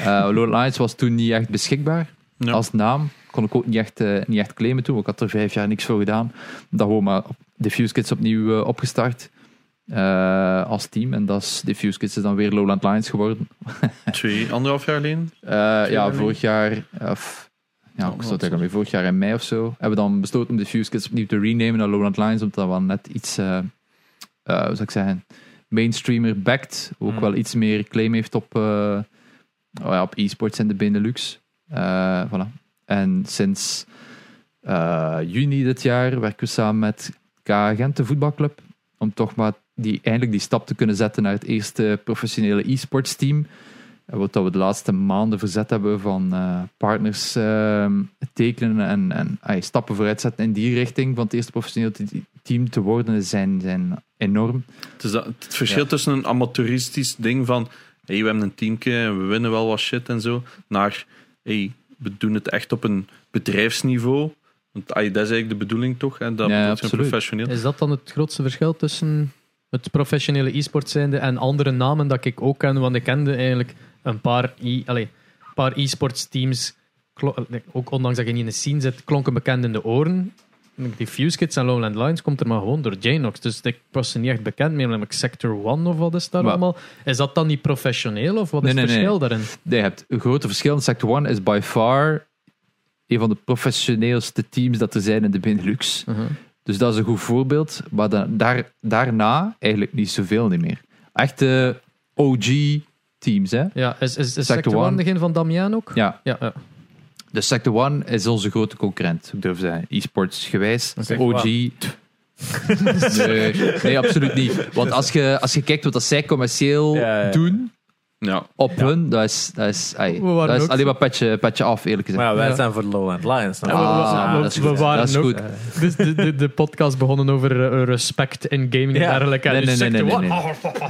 [SPEAKER 2] Eh Lone Lions was toen niet echt beschikbaar
[SPEAKER 4] Ja.
[SPEAKER 2] als naam. Kon ik ook niet echt, eh, niet echt claimen toen. want Ik had er vijf jaar niks voor gedaan. Dat gewoon maar op Diffuse Kids opnieuw eh, opgestart. eh, als team. En dat is Diffuse Kids is dan weer Lowland Lions geworden.
[SPEAKER 4] Twee, anderhalf jaar geleden?
[SPEAKER 2] Eh, ja, vorig jaar. Of, ja, ik zat er mee. Vorig jaar in mei of zo. Hebben we dan besloten om Diffuse Kids opnieuw te renamen naar Lowland Lions. Omdat we wel net iets. eh eh, hoe zou ik zeggen? Mainstreamer backed. Ook
[SPEAKER 3] Hmm.
[SPEAKER 2] wel iets meer claim heeft op. eh, oh ja, op e-sports in de Benelux. Eh, voilà. En sinds eh, juni dit jaar werken we samen met K Gent, de voetbalclub, om toch maar die, eindelijk die stap te kunnen zetten naar het eerste professionele e-sports team. Eh, Wat dat we de laatste maanden verzet hebben van eh, partners eh, tekenen en, en ah, stappen vooruit zetten in die richting van het eerste professioneel te- team te worden, zijn, zijn enorm.
[SPEAKER 4] Het, is dat, het verschil tussen een amateuristisch ding van hey, we hebben een teamke en we winnen wel wat shit en zo, naar hey, we doen het echt op een bedrijfsniveau. Want ah, dat is eigenlijk de bedoeling toch? En dat
[SPEAKER 2] Ja,
[SPEAKER 4] dat zijn
[SPEAKER 2] absoluut.
[SPEAKER 4] professioneel.
[SPEAKER 1] Is dat dan het grootste verschil tussen het professionele e-sport zijnde en andere namen dat ik ook ken? Want ik kende eigenlijk een paar, e allee, een paar e-sports teams, klo- eh, ook ondanks dat je niet in de scene zit, klonken bekend in de oren. Die Fuse Kids en Lowland Lines komt er maar gewoon door Janox. Dus ik was er niet echt bekend mee. Namelijk Sector One of wat is daar
[SPEAKER 2] Maar-
[SPEAKER 1] allemaal? Is dat dan niet professioneel of wat is
[SPEAKER 2] Nee,
[SPEAKER 1] het
[SPEAKER 2] nee,
[SPEAKER 1] verschil daarin?
[SPEAKER 2] Nee, je hebt een grote verschil. Sector One is by far een van de professioneelste teams dat er zijn in de Benelux. Dus dat is een goed voorbeeld. Maar da- daar, daarna eigenlijk niet zoveel niet meer. Echte OG-teams, hè?
[SPEAKER 1] Ja, is, is, is
[SPEAKER 2] Sector
[SPEAKER 1] Sector One
[SPEAKER 2] One.
[SPEAKER 1] degene van Damian ook?
[SPEAKER 2] Ja,
[SPEAKER 1] ja, ja.
[SPEAKER 2] dus Sector One is onze grote concurrent, ik durf te zeggen. E-sports gewijs,
[SPEAKER 3] Sector
[SPEAKER 2] OG. Nee, nee, absoluut niet. Want als je, als je kijkt wat dat zij commercieel
[SPEAKER 3] Ja, ja.
[SPEAKER 2] doen
[SPEAKER 4] Ja.
[SPEAKER 2] op hun, dat is, dat is,
[SPEAKER 1] We
[SPEAKER 2] ai,
[SPEAKER 1] waren
[SPEAKER 2] dat is
[SPEAKER 1] ook-
[SPEAKER 2] alleen maar petje, petje af, eerlijk gezegd.
[SPEAKER 3] Maar ja, wij
[SPEAKER 1] Ja.
[SPEAKER 3] zijn voor de Lowland Lions.
[SPEAKER 1] Ja, we- we-
[SPEAKER 2] Ah,
[SPEAKER 1] we-
[SPEAKER 2] dat is
[SPEAKER 1] we
[SPEAKER 2] goed.
[SPEAKER 1] waren
[SPEAKER 2] Dat is
[SPEAKER 1] ook-
[SPEAKER 2] goed.
[SPEAKER 1] Dus de, de, de podcast begonnen over eh, respect in gaming en
[SPEAKER 3] Ja.
[SPEAKER 1] dergelijke. En
[SPEAKER 2] Nee,
[SPEAKER 1] dus
[SPEAKER 2] nee, nee,
[SPEAKER 1] Sector
[SPEAKER 2] nee,
[SPEAKER 1] One,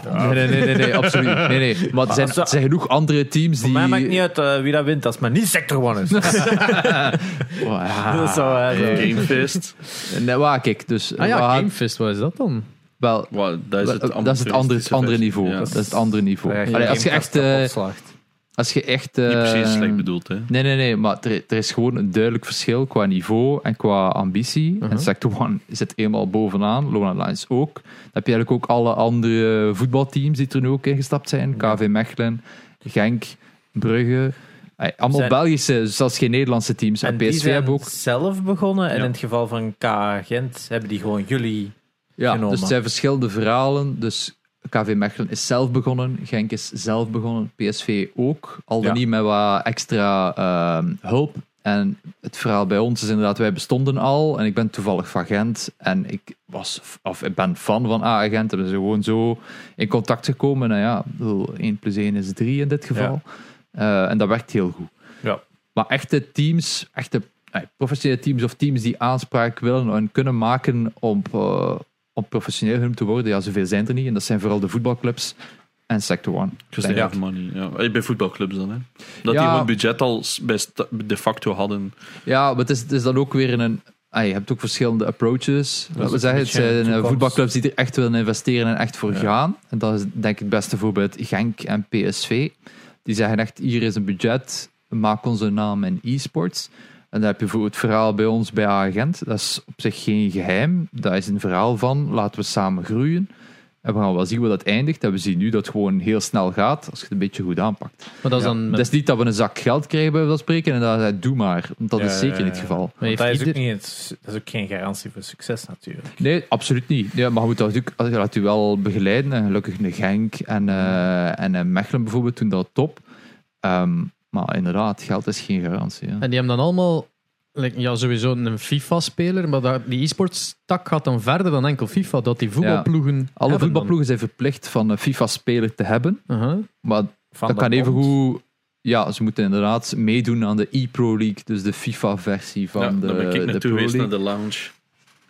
[SPEAKER 2] nee,
[SPEAKER 1] oh,
[SPEAKER 2] Nee, nee, nee, nee, nee, absoluut. Nee, nee. Maar er zijn,
[SPEAKER 3] als we-
[SPEAKER 2] er zijn genoeg andere teams die. Ah,
[SPEAKER 3] Voor mij maakt niet uit eh, wie dat wint, als het maar niet Sector One is.
[SPEAKER 2] Oh, ja.
[SPEAKER 3] dat is zo, eh, zo.
[SPEAKER 4] Gamefest.
[SPEAKER 2] Nee, waar, kijk, dus.
[SPEAKER 1] Ah ja,
[SPEAKER 2] we gaan-
[SPEAKER 1] Gamefest, wat is dat dan?
[SPEAKER 2] wel,
[SPEAKER 4] Wow, dat is het,
[SPEAKER 2] wel, dat is het andere, het
[SPEAKER 4] amateuristische
[SPEAKER 2] andere
[SPEAKER 4] vers-
[SPEAKER 2] niveau.
[SPEAKER 4] Ja.
[SPEAKER 2] Dat is het andere niveau.
[SPEAKER 3] Ja,
[SPEAKER 2] Allee, als je
[SPEAKER 3] Gamecast
[SPEAKER 2] echt. eh,
[SPEAKER 3] opslaagt.
[SPEAKER 2] als je echt
[SPEAKER 4] Niet
[SPEAKER 2] eh,
[SPEAKER 4] precies slecht bedoeld, hè?
[SPEAKER 2] Nee, nee, nee, maar er, er is gewoon een duidelijk verschil qua niveau en qua ambitie.
[SPEAKER 3] Mhm.
[SPEAKER 2] En Sector One zit eenmaal bovenaan, Lona Lines ook. Dan heb je eigenlijk ook alle andere voetbalteams die er nu ook ingestapt zijn.
[SPEAKER 3] Mhm.
[SPEAKER 2] KV Mechelen, Genk, Brugge. Eh, Allemaal
[SPEAKER 3] Zijn-
[SPEAKER 2] Belgische, zelfs geen Nederlandse teams. En,
[SPEAKER 3] En die
[SPEAKER 2] PSV
[SPEAKER 3] zijn
[SPEAKER 2] hebben ook.
[SPEAKER 3] zelf begonnen. En
[SPEAKER 4] Ja.
[SPEAKER 3] in het geval van K. Gent hebben die gewoon jullie...
[SPEAKER 2] Ja,
[SPEAKER 3] genomen.
[SPEAKER 2] dus het zijn verschillende verhalen. Dus KV Mechelen is zelf begonnen, Genk is zelf begonnen, PSV ook. Al dan
[SPEAKER 3] Ja.
[SPEAKER 2] niet met wat extra ehm, hulp. En het verhaal bij ons is inderdaad, wij bestonden al. En ik ben toevallig van Gent. En ik, was, of ik ben fan van A Gent. En we zijn gewoon zo in contact gekomen. En ja, 1 plus 1 is 3 in dit geval. Eh, en dat werkt heel goed.
[SPEAKER 3] Ja.
[SPEAKER 2] Maar echte teams, echte eh, professionele teams of teams die aanspraak willen en kunnen maken om, eh, om professioneel genoemd te worden, ja, zoveel zijn er niet. En dat zijn vooral de voetbalclubs en Sector One.
[SPEAKER 4] Because
[SPEAKER 2] denk
[SPEAKER 4] they
[SPEAKER 2] ik.
[SPEAKER 4] have money. Ja. Eh, Bij voetbalclubs dan, hè? Dat
[SPEAKER 2] Ja.
[SPEAKER 4] die gewoon budget al s- bij sta- de facto hadden.
[SPEAKER 2] Ja, maar het is, het is dan ook weer een. ah, je hebt ook verschillende approaches. Laten we
[SPEAKER 3] een
[SPEAKER 2] zeggen, het
[SPEAKER 3] beetje de
[SPEAKER 2] zijn eh,
[SPEAKER 3] toekomst.
[SPEAKER 2] voetbalclubs die er echt willen investeren en echt voor gaan. En dat is denk ik het beste voorbeeld Genk en PSV. Die zeggen echt, hier is een budget, maak onze naam in e-sports. En dan heb je voor het verhaal bij ons bij Agent. Dat is op zich geen geheim. Daar is een verhaal van, laten we samen groeien. En we gaan wel zien waar dat eindigt. En we zien nu dat het gewoon heel snel gaat, als je het een beetje goed aanpakt.
[SPEAKER 1] Maar dat is
[SPEAKER 2] Ja.
[SPEAKER 1] dan met-
[SPEAKER 2] Dat is niet dat we een zak geld krijgen bij dat spreken en dat hij doe maar. Want dat
[SPEAKER 3] Ja,
[SPEAKER 2] is zeker
[SPEAKER 3] ja,
[SPEAKER 2] niet het
[SPEAKER 3] ja.
[SPEAKER 2] geval.
[SPEAKER 1] heeft
[SPEAKER 3] Want dat, is ook
[SPEAKER 1] ieder-
[SPEAKER 3] niet, het- dat is ook geen garantie voor succes natuurlijk.
[SPEAKER 2] Nee, absoluut niet. Ja, maar je moet dat natuurlijk je laat u wel begeleiden. En gelukkig een Genk en, eh, en een Mechelen bijvoorbeeld doen dat top. Ehm, maar inderdaad, geld is geen garantie. hè.
[SPEAKER 1] En die hebben dan allemaal, like, ja, sowieso een FIFA-speler, maar dat, die e-sports tak gaat dan verder dan enkel FIFA, dat die voetbalploegen.
[SPEAKER 2] Alle
[SPEAKER 1] hebben
[SPEAKER 2] voetbalploegen zijn verplicht van een FIFA-speler te hebben.
[SPEAKER 1] dan. Uh-huh.
[SPEAKER 2] Maar
[SPEAKER 3] Van
[SPEAKER 2] dat
[SPEAKER 3] de
[SPEAKER 2] kan even
[SPEAKER 3] bond.
[SPEAKER 2] hoe. Ja, ze moeten inderdaad meedoen aan de e-pro league, dus de FIFA-versie van
[SPEAKER 4] ja,
[SPEAKER 2] de,
[SPEAKER 4] dan ben ik
[SPEAKER 2] de
[SPEAKER 4] naartoe
[SPEAKER 2] pro
[SPEAKER 4] geweest
[SPEAKER 2] league.
[SPEAKER 4] naar de lounge.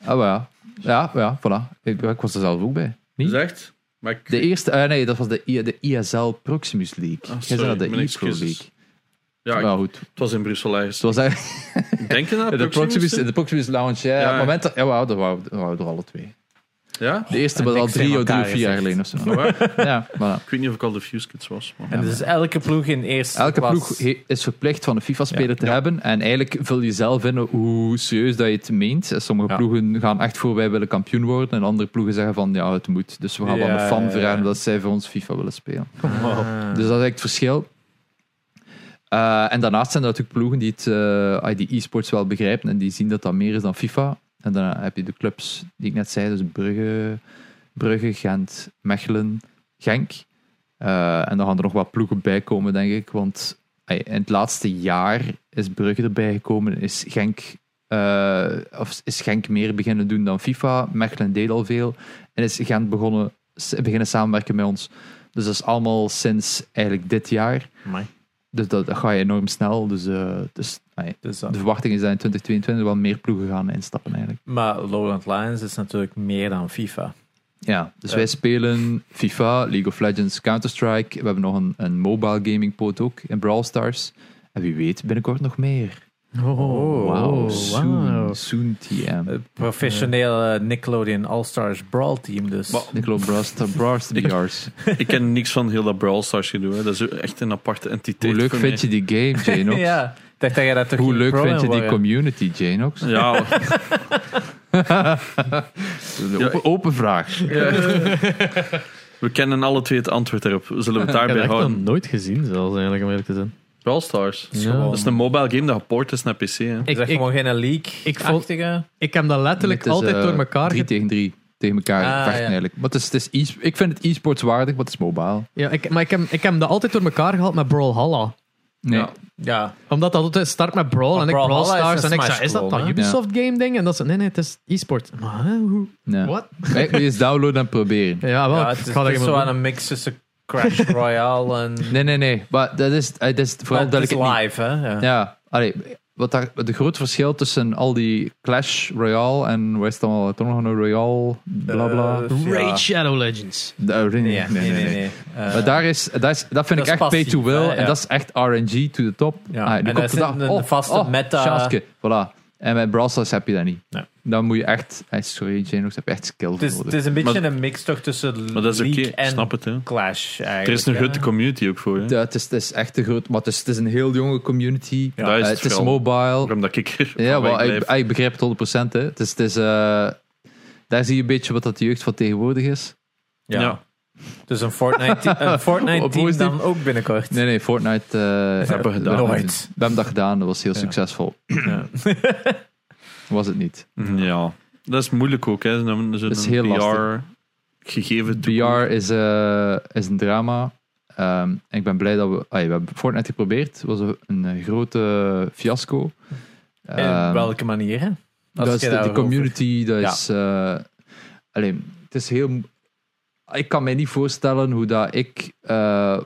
[SPEAKER 2] Ah, maar ja. Ja, ja, voilà. Ik, ik was er zelf ook bij. Niet?
[SPEAKER 4] Zegt? Maar ik,
[SPEAKER 2] De eerste, eh, nee, dat was de, I- de ISL Proximus League.
[SPEAKER 4] Ah,
[SPEAKER 2] Jij zei
[SPEAKER 4] sorry,
[SPEAKER 2] dat de
[SPEAKER 4] mijn
[SPEAKER 2] E-Pro
[SPEAKER 4] excuses.
[SPEAKER 2] League.
[SPEAKER 4] ja, ik-
[SPEAKER 2] nou goed.
[SPEAKER 4] het was in Brussel ergens.
[SPEAKER 2] Het was eigenlijk
[SPEAKER 4] Denk je dat?
[SPEAKER 2] de Proximus,
[SPEAKER 4] is-
[SPEAKER 2] de Proximus Lounge. Ja,
[SPEAKER 4] Ja,
[SPEAKER 2] op het
[SPEAKER 4] ja. Oh,
[SPEAKER 2] moment dat, ja, we houden, we houden- we houden er alle twee.
[SPEAKER 4] Ja?
[SPEAKER 2] De eerste
[SPEAKER 3] en
[SPEAKER 2] was al
[SPEAKER 3] niks in
[SPEAKER 2] drie of drie
[SPEAKER 3] elkaar
[SPEAKER 2] of vier jaar geleden of
[SPEAKER 3] gezegd.
[SPEAKER 2] zo.
[SPEAKER 4] Oh, ja?
[SPEAKER 2] Ja, voilà.
[SPEAKER 4] Ik weet niet of ik al de Fuse Kids was. Maar...
[SPEAKER 3] En dus elke ploeg in eerste
[SPEAKER 2] Elke
[SPEAKER 3] klas-
[SPEAKER 2] ploeg he- is verplicht van een FIFA-speler te hebben. En eigenlijk vul je zelf in hoe serieus dat je het meent. En Sommige
[SPEAKER 3] Ja.
[SPEAKER 2] ploegen gaan echt voor wij willen kampioen worden. En andere ploegen zeggen van ja, het moet. Dus we gaan wel
[SPEAKER 3] Ja,
[SPEAKER 2] een fan
[SPEAKER 3] ja,
[SPEAKER 2] vragen
[SPEAKER 3] ja.
[SPEAKER 2] dat zij voor ons FIFA willen spelen.
[SPEAKER 3] Ah.
[SPEAKER 2] Dus dat is eigenlijk het verschil. Eh, en daarnaast zijn er natuurlijk ploegen die het, eh, ah, die e-sports wel begrijpen en die zien dat dat meer is dan FIFA. En dan heb je de clubs die ik net zei, dus Brugge, Brugge Gent, Mechelen, Genk. Eh, en dan gaan er nog wat ploegen bij komen, denk ik. Want ey, in het laatste jaar is Brugge erbij gekomen. Is Genk, eh, of is Genk meer beginnen doen dan FIFA. Mechelen deed al veel. En is Gent begonnen, s- beginnen samenwerken met ons. Dus dat is allemaal sinds eigenlijk dit jaar.
[SPEAKER 3] Amai.
[SPEAKER 2] Dus dat, dat ga je enorm snel. Dus, eh, dus ey,
[SPEAKER 3] Dus
[SPEAKER 2] de
[SPEAKER 3] dat.
[SPEAKER 2] verwachting is dat in 2022 wel meer ploegen gaan instappen eigenlijk.
[SPEAKER 3] Maar Lowland Lions is natuurlijk meer dan FIFA.
[SPEAKER 2] Ja, dus
[SPEAKER 3] Ja.
[SPEAKER 2] wij spelen FIFA, League of Legends, Counter-Strike. We hebben nog een, een mobile gaming pot ook in Brawl Stars. En wie weet binnenkort nog meer.
[SPEAKER 1] Oh, wow.
[SPEAKER 2] soon,
[SPEAKER 1] Wauw.
[SPEAKER 2] soon TM.
[SPEAKER 3] Het Eh, professionele Nickelodeon All-Stars Brawl team dus.
[SPEAKER 4] Maar-
[SPEAKER 2] Nicola Brawl Star- Brawl Stars BRs.
[SPEAKER 4] Ik ken niks van heel dat Brawl Stars gedoe. hè. Dat is echt een aparte entiteit.
[SPEAKER 2] Hoe leuk
[SPEAKER 4] voor
[SPEAKER 2] vind je die game, Janox?
[SPEAKER 3] ja, ik dacht dat jij dat toch
[SPEAKER 2] Hoe
[SPEAKER 3] geen
[SPEAKER 2] leuk
[SPEAKER 3] pro
[SPEAKER 2] vind je
[SPEAKER 3] in
[SPEAKER 2] die
[SPEAKER 3] worden?
[SPEAKER 2] community, Janox?
[SPEAKER 4] mij. Ja,
[SPEAKER 2] Open, open vraag.
[SPEAKER 4] we kennen alle twee het antwoord daarop. Zullen we het
[SPEAKER 1] Ik heb
[SPEAKER 4] daarbij
[SPEAKER 1] dat echt nog
[SPEAKER 4] houden?
[SPEAKER 1] nooit gezien, zelfs eigenlijk, om eerlijk te zijn.
[SPEAKER 4] Brawl Stars.
[SPEAKER 1] Ja.
[SPEAKER 4] Dat is een mobile game dat geport is naar PC. Hè.
[SPEAKER 3] Ik,
[SPEAKER 1] Ik,
[SPEAKER 3] zeg
[SPEAKER 1] ik,
[SPEAKER 3] gewoon geen leak.
[SPEAKER 1] ik vond-
[SPEAKER 3] achtige.
[SPEAKER 1] ik heb dat letterlijk
[SPEAKER 2] Het is,
[SPEAKER 1] altijd
[SPEAKER 2] eh,
[SPEAKER 1] door elkaar
[SPEAKER 2] Drie
[SPEAKER 1] ge-
[SPEAKER 2] tegen drie. Tegen elkaar
[SPEAKER 3] Ah,
[SPEAKER 2] vechten
[SPEAKER 3] ja.
[SPEAKER 2] eigenlijk. Maar het is, het is e- ik vind het e-sports waardig, maar het is mobile.
[SPEAKER 1] ja, ik, Maar ik heb, ik heb dat altijd door elkaar gehaald met Brawlhalla.
[SPEAKER 2] Nee.
[SPEAKER 4] Ja.
[SPEAKER 3] Ja,
[SPEAKER 1] Omdat dat altijd start met Brawl
[SPEAKER 3] Maar
[SPEAKER 1] en ik
[SPEAKER 3] Brawlhalla
[SPEAKER 1] Brawl
[SPEAKER 3] is
[SPEAKER 1] Stars.
[SPEAKER 3] een
[SPEAKER 1] En ik
[SPEAKER 3] Smash
[SPEAKER 1] zei, is dat
[SPEAKER 3] clone,
[SPEAKER 1] dan
[SPEAKER 3] hè?
[SPEAKER 1] Ubisoft game ding? En dat ze, nee, nee, het is e-sport. Maar hè, hoe?
[SPEAKER 2] Ja.
[SPEAKER 1] Wat?
[SPEAKER 2] Nee, moet je eens downloaden en proberen.
[SPEAKER 1] Ja, wel,
[SPEAKER 3] ja
[SPEAKER 1] ik
[SPEAKER 3] het
[SPEAKER 1] ga
[SPEAKER 3] is,
[SPEAKER 1] dat
[SPEAKER 3] het is
[SPEAKER 1] even
[SPEAKER 3] zo
[SPEAKER 1] doen.
[SPEAKER 3] aan een mix tussen Crash Royale en...
[SPEAKER 2] Nee, nee, nee. Maar dat is, eh, dat is vooral
[SPEAKER 3] Maar het is
[SPEAKER 2] duidelijk. niet-
[SPEAKER 3] live, hè? Ja.
[SPEAKER 2] Ja, allee, wat daar, de groot verschil tussen al die Clash Royale en wat is het allemaal, toch nog een Royale, bla bla.
[SPEAKER 3] Eh, ja.
[SPEAKER 1] Raid Shadow Legends.
[SPEAKER 2] Eh, nee,
[SPEAKER 3] Nee, nee, nee. nee, Eh,
[SPEAKER 2] Maar daar is, daar is, dat vind
[SPEAKER 3] dat
[SPEAKER 2] ik
[SPEAKER 3] is
[SPEAKER 2] echt pay to
[SPEAKER 3] passief,
[SPEAKER 2] will.
[SPEAKER 3] hè,
[SPEAKER 2] En
[SPEAKER 3] ja.
[SPEAKER 2] dat is echt RNG to the top.
[SPEAKER 3] Ja,
[SPEAKER 2] Ah, nu
[SPEAKER 3] en daar
[SPEAKER 2] komt de
[SPEAKER 3] zit
[SPEAKER 2] dag.
[SPEAKER 3] een
[SPEAKER 2] oh,
[SPEAKER 3] vaste
[SPEAKER 2] oh,
[SPEAKER 3] meta-
[SPEAKER 2] Sjaske, voilà. En bij Brawl Stars heb je dat niet.
[SPEAKER 3] Nee.
[SPEAKER 2] Dan moet je echt... eh, Sorry, Janox, heb je echt skill
[SPEAKER 3] het, is,
[SPEAKER 2] nodig.
[SPEAKER 3] het is een beetje
[SPEAKER 4] Maar-
[SPEAKER 3] een mix toch tussen
[SPEAKER 4] Maar dat is
[SPEAKER 3] leak
[SPEAKER 4] oké,
[SPEAKER 3] en
[SPEAKER 4] snap het. Hè.
[SPEAKER 3] Clash eigenlijk.
[SPEAKER 4] Er is een
[SPEAKER 3] hè.
[SPEAKER 4] grote community ook voor. Hè.
[SPEAKER 2] Ja, het is, het is echt te groot, maar het is, het is een heel jonge community.
[SPEAKER 4] Dat is
[SPEAKER 2] Eh,
[SPEAKER 4] het
[SPEAKER 2] het is
[SPEAKER 4] vooral.
[SPEAKER 2] mobile.
[SPEAKER 4] Waarom dat ik er
[SPEAKER 2] Ja,
[SPEAKER 4] van
[SPEAKER 2] wel, ik,
[SPEAKER 4] wegblijf.
[SPEAKER 2] ik begrijp het 100%. Hè. Het is, het is, eh, daar zie je een beetje wat dat de jeugd van tegenwoordig is.
[SPEAKER 3] Ja.
[SPEAKER 4] Ja.
[SPEAKER 3] Dus een Fortnite, te- een Fortnite
[SPEAKER 2] Op
[SPEAKER 3] team
[SPEAKER 2] positief.
[SPEAKER 3] dan ook binnenkort.
[SPEAKER 2] Nee, nee, Fortnite. eh
[SPEAKER 4] hebben
[SPEAKER 2] we
[SPEAKER 4] we gedaan.
[SPEAKER 3] Nooit.
[SPEAKER 2] We hebben dat gedaan, dat was heel succesvol.
[SPEAKER 3] Ja.
[SPEAKER 2] Was het niet?
[SPEAKER 4] Mm, Ja, dat is moeilijk ook. Hè. Zo'n
[SPEAKER 2] Dat is heel lastig.
[SPEAKER 4] PR-gegeven
[SPEAKER 2] PR is, eh, is een drama. Ehm, en ik ben blij dat we. ah, ja, we hebben Fortnite geprobeerd. Het was een- een grote fiasco.
[SPEAKER 3] En
[SPEAKER 2] Ehm,
[SPEAKER 3] op welke manier? hè?
[SPEAKER 2] Dat
[SPEAKER 3] Als
[SPEAKER 2] is
[SPEAKER 3] je
[SPEAKER 2] de, de
[SPEAKER 3] daarover-
[SPEAKER 2] community, dat
[SPEAKER 3] Ja.
[SPEAKER 2] is... eh, alleen, het is heel... Ik kan mij niet voorstellen hoe dat ik... eh,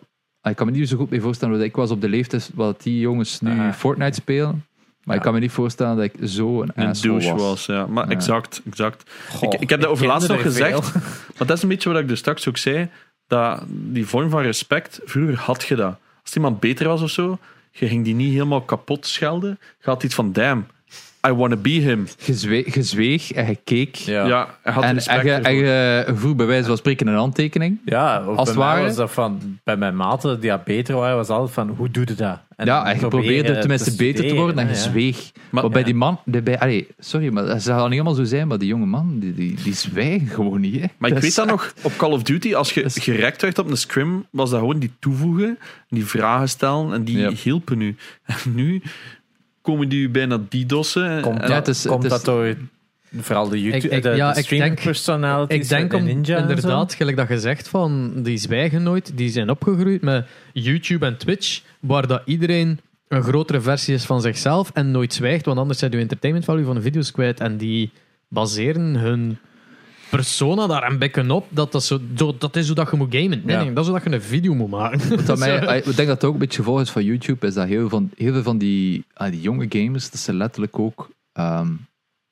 [SPEAKER 2] ik kan me niet zo goed mee voorstellen hoe dat ik was op de leeftijd wat die jongens nu
[SPEAKER 3] Ah.
[SPEAKER 2] Fortnite spelen. Maar
[SPEAKER 3] Ja.
[SPEAKER 2] ik kan me niet voorstellen dat ik zo een
[SPEAKER 4] Een
[SPEAKER 2] asshole
[SPEAKER 4] douche
[SPEAKER 2] was.
[SPEAKER 4] was. ja. Maar
[SPEAKER 2] Ja.
[SPEAKER 4] exact, exact.
[SPEAKER 3] Goh,
[SPEAKER 4] ik, ik heb dat over
[SPEAKER 3] ken
[SPEAKER 4] laatst
[SPEAKER 3] er
[SPEAKER 4] nog gezegd.
[SPEAKER 3] veel.
[SPEAKER 4] Maar dat is een beetje wat ik dus straks ook zei. Dat die vorm van respect, vroeger had je dat. Als iemand beter was of zo, je ging die niet helemaal kapot schelden. Je had iets van, damn, I wanna be him.
[SPEAKER 2] Je zwe- je zweeg en je keek.
[SPEAKER 4] Ja,
[SPEAKER 3] Ja, ja.
[SPEAKER 4] ja hij had
[SPEAKER 2] En,
[SPEAKER 4] respect
[SPEAKER 2] en, je, en
[SPEAKER 4] ervoor.
[SPEAKER 2] je voer bij wijze van spreken een handtekening.
[SPEAKER 3] ook
[SPEAKER 2] Als
[SPEAKER 3] bij
[SPEAKER 2] het
[SPEAKER 3] mij
[SPEAKER 2] ware-
[SPEAKER 3] was dat van, bij mijn maten die dat beter waren, was altijd van, hoe doe je dat? En
[SPEAKER 2] ja, en je probeerde
[SPEAKER 3] proberen
[SPEAKER 2] tenminste beter te
[SPEAKER 3] studeren,
[SPEAKER 2] worden en je
[SPEAKER 3] hè, ja.
[SPEAKER 2] zweeg.
[SPEAKER 4] Maar-
[SPEAKER 2] Maar, bij
[SPEAKER 4] ja.
[SPEAKER 2] die man... die bij, allee, sorry, maar dat zal niet helemaal zo zijn, maar die jonge man, die, die, die zwijgen gewoon niet. Hè.
[SPEAKER 4] Maar
[SPEAKER 2] Dat
[SPEAKER 4] ik weet
[SPEAKER 2] is
[SPEAKER 4] dat nog, op Call of Duty, als je
[SPEAKER 2] Dat is-
[SPEAKER 4] gerekt werd op een scrim, was dat gewoon die toevoegen, die vragen stellen en die
[SPEAKER 2] Ja.
[SPEAKER 4] hielpen u. En nu komen die u bijna didossen.
[SPEAKER 3] Komt,
[SPEAKER 4] en,
[SPEAKER 2] Ja,
[SPEAKER 3] dat,
[SPEAKER 2] het is-
[SPEAKER 3] komt
[SPEAKER 2] het is-
[SPEAKER 3] dat door vooral de YouTube,
[SPEAKER 1] Ik- ik-
[SPEAKER 3] de,
[SPEAKER 1] ja,
[SPEAKER 3] de
[SPEAKER 1] ik
[SPEAKER 3] streaming
[SPEAKER 1] denk-
[SPEAKER 3] personalities,
[SPEAKER 1] Ik denk
[SPEAKER 3] de
[SPEAKER 1] om,
[SPEAKER 3] Ninja en zo?
[SPEAKER 1] inderdaad, gelijk dat je zegt, van, die zwijgen nooit. Die zijn opgegroeid met YouTube en Twitch, waar dat iedereen een grotere versie is van zichzelf en nooit zwijgt, want anders zijn je entertainment value van de video's kwijt. En die baseren hun persona daar een beetje op. Dat, dat, zo, zo- dat is hoe dat je moet gamen. Nee,
[SPEAKER 2] Ja.
[SPEAKER 1] nee, dat is hoe dat je een video moet maken.
[SPEAKER 2] Wat dat mij, ik denk dat het ook een beetje gevolg is van YouTube, is dat heel, van, heel veel van die, ah, die jonge gamers, dat ze letterlijk ook ehm,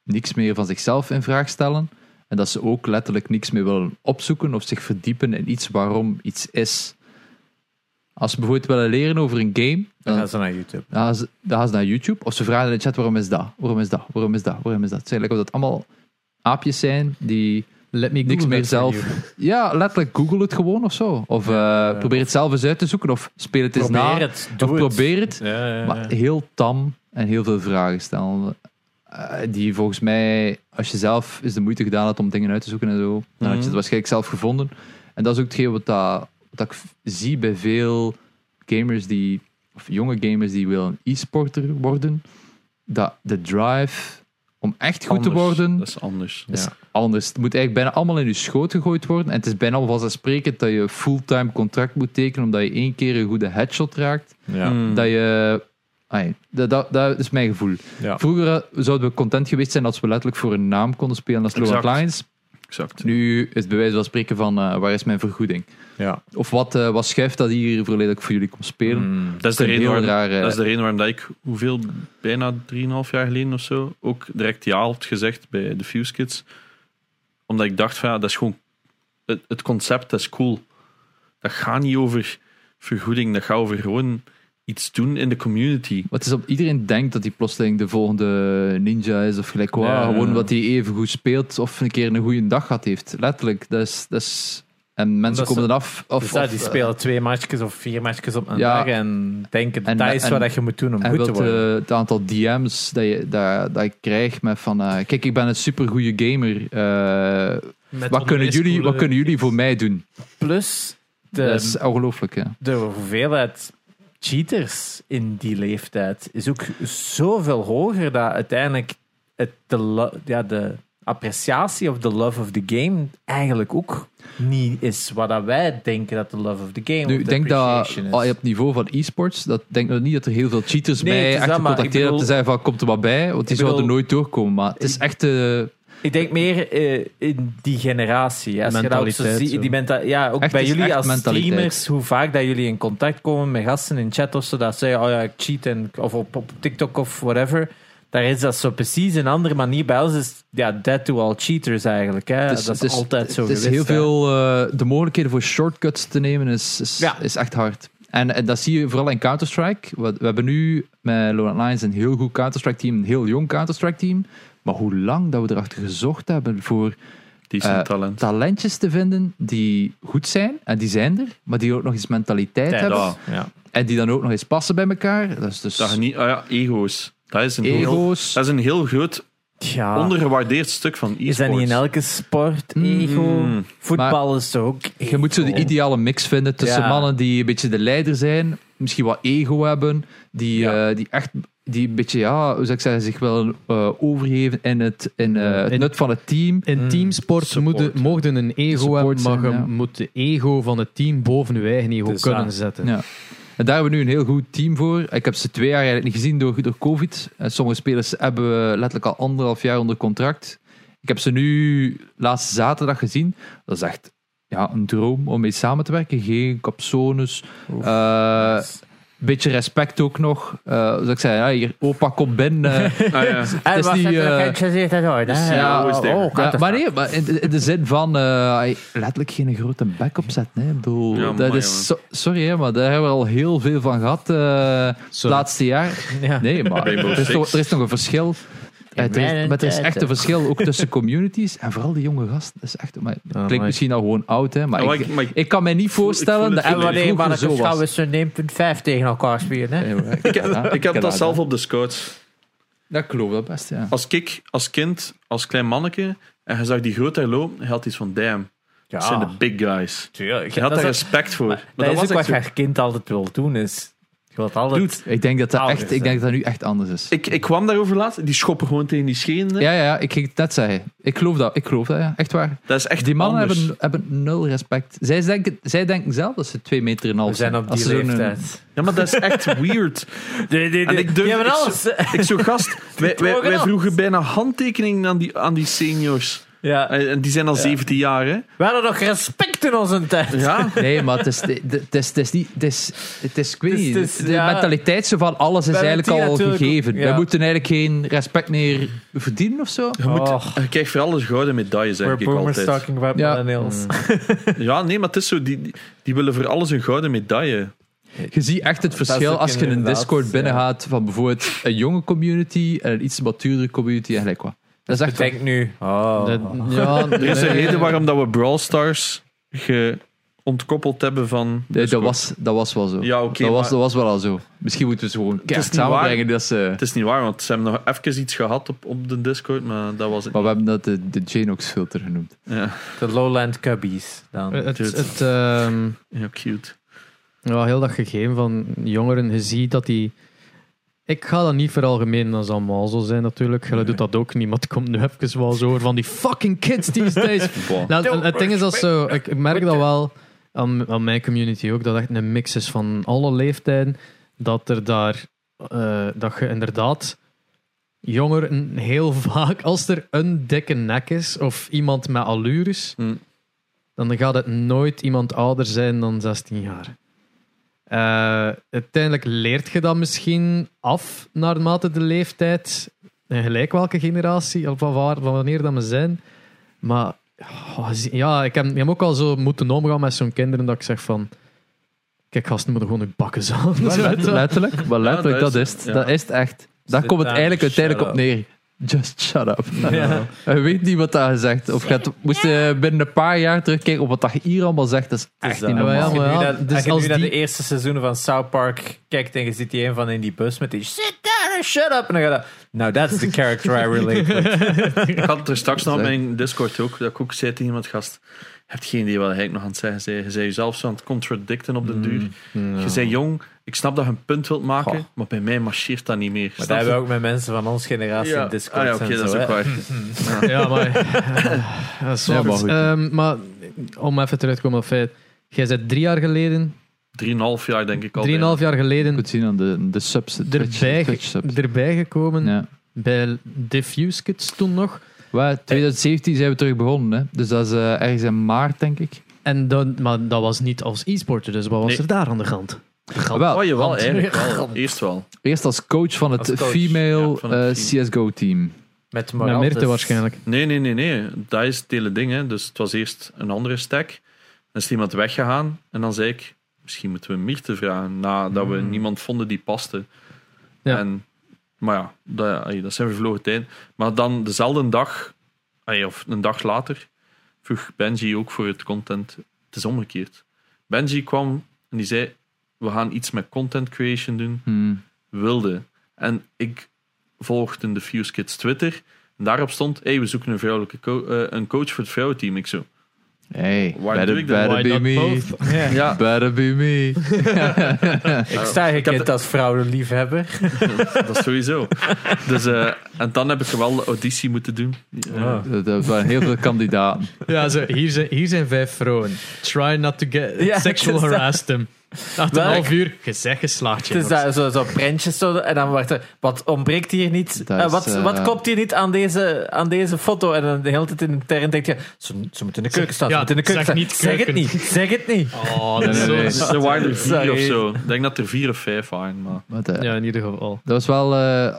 [SPEAKER 2] niks meer van zichzelf in vraag stellen. En dat ze ook letterlijk niks meer willen opzoeken of zich verdiepen in iets waarom iets is. Als ze bijvoorbeeld willen leren over een game,
[SPEAKER 3] Dan
[SPEAKER 2] dan,
[SPEAKER 3] gaan ze naar YouTube.
[SPEAKER 2] dan gaan ze, dan gaan ze naar YouTube. Of ze vragen in de chat, waarom is dat? Waarom is dat? Waarom is dat? Waarom is dat? Het is eigenlijk of dat allemaal aapjes zijn die...
[SPEAKER 1] Let me
[SPEAKER 2] Niks
[SPEAKER 1] Google that
[SPEAKER 2] meer
[SPEAKER 1] for
[SPEAKER 2] zelf.
[SPEAKER 1] you.
[SPEAKER 2] Ja, letterlijk Google het gewoon of zo. Of eh, probeer het zelf eens uit te zoeken. Of speel het eens na.
[SPEAKER 3] Probeer het, doe
[SPEAKER 2] of
[SPEAKER 3] het.
[SPEAKER 2] probeer het.
[SPEAKER 3] Ja, ja, ja.
[SPEAKER 2] Maar heel tam en heel veel vragen stellen. eh, die volgens mij, als je zelf eens de moeite gedaan had om dingen uit te zoeken en zo, dan had je het waarschijnlijk zelf gevonden. En dat is ook hetgeen wat, dat, wat ik v- zie bij veel gamers die, of jonge gamers die willen e-sporter worden. Dat de drive Om echt goed te worden,
[SPEAKER 4] Dat is anders.
[SPEAKER 2] is anders. Het moet eigenlijk bijna allemaal in je schoot gegooid worden. En het is bijna al vanzelfsprekend dat je fulltime contract moet tekenen, omdat je één keer een goede headshot raakt.
[SPEAKER 3] Ja.
[SPEAKER 4] Mm.
[SPEAKER 2] Dat je... ai, dat, dat, dat is mijn gevoel.
[SPEAKER 3] Ja.
[SPEAKER 2] Vroeger eh, zouden we content geweest zijn als we letterlijk voor een naam konden spelen als Lord
[SPEAKER 4] Exact.
[SPEAKER 2] Lions.
[SPEAKER 4] Exact.
[SPEAKER 2] Nu is het bij wijze van spreken van eh, waar is mijn vergoeding?
[SPEAKER 3] ja.
[SPEAKER 2] Of wat, eh wat schuift dat hier verleden ik voor jullie kom spelen?
[SPEAKER 3] Mm.
[SPEAKER 4] Dat is, de
[SPEAKER 2] Een
[SPEAKER 4] reden
[SPEAKER 2] heel
[SPEAKER 4] waarom,
[SPEAKER 2] raar, eh,
[SPEAKER 4] dat is de reden waarom dat ik, hoeveel, bijna 3,5 jaar geleden of zo, ook direct ja had gezegd bij de Fuse Kids. Omdat ik dacht van ja, dat is gewoon, het, het concept dat is cool. Dat gaat niet over vergoeding, dat gaat over gewoon iets doen in de community.
[SPEAKER 2] Wat is op, iedereen denkt dat hij plotseling de volgende ninja is of gelijk wat.
[SPEAKER 3] Ja.
[SPEAKER 2] Gewoon wat hij even goed speelt of een keer een goede dag gehad heeft. Letterlijk. Dat is, dat is, en mensen
[SPEAKER 3] Omdat
[SPEAKER 2] komen
[SPEAKER 3] ze-
[SPEAKER 2] eraf. Of,
[SPEAKER 3] Dus dat, die
[SPEAKER 2] of, eh,
[SPEAKER 3] spelen twee matchjes of vier matchjes op een
[SPEAKER 2] Ja.
[SPEAKER 3] dag en denken
[SPEAKER 2] En-
[SPEAKER 3] dat is
[SPEAKER 2] en-
[SPEAKER 3] wat dat je moet doen om
[SPEAKER 2] En
[SPEAKER 3] goed te
[SPEAKER 2] wilt,
[SPEAKER 3] worden.
[SPEAKER 2] eh, het aantal DM's dat, je, dat, dat ik krijg met van... eh, kijk, ik ben een supergoeie gamer. eh, wat, kunnen jullie, wat kunnen jullie voor mij doen?
[SPEAKER 3] Plus
[SPEAKER 2] Dat
[SPEAKER 3] de,
[SPEAKER 2] is ongelooflijk, ja.
[SPEAKER 3] de hoeveelheid cheaters in die leeftijd is ook zoveel hoger dat uiteindelijk het, de, lo- ja, de appreciatie of de love of the game eigenlijk ook niet is wat dat wij denken dat de love of the game
[SPEAKER 2] Nu,
[SPEAKER 3] of
[SPEAKER 2] ik
[SPEAKER 3] the
[SPEAKER 2] denk dat
[SPEAKER 3] appreciation is.
[SPEAKER 2] al je op niveau van e-sports, dat denk ik niet dat er heel veel cheaters
[SPEAKER 3] Nee, het
[SPEAKER 2] mij
[SPEAKER 3] is
[SPEAKER 2] echt
[SPEAKER 3] dat, maar ik
[SPEAKER 2] contacteren om te
[SPEAKER 3] bedoel-
[SPEAKER 2] zeggen van komt er wat bij, want die
[SPEAKER 3] Ik
[SPEAKER 2] zouden
[SPEAKER 3] bedoel-
[SPEAKER 2] nooit doorkomen. Maar het is echt eh,
[SPEAKER 3] Ik denk meer eh, in die generatie. Als je dat ook zo
[SPEAKER 1] Mentaliteit,
[SPEAKER 3] ziet,
[SPEAKER 1] zo.
[SPEAKER 3] die menta- ja, ook
[SPEAKER 2] Echt,
[SPEAKER 3] bij
[SPEAKER 2] het is
[SPEAKER 3] jullie
[SPEAKER 2] echt
[SPEAKER 3] als
[SPEAKER 2] mentaliteit.
[SPEAKER 3] streamers, hoe vaak dat jullie in contact komen met gasten in chat of zo, dat zeggen, oh ja, ik cheat, en, of op, op TikTok of whatever. Daar is dat zo precies een andere manier. Bij ons is ja, dead to all cheaters eigenlijk. Hè?
[SPEAKER 2] het is,
[SPEAKER 3] dat is,
[SPEAKER 2] Dus het
[SPEAKER 3] altijd zo
[SPEAKER 2] Het is
[SPEAKER 3] geweest,
[SPEAKER 2] heel
[SPEAKER 3] hè.
[SPEAKER 2] veel eh, de mogelijkheden voor shortcuts te nemen is, is,
[SPEAKER 3] Ja.
[SPEAKER 2] is echt hard. En, eh, dat zie je vooral in Counter-Strike. We, we hebben nu met Lorant Lions een heel goed Counter-Strike team, een heel jong Counter-Strike team. Maar hoe lang dat we erachter gezocht hebben voor
[SPEAKER 4] Die zijn
[SPEAKER 2] Eh,
[SPEAKER 4] talent.
[SPEAKER 2] talentjes te vinden die goed zijn, en die zijn er, maar die ook nog eens mentaliteit
[SPEAKER 3] Tijd,
[SPEAKER 2] hebben.
[SPEAKER 4] ja.
[SPEAKER 3] Ja.
[SPEAKER 2] En die dan ook nog eens passen bij elkaar. Dat is dus
[SPEAKER 4] Dat je niet, ah ja, ego's. Dat is een, Heel,
[SPEAKER 2] ego's.
[SPEAKER 4] dat is een heel groot,
[SPEAKER 3] Ja.
[SPEAKER 4] ondergewaardeerd stuk van e-sports.
[SPEAKER 3] Ah. Is dat niet in elke sport ego?
[SPEAKER 4] Mm.
[SPEAKER 3] Voetbal is toch ook
[SPEAKER 2] Je moet zo de
[SPEAKER 3] ego?
[SPEAKER 2] ideale mix vinden tussen
[SPEAKER 3] Ja.
[SPEAKER 2] mannen die een beetje de leider zijn, misschien wat ego hebben, die,
[SPEAKER 3] Ja.
[SPEAKER 2] eh, die echt die een beetje, ja, hoe zou ik zeggen, zich wel eh, overgeven in het, in, eh, het
[SPEAKER 1] In-
[SPEAKER 2] nut van het team.
[SPEAKER 1] In teamsport
[SPEAKER 4] Support.
[SPEAKER 1] moeten- mogen een ego
[SPEAKER 2] Support
[SPEAKER 1] hebben, maar
[SPEAKER 2] zijn,
[SPEAKER 1] je
[SPEAKER 2] ja.
[SPEAKER 1] moet de ego van het team boven je eigen ego
[SPEAKER 3] Dus
[SPEAKER 1] kunnen
[SPEAKER 3] dat-
[SPEAKER 1] zetten.
[SPEAKER 2] Ja. En daar hebben we nu een heel goed team voor. Ik heb ze twee jaar eigenlijk niet gezien door, door COVID. En sommige spelers hebben we letterlijk al anderhalf jaar onder contract. Ik heb ze nu laatste zaterdag gezien. Dat is echt ja, een droom om mee samen te werken. Geen capsones.
[SPEAKER 3] Oef.
[SPEAKER 2] Eh, beetje respect ook nog. Eh, zoals ik zei, ja, hier, opa komt binnen. Eh,
[SPEAKER 4] Ah, ja. Dus,
[SPEAKER 3] En
[SPEAKER 2] is
[SPEAKER 3] was
[SPEAKER 2] niet,
[SPEAKER 3] dat
[SPEAKER 2] eh, dus
[SPEAKER 3] er geïnteresseerd uit ooit, hè?
[SPEAKER 4] Ja, hoe is het er?
[SPEAKER 3] oh,
[SPEAKER 2] ja, maar nee, maar in, in de zin van eh, hij letterlijk geen grote bek opzetten. Hè. Ik bedoel,
[SPEAKER 4] Ja,
[SPEAKER 2] dat
[SPEAKER 4] maar,
[SPEAKER 2] is, so- sorry, hè, maar daar hebben we al heel veel van gehad eh, het
[SPEAKER 1] Sorry.
[SPEAKER 2] laatste jaar.
[SPEAKER 3] Ja.
[SPEAKER 2] Nee, maar
[SPEAKER 4] Rainbow
[SPEAKER 2] er is,
[SPEAKER 4] Six.
[SPEAKER 2] toch, er is nog een verschil. Eh, er is- maar er is echt een verschil ook tussen communities en vooral die jonge gasten. Dat is echt, maar, het
[SPEAKER 1] Amai.
[SPEAKER 2] klinkt misschien al gewoon oud, hè, maar
[SPEAKER 4] Ah, maar
[SPEAKER 2] ik,
[SPEAKER 4] ik- maar ik-
[SPEAKER 2] ik kan mij niet
[SPEAKER 4] voel- ik
[SPEAKER 2] voorstellen
[SPEAKER 4] voel
[SPEAKER 2] dat
[SPEAKER 4] het
[SPEAKER 3] En
[SPEAKER 2] het
[SPEAKER 4] wel.
[SPEAKER 3] wanneer
[SPEAKER 2] vroeger
[SPEAKER 3] mannetjes
[SPEAKER 2] zo was.
[SPEAKER 3] gaan we zo'n 1.5 tegen elkaar spelen, hè?
[SPEAKER 2] Nee, maar ik, ja,
[SPEAKER 4] Ik heb dat
[SPEAKER 2] gedaan,
[SPEAKER 4] zelf
[SPEAKER 2] hè.
[SPEAKER 4] op de scouts.
[SPEAKER 2] Dat klopt wel best, ja.
[SPEAKER 4] als ik als kind, als klein manneke, en je zag die grote lopen, je had iets van damn, dat zijn de big guys.
[SPEAKER 3] tuurlijk.
[SPEAKER 4] Je had
[SPEAKER 3] dat
[SPEAKER 4] daar
[SPEAKER 3] is ook-
[SPEAKER 4] respect voor. Maar
[SPEAKER 3] dat is ook wat
[SPEAKER 4] echt
[SPEAKER 3] je kind altijd wil doen, is... Je wilt altijd...
[SPEAKER 4] Dude,
[SPEAKER 2] Ik denk dat dat,
[SPEAKER 3] Ouders,
[SPEAKER 2] echt, ik
[SPEAKER 3] hè.
[SPEAKER 2] denk dat, dat nu echt anders is.
[SPEAKER 4] zo. Ik, ik kwam daarover laat, die schoppen gewoon tegen die schenen.
[SPEAKER 2] Ja, ja, ja, ik ging het net zeggen. Ik geloof dat, ik geloof dat, ja. Echt waar.
[SPEAKER 4] Dat is echt
[SPEAKER 2] Die mannen
[SPEAKER 4] anders.
[SPEAKER 2] hebben, hebben nul respect. Zij denken, zij denken zelf dat ze twee meter en een half
[SPEAKER 3] we zijn op
[SPEAKER 2] Als
[SPEAKER 3] die
[SPEAKER 2] ze zo'n-
[SPEAKER 3] leeftijd.
[SPEAKER 4] Ja, maar dat is echt weird.
[SPEAKER 3] Die, die,
[SPEAKER 4] En
[SPEAKER 3] die,
[SPEAKER 4] ik durf-
[SPEAKER 3] die hebben
[SPEAKER 4] ik
[SPEAKER 3] alles.
[SPEAKER 4] Ik zo gast, wij, wij,
[SPEAKER 3] drogen
[SPEAKER 4] wij
[SPEAKER 3] af.
[SPEAKER 4] vroegen bijna handtekeningen aan die, aan die seniors.
[SPEAKER 3] Ja.
[SPEAKER 4] Eh, En en die zijn al 17 jaar, hè?
[SPEAKER 3] We hadden nog respect in onze tijd.
[SPEAKER 4] Ja.
[SPEAKER 2] Nee, maar het is, het is, het is niet... Het is, het is, ik weet
[SPEAKER 3] Het is-
[SPEAKER 2] niet,
[SPEAKER 3] het is-
[SPEAKER 2] de
[SPEAKER 3] ja.
[SPEAKER 2] mentaliteit zo van alles is
[SPEAKER 3] Bij
[SPEAKER 2] eigenlijk
[SPEAKER 3] Martina
[SPEAKER 2] al
[SPEAKER 3] natuurlijk ook,
[SPEAKER 2] gegeven.
[SPEAKER 3] ja.
[SPEAKER 2] We moeten eigenlijk geen respect meer verdienen of zo.
[SPEAKER 4] Je, moet,
[SPEAKER 3] Och.
[SPEAKER 4] je krijgt voor alles gouden medailles,
[SPEAKER 3] We're
[SPEAKER 4] denk ik
[SPEAKER 3] boomers
[SPEAKER 4] altijd.
[SPEAKER 3] talking about
[SPEAKER 2] Ja.
[SPEAKER 3] millennials.
[SPEAKER 4] Ja, nee, maar het is zo, die, die- die willen voor alles een gouden medaille.
[SPEAKER 2] Je ziet echt het verschil
[SPEAKER 3] ook
[SPEAKER 2] als je in een
[SPEAKER 3] inderdaad,
[SPEAKER 2] Discord
[SPEAKER 3] ja.
[SPEAKER 2] binnengaat van bijvoorbeeld een jonge community en een iets matuurdere community en gelijk wat. Dat is
[SPEAKER 3] Ik
[SPEAKER 2] echt...
[SPEAKER 3] denk nu... Oh.
[SPEAKER 1] Dat- ja,
[SPEAKER 4] Er is een
[SPEAKER 1] nee.
[SPEAKER 4] reden waarom dat we Brawl Stars ge- ontkoppeld hebben van...
[SPEAKER 2] Nee, dat,
[SPEAKER 4] Discord.
[SPEAKER 2] was, dat was wel zo.
[SPEAKER 4] Dus Ja, oké,
[SPEAKER 2] dat, was,
[SPEAKER 4] maar-
[SPEAKER 2] dat was wel al zo. Misschien moeten we ze gewoon keihard
[SPEAKER 4] niet waar.
[SPEAKER 2] samenbrengen. dus, eh, Dat ze,
[SPEAKER 4] Het is niet waar, want ze hebben nog even iets gehad op, op de Discord, maar dat was het.
[SPEAKER 2] maar we hebben dat de, de Janox filter genoemd.
[SPEAKER 4] Ja,
[SPEAKER 3] De Lowland Cubbies dan.
[SPEAKER 4] Eh,
[SPEAKER 1] Het, het, ehm,
[SPEAKER 4] ja, cute.
[SPEAKER 1] Ja, heel dat gegeven van jongeren. Je ziet dat die Ik ga dat niet veralgemenen als allemaal zo zijn natuurlijk. Jullie doet dat ook niet, maar het komt nu even wel zo over van die fucking kids these days.
[SPEAKER 4] Bon.
[SPEAKER 1] Nou, het- het ding is dat zo, ik, ik merk dat wel aan, aan mijn community ook, dat het echt een mix is van alle leeftijden. Dat er daar, eh, dat je inderdaad jongeren heel vaak, als er een dikke nek is of iemand met allures,
[SPEAKER 4] Hm.
[SPEAKER 1] dan gaat het nooit iemand ouder zijn dan 16 jaar. Eh, uiteindelijk leert je dat misschien af naarmate de leeftijd, en gelijk welke generatie, of van, waar, van wanneer dat we zijn. Maar oh, zie- ja, ik heb, ik heb ook al zo moeten omgaan met zo'n kinderen dat ik zeg van. Kijk, gasten moeten gewoon hun bakken aan. Zo,
[SPEAKER 2] Let-
[SPEAKER 1] dat-
[SPEAKER 2] letterlijk, maar letterlijk,
[SPEAKER 4] dat
[SPEAKER 2] dat,
[SPEAKER 4] is-
[SPEAKER 2] is, het.
[SPEAKER 4] ja.
[SPEAKER 2] dat is het echt. Daar komt het
[SPEAKER 3] down,
[SPEAKER 2] eigenlijk
[SPEAKER 3] shut
[SPEAKER 2] uiteindelijk op
[SPEAKER 3] up.
[SPEAKER 2] neer. Just shut up.
[SPEAKER 4] eh,
[SPEAKER 3] Ja.
[SPEAKER 2] En Je weet niet wat daar gezegd Of je hebt- moest je binnen een paar jaar terugkijken op wat dat hier allemaal zegt. Dat is
[SPEAKER 3] Het
[SPEAKER 2] echt
[SPEAKER 3] is
[SPEAKER 2] niet
[SPEAKER 3] dat.
[SPEAKER 1] Ja,
[SPEAKER 2] normaal.
[SPEAKER 1] maar ja,
[SPEAKER 3] als Dus je
[SPEAKER 1] maar ja,
[SPEAKER 3] nu, naar-
[SPEAKER 1] dus
[SPEAKER 3] als je
[SPEAKER 1] als
[SPEAKER 3] nu naar
[SPEAKER 1] die-
[SPEAKER 3] de eerste seizoenen van South Park kijkt en je ziet die een van in die bus met die sit down and shut up. En dan gaat dat, nou, that's the character I relate with.
[SPEAKER 4] Ik had het er straks nog op
[SPEAKER 2] Zeg.
[SPEAKER 4] mijn Discord ook, dat ik ook zei tegen iemand, gast, je hebt geen idee wat hij eigenlijk nog aan het zeggen zei. Je zei jezelf zo aan het contradicten op
[SPEAKER 3] Mm,
[SPEAKER 4] de duur. Je zei jong, ik snap dat je een punt wilt maken,
[SPEAKER 3] Goh.
[SPEAKER 4] maar bij mij marcheert dat niet meer.
[SPEAKER 3] Maar
[SPEAKER 4] Snap
[SPEAKER 3] daar hebben
[SPEAKER 4] je?
[SPEAKER 3] we ook met mensen van onze generatie
[SPEAKER 4] Ja.
[SPEAKER 3] in Discord.
[SPEAKER 4] Ah ja, oké,
[SPEAKER 3] en
[SPEAKER 4] dat
[SPEAKER 3] zo,
[SPEAKER 4] is ook
[SPEAKER 3] hè.
[SPEAKER 4] waar.
[SPEAKER 1] Ja, maar. dat is
[SPEAKER 2] Ja, maar
[SPEAKER 1] wat.
[SPEAKER 2] goed.
[SPEAKER 1] Ehm, maar om even terug te komen op het feit. Jij bent drie jaar geleden,
[SPEAKER 4] Drieënhalf jaar denk ik al.
[SPEAKER 1] drieënhalf jaar
[SPEAKER 2] Je
[SPEAKER 1] geleden,
[SPEAKER 2] kunt zien aan de, de subs. de Twitch,
[SPEAKER 1] erbij,
[SPEAKER 2] Twitch subs.
[SPEAKER 1] erbij gekomen.
[SPEAKER 2] Ja.
[SPEAKER 1] Bij Diffuse Kids toen nog.
[SPEAKER 2] Waar, 2017 zijn we terug begonnen. Hè. Dus dat is eh, ergens in maart, denk ik.
[SPEAKER 1] En dan, maar dat was niet als e-sporter, dus wat was
[SPEAKER 4] Nee.
[SPEAKER 1] er daar aan de hand?
[SPEAKER 2] Wel,
[SPEAKER 4] Oh, jawel,
[SPEAKER 1] Want-
[SPEAKER 4] eigenlijk wel. Eerst wel.
[SPEAKER 2] Eerst als coach van het
[SPEAKER 3] Als coach,
[SPEAKER 2] female
[SPEAKER 4] ja, van het
[SPEAKER 2] eh, CSGO-team.
[SPEAKER 3] Met
[SPEAKER 1] Met
[SPEAKER 3] Morales.
[SPEAKER 1] Mirte waarschijnlijk.
[SPEAKER 4] Nee, nee, nee, nee. Dat is het hele ding. Hè. Dus het was eerst een andere stack. Dan is iemand weggegaan. En dan zei ik, misschien moeten we Mirte vragen. Nadat we niemand vonden die paste.
[SPEAKER 1] Ja.
[SPEAKER 4] En, maar ja, dat, ay, dat zijn vervlogen tijd. Maar dan dezelfde dag, ay, of een dag later, vroeg Benji ook voor het content. Het is omgekeerd. Benji kwam en die zei, we gaan iets met content creation doen
[SPEAKER 2] Hmm.
[SPEAKER 4] wilde. En ik volgde de Fuse Kids Twitter. En daarop stond, hey, we zoeken een, vrouwelijke co- eh, een coach voor het vrouwenteam. Ik zo,
[SPEAKER 2] Hey,
[SPEAKER 4] Why
[SPEAKER 2] better,
[SPEAKER 4] doing that?
[SPEAKER 1] Why
[SPEAKER 2] better be
[SPEAKER 1] not
[SPEAKER 2] me.
[SPEAKER 1] both?
[SPEAKER 3] Ja.
[SPEAKER 4] ja,
[SPEAKER 2] Better be me.
[SPEAKER 3] Ik sta
[SPEAKER 4] heb
[SPEAKER 3] gekend
[SPEAKER 4] de-
[SPEAKER 3] als vrouwenliefhebber.
[SPEAKER 4] dat is sowieso. Dus, eh, en dan heb ik wel de auditie moeten doen. Ja.
[SPEAKER 2] Eh, Dat- Dat waren heel veel kandidaten.
[SPEAKER 1] Ja, zo, hier, zijn, hier zijn vijf vrouwen. Try not to get
[SPEAKER 3] Ja,
[SPEAKER 1] sexual
[SPEAKER 3] het is dat.
[SPEAKER 1] harass them. Na een
[SPEAKER 3] Wel,
[SPEAKER 1] half uur, gezegd geslaagd.
[SPEAKER 3] Het is
[SPEAKER 1] jongens.
[SPEAKER 3] daar zo, zo prentjes zo, en dan wordt er, wat ontbreekt hier niet?
[SPEAKER 2] Dat
[SPEAKER 3] Eh,
[SPEAKER 2] is,
[SPEAKER 3] wat,
[SPEAKER 2] eh,
[SPEAKER 3] wat klopt hier niet aan deze, aan deze foto? En dan de hele tijd intern denk je, ze, ze moeten in de keuken staan, ze
[SPEAKER 1] ja,
[SPEAKER 3] moeten in de keuken
[SPEAKER 1] zeg
[SPEAKER 3] staan.
[SPEAKER 1] niet
[SPEAKER 3] zeg het
[SPEAKER 1] keuken.
[SPEAKER 3] niet, zeg het niet.
[SPEAKER 1] Oh, dat is
[SPEAKER 2] Nee, nee, nee.
[SPEAKER 1] zo...
[SPEAKER 4] Dus er waren er vier
[SPEAKER 3] Sorry.
[SPEAKER 4] of zo. Ik denk dat er vier of vijf waren. Maar.
[SPEAKER 2] Wat, eh,
[SPEAKER 1] Ja, in ieder geval.
[SPEAKER 2] Dat was wel... eh,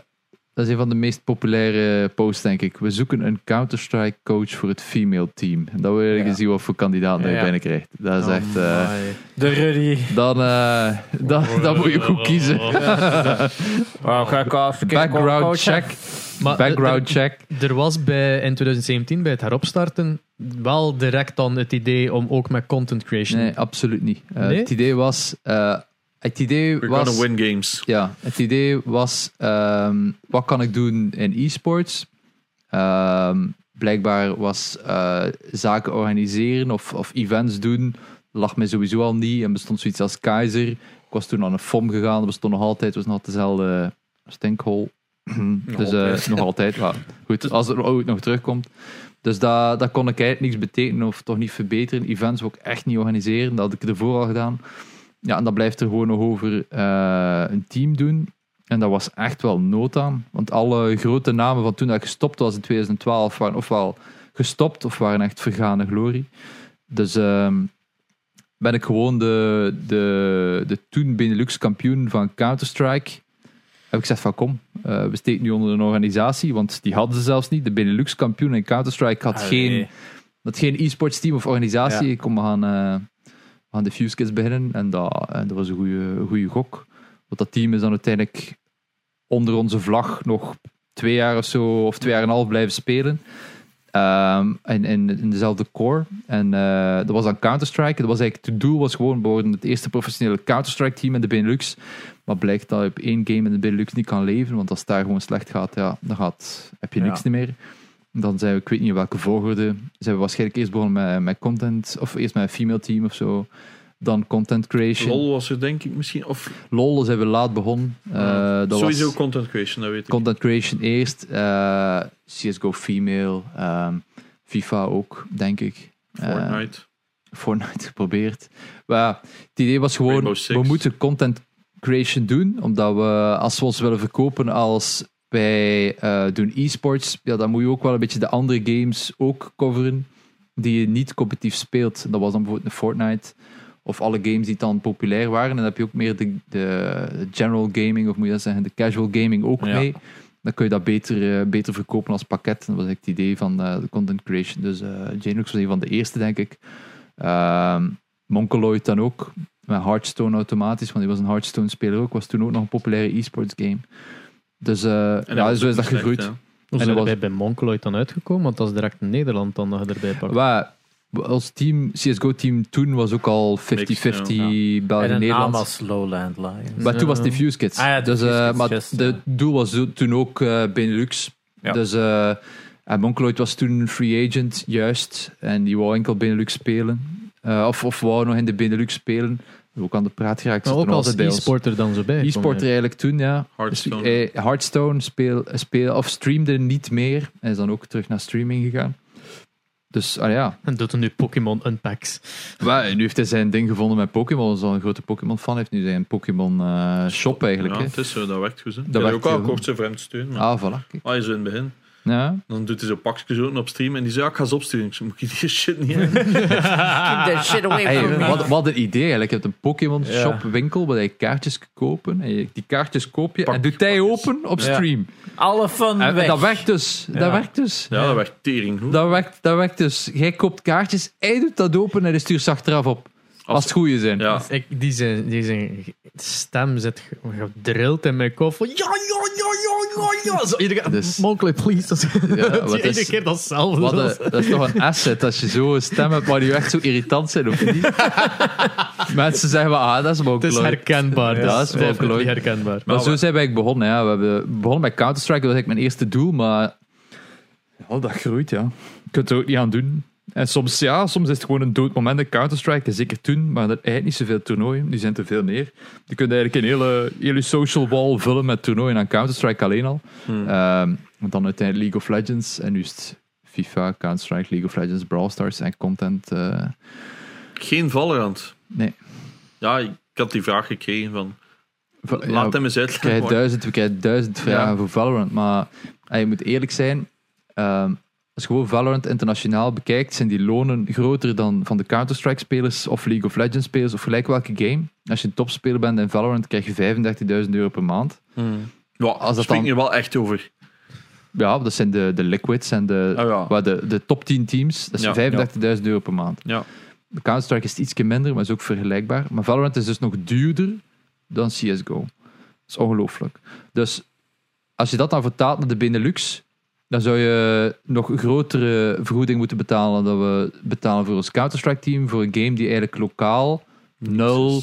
[SPEAKER 2] dat is een van de meest populaire posts, denk ik. We zoeken een Counter-Strike coach voor het female team. En dan wil je
[SPEAKER 3] Ja.
[SPEAKER 2] zien wat voor kandidaten je
[SPEAKER 3] Ja.
[SPEAKER 2] binnenkrijgt. Dat is
[SPEAKER 1] Oh
[SPEAKER 2] echt...
[SPEAKER 1] my.
[SPEAKER 2] eh,
[SPEAKER 1] Oh.
[SPEAKER 3] De Rudy.
[SPEAKER 2] dan, eh, dan, dan moet je goed kiezen.
[SPEAKER 3] Wow, ga ik af.
[SPEAKER 2] Background
[SPEAKER 3] Oh,
[SPEAKER 2] check.
[SPEAKER 1] Maar
[SPEAKER 2] Background
[SPEAKER 1] er-
[SPEAKER 2] check.
[SPEAKER 1] Er, er was bij, in 2017, bij het heropstarten, wel direct dan het idee om ook met content creation...
[SPEAKER 2] Nee, absoluut niet. Eh,
[SPEAKER 1] Nee?
[SPEAKER 2] Het idee was... eh, het idee
[SPEAKER 4] We're
[SPEAKER 2] was...
[SPEAKER 4] gonna win games.
[SPEAKER 2] Ja, het idee was: ehm, wat kan ik doen in e-sports? Ehm, blijkbaar was eh, zaken organiseren of, of events doen, lag mij sowieso al niet. En bestond zoiets als Keizer. Ik was toen aan een FOM gegaan, dat bestond nog altijd, was nog altijd dezelfde stinkhole. dus eh,
[SPEAKER 4] altijd.
[SPEAKER 2] nog altijd. Maar goed, als het ooit nog terugkomt. Dus dat, dat kon ik eigenlijk niks betekenen of toch niet verbeteren. Events wil ik echt niet organiseren, dat had ik ervoor al gedaan. Ja, en dat blijft er gewoon nog over eh, een team doen. En dat was echt wel nood aan. Want alle grote namen van toen dat ik gestopt was in 2012 waren ofwel gestopt of waren echt vergane glorie. Dus ehm, ben ik gewoon de, de, de toen Benelux kampioen van Counter-Strike. Heb ik gezegd van kom, eh, we steken nu onder een organisatie. Want die hadden ze zelfs niet. De Benelux kampioen in Counter-Strike had geen dat geen e-sports team of organisatie.
[SPEAKER 3] Ja.
[SPEAKER 2] Ik kom, we gaan, eh, we gaan de Fuse Kids beginnen. En dat, en dat was een goede, goede gok. Want dat team is dan uiteindelijk onder onze vlag nog twee jaar of zo, of twee jaar en een half blijven spelen. Ehm, en in, in dezelfde core. En eh, dat was dan Counter-Strike. Dat was eigenlijk, het doel was gewoon, we worden het eerste professionele Counter-Strike team in de Benelux. Maar blijkt dat je op één game in de Benelux niet kan leven. Want als het daar gewoon slecht gaat, ja, dan gaat, heb je niks
[SPEAKER 3] Ja.
[SPEAKER 2] meer. Dan zijn we, ik weet niet in welke volgorde, zijn we waarschijnlijk eerst begonnen met, met content, of eerst met een female team of zo. dan content creation. Lol,
[SPEAKER 4] LOL was er denk ik misschien. Of
[SPEAKER 2] zijn we laat begonnen. Eh, dat
[SPEAKER 4] sowieso
[SPEAKER 2] was
[SPEAKER 4] content creation, dat weet ik.
[SPEAKER 2] content creation eerst. eh, CSGO Female. ehm, FIFA ook, denk ik. Eh,
[SPEAKER 4] Fortnite.
[SPEAKER 2] Fortnite geprobeerd. Maar ja, het idee was gewoon,
[SPEAKER 4] Rainbow Six.
[SPEAKER 2] we moeten content creation doen, omdat we, als we ons willen verkopen als wij eh, doen e-sports, ja, dan moet je ook wel een beetje de andere games ook coveren die je niet competitief speelt. Dat was dan bijvoorbeeld een Fortnite of alle games die dan populair waren. En dan heb je ook meer de, de general gaming, of moet je dat zeggen, de casual gaming ook
[SPEAKER 3] Ja.
[SPEAKER 2] mee. Dan kun je dat beter, eh, beter verkopen als pakket. Dat was eigenlijk het idee van eh, de content creation. Dus eh Genelux was een van de eerste, denk ik. Ehm Monkeloid dan ook. Met Hearthstone automatisch, want die was een Hearthstone-speler ook. Was toen ook nog een populaire e-sports game. Dus eh,
[SPEAKER 4] En
[SPEAKER 2] ja,
[SPEAKER 4] was
[SPEAKER 2] zo
[SPEAKER 4] ook
[SPEAKER 2] is dat
[SPEAKER 4] niet slecht,
[SPEAKER 2] gegroeid.
[SPEAKER 4] hè.
[SPEAKER 2] En
[SPEAKER 1] Hoe
[SPEAKER 2] dat
[SPEAKER 1] zijn
[SPEAKER 2] was-
[SPEAKER 1] wij bij Monkeloid dan uitgekomen? Want dat is direct Nederland dan dat je erbij pakt.
[SPEAKER 2] Waar ons team, CSGO-team toen was ook al 50-50
[SPEAKER 4] Mixed, ja.
[SPEAKER 2] Oh,
[SPEAKER 3] En een naam
[SPEAKER 2] België-Nederland.
[SPEAKER 3] als Lowland Lions.
[SPEAKER 2] Maar toen was het
[SPEAKER 1] Ja.
[SPEAKER 2] Diffuse Kids.
[SPEAKER 3] Ah ja,
[SPEAKER 2] dus,
[SPEAKER 3] Diffuse
[SPEAKER 2] eh,
[SPEAKER 3] Kids,
[SPEAKER 2] maar
[SPEAKER 3] juist,
[SPEAKER 2] de-
[SPEAKER 3] ja.
[SPEAKER 2] het doel was zo- toen ook eh, Benelux.
[SPEAKER 3] Ja.
[SPEAKER 2] Dus, eh en Monkeloid was toen free agent, juist. En die wou enkel Benelux spelen. Eh, of, of wou nog in de Benelux spelen. Ook aan de praat geraakt.
[SPEAKER 1] maar
[SPEAKER 2] zit
[SPEAKER 1] ook
[SPEAKER 2] er nog
[SPEAKER 1] als
[SPEAKER 2] altijd bij ons.
[SPEAKER 1] e-sporter dan zo bij.
[SPEAKER 2] E-sporter eigenlijk toen, ja.
[SPEAKER 4] Hearthstone.
[SPEAKER 2] Dus, eh, Hearthstone speel, speel, of streamde niet meer. En is dan ook terug naar streaming gegaan. Dus ah ja,
[SPEAKER 1] En doet hij nu Pokémon Unpacks.
[SPEAKER 2] Wel, nu heeft hij zijn ding gevonden met Pokémon. Hij een grote Pokémon-fan. heeft nu zijn Pokémon-shop eigenlijk.
[SPEAKER 4] Ja,
[SPEAKER 2] hè.
[SPEAKER 4] het is zo, dat werkt goed. Hè. Ik
[SPEAKER 2] werkt
[SPEAKER 4] heb ook al
[SPEAKER 2] heel
[SPEAKER 4] kort zo vreemd steun. Maar...
[SPEAKER 2] Ah, voilà. Kijk.
[SPEAKER 4] Ah, je zo in het begin.
[SPEAKER 2] Ja.
[SPEAKER 4] Dan doet hij zo pakjes op stream en die zegt, ja, ik ga ze opsturen. Ik zei, moet je die shit niet hebben?
[SPEAKER 3] Keep that shit away
[SPEAKER 2] Hey,
[SPEAKER 3] from me.
[SPEAKER 2] wat, wat een idee eigenlijk. Je hebt een
[SPEAKER 3] Ja.
[SPEAKER 2] Pokémon-shop-winkel waar je kaartjes kunt kopen. En je, die kaartjes koop je
[SPEAKER 4] Pak-
[SPEAKER 2] en doet hij
[SPEAKER 4] pakjes.
[SPEAKER 2] open op
[SPEAKER 3] Ja.
[SPEAKER 2] stream.
[SPEAKER 3] Alle fun
[SPEAKER 2] En, en
[SPEAKER 3] weg.
[SPEAKER 2] dat werkt dus. Dat
[SPEAKER 3] Ja.
[SPEAKER 2] werkt dus.
[SPEAKER 4] Ja, dat werkt tering goed.
[SPEAKER 2] Dat werkt, dat werkt dus. Jij koopt kaartjes, hij doet dat open en hij stuurt ze achteraf op. Als, het goede zijn.
[SPEAKER 4] Ja,
[SPEAKER 1] Dus ik, die, zijn, die zijn stem zit ge- gedrild in mijn kop. Van, ja, ja, ja, ja, ja, ja. Zo, iedere keer,
[SPEAKER 2] Dus-
[SPEAKER 1] Monkeloid, please. Dat is,
[SPEAKER 2] wat
[SPEAKER 1] iedere
[SPEAKER 2] is-
[SPEAKER 1] keer datzelfde.
[SPEAKER 2] Wat
[SPEAKER 1] Dat is-
[SPEAKER 2] een- dat is toch een asset als je zo'n stem hebt waar die echt zo irritant zijn of niet. Mensen zeggen wel, ah, dat is
[SPEAKER 1] het is
[SPEAKER 2] Monkeloid.
[SPEAKER 1] herkenbaar.
[SPEAKER 2] Ja,
[SPEAKER 1] dus
[SPEAKER 2] dat is wel
[SPEAKER 1] definitely
[SPEAKER 2] Monkeloid.
[SPEAKER 1] herkenbaar.
[SPEAKER 2] Maar
[SPEAKER 4] Maar
[SPEAKER 2] zo
[SPEAKER 4] we-
[SPEAKER 2] zijn wij eigenlijk begonnen. Ja. We hebben begonnen met Counter-Strike, dat was eigenlijk mijn eerste doel, maar... Ja, dat groeit, ja. Je kunt er ook niet aan doen. En soms, ja, soms is het gewoon een dood moment in Counter-Strike, en zeker toen, maar er zijn eigenlijk niet zoveel toernooien, die zijn te veel neer. Je kunt eigenlijk een hele, hele social wall vullen met toernooien aan Counter-Strike alleen al.
[SPEAKER 4] Hmm.
[SPEAKER 2] Ehm, want dan uiteindelijk League of Legends, en nu is het FIFA, Counter-Strike, League of Legends, Brawl Stars en content. eh,
[SPEAKER 4] geen Valorant.
[SPEAKER 2] Nee.
[SPEAKER 4] Ja, ik had die vraag gekregen van,
[SPEAKER 2] va- ja,
[SPEAKER 4] laat hem eens
[SPEAKER 2] Ik krijg
[SPEAKER 4] uitleggen. waar-
[SPEAKER 2] duizend, we krijgen duizend vragen voor Valorant. Maar eh, je moet eerlijk zijn. ehm, als je gewoon Valorant internationaal bekijkt, zijn die lonen groter dan van de Counter-Strike spelers of League of Legends spelers of gelijk welke game. Als je een topspeler bent in Valorant, krijg je 35.000 euro per maand.
[SPEAKER 4] Ja,
[SPEAKER 2] als dat
[SPEAKER 4] spreek
[SPEAKER 2] dan-
[SPEAKER 4] je Hmm. wel echt over.
[SPEAKER 2] Ja, dat zijn de, de Liquids en de,
[SPEAKER 4] Ah, ja.
[SPEAKER 2] waar de, de top 10 teams. Dat
[SPEAKER 4] Ja.
[SPEAKER 2] zijn 35.000 euro per maand.
[SPEAKER 4] Ja.
[SPEAKER 2] De Counter-Strike is ietsje minder, maar is ook vergelijkbaar. Maar Valorant is dus nog duurder dan CSGO. Dat is ongelooflijk. Dus als je dat dan vertaalt naar de Benelux, dan zou je nog grotere vergoeding moeten betalen dan we betalen voor ons Counter-Strike-team, voor een game die eigenlijk lokaal nul,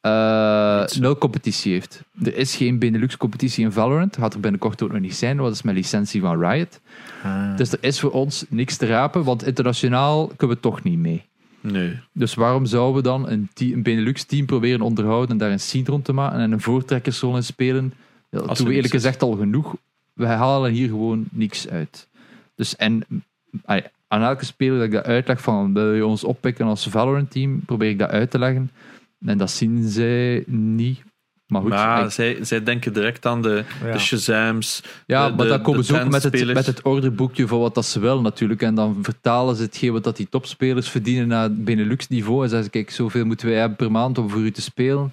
[SPEAKER 2] eh,
[SPEAKER 4] Niets.
[SPEAKER 2] nul competitie heeft. Er is geen Benelux-competitie in Valorant, gaat er binnenkort ook nog niet zijn, want dat is mijn licentie van Riot.
[SPEAKER 3] Ah.
[SPEAKER 2] Dus er is voor ons niks te rapen, want internationaal kunnen we toch niet mee.
[SPEAKER 4] Nee.
[SPEAKER 2] Dus waarom zouden we dan een, te- een Benelux-team proberen onderhouden en daar een seed rond te maken en een voortrekkersrol in spelen? Ja, dat doen
[SPEAKER 4] er
[SPEAKER 2] we eerlijk
[SPEAKER 4] niks is.
[SPEAKER 2] gezegd al genoeg. We halen hier gewoon niks uit. Dus en mm, ah ja, aan elke speler dat ik dat uitleg van wil je ons oppikken als Valorant-team, probeer ik dat uit te leggen. En dat zien zij niet. Maar goed,
[SPEAKER 4] maar
[SPEAKER 2] ik-
[SPEAKER 4] zij, zij denken direct aan de,
[SPEAKER 3] Ja.
[SPEAKER 4] de Shazams.
[SPEAKER 2] ja,
[SPEAKER 4] de-
[SPEAKER 2] maar
[SPEAKER 4] de-
[SPEAKER 2] dan komen
[SPEAKER 4] de
[SPEAKER 2] ze ook met het,
[SPEAKER 4] trendspelers.
[SPEAKER 2] met het orderboekje van wat dat ze wel natuurlijk. En dan vertalen ze hetgeen wat dat die topspelers verdienen naar het Benelux-niveau. En zeggen ze, kijk, zoveel moeten wij hebben per maand om voor u te spelen.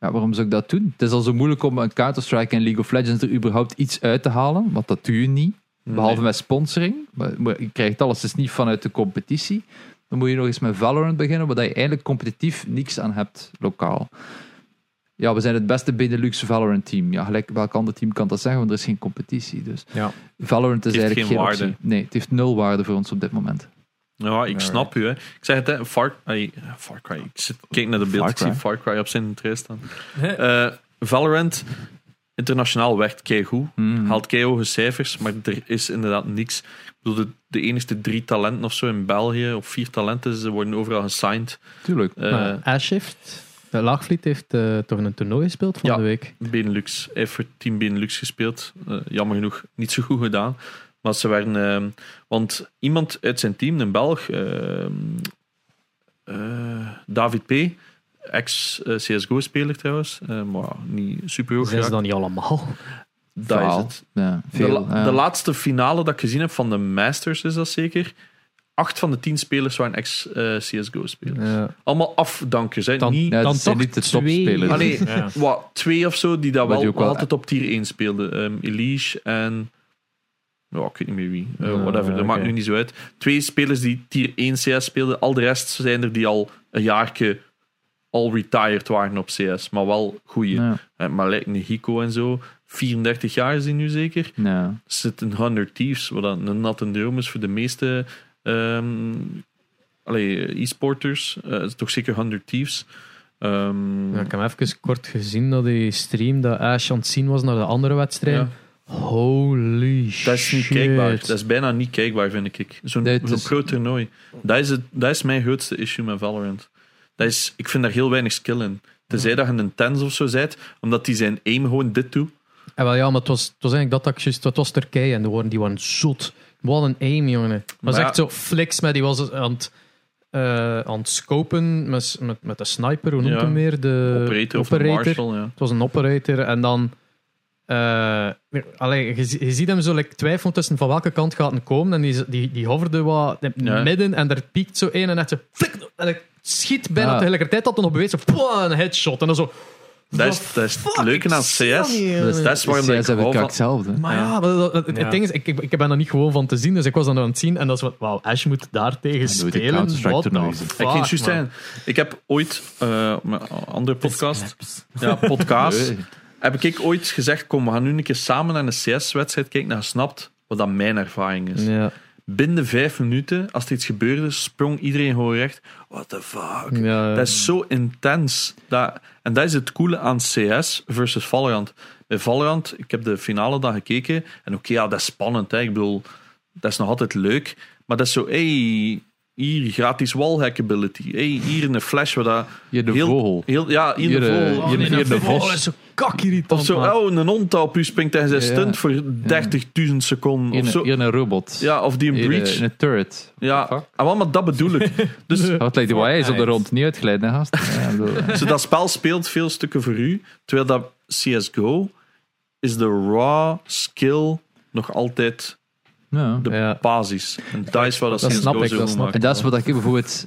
[SPEAKER 2] Ja, waarom zou ik dat doen? Het is al zo moeilijk om een Counter-Strike en League of Legends er überhaupt iets uit te halen. Want dat doe je niet. Behalve met sponsoring. Maar, maar je krijgt alles dus niet vanuit de competitie. Dan moet je nog eens met Valorant beginnen, waar dat je eigenlijk competitief niks aan hebt, lokaal. Ja, we zijn het beste Benelux Valorant team. Ja, gelijk welk ander team kan dat zeggen, want er is geen competitie. Dus
[SPEAKER 3] Ja.
[SPEAKER 2] Valorant is
[SPEAKER 4] Het heeft
[SPEAKER 2] eigenlijk geen,
[SPEAKER 4] geen
[SPEAKER 2] optie.
[SPEAKER 4] waarde.
[SPEAKER 2] Nee, het heeft nul waarde voor ons op dit moment.
[SPEAKER 4] Ja, ik snap u. Hè. Ik zeg het, hè. Far, ay, Far Cry. Ik zit, kijk naar de beeld,
[SPEAKER 2] Far
[SPEAKER 4] ik zie
[SPEAKER 2] Cry.
[SPEAKER 4] Far Cry op zijn interesse staan. Eh, Valorant internationaal werkt keigoed.
[SPEAKER 2] Mhm.
[SPEAKER 4] Haalt keihoge cijfers, maar er is inderdaad niks. Ik bedoel, de, de enige drie talenten of zo in België, of vier talenten, ze worden overal gesigned.
[SPEAKER 2] Tuurlijk.
[SPEAKER 4] Eh,
[SPEAKER 1] Maar Ashift, de Laagvliet, heeft eh, toch een toernooi gespeeld van
[SPEAKER 4] Ja.
[SPEAKER 1] de week.
[SPEAKER 4] Benelux. Hij heeft voor Team Benelux gespeeld. Eh, jammer genoeg niet zo goed gedaan. Maar ze waren... ehm, want iemand uit zijn team, een Belg, ehm, eh, David P., eh, ex-CSGO-speler trouwens, eh, maar niet super hoog
[SPEAKER 1] Zijn ze
[SPEAKER 4] geraakt.
[SPEAKER 1] dan niet allemaal?
[SPEAKER 4] Dat is
[SPEAKER 2] Verhaal.
[SPEAKER 4] het.
[SPEAKER 2] Ja,
[SPEAKER 4] De,
[SPEAKER 2] veel,
[SPEAKER 4] la-
[SPEAKER 2] eh,
[SPEAKER 4] de laatste finale dat ik gezien heb van de Masters is dat zeker. Acht van de tien spelers waren ex-CSGO-spelers.
[SPEAKER 1] Ja.
[SPEAKER 4] Allemaal afdankers, hè.
[SPEAKER 1] Dan-
[SPEAKER 4] niet
[SPEAKER 2] ja,
[SPEAKER 1] dan
[SPEAKER 2] het zijn
[SPEAKER 1] toch
[SPEAKER 2] niet de
[SPEAKER 1] twee-
[SPEAKER 2] topspelers.
[SPEAKER 4] Ah, nee,
[SPEAKER 3] Ja.
[SPEAKER 4] wat, twee of zo die dat
[SPEAKER 2] Wat
[SPEAKER 4] wel,
[SPEAKER 2] je ook wel-
[SPEAKER 4] altijd op tier 1 speelden. Ehm Elige en... ja, ik weet niet meer wie. Eh,
[SPEAKER 1] Ah,
[SPEAKER 4] whatever, dat
[SPEAKER 1] oké.
[SPEAKER 4] maakt nu niet zo uit. Twee spelers die tier 1 CS speelden. Al de rest zijn er die al een jaarke al retired waren op CS. Maar wel goeie.
[SPEAKER 2] Ja,
[SPEAKER 4] Eh, maar lijkt een Hiko en zo. 34 jaar is die nu zeker.
[SPEAKER 2] ja.
[SPEAKER 4] Zit een 100 Thieves, wat dan een natte droom is voor de meeste ehm, allee, e-sporters. Eh, het is toch zeker 100 Thieves. Ehm,
[SPEAKER 1] Ja, ik heb even kort gezien dat die stream dat Ash aan het zien was naar de andere wedstrijd.
[SPEAKER 4] ja.
[SPEAKER 1] Holy shit.
[SPEAKER 4] Dat is niet kijkbaar. Dat is bijna niet kijkbaar, vind ik. Zo'n
[SPEAKER 2] Nee,
[SPEAKER 4] zo'n
[SPEAKER 2] het is-
[SPEAKER 4] groot toernooi. Dat is, het, dat is mijn grootste issue met Valorant. Dat is, ik vind daar heel weinig skill in. Tenzij dat je een tens of zo zet, omdat die zijn aim gewoon dit doet.
[SPEAKER 1] En wel, ja, maar het was, het was eigenlijk dat dat ik juist... Het was Turkije en die waren, die waren zot. Wat een aim, jongen. Het was
[SPEAKER 4] Maar ja.
[SPEAKER 1] echt zo flex, maar die was aan het, eh, aan het scopen met, met, met de sniper, hoe noemt
[SPEAKER 4] Ja.
[SPEAKER 1] hem meer? De
[SPEAKER 4] operator of een
[SPEAKER 1] Eh, operator.
[SPEAKER 4] marshal, ja.
[SPEAKER 1] Het was een operator en dan... eh, allee, je, zie- je ziet hem zo like, twijfelen tussen van welke kant gaat hij komen. En die, die, die hoverde wat in het
[SPEAKER 4] Ja.
[SPEAKER 1] midden en daar piekt zo één en echt zo... flik, en ik schiet bijna
[SPEAKER 2] Ja.
[SPEAKER 1] tegelijkertijd dat hij nog beweegt. Zo, pwa, een headshot. En dan zo...
[SPEAKER 4] Dat is, dat is het leuke aan CS.
[SPEAKER 1] Dat
[SPEAKER 4] Dat is waarom
[SPEAKER 2] Zij
[SPEAKER 4] dat
[SPEAKER 2] zijn
[SPEAKER 4] ik hou
[SPEAKER 2] elkaar
[SPEAKER 4] van...
[SPEAKER 2] hetzelfde. hè.
[SPEAKER 1] maar ja, maar dat- dat- het
[SPEAKER 3] Ja.
[SPEAKER 1] ding is, ik, ik, ik ben er niet gewoon van te zien, dus ik was dan aan het zien en dat is wat, wauw, Ash moet daar tegen
[SPEAKER 2] doe je de
[SPEAKER 1] spelen.
[SPEAKER 2] Counter-Strike
[SPEAKER 1] What
[SPEAKER 2] toernooi.
[SPEAKER 1] the
[SPEAKER 2] Ik
[SPEAKER 1] fuck,
[SPEAKER 4] Ik, ging het juist
[SPEAKER 1] man.
[SPEAKER 4] zeggen. ik heb ooit eh, op mijn andere podcast, ja, podcast
[SPEAKER 2] Nee.
[SPEAKER 4] heb ik ooit gezegd, kom, we gaan nu een keer samen naar een CS-wedstrijd kijken. En je snapt wat dat mijn ervaring is.
[SPEAKER 1] Ja,
[SPEAKER 4] binnen vijf minuten, als er iets gebeurde, sprong iedereen gewoon recht. What the fuck?
[SPEAKER 2] Eh.
[SPEAKER 1] ja,
[SPEAKER 4] Dat is zo intens. Dat, en dat is het coole aan CS versus Valorant. Bij Valorant, ik heb de finale dan gekeken. En oké, ja, dat is spannend. Hè. Ik bedoel, dat is nog altijd leuk. Maar dat is zo, hey, hier gratis wallhack ability. Hey, hier een flash. Waar dat
[SPEAKER 2] Hier de
[SPEAKER 4] heel-
[SPEAKER 2] vogel.
[SPEAKER 4] Heel, ja, hier,
[SPEAKER 2] Hier,
[SPEAKER 4] de
[SPEAKER 2] eh,
[SPEAKER 4] vogel.
[SPEAKER 1] Oh,
[SPEAKER 2] hier-
[SPEAKER 1] nee,
[SPEAKER 2] hier
[SPEAKER 1] dat
[SPEAKER 2] de
[SPEAKER 1] vond ik
[SPEAKER 2] vos.
[SPEAKER 1] wel eens zo kakirritant,
[SPEAKER 4] of zo,
[SPEAKER 1] man.
[SPEAKER 4] oh, een hond op u springt en zijn
[SPEAKER 2] Ja,
[SPEAKER 4] stunt voor 30.000 seconden.
[SPEAKER 2] Hier
[SPEAKER 4] Of
[SPEAKER 2] een-
[SPEAKER 4] zo.
[SPEAKER 2] hier een robot.
[SPEAKER 4] Ja, of die een
[SPEAKER 2] Hier, eh,
[SPEAKER 4] breach.
[SPEAKER 2] Een turret.
[SPEAKER 4] Ja,
[SPEAKER 2] Fuck.
[SPEAKER 4] ah, wel, maar dat bedoel ik. Dus
[SPEAKER 2] Wat lijkt die wel, hij is op de
[SPEAKER 3] Fortnite.
[SPEAKER 2] rond niet uitgeleid, hè, gast? Ja, ik bedoel, eh,
[SPEAKER 4] zo dat spel speelt veel stukken voor u, terwijl dat CSGO is de raw skill nog altijd
[SPEAKER 2] ja.
[SPEAKER 4] de
[SPEAKER 1] Ja.
[SPEAKER 4] basis. En dat is wat dat,
[SPEAKER 1] Dat
[SPEAKER 4] CSGO
[SPEAKER 1] snap ik,
[SPEAKER 4] zo
[SPEAKER 1] dat
[SPEAKER 4] goed
[SPEAKER 1] snap
[SPEAKER 4] maakt.
[SPEAKER 2] En dat is wat ik bijvoorbeeld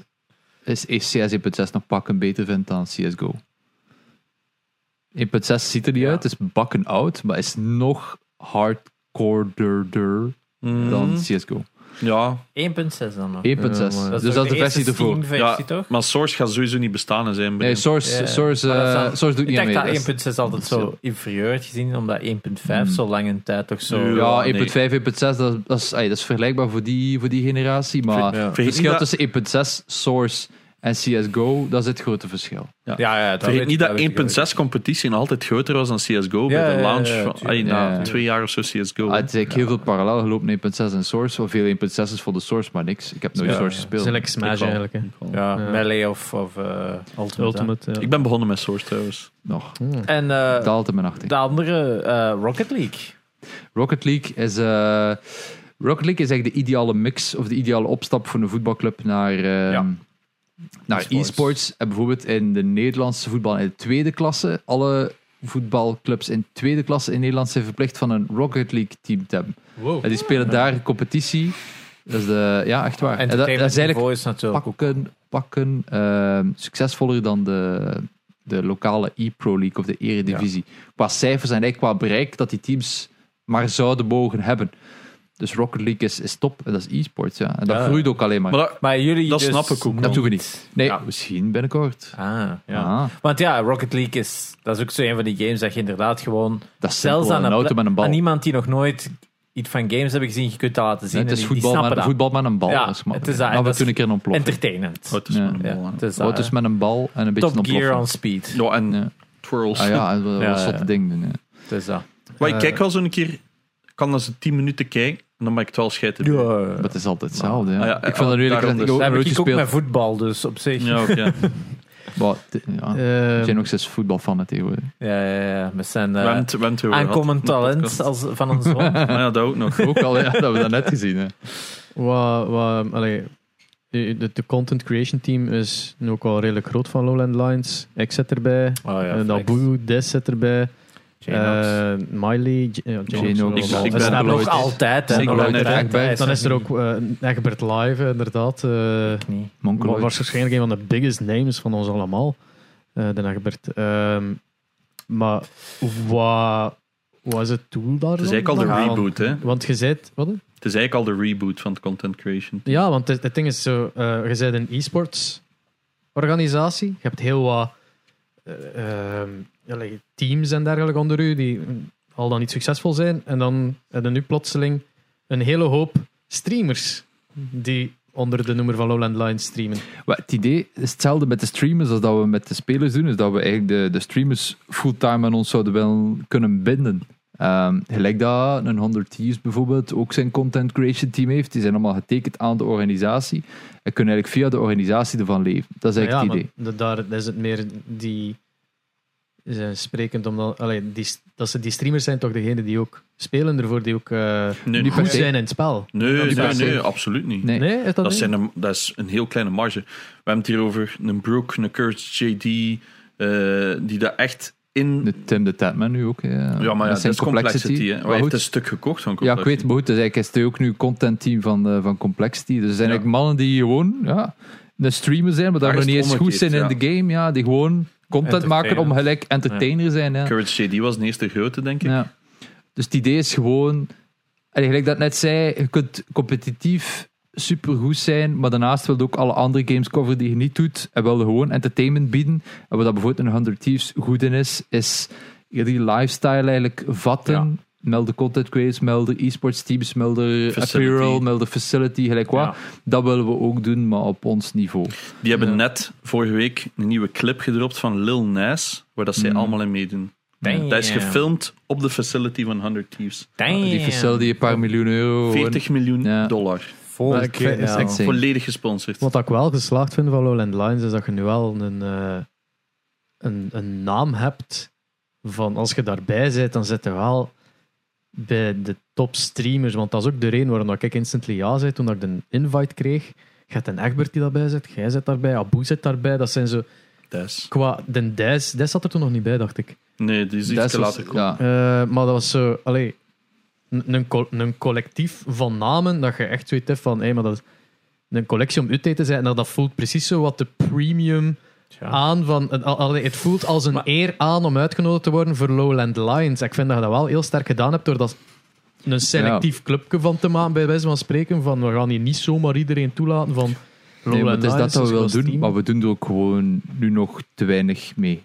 [SPEAKER 2] is, is E CS 1.6 nog pakken beter vind dan CSGO. 1.6 ziet er niet uit, is bakken oud, maar is nog hardcoreder
[SPEAKER 4] Mm,
[SPEAKER 2] dan
[SPEAKER 3] Mhm.
[SPEAKER 2] CSGO. 1.6,
[SPEAKER 3] 1.6 dan nog.
[SPEAKER 2] dus dat is de versie ervoor.
[SPEAKER 4] ja,
[SPEAKER 3] versie
[SPEAKER 4] ja,
[SPEAKER 3] toch?
[SPEAKER 4] maar Source gaat sowieso niet bestaan in zijn
[SPEAKER 2] Nee,
[SPEAKER 4] begin.
[SPEAKER 2] Source,
[SPEAKER 3] Ja.
[SPEAKER 2] Source,
[SPEAKER 3] Maar dat
[SPEAKER 2] eh,
[SPEAKER 3] zou-
[SPEAKER 2] Source doet
[SPEAKER 3] Ik
[SPEAKER 2] niet aan
[SPEAKER 3] dacht
[SPEAKER 2] mee. dus-
[SPEAKER 3] dat E
[SPEAKER 2] Dat is-
[SPEAKER 3] 1.6 altijd zo inferieur werd gezien, omdat 1.5
[SPEAKER 2] Hmm.
[SPEAKER 3] zo lang een tijd toch zo...
[SPEAKER 4] Ja.
[SPEAKER 2] Ja, E
[SPEAKER 4] nee.
[SPEAKER 2] 1.5, 1.6, dat, is- dat, is, ey, dat is vergelijkbaar voor die, voor die generatie. Maar
[SPEAKER 4] Vergeet
[SPEAKER 2] het
[SPEAKER 4] niet
[SPEAKER 2] verschil
[SPEAKER 4] dat-
[SPEAKER 2] tussen E 1.6, Source en CSGO, dat is het grote verschil.
[SPEAKER 3] Ja, ja, dat weet
[SPEAKER 4] Vergeet
[SPEAKER 3] ik,
[SPEAKER 4] niet
[SPEAKER 3] weet ik, weet ik.
[SPEAKER 4] dat 1.6 competitie nog altijd groter was dan CSGO
[SPEAKER 3] Ja,
[SPEAKER 4] bij de
[SPEAKER 3] ja, ja,
[SPEAKER 4] launch
[SPEAKER 3] ja,
[SPEAKER 4] van
[SPEAKER 3] tuurlijk.
[SPEAKER 4] ay, na
[SPEAKER 2] Ja, ja.
[SPEAKER 4] twee jaar of zo CSGO.
[SPEAKER 2] Ah, het is eigenlijk heel veel parallel gelopen 1.6 en Source. Wel veel 1.6 is voor de Source, maar niks. Ik heb nooit
[SPEAKER 3] Ja,
[SPEAKER 2] Source
[SPEAKER 3] ja.
[SPEAKER 1] Dat
[SPEAKER 2] gespeeld.
[SPEAKER 1] is like Smash
[SPEAKER 4] Ik wel.
[SPEAKER 1] eigenlijk, hè.
[SPEAKER 3] Ja,
[SPEAKER 1] Ja.
[SPEAKER 3] Melee of, of eh, Ultimate.
[SPEAKER 1] Ultimate, ja. Hmm.
[SPEAKER 4] Ik ben begonnen met Source trouwens.
[SPEAKER 2] Nog.
[SPEAKER 3] En eh,
[SPEAKER 2] Daalt in mijn achting.
[SPEAKER 3] de andere, eh, Rocket League.
[SPEAKER 2] Rocket League is... eh, Rocket League is eigenlijk de ideale mix of de ideale opstap voor een voetbalclub naar, ehm,
[SPEAKER 3] Ja.
[SPEAKER 2] naar
[SPEAKER 3] E-sports.
[SPEAKER 2] e-sports. en bijvoorbeeld in de Nederlandse voetbal in de tweede klasse. Alle voetbalclubs in tweede klasse in Nederland zijn verplicht van een Rocket League team te hebben.
[SPEAKER 1] Wow.
[SPEAKER 2] En die spelen daar een competitie. Dat is de, ja, echt waar. En dat, dat is
[SPEAKER 3] Entertainment
[SPEAKER 2] eigenlijk
[SPEAKER 3] Voice natuurlijk ook.
[SPEAKER 2] pakken, pakken ehm, succesvoller dan de, de lokale e-pro league of de eredivisie. Qua cijfers en eigenlijk qua bereik dat die teams maar zouden mogen hebben. Dus Rocket League is, is top en dat is e-sports. Ja. En dat
[SPEAKER 3] Ja.
[SPEAKER 2] groeit ook alleen maar.
[SPEAKER 4] Maar dat,
[SPEAKER 3] Maar jullie
[SPEAKER 4] dat
[SPEAKER 3] dus
[SPEAKER 4] snap ik ook
[SPEAKER 2] dat
[SPEAKER 4] wel.
[SPEAKER 2] doen we niet. Nee,
[SPEAKER 3] Ja.
[SPEAKER 2] misschien binnenkort.
[SPEAKER 3] Ah, ja.
[SPEAKER 2] Ah,
[SPEAKER 3] Want ja, Rocket League is, dat is ook zo een van die games dat je inderdaad gewoon...
[SPEAKER 2] dat is
[SPEAKER 3] Zelfs
[SPEAKER 2] simpel,
[SPEAKER 3] aan,
[SPEAKER 2] een auto
[SPEAKER 3] pla-
[SPEAKER 2] met een bal.
[SPEAKER 3] aan iemand die nog nooit iets van games hebben gezien, je kunt dat laten zien.
[SPEAKER 2] Nee, het
[SPEAKER 3] en
[SPEAKER 2] is
[SPEAKER 3] die- die
[SPEAKER 2] voetbal
[SPEAKER 3] snappen
[SPEAKER 2] met,
[SPEAKER 3] dat.
[SPEAKER 2] voetbal met een bal.
[SPEAKER 3] Ja,
[SPEAKER 2] dat is gemakkelijk.
[SPEAKER 3] het is dat, en
[SPEAKER 2] Laten we
[SPEAKER 3] dat
[SPEAKER 2] toen
[SPEAKER 3] is
[SPEAKER 2] een keer ontploffen.
[SPEAKER 3] Entertainment.
[SPEAKER 4] Oh, het is
[SPEAKER 2] Ja.
[SPEAKER 4] maar een bal,
[SPEAKER 3] Ja,
[SPEAKER 4] hè.
[SPEAKER 3] het is dat,
[SPEAKER 2] Auto's
[SPEAKER 3] hè.
[SPEAKER 2] met een bal en een beetje
[SPEAKER 3] Top
[SPEAKER 2] ontploffen.
[SPEAKER 3] Gear on speed.
[SPEAKER 4] Ja, en
[SPEAKER 2] Ja.
[SPEAKER 4] twirls.
[SPEAKER 2] Ah ja, en dat
[SPEAKER 3] Ja,
[SPEAKER 2] was zotte
[SPEAKER 3] ja.
[SPEAKER 2] ding. doen, ja.
[SPEAKER 3] Dus dat.
[SPEAKER 4] Maar ik
[SPEAKER 1] Eh.
[SPEAKER 4] kijk al zo'n keer, ik kan als 10 minuten kijken, en dan maak ik het wel scheiden.
[SPEAKER 2] Maar het is altijd hetzelfde.
[SPEAKER 4] Ah,
[SPEAKER 2] ja.
[SPEAKER 4] ja,
[SPEAKER 2] ik
[SPEAKER 4] ja,
[SPEAKER 2] vind dat nu eerlijk
[SPEAKER 4] daarom
[SPEAKER 2] gezegd ik
[SPEAKER 4] dus.
[SPEAKER 2] ook
[SPEAKER 3] Dat heb
[SPEAKER 2] nooit
[SPEAKER 3] ik ook met
[SPEAKER 2] gespeeld.
[SPEAKER 3] voetbal, dus op zich. Ja,
[SPEAKER 4] Ja, oké.
[SPEAKER 2] Maar het- ja, er
[SPEAKER 1] Eh,
[SPEAKER 2] zijn ook zes voetbalfan tegenwoordig.
[SPEAKER 3] ja, ja. We zijn
[SPEAKER 4] We
[SPEAKER 3] eh,
[SPEAKER 4] hebben het- we hebben het over gehad in
[SPEAKER 3] aankomend
[SPEAKER 4] de
[SPEAKER 3] talent
[SPEAKER 4] podcast.
[SPEAKER 3] als, van Oh, ons rond.
[SPEAKER 4] Maar ja, dat ook nog.
[SPEAKER 2] Ook al, ja, dat hebben we dat net gezien. Hè.
[SPEAKER 1] wat, wat, allee, de, de- de content creation team is nu ook al redelijk groot van Lowland Lines. Ik zit erbij.
[SPEAKER 3] Oh ja,
[SPEAKER 1] Eh,
[SPEAKER 3] flex.
[SPEAKER 1] Nabu, Des zit erbij.
[SPEAKER 3] Janox.
[SPEAKER 1] Eh, Miley. J- ja, Janox.
[SPEAKER 2] Janox.
[SPEAKER 1] wel
[SPEAKER 4] Ik-
[SPEAKER 1] wel. Dat
[SPEAKER 4] ik
[SPEAKER 1] staat
[SPEAKER 4] ben er
[SPEAKER 1] nog
[SPEAKER 3] Nog
[SPEAKER 4] nooit.
[SPEAKER 1] al-
[SPEAKER 3] altijd, hè?
[SPEAKER 4] Ik
[SPEAKER 3] Nog
[SPEAKER 4] ben er
[SPEAKER 3] altijd.
[SPEAKER 2] echt bij.
[SPEAKER 1] Dan is er ook eh, Egbert Live, eh, inderdaad. eh,
[SPEAKER 3] niet.
[SPEAKER 1] wa-
[SPEAKER 2] Monkeloid.
[SPEAKER 1] waarschijnlijk een van de biggest names van ons allemaal. eh de Egbert. Ehm, maar wat was het doel daar?
[SPEAKER 4] Het is eigenlijk al de
[SPEAKER 1] dan?
[SPEAKER 4] reboot, hè?
[SPEAKER 1] Want je zit, wat?
[SPEAKER 4] Het is eigenlijk al de reboot van de content creation.
[SPEAKER 1] Ja, want het, het ding is zo, eh, je bent een e-sports organisatie. Je hebt heel wat eh, ehm, allee, teams en dergelijke onder u die mm, al dan niet succesvol zijn. En dan heb je nu plotseling een hele hoop streamers die onder de noemer van Lowland Lines streamen.
[SPEAKER 2] Maar het idee is hetzelfde met de streamers als dat we met de spelers doen. Is dat we eigenlijk de, de streamers fulltime aan ons zouden willen kunnen binden. Ehm, gelijk dat een 100 Thieves bijvoorbeeld ook zijn content creation team heeft. Die zijn allemaal getekend aan de organisatie. En kunnen eigenlijk via de organisatie ervan leven. Dat is
[SPEAKER 1] Maar ja,
[SPEAKER 2] eigenlijk het idee.
[SPEAKER 1] maar da- daar is het meer die ze zijn sprekend omdat allee, die, dat ze die streamers zijn toch degene die ook spelen ervoor die ook eh,
[SPEAKER 4] Nee,
[SPEAKER 2] Die
[SPEAKER 4] nee,
[SPEAKER 1] goed
[SPEAKER 2] per se.
[SPEAKER 1] zijn in het spel.
[SPEAKER 4] nee,
[SPEAKER 2] per
[SPEAKER 4] nee,
[SPEAKER 2] se.
[SPEAKER 4] nee, absoluut niet.
[SPEAKER 2] Nee.
[SPEAKER 1] Nee, is dat,
[SPEAKER 4] Dat,
[SPEAKER 1] niet?
[SPEAKER 4] zijn een, dat is een heel kleine marge. We hebben het hier over een Brook, een Curse JD, eh, die daar echt in.
[SPEAKER 2] De Tim de Tatman nu ook. Ja,
[SPEAKER 4] ja, maar ja,
[SPEAKER 2] Met
[SPEAKER 4] dat
[SPEAKER 2] zijn
[SPEAKER 4] is complexity. hè. Maar
[SPEAKER 2] Maar
[SPEAKER 4] hij heeft
[SPEAKER 2] goed,
[SPEAKER 4] een stuk gekocht van
[SPEAKER 2] ja,
[SPEAKER 4] complexity.
[SPEAKER 2] ik weet, maar goed, dus eigenlijk is hij ook nu content team van, eh, van Complexity. Dus er zijn
[SPEAKER 4] Ja.
[SPEAKER 2] eigenlijk mannen die gewoon ja, een streamer zijn, maar dat
[SPEAKER 4] Daar
[SPEAKER 2] nog
[SPEAKER 4] is
[SPEAKER 2] niet
[SPEAKER 4] het
[SPEAKER 2] eens goed zijn
[SPEAKER 4] omgekeerd,
[SPEAKER 2] in de game. Ja, die gewoon content maken om
[SPEAKER 3] Entertainer.
[SPEAKER 2] gelijk entertainer zijn. Ja.
[SPEAKER 4] Courage JD was de eerste grote, denk ik.
[SPEAKER 2] Ja. Dus het idee is gewoon, en gelijk dat ik net zei, je kunt competitief supergoed zijn, maar daarnaast wil je ook alle andere games coveren die je niet doet en wil je gewoon entertainment bieden. En wat dat bijvoorbeeld een 100 Thieves goed in is, is je die lifestyle eigenlijk vatten.
[SPEAKER 3] Ja.
[SPEAKER 2] Melder content creators, melder e-sports teams, melder
[SPEAKER 4] Facility.
[SPEAKER 2] apparel, melder facility, gelijk wat.
[SPEAKER 3] Ja.
[SPEAKER 2] Dat willen we ook doen, maar op ons niveau.
[SPEAKER 4] Die hebben
[SPEAKER 2] Ja.
[SPEAKER 4] net vorige week een nieuwe clip gedropt van Lil Nas, waar dat zij
[SPEAKER 2] Mm.
[SPEAKER 4] allemaal in meedoen.
[SPEAKER 3] Damn.
[SPEAKER 4] Dat is gefilmd op de facility van 100 Thieves.
[SPEAKER 2] Die facility, een paar miljoen euro.
[SPEAKER 4] 40 miljoen
[SPEAKER 2] Ja.
[SPEAKER 4] dollar.
[SPEAKER 1] Maar
[SPEAKER 3] Volgende
[SPEAKER 1] ik
[SPEAKER 3] keer
[SPEAKER 1] vind- is
[SPEAKER 3] nou.
[SPEAKER 1] echt-
[SPEAKER 2] Zeker.
[SPEAKER 4] Volledig gesponsord.
[SPEAKER 1] Wat ik wel geslaagd vind van Lowland Lines is dat je nu wel een, eh, een, een naam hebt van als je daarbij zit, dan zit je wel bij de top streamers. Want dat is ook de reden waarom dat ik instantly ja zei toen dat ik de invite kreeg. Je hebt een Egbert die daarbij zit, jij zit daarbij, Abu zit daarbij. Dat zijn zo
[SPEAKER 4] Dat is-
[SPEAKER 1] qua den Dijs. Dijs zat er toen nog niet bij, dacht ik.
[SPEAKER 4] Nee, die is
[SPEAKER 2] Dat
[SPEAKER 4] iets
[SPEAKER 2] is
[SPEAKER 4] te
[SPEAKER 2] wat-
[SPEAKER 4] later komen.
[SPEAKER 2] ja.
[SPEAKER 1] Eh, maar dat was zo, allee, een, een col- een collectief van namen dat je echt zoiets hebt van, hé, maar dat is een collectie om uit te zijn. En dat, dat voelt precies zo wat de premium
[SPEAKER 3] Ja.
[SPEAKER 1] aan van, een- al- allee, het voelt als een eer aan om uitgenodigd te worden voor Lowland Lions. Ik vind dat je dat wel heel sterk gedaan hebt door dat een selectief clubje van te maken, bij wijze van spreken, van we gaan hier niet zomaar iedereen toelaten van
[SPEAKER 2] Nee,
[SPEAKER 1] Lowland
[SPEAKER 2] maar het is dat
[SPEAKER 1] Lions, dus
[SPEAKER 2] dat we
[SPEAKER 1] gewoon
[SPEAKER 2] willen doen,
[SPEAKER 1] streamen.
[SPEAKER 2] maar we doen er ook gewoon nu nog te weinig mee.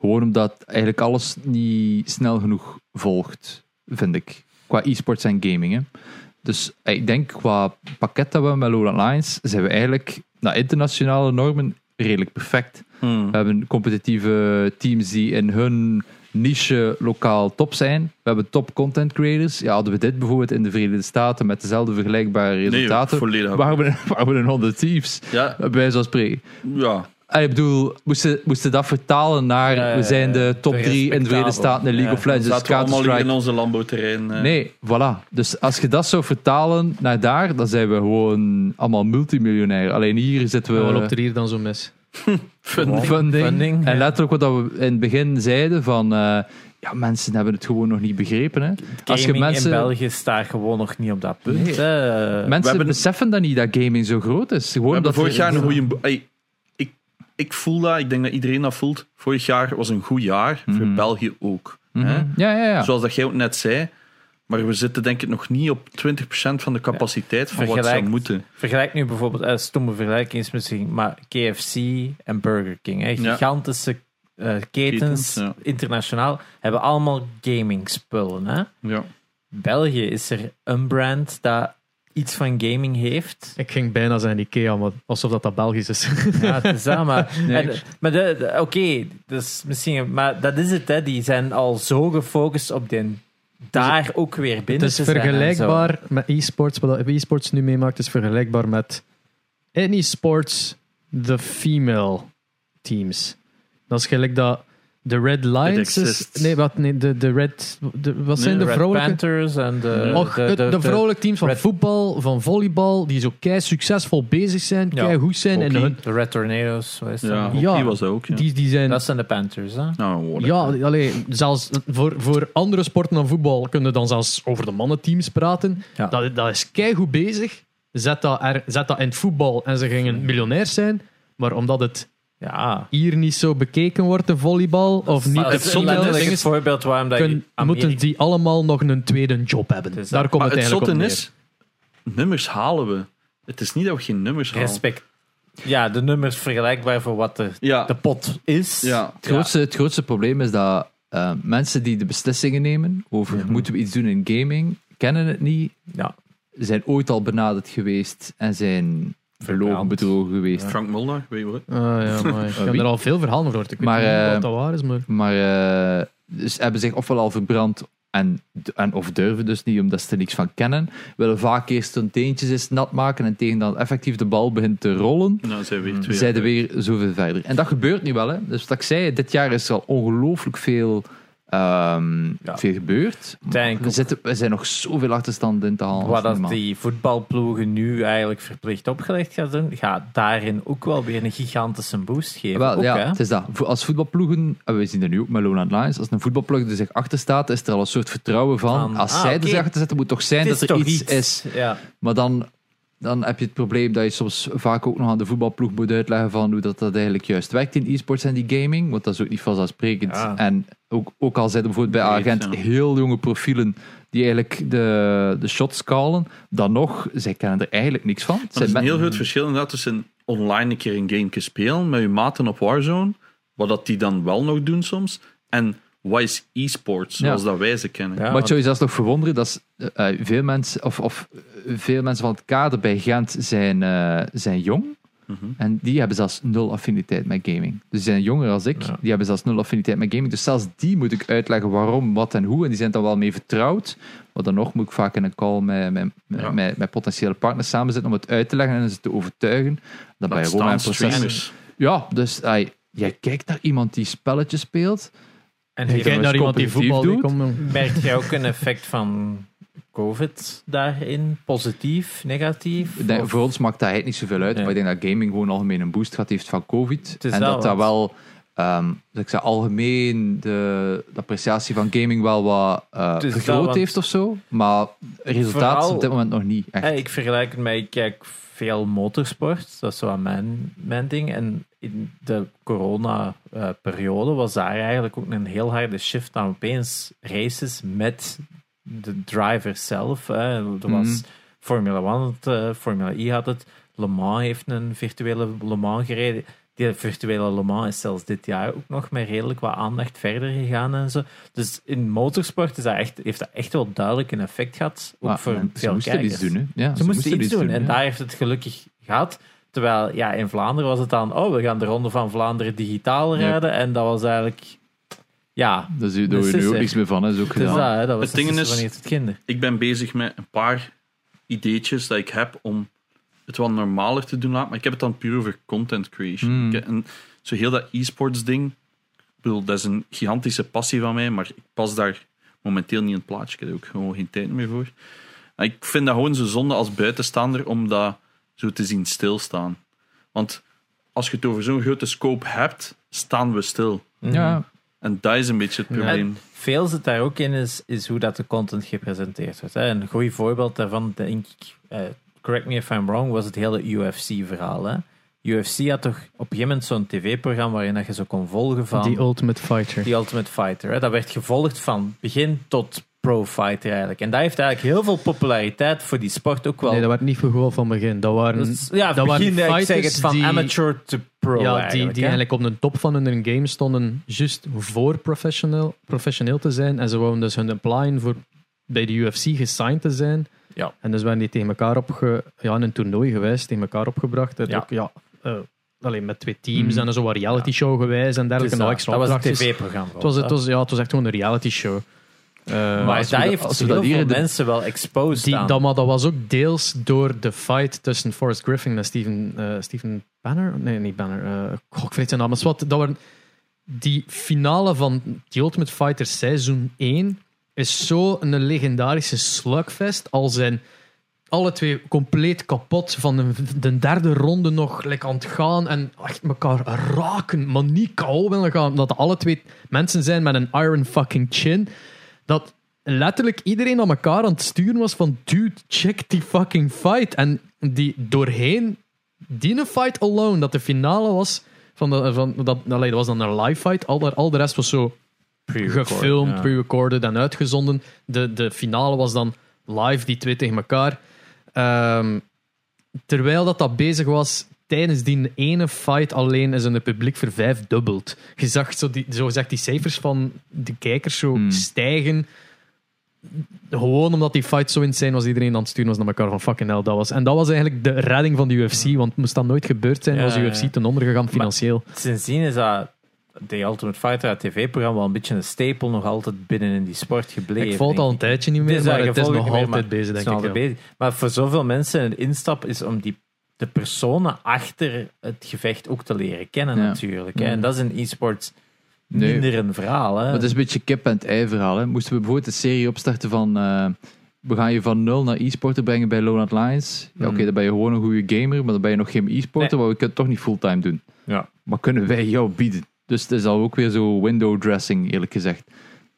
[SPEAKER 2] Gewoon omdat eigenlijk alles niet snel genoeg volgt, vind ik. Qua e-sports en gaming. Hè. Dus eh, ik denk qua pakket dat we met Lowland Lines zijn we eigenlijk naar internationale normen redelijk perfect.
[SPEAKER 4] Hmm.
[SPEAKER 2] We hebben competitieve teams die in hun niche lokaal top zijn. We hebben top content creators. Ja, hadden we dit bijvoorbeeld in de Verenigde Staten met dezelfde vergelijkbare resultaten,
[SPEAKER 4] volledig.
[SPEAKER 2] waren, we, waren we een 100 thieves.
[SPEAKER 4] Ja,
[SPEAKER 2] Bij wijze van spreken.
[SPEAKER 4] ja.
[SPEAKER 2] Ah, Ik bedoel, moesten moesten dat vertalen naar.
[SPEAKER 3] Ja, ja,
[SPEAKER 2] we zijn de top
[SPEAKER 3] ja,
[SPEAKER 2] 3 in de Verenigde
[SPEAKER 3] respectabel.
[SPEAKER 2] Staten in League
[SPEAKER 3] Ja,
[SPEAKER 2] of Legends,
[SPEAKER 4] zaten we allemaal hier in
[SPEAKER 2] Counter-Strike.
[SPEAKER 4] onze landbouwterrein. eh.
[SPEAKER 2] dus Nee, voilà. Dus als je dat zou vertalen naar daar, dan zijn we gewoon allemaal multimiljonair. Alleen hier zitten
[SPEAKER 1] En wat
[SPEAKER 2] we.
[SPEAKER 1] loopt er hier dan zo mis?
[SPEAKER 4] Funding.
[SPEAKER 2] funding.
[SPEAKER 3] Funding,
[SPEAKER 2] en
[SPEAKER 3] ja.
[SPEAKER 2] letterlijk wat dat we in het begin zeiden: van. eh, ja, mensen hebben het gewoon nog niet begrepen. Hè. Als je
[SPEAKER 3] Gaming
[SPEAKER 2] mensen.
[SPEAKER 3] in België staat gewoon nog niet op dat punt.
[SPEAKER 2] Nee.
[SPEAKER 3] hè.
[SPEAKER 2] Mensen
[SPEAKER 4] We hebben-
[SPEAKER 2] beseffen dat niet dat gaming zo groot is. Gewoon
[SPEAKER 4] We hebben
[SPEAKER 2] dat
[SPEAKER 4] vorig jaar een goede. Ey, ik, ik voel dat, ik denk dat iedereen dat voelt. Vorig jaar was een goed jaar, voor België ook. hè?
[SPEAKER 2] Ja, Mhm. ja, ja.
[SPEAKER 4] Zoals dat jij ook net zei. Maar we zitten denk ik nog niet op 20% van de capaciteit van wat zou
[SPEAKER 3] Vergelijkt-
[SPEAKER 4] moeten.
[SPEAKER 3] Vergelijk nu bijvoorbeeld, eh, stomme vergelijking is misschien, maar KFC en Burger King, hè,
[SPEAKER 4] Ja.
[SPEAKER 3] gigantische eh, ketens,
[SPEAKER 4] Ketens, ja.
[SPEAKER 3] internationaal, hebben allemaal gaming spullen. Hè?
[SPEAKER 4] Ja.
[SPEAKER 3] België is er een brand dat iets van gaming heeft.
[SPEAKER 1] Ik ging bijna zijn Ikea, maar alsof dat, dat Belgisch is.
[SPEAKER 3] Ja, het is dat, maar...
[SPEAKER 2] Nee,
[SPEAKER 3] en- maar de- de- oké, dus misschien... Maar dat is het, hè. Die zijn al zo gefocust op den...
[SPEAKER 2] Dus
[SPEAKER 3] Daar ook weer
[SPEAKER 1] Het
[SPEAKER 3] binnen
[SPEAKER 1] is
[SPEAKER 3] te zijn en zo.
[SPEAKER 1] vergelijkbaar met e-sports. Wat e-sports nu meemaakt is vergelijkbaar met in e-sports de female teams. Dat is gelijk dat de Red Lions is...
[SPEAKER 4] exists.
[SPEAKER 1] Nee, wat, nee de, de Red... De, wat zijn de
[SPEAKER 3] Red
[SPEAKER 1] vrouwelijke...
[SPEAKER 3] Panthers en de...
[SPEAKER 1] Och, de, de, vrouwelijke teams van
[SPEAKER 3] Red-
[SPEAKER 1] voetbal, van volleybal, die zo kei succesvol bezig zijn,
[SPEAKER 3] Ja.
[SPEAKER 1] kei goed zijn. En
[SPEAKER 4] Hockey.
[SPEAKER 1] hun,
[SPEAKER 3] De Red Tornadoes, wat is dat?
[SPEAKER 4] Ja,
[SPEAKER 1] Ja.
[SPEAKER 4] die was dat ook. Ja.
[SPEAKER 1] die, die zijn...
[SPEAKER 3] Dat zijn de Panthers, hè?
[SPEAKER 4] nou, whatever.
[SPEAKER 1] Ja, allee, zelfs voor, voor andere sporten dan voetbal kunnen we dan zelfs over de mannenteams praten.
[SPEAKER 3] Ja.
[SPEAKER 1] Dat, dat is keigoed bezig. Zet dat, er, zet dat in het voetbal en ze gingen miljonairs zijn. Maar omdat het
[SPEAKER 3] Ja.
[SPEAKER 1] hier niet zo bekeken wordt, de volleybal, of niet
[SPEAKER 3] dat
[SPEAKER 1] de
[SPEAKER 3] is een letterlijk
[SPEAKER 1] voetbal,
[SPEAKER 3] het voorbeeld waarom dat
[SPEAKER 1] kun-
[SPEAKER 3] je
[SPEAKER 1] moeten die allemaal nog een tweede job hebben.
[SPEAKER 3] Het is
[SPEAKER 1] Daar
[SPEAKER 3] dat.
[SPEAKER 1] komt
[SPEAKER 4] maar
[SPEAKER 1] het
[SPEAKER 4] het
[SPEAKER 1] eigenlijk
[SPEAKER 4] zotte
[SPEAKER 1] op neer.
[SPEAKER 4] is, nummers halen we. Het is niet dat we geen nummers halen.
[SPEAKER 3] respect. Ja, de nummers vergelijkbaar voor wat de,
[SPEAKER 4] Ja.
[SPEAKER 3] de pot is.
[SPEAKER 4] Ja.
[SPEAKER 2] Het grootste, het grootste probleem is dat eh, mensen die de beslissingen nemen over moeten we iets doen in gaming, kennen het niet,
[SPEAKER 3] Ja.
[SPEAKER 2] zijn ooit al benaderd geweest en zijn verloren
[SPEAKER 3] Verbrand.
[SPEAKER 2] bedrogen geweest.
[SPEAKER 4] Frank Mulder, weet je wat?
[SPEAKER 1] Ah, ja, maar ik heb
[SPEAKER 2] wie?
[SPEAKER 1] er al veel verhalen over gehoord. Ik weet
[SPEAKER 2] Maar,
[SPEAKER 1] niet
[SPEAKER 2] eh,
[SPEAKER 1] wat dat waar is, maar...
[SPEAKER 2] Maar eh, dus hebben zich ofwel al verbrand en, en of durven dus niet omdat ze er niks van kennen, willen vaak eerst hun teentjes eens nat maken en tegen dat effectief de bal begint te rollen,
[SPEAKER 4] Nou, zijn weer twee.
[SPEAKER 2] zijn er weer zoveel verder. En dat gebeurt nu wel, hè. Dus wat ik zei, dit jaar is er al ongelooflijk veel, ehm,
[SPEAKER 3] Ja.
[SPEAKER 2] veel gebeurd.
[SPEAKER 3] Uiteindelijk
[SPEAKER 2] We,
[SPEAKER 3] ook.
[SPEAKER 2] zitten, we zijn nog zoveel achterstand in te halen.
[SPEAKER 3] Wat
[SPEAKER 2] dat is
[SPEAKER 3] dat
[SPEAKER 2] normaal.
[SPEAKER 3] die voetbalploegen nu eigenlijk verplicht opgelegd gaat doen, gaat daarin ook wel weer een gigantische boost geven.
[SPEAKER 2] Wel,
[SPEAKER 3] ook,
[SPEAKER 2] ja,
[SPEAKER 3] hè?
[SPEAKER 2] het is dat. Vo- Als voetbalploegen, en we zien dat nu ook met Lowland Lions, als een voetbalploeg er zich achter staat, is er al een soort vertrouwen van.
[SPEAKER 3] Van,
[SPEAKER 2] als
[SPEAKER 3] ah,
[SPEAKER 2] zij
[SPEAKER 3] oké.
[SPEAKER 2] er zich achter zetten, moet toch zijn
[SPEAKER 3] Het
[SPEAKER 2] dat er
[SPEAKER 3] toch
[SPEAKER 2] iets
[SPEAKER 3] iets.
[SPEAKER 2] is.
[SPEAKER 3] Ja.
[SPEAKER 2] Maar dan, dan heb je het probleem dat je soms vaak ook nog aan de voetbalploeg moet uitleggen van hoe dat, dat eigenlijk juist werkt in e-sports en die gaming. Want dat is ook niet vanzelfsprekend.
[SPEAKER 3] Ja.
[SPEAKER 2] En ook, ook al zitten bijvoorbeeld bij
[SPEAKER 4] Breed,
[SPEAKER 2] Agent
[SPEAKER 4] ja.
[SPEAKER 2] heel jonge profielen die eigenlijk de, de shots callen, dan nog, zij kennen er eigenlijk niks van.
[SPEAKER 4] Maar
[SPEAKER 2] Zij
[SPEAKER 4] er is een
[SPEAKER 2] met-
[SPEAKER 4] heel groot verschil inderdaad tussen online een keer een game spelen met je maten op Warzone, wat dat die dan wel nog doen soms, en wat is e-sports, zoals
[SPEAKER 2] Ja.
[SPEAKER 4] dat wij ze kennen.
[SPEAKER 3] Ja,
[SPEAKER 2] maar het zou je zelfs nog verwonderen dat eh, eh, veel, mensen, of, of, eh, veel mensen van het kader bij Gent zijn, eh, zijn jong. En die hebben zelfs nul affiniteit met gaming. Dus die zijn jonger als ik.
[SPEAKER 3] Ja.
[SPEAKER 2] Die hebben zelfs nul affiniteit met gaming. Dus zelfs die moet ik uitleggen waarom, wat en hoe. En die zijn daar wel mee vertrouwd. Maar dan nog moet ik vaak in een call met, met, met,
[SPEAKER 4] Ja.
[SPEAKER 2] met, met potentiële partners samen zitten om het uit te leggen en ze te overtuigen. Dat, bij
[SPEAKER 4] Dat
[SPEAKER 2] Roma
[SPEAKER 4] staan
[SPEAKER 2] en proces.
[SPEAKER 4] streamers.
[SPEAKER 2] Ja, dus ai, jij kijkt naar iemand die spelletjes speelt.
[SPEAKER 3] En
[SPEAKER 2] Ik
[SPEAKER 1] Kijk
[SPEAKER 3] heeft,
[SPEAKER 2] ken-
[SPEAKER 1] naar iemand die
[SPEAKER 2] competitief
[SPEAKER 1] voetbal... Die
[SPEAKER 2] doet.
[SPEAKER 1] komt-
[SPEAKER 3] merk jij ook een effect van COVID daarin? Positief, negatief?
[SPEAKER 2] Ik denk,
[SPEAKER 3] Of-
[SPEAKER 2] voor ons maakt dat eigenlijk niet zoveel uit.
[SPEAKER 3] Nee.
[SPEAKER 2] Maar ik denk dat gaming gewoon algemeen een boost gehad heeft van COVID.
[SPEAKER 3] is
[SPEAKER 2] En
[SPEAKER 3] wel
[SPEAKER 2] dat dat
[SPEAKER 3] wat.
[SPEAKER 2] wel, ehm, dat ik zeg, algemeen de, de appreciatie van gaming wel wat eh,
[SPEAKER 3] Het is wel
[SPEAKER 2] vergroot
[SPEAKER 3] wat-
[SPEAKER 2] heeft of zo. Maar resultaat is
[SPEAKER 3] Vooral-
[SPEAKER 2] op dit moment nog niet echt.
[SPEAKER 3] Ja, Eh, ik vergelijk het met, ik kijk veel motorsport, dat is zo aan mijn, mijn ding. En in de corona-periode was daar eigenlijk ook een heel harde shift aan opeens races met de driver zelf. Hè. Er was
[SPEAKER 2] Mhm.
[SPEAKER 3] Formula 1, had het, eh, Formula I had het, Le Mans heeft een virtuele Le Mans gereden. Die virtuele Le Mans is zelfs dit jaar ook nog met redelijk wat aandacht verder gegaan en zo. Dus in motorsport is dat echt, heeft dat echt wel duidelijk een effect gehad. Ook
[SPEAKER 2] Maar
[SPEAKER 3] voor
[SPEAKER 2] men- ze
[SPEAKER 3] veel
[SPEAKER 2] moesten
[SPEAKER 3] kijkers.
[SPEAKER 2] iets doen. Hè. Ja,
[SPEAKER 3] Ze moesten iets doen. En
[SPEAKER 2] ja.
[SPEAKER 3] daar heeft het gelukkig gehad. Terwijl ja, in Vlaanderen was het dan, oh, we gaan de Ronde van Vlaanderen digitaal
[SPEAKER 2] Ja.
[SPEAKER 3] rijden. En dat was eigenlijk, ja,
[SPEAKER 2] Daar zie je
[SPEAKER 3] Dus
[SPEAKER 2] daar
[SPEAKER 3] het
[SPEAKER 2] nu
[SPEAKER 3] is
[SPEAKER 2] ook
[SPEAKER 3] er.
[SPEAKER 2] niks meer van. hè. Dat is ook
[SPEAKER 3] het is
[SPEAKER 2] gedaan.
[SPEAKER 3] dat. Hè, dat was
[SPEAKER 4] Het ding
[SPEAKER 3] het
[SPEAKER 4] is-
[SPEAKER 3] wanneer het kinder.
[SPEAKER 4] Ik ben bezig met een paar ideetjes dat ik heb om het wat normaler te doen laten, maar ik heb het dan puur over content creation.
[SPEAKER 2] Hmm.
[SPEAKER 4] Ik- en zo heel dat e-sports ding, ik bedoel, dat is een gigantische passie van mij, maar ik pas daar momenteel niet in het plaatje. Ik heb er ook gewoon geen tijd meer voor. En ik vind dat gewoon zo zonde als buitenstaander om dat zo te zien stilstaan. Want als je het over zo'n grote scope hebt, staan we stil.
[SPEAKER 2] Ja,
[SPEAKER 4] En dat is een beetje het probleem.
[SPEAKER 3] En Mhm. veel zit daar ook in, is, is hoe dat de content gepresenteerd wordt. Hè. Een goed voorbeeld daarvan, denk ik, eh, correct me if I'm wrong, was het hele UFC-verhaal. Hè. UFC had toch op een gegeven moment zo'n tv-programma waarin dat je zo kon volgen van...
[SPEAKER 1] Die Ultimate Fighter.
[SPEAKER 3] Die Ultimate Fighter. Hè? Dat werd gevolgd van begin tot pro-fighter eigenlijk. En dat heeft eigenlijk heel veel populariteit voor die sport ook wel.
[SPEAKER 1] Nee, dat werd niet voor gewoon van begin. Dat waren,
[SPEAKER 3] Dat is- ja,
[SPEAKER 1] dat waren
[SPEAKER 3] begin, eh, ik zeg
[SPEAKER 1] fighters
[SPEAKER 3] het, van
[SPEAKER 1] die-
[SPEAKER 3] amateur to pro
[SPEAKER 1] ja, die,
[SPEAKER 3] eigenlijk.
[SPEAKER 1] die
[SPEAKER 3] hè.
[SPEAKER 1] eigenlijk op de top van hun game stonden, juist voor professioneel, professioneel te zijn. En ze wouden dus hun applyen voor bij de UFC gesigned te zijn.
[SPEAKER 3] Ja.
[SPEAKER 1] En dus we hebben die tegen elkaar opge, ja, in een toernooi geweest, tegen elkaar opgebracht. Dat
[SPEAKER 3] Ja. Mm.
[SPEAKER 1] Ook, ja, eh, alleen met twee teams
[SPEAKER 2] Mhm.
[SPEAKER 1] en zo een reality show geweest en dergelijke.
[SPEAKER 3] Dus,
[SPEAKER 1] nou,
[SPEAKER 3] eh,
[SPEAKER 1] extra
[SPEAKER 3] dat was een
[SPEAKER 1] opdrachtjes.
[SPEAKER 3] tv-programma.
[SPEAKER 1] Het was, het, was, ja, het was echt gewoon een reality show. Eh,
[SPEAKER 3] maar
[SPEAKER 2] als we
[SPEAKER 3] daar
[SPEAKER 2] dat-
[SPEAKER 3] heeft
[SPEAKER 2] als we
[SPEAKER 3] heel
[SPEAKER 2] dat hier
[SPEAKER 3] veel
[SPEAKER 2] in de-
[SPEAKER 3] mensen wel exposed
[SPEAKER 1] die,
[SPEAKER 3] aan.
[SPEAKER 1] dat, maar dat was ook deels door de fight tussen Forrest Griffin en Steven, eh, Steven Banner. Nee, niet Banner. eh goh, ik weet zijn naam. Maar zwart, dat waren, die finale van The Ultimate Fighter seizoen 1 is zo'n legendarische slugfest. Al zijn alle twee compleet kapot van de, de derde ronde nog like, aan het gaan en echt elkaar raken, maar niet KO willen gaan. Omdat alle twee mensen zijn met een iron fucking chin. Dat letterlijk iedereen aan elkaar aan het sturen was van dude, check die fucking fight. En die doorheen, die een fight alone, dat de finale was van, de, van dat, allee, dat was dan een live fight. Al, de- al de rest was zo gefilmd,
[SPEAKER 3] ja.
[SPEAKER 1] pre-recorded en uitgezonden. De, de finale was dan live, die twee tegen elkaar. Ehm, terwijl dat, dat bezig was, tijdens die ene fight alleen is het publiek vervijfdubbeld. Je zag zo, die, zo gezegd die cijfers van de kijkers zo
[SPEAKER 2] Hmm.
[SPEAKER 1] stijgen. Gewoon omdat die fight zo insane was, iedereen aan het sturen was naar elkaar van fucking hell, dat was. En dat was eigenlijk de redding van de UFC, want moest dat nooit gebeurd zijn,
[SPEAKER 3] Ja,
[SPEAKER 1] was de
[SPEAKER 3] ja,
[SPEAKER 1] UFC
[SPEAKER 3] ja.
[SPEAKER 1] ten onder gegaan financieel.
[SPEAKER 3] Sindsdien is dat The Ultimate Fighter, het tv-programma, wel een beetje een stapel nog altijd binnen in die sport gebleven.
[SPEAKER 1] ik volg het
[SPEAKER 3] denk
[SPEAKER 1] al een tijdje niet meer,
[SPEAKER 3] is
[SPEAKER 1] maar het
[SPEAKER 3] eigenlijk
[SPEAKER 1] is nog
[SPEAKER 3] volg ik
[SPEAKER 1] altijd
[SPEAKER 3] niet meer,
[SPEAKER 1] bezig,
[SPEAKER 3] maar
[SPEAKER 1] denk
[SPEAKER 3] het is
[SPEAKER 1] ik.
[SPEAKER 3] nog
[SPEAKER 1] ja.
[SPEAKER 3] altijd bezig. Maar voor zoveel mensen een instap is om die, de personen achter het gevecht ook te leren kennen
[SPEAKER 2] Ja.
[SPEAKER 3] natuurlijk. Hè. En
[SPEAKER 1] Mm.
[SPEAKER 3] dat is in e-sports
[SPEAKER 2] Nee.
[SPEAKER 3] minder een verhaal. Hè.
[SPEAKER 2] Maar het is een beetje kip en het ei verhaal. Hè. Moesten we bijvoorbeeld de serie opstarten van... eh, we gaan je van nul naar e-sporter brengen bij Lone Lions.
[SPEAKER 3] Hmm.
[SPEAKER 2] Ja, Oké, dan ben je gewoon een goede gamer, maar dan ben je nog geen e-sporter. Maar we kunnen het toch niet fulltime doen.
[SPEAKER 3] Ja.
[SPEAKER 2] Maar kunnen wij jou bieden? Dus het is al ook weer zo window dressing, eerlijk gezegd.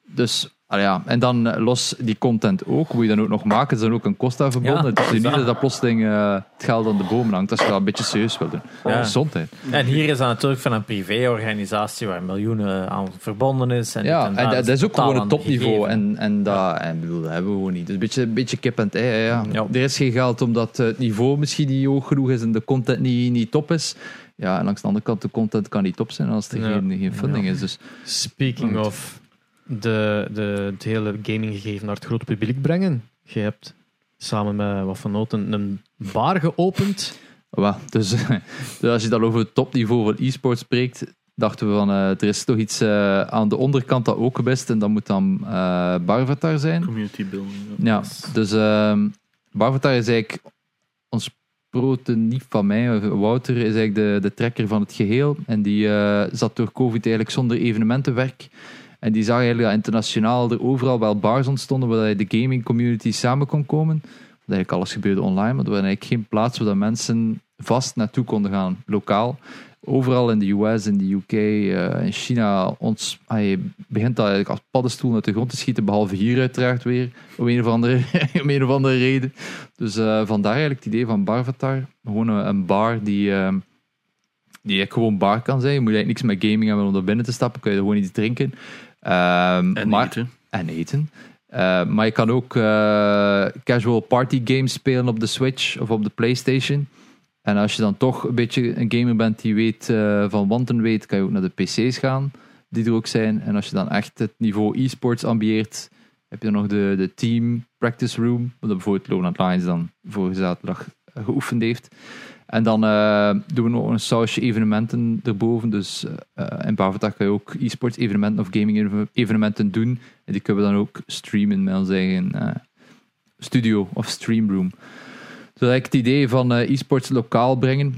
[SPEAKER 2] Dus, ah ja. En dan eh, los die content ook. Moet je dan ook nog maken. Er is dan ook een kost aan verbonden.
[SPEAKER 3] Ja,
[SPEAKER 2] het is niet
[SPEAKER 3] dat.
[SPEAKER 2] dat dat plotseling eh, het geld aan de boom hangt. Als je dat een beetje serieus wil doen.
[SPEAKER 3] Ja.
[SPEAKER 2] Gezondheid.
[SPEAKER 3] En hier is dat natuurlijk van een privéorganisatie waar miljoenen aan verbonden is. En
[SPEAKER 2] Ja,
[SPEAKER 3] dit
[SPEAKER 2] en,
[SPEAKER 3] dat.
[SPEAKER 2] dat is ook
[SPEAKER 3] totaal
[SPEAKER 2] gewoon het
[SPEAKER 3] aan
[SPEAKER 2] topniveau.
[SPEAKER 3] gegeven.
[SPEAKER 2] En, en, dat, en ik bedoel, dat hebben we gewoon niet. Dus een beetje, een beetje kip en het ei. hè, Ja.
[SPEAKER 3] Ja.
[SPEAKER 2] Er is geen geld omdat eh, het niveau misschien niet hoog genoeg is en de content niet, niet top is. Ja, en langs de andere kant, de content kan niet top zijn als er
[SPEAKER 1] Ja.
[SPEAKER 2] geen, geen funding is. Dus
[SPEAKER 1] Speaking
[SPEAKER 2] Goed.
[SPEAKER 1] of de, de, het hele gaminggegeven naar het grote publiek brengen. Je hebt samen met wat van Noten een bar geopend.
[SPEAKER 2] Wel, dus, dus als je dan over het topniveau van e-sport spreekt, dachten we van eh, er is toch iets eh, aan de onderkant dat ook best en dat moet dan eh Barvatar zijn.
[SPEAKER 4] Community building. ja.
[SPEAKER 2] Ja, dus ehm Barvatar is eigenlijk ons proto, niet van mij, Wouter is eigenlijk de, de trekker van het geheel en die eh, zat door COVID eigenlijk zonder evenementenwerk. En die zag eigenlijk dat internationaal er overal wel bars ontstonden waar je de gaming community samen kon komen. Dat eigenlijk alles gebeurde online, maar er was eigenlijk geen plaats waar dat mensen vast naartoe konden gaan, lokaal. Overal in de US, in de UK, eh, in China, ons, ah, je begint dat eigenlijk als paddenstoel uit de grond te schieten, behalve hier uiteraard weer, om een of andere, om een of andere reden. Dus eh, vandaar eigenlijk het idee van Barvatar. Gewoon een, een bar die, eh, die eigenlijk gewoon bar kan zijn. Je moet eigenlijk niks met gaming hebben om daar binnen te stappen, kun je er gewoon iets drinken. Ehm,
[SPEAKER 4] En
[SPEAKER 2] maar-
[SPEAKER 4] eten.
[SPEAKER 2] en eten. Eh, maar je kan ook eh, casual party games spelen op de Switch of op de PlayStation. En als je dan toch een beetje een gamer bent die weet eh, van wanten weet, kan je ook naar de PC's gaan, die er ook zijn. En als je dan echt het niveau e-sports ambieert, heb je dan nog de, de team practice room, waar dan bijvoorbeeld Lonat Lions dan vorige zaterdag geoefend heeft. En dan eh, doen we nog een sausje evenementen erboven. Dus eh, eh, in Bavatag kan je ook e-sports evenementen of gaming even- evenementen doen. En die kunnen we dan ook streamen met ons eigen eh, studio of streamroom. Dus eigenlijk het idee van eh, e-sports lokaal brengen.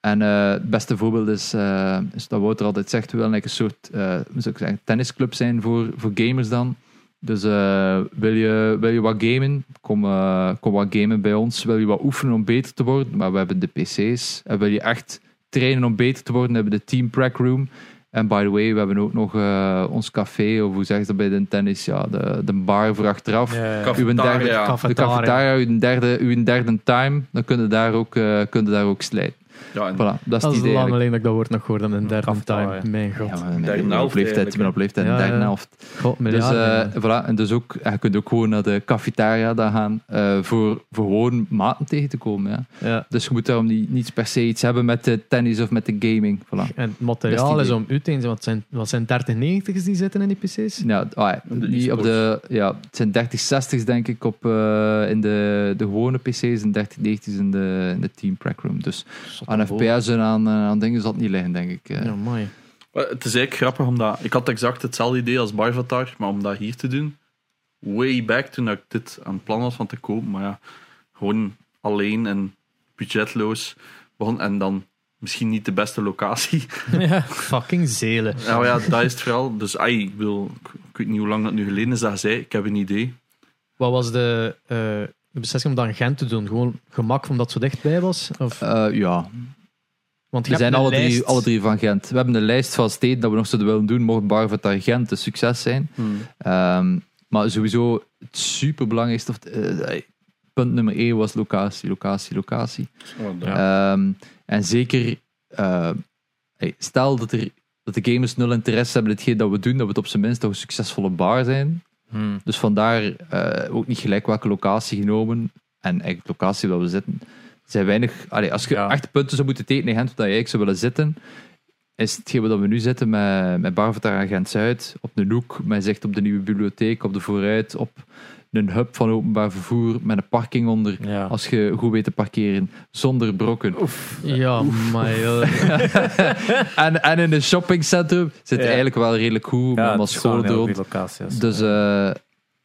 [SPEAKER 2] En eh, het beste voorbeeld is, eh, is dat Wouter altijd zegt, we willen eigenlijk een soort eh, hoe zou ik zeggen, tennisclub zijn voor, voor gamers dan. Dus eh, wil, je, wil je wat gamen? Kom, eh, kom wat gamen bij ons. Wil je wat oefenen om beter te worden? Maar we hebben de PC's. En wil je echt trainen om beter te worden? Hebben we de Team Prac Room. En by the way, we hebben ook nog eh, ons café, of hoe zeg je dat bij de tennis? Ja, de, de bar voor achteraf.
[SPEAKER 3] Ja, ja.
[SPEAKER 2] Uw
[SPEAKER 4] Cafetaria.
[SPEAKER 2] derde-
[SPEAKER 1] Ja.
[SPEAKER 2] de cafetaria, uw derde, uw derde time, dan kunnen daar ook, eh kunnen daar ook slijten.
[SPEAKER 4] Ja, en
[SPEAKER 2] Voilà, dat is
[SPEAKER 1] Dat
[SPEAKER 2] het
[SPEAKER 1] is
[SPEAKER 2] idee
[SPEAKER 1] lang
[SPEAKER 2] eigenlijk.
[SPEAKER 1] alleen dat ik dat woord nog gehoord heb. Een derde of
[SPEAKER 3] Aftaal,
[SPEAKER 1] time.
[SPEAKER 3] ja.
[SPEAKER 1] Mijn god.
[SPEAKER 2] Ja, maar ik
[SPEAKER 4] Derde
[SPEAKER 2] ben op
[SPEAKER 4] helft
[SPEAKER 2] leeftijd, ik ben
[SPEAKER 4] eigenlijk,
[SPEAKER 2] op leeftijd,
[SPEAKER 1] Ja,
[SPEAKER 2] derde
[SPEAKER 1] ja.
[SPEAKER 2] helft.
[SPEAKER 1] god
[SPEAKER 2] Dus,
[SPEAKER 1] miljard.
[SPEAKER 2] eh, voilà, en dus ook, en je kunt ook gewoon naar de cafetaria daar gaan eh, voor, voor gewoon maten tegen te komen. Ja.
[SPEAKER 1] ja.
[SPEAKER 2] Dus je moet daarom niet, niet per se iets hebben met de tennis of met de gaming. Voilà.
[SPEAKER 1] En het
[SPEAKER 2] Best
[SPEAKER 1] materiaal
[SPEAKER 2] idee.
[SPEAKER 1] is om u te eens, want het zijn, wat zijn 3090's die zitten in die PC's?
[SPEAKER 2] Ja, ah ja,
[SPEAKER 4] De
[SPEAKER 2] die op de, ja, het zijn 3060's denk ik op, eh, in de, de gewone PC's en 3090's in de, in de Team Prac Room. Dus aan FPS en aan, eh, aan dingen zal het niet liggen, denk ik. eh.
[SPEAKER 1] Ja, mooi.
[SPEAKER 4] Maar Het is eigenlijk grappig, omdat ik had exact hetzelfde idee als Barvatar, maar om dat hier te doen, way back toen ik dit aan het plan was van te kopen, maar ja, gewoon alleen en budgetloos begon en dan misschien niet de beste locatie.
[SPEAKER 1] Fucking zelen.
[SPEAKER 4] Nou ja, dat is het vooral. Dus ai, ik, wil, ik, ik weet niet hoe lang dat nu geleden is dat je zei, ik heb een idee.
[SPEAKER 1] Wat was de, eh, de beslissing om dat in Gent te doen? Gewoon gemak omdat het zo dichtbij was? Of,
[SPEAKER 2] Eh, ja,
[SPEAKER 1] want je
[SPEAKER 2] we
[SPEAKER 1] hebt
[SPEAKER 2] zijn
[SPEAKER 1] een
[SPEAKER 2] alle drie,
[SPEAKER 1] lijst.
[SPEAKER 2] alle drie van Gent. We hebben een lijst van steden dat we nog zouden willen doen, mocht Barvatar Gent een succes zijn.
[SPEAKER 1] Hmm.
[SPEAKER 2] Ehm, maar sowieso het superbelangrijkste, of, eh, punt nummer 1 was locatie, locatie, locatie. Ehm, en zeker, eh, hey, stel dat, er, dat de gamers nul interesse hebben in hetgeen dat we doen, dat we het op zijn minst toch een succesvolle bar zijn.
[SPEAKER 3] Hmm.
[SPEAKER 2] Dus vandaar eh, ook niet gelijk welke locatie genomen. En eigenlijk de locatie waar we zitten. Er zijn weinig, allee, als je
[SPEAKER 3] Ja.
[SPEAKER 2] echt punten zou moeten tekenen in Gent, waar je eigenlijk zou willen zitten, is hetgeen waar we nu zitten met, met Barvatar en Gent-Zuid, op de hoek, met zicht op de nieuwe bibliotheek, op de vooruit, op een hub van openbaar vervoer, met een parking onder.
[SPEAKER 3] Ja.
[SPEAKER 2] Als je goed weet te parkeren, zonder brokken.
[SPEAKER 1] Ja, maar joh.
[SPEAKER 2] En, en in een shoppingcentrum zit het
[SPEAKER 3] Ja.
[SPEAKER 2] eigenlijk wel redelijk goed,
[SPEAKER 3] Ja,
[SPEAKER 2] met allemaal
[SPEAKER 3] het is wel een
[SPEAKER 2] scholen
[SPEAKER 3] heel
[SPEAKER 2] erop.
[SPEAKER 3] goede locatie, ja.
[SPEAKER 2] Dus eh,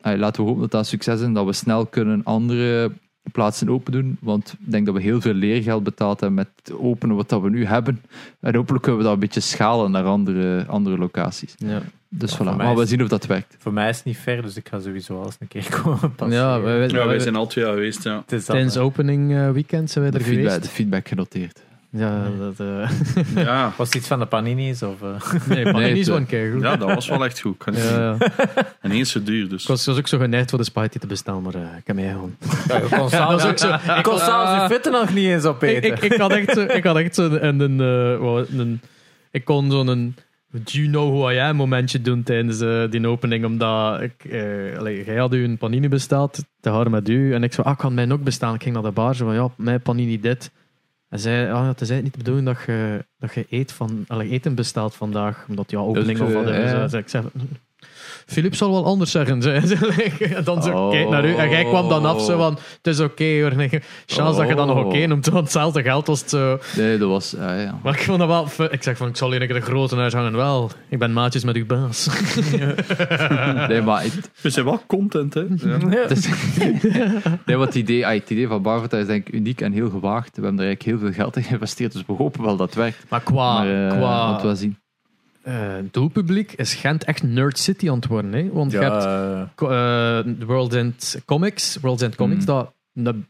[SPEAKER 2] allee, laten we hopen dat dat een succes is en dat we snel kunnen andere plaatsen open doen. Want ik denk dat we heel veel leergeld betaald hebben met het openen wat dat we nu hebben. En hopelijk kunnen we dat een beetje schalen naar andere, andere locaties.
[SPEAKER 1] ja.
[SPEAKER 2] Dus
[SPEAKER 3] voor
[SPEAKER 2] voilà,
[SPEAKER 3] mij
[SPEAKER 2] maar we
[SPEAKER 3] is-
[SPEAKER 2] zien of dat werkt.
[SPEAKER 3] Voor mij is het niet ver, dus ik ga sowieso alles een keer komen passen.
[SPEAKER 1] Ja, wij, wij-
[SPEAKER 4] Ja, wij
[SPEAKER 1] wij-
[SPEAKER 4] zijn al twee jaar geweest, ja.
[SPEAKER 3] het is dat,
[SPEAKER 1] tijdens
[SPEAKER 3] hè.
[SPEAKER 1] opening eh, weekend zijn wij
[SPEAKER 2] De
[SPEAKER 1] er
[SPEAKER 2] feedback, de
[SPEAKER 1] geweest.
[SPEAKER 2] feedback genoteerd.
[SPEAKER 1] Ja, dat... eh
[SPEAKER 4] ja.
[SPEAKER 3] Was het iets van de panini's? Of, eh?
[SPEAKER 1] nee, maar
[SPEAKER 2] Nee,
[SPEAKER 1] niet
[SPEAKER 2] het-
[SPEAKER 1] zo'n keer goed.
[SPEAKER 4] Ja, dat was wel echt goed. Ik kan niet zeggen.
[SPEAKER 1] Ja, ja.
[SPEAKER 4] En eens zo duur, dus.
[SPEAKER 1] Ik was, was ook zo geneigd voor de spaghetti te bestellen, maar eh, ik heb mij gewoon...
[SPEAKER 3] ik kon
[SPEAKER 1] Dat
[SPEAKER 3] zelfs
[SPEAKER 1] is ook zo.
[SPEAKER 3] ik kon zelfs uw vitten nog niet eens
[SPEAKER 1] Ah. Ik,
[SPEAKER 3] opeten.
[SPEAKER 1] ik, ik had echt zo, ik had echt zo een, een, eh, wat- een- ik kon zo'n een Do you know who I am momentje doen tijdens eh, die opening, omdat ik, eh, allee, jij had u een panini besteld, te hard met u, en ik zo, ah, ik kan mijn ook bestellen. Ik ging naar de bar, zo van, ja, mijn panini dit. En zei, ah, ja, het is eigenlijk niet de bedoeling dat je, dat je eet van, allee, eten bestelt vandaag, omdat ja, opening
[SPEAKER 2] Dus,
[SPEAKER 1] of wat.
[SPEAKER 2] eh,
[SPEAKER 1] is.
[SPEAKER 2] ja.
[SPEAKER 1] Dus ik zei, Filip zal wel anders zeggen. zei ze. En dan zo,
[SPEAKER 2] Oh.
[SPEAKER 1] kijk naar u. En jij kwam dan af zo van, het is oké hoor. En ik, Chance dat je dan nog
[SPEAKER 2] Oh.
[SPEAKER 1] oké noemt, want hetzelfde geld was het zo.
[SPEAKER 2] Nee, dat was... ah, ja.
[SPEAKER 1] Maar ik vond dat wel... fu- Ik zeg van, ik zal hier een keer de grote huis hangen. Wel, ik ben maatjes met uw baas.
[SPEAKER 2] Nee, maar het,
[SPEAKER 4] We zijn wel content, hè. Ja.
[SPEAKER 2] het is- nee, wat het, idee, ah, het idee van Barvata is denk ik uniek en heel gewaagd. We hebben er eigenlijk heel veel geld in geïnvesteerd, dus we hopen wel dat het werkt.
[SPEAKER 1] Maar Ah, qua,
[SPEAKER 2] maar eh,
[SPEAKER 1] qua
[SPEAKER 2] laten we zien.
[SPEAKER 1] eh, doelpubliek is Gent echt Nerd City aan het worden. Hè? Want je hebt
[SPEAKER 3] ja,
[SPEAKER 1] co- eh, de World End Comics, World End Comics,
[SPEAKER 2] Mm.
[SPEAKER 1] dat een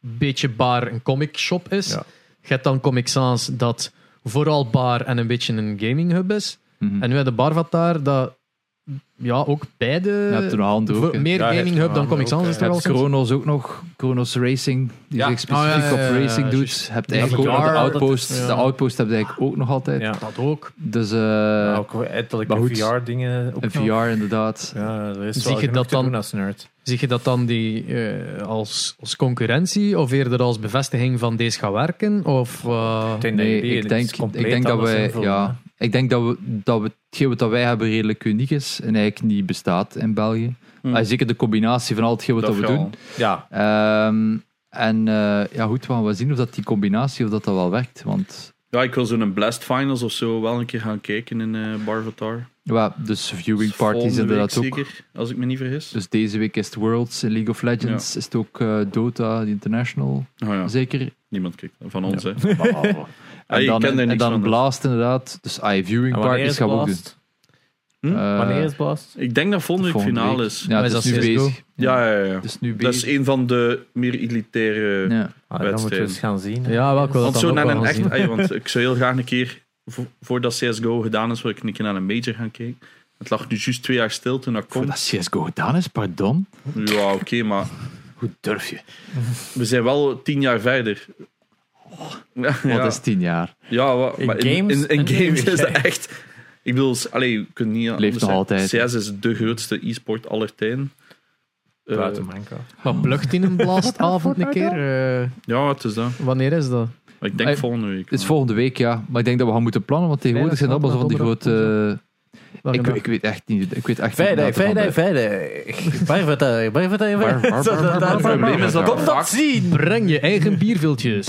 [SPEAKER 1] beetje bar een comic shop is.
[SPEAKER 3] Ja.
[SPEAKER 1] Je hebt dan Comic Sans, dat vooral bar en een beetje een gaming hub is.
[SPEAKER 2] Mhm.
[SPEAKER 1] En nu hebben de Barvatar, dat ja, ook beide...
[SPEAKER 2] Je hebt er nog hand
[SPEAKER 1] voor-
[SPEAKER 2] ook. hè.
[SPEAKER 1] meer
[SPEAKER 3] Ja, je
[SPEAKER 1] gaming
[SPEAKER 3] hebt
[SPEAKER 1] hub dan
[SPEAKER 3] er
[SPEAKER 1] Comic
[SPEAKER 3] ook,
[SPEAKER 1] Sans is
[SPEAKER 3] eh,
[SPEAKER 2] Je
[SPEAKER 1] er al
[SPEAKER 2] hebt
[SPEAKER 1] sinds.
[SPEAKER 2] Chronos ook nog, Chronos Racing, die
[SPEAKER 1] Ja.
[SPEAKER 2] zich specifiek
[SPEAKER 1] Oh, ja, ja, ja,
[SPEAKER 2] op racing
[SPEAKER 1] ja,
[SPEAKER 2] doet.
[SPEAKER 1] juist.
[SPEAKER 2] Je hebt
[SPEAKER 1] Ja,
[SPEAKER 2] eigenlijk
[SPEAKER 1] met
[SPEAKER 2] ook nog de
[SPEAKER 1] VR,
[SPEAKER 2] Outpost.
[SPEAKER 1] dat- ja.
[SPEAKER 2] De Outpost heb je eigenlijk ook nog altijd.
[SPEAKER 1] Dat ook.
[SPEAKER 2] Dus eh,
[SPEAKER 3] ook
[SPEAKER 2] maar
[SPEAKER 3] ettelijke
[SPEAKER 2] goed.
[SPEAKER 3] VR-dingen.
[SPEAKER 2] een VR inderdaad.
[SPEAKER 3] Ja, er is
[SPEAKER 1] Zie
[SPEAKER 3] wel
[SPEAKER 1] je
[SPEAKER 3] genoeg
[SPEAKER 1] dat
[SPEAKER 3] te
[SPEAKER 1] dan-
[SPEAKER 3] doen als nerd.
[SPEAKER 1] Zie je dat dan die, eh, als, als concurrentie of eerder als bevestiging van deze gaat werken? Of, eh,
[SPEAKER 3] Ik denk dat
[SPEAKER 2] Nee,
[SPEAKER 3] jullie
[SPEAKER 2] ik
[SPEAKER 3] iets
[SPEAKER 2] denk,
[SPEAKER 3] compleet
[SPEAKER 2] ik denk dat
[SPEAKER 3] anders
[SPEAKER 2] wij,
[SPEAKER 3] invullen, hè.
[SPEAKER 2] ja, ik denk dat we, dat we hetgeen wat dat wij hebben redelijk uniek is en eigenlijk niet bestaat in België.
[SPEAKER 4] Hmm.
[SPEAKER 2] Ah, zeker de combinatie van al hetgeen wat dat, we
[SPEAKER 4] vooral.
[SPEAKER 2] doen.
[SPEAKER 3] Ja,
[SPEAKER 2] Ehm, en eh, ja, goed, we gaan wel zien of dat die combinatie of dat, dat wel werkt. Want
[SPEAKER 4] Ja, ik wil zo'n Blast Finals of zo wel een keer gaan kijken in eh Barvatar.
[SPEAKER 2] ja, dus viewing parties
[SPEAKER 4] Volgende
[SPEAKER 2] inderdaad
[SPEAKER 4] week
[SPEAKER 2] ook.
[SPEAKER 4] Zeker, als ik me niet vergis.
[SPEAKER 2] Dus deze week is het Worlds in League of Legends. Is het ook eh, Dota, de International,
[SPEAKER 4] oh, ja.
[SPEAKER 2] zeker.
[SPEAKER 4] Niemand kijkt van ons, hè. Ah,
[SPEAKER 2] En
[SPEAKER 4] je
[SPEAKER 2] dan,
[SPEAKER 4] kent er
[SPEAKER 2] en
[SPEAKER 4] niks
[SPEAKER 2] dan
[SPEAKER 4] van, hè.
[SPEAKER 2] Blast inderdaad. Dus ah, viewing
[SPEAKER 3] en wanneer
[SPEAKER 2] parties
[SPEAKER 3] is
[SPEAKER 2] gaan we ook doen.
[SPEAKER 3] Blast? Hm?
[SPEAKER 2] Eh,
[SPEAKER 3] Wanneer is Blast?
[SPEAKER 4] Ik denk dat volgende week
[SPEAKER 2] volgende
[SPEAKER 4] finale
[SPEAKER 2] week.
[SPEAKER 4] is.
[SPEAKER 2] Ja,
[SPEAKER 1] Maar
[SPEAKER 2] het
[SPEAKER 1] is
[SPEAKER 2] is nu
[SPEAKER 1] dat CS:GO?
[SPEAKER 2] bezig.
[SPEAKER 4] Ja, ja, ja. ja.
[SPEAKER 2] Het is nu
[SPEAKER 4] Dat is
[SPEAKER 2] bezig.
[SPEAKER 4] een van de meer elitaire...
[SPEAKER 2] Ja.
[SPEAKER 3] Ah, dan moeten we
[SPEAKER 4] wedstrijd.
[SPEAKER 3] eens gaan zien. hè.
[SPEAKER 1] ja, welke dat
[SPEAKER 4] Want
[SPEAKER 1] dan
[SPEAKER 4] zo
[SPEAKER 1] ook
[SPEAKER 4] naar
[SPEAKER 1] wel
[SPEAKER 4] een
[SPEAKER 1] gaan
[SPEAKER 4] echt...
[SPEAKER 1] zien.
[SPEAKER 4] ey, want ik zou heel graag een keer, vo- voordat CSGO gedaan is, wil ik een keer naar een major gaan kijken. Het lag nu juist twee jaar stil toen dat
[SPEAKER 2] Voor
[SPEAKER 4] komt.
[SPEAKER 2] dat CSGO gedaan is, pardon.
[SPEAKER 4] Ja, oké, maar
[SPEAKER 2] Hoe durf je?
[SPEAKER 4] we zijn wel tien jaar verder.
[SPEAKER 2] Wat
[SPEAKER 4] ja.
[SPEAKER 2] is tien jaar?
[SPEAKER 4] Ja, wat,
[SPEAKER 3] In
[SPEAKER 4] maar in,
[SPEAKER 3] games
[SPEAKER 4] in, in
[SPEAKER 3] een
[SPEAKER 4] games is dat
[SPEAKER 3] eeuwigheid.
[SPEAKER 4] echt. Ik bedoel, s- allee, je kunt niet. anders
[SPEAKER 2] nog
[SPEAKER 4] zeggen.
[SPEAKER 2] altijd, hè.
[SPEAKER 4] CS is de grootste e-sport aller tijden. Eh,
[SPEAKER 3] Buiten Minecraft.
[SPEAKER 1] Maar plucht in een blastavond een keer. eh,
[SPEAKER 4] ja, het is dat.
[SPEAKER 1] wanneer is dat?
[SPEAKER 4] Maar ik denk
[SPEAKER 2] Eh,
[SPEAKER 4] volgende week.
[SPEAKER 2] Het is volgende week, ja. Maar ik denk dat we gaan moeten plannen, want tegenwoordig zijn dat
[SPEAKER 1] Vrijdag,
[SPEAKER 2] allemaal zo van die grote...
[SPEAKER 1] Welke
[SPEAKER 2] ik,
[SPEAKER 1] dag?
[SPEAKER 2] ik weet echt niet. Ik weet echt
[SPEAKER 3] Vrijdag,
[SPEAKER 2] niet dat er van
[SPEAKER 3] vrijdag,
[SPEAKER 2] de-
[SPEAKER 3] vrijdag. Barvata, barvata,
[SPEAKER 2] Bar,
[SPEAKER 3] barvata.
[SPEAKER 2] bar, bar, bar,
[SPEAKER 4] Het probleem is dat
[SPEAKER 2] bar,
[SPEAKER 4] dat
[SPEAKER 3] Kom dat
[SPEAKER 4] vaak
[SPEAKER 3] zien!
[SPEAKER 1] Breng je eigen bierviltjes.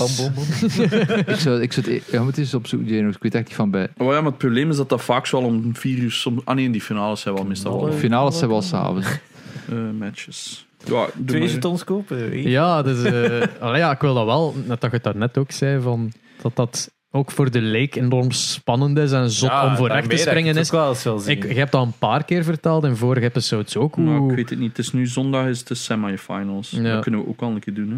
[SPEAKER 2] Ik zou, ik zou het, e- ja, maar het is op zoek, Jeno. Ik weet echt niet van bij.
[SPEAKER 4] Oh ja, maar het probleem is dat dat vaak zo al om vier uur soms... Ah nee, die finales zijn wel meestal wel
[SPEAKER 2] De finales zijn wel s'avonds.
[SPEAKER 4] eh, matches. Ja, doe
[SPEAKER 3] Twee
[SPEAKER 4] maar.
[SPEAKER 3] jetons kopen. Ja.
[SPEAKER 1] Ja, dus, eh, allee, ja, ik wil dat wel, net dat je het daarnet ook zei, van, dat dat ook voor de leek enorm spannend is en zot om vooruit te springen is.
[SPEAKER 3] wel eens wel
[SPEAKER 1] Ik,
[SPEAKER 3] zien.
[SPEAKER 1] je hebt dat een paar keer verteld in vorige episodes ook.
[SPEAKER 4] Maar ik
[SPEAKER 1] Hoe,
[SPEAKER 4] weet het niet. Het is nu zondag, is de semifinals.
[SPEAKER 1] Ja.
[SPEAKER 4] Dat kunnen we ook al een keer doen. Hè.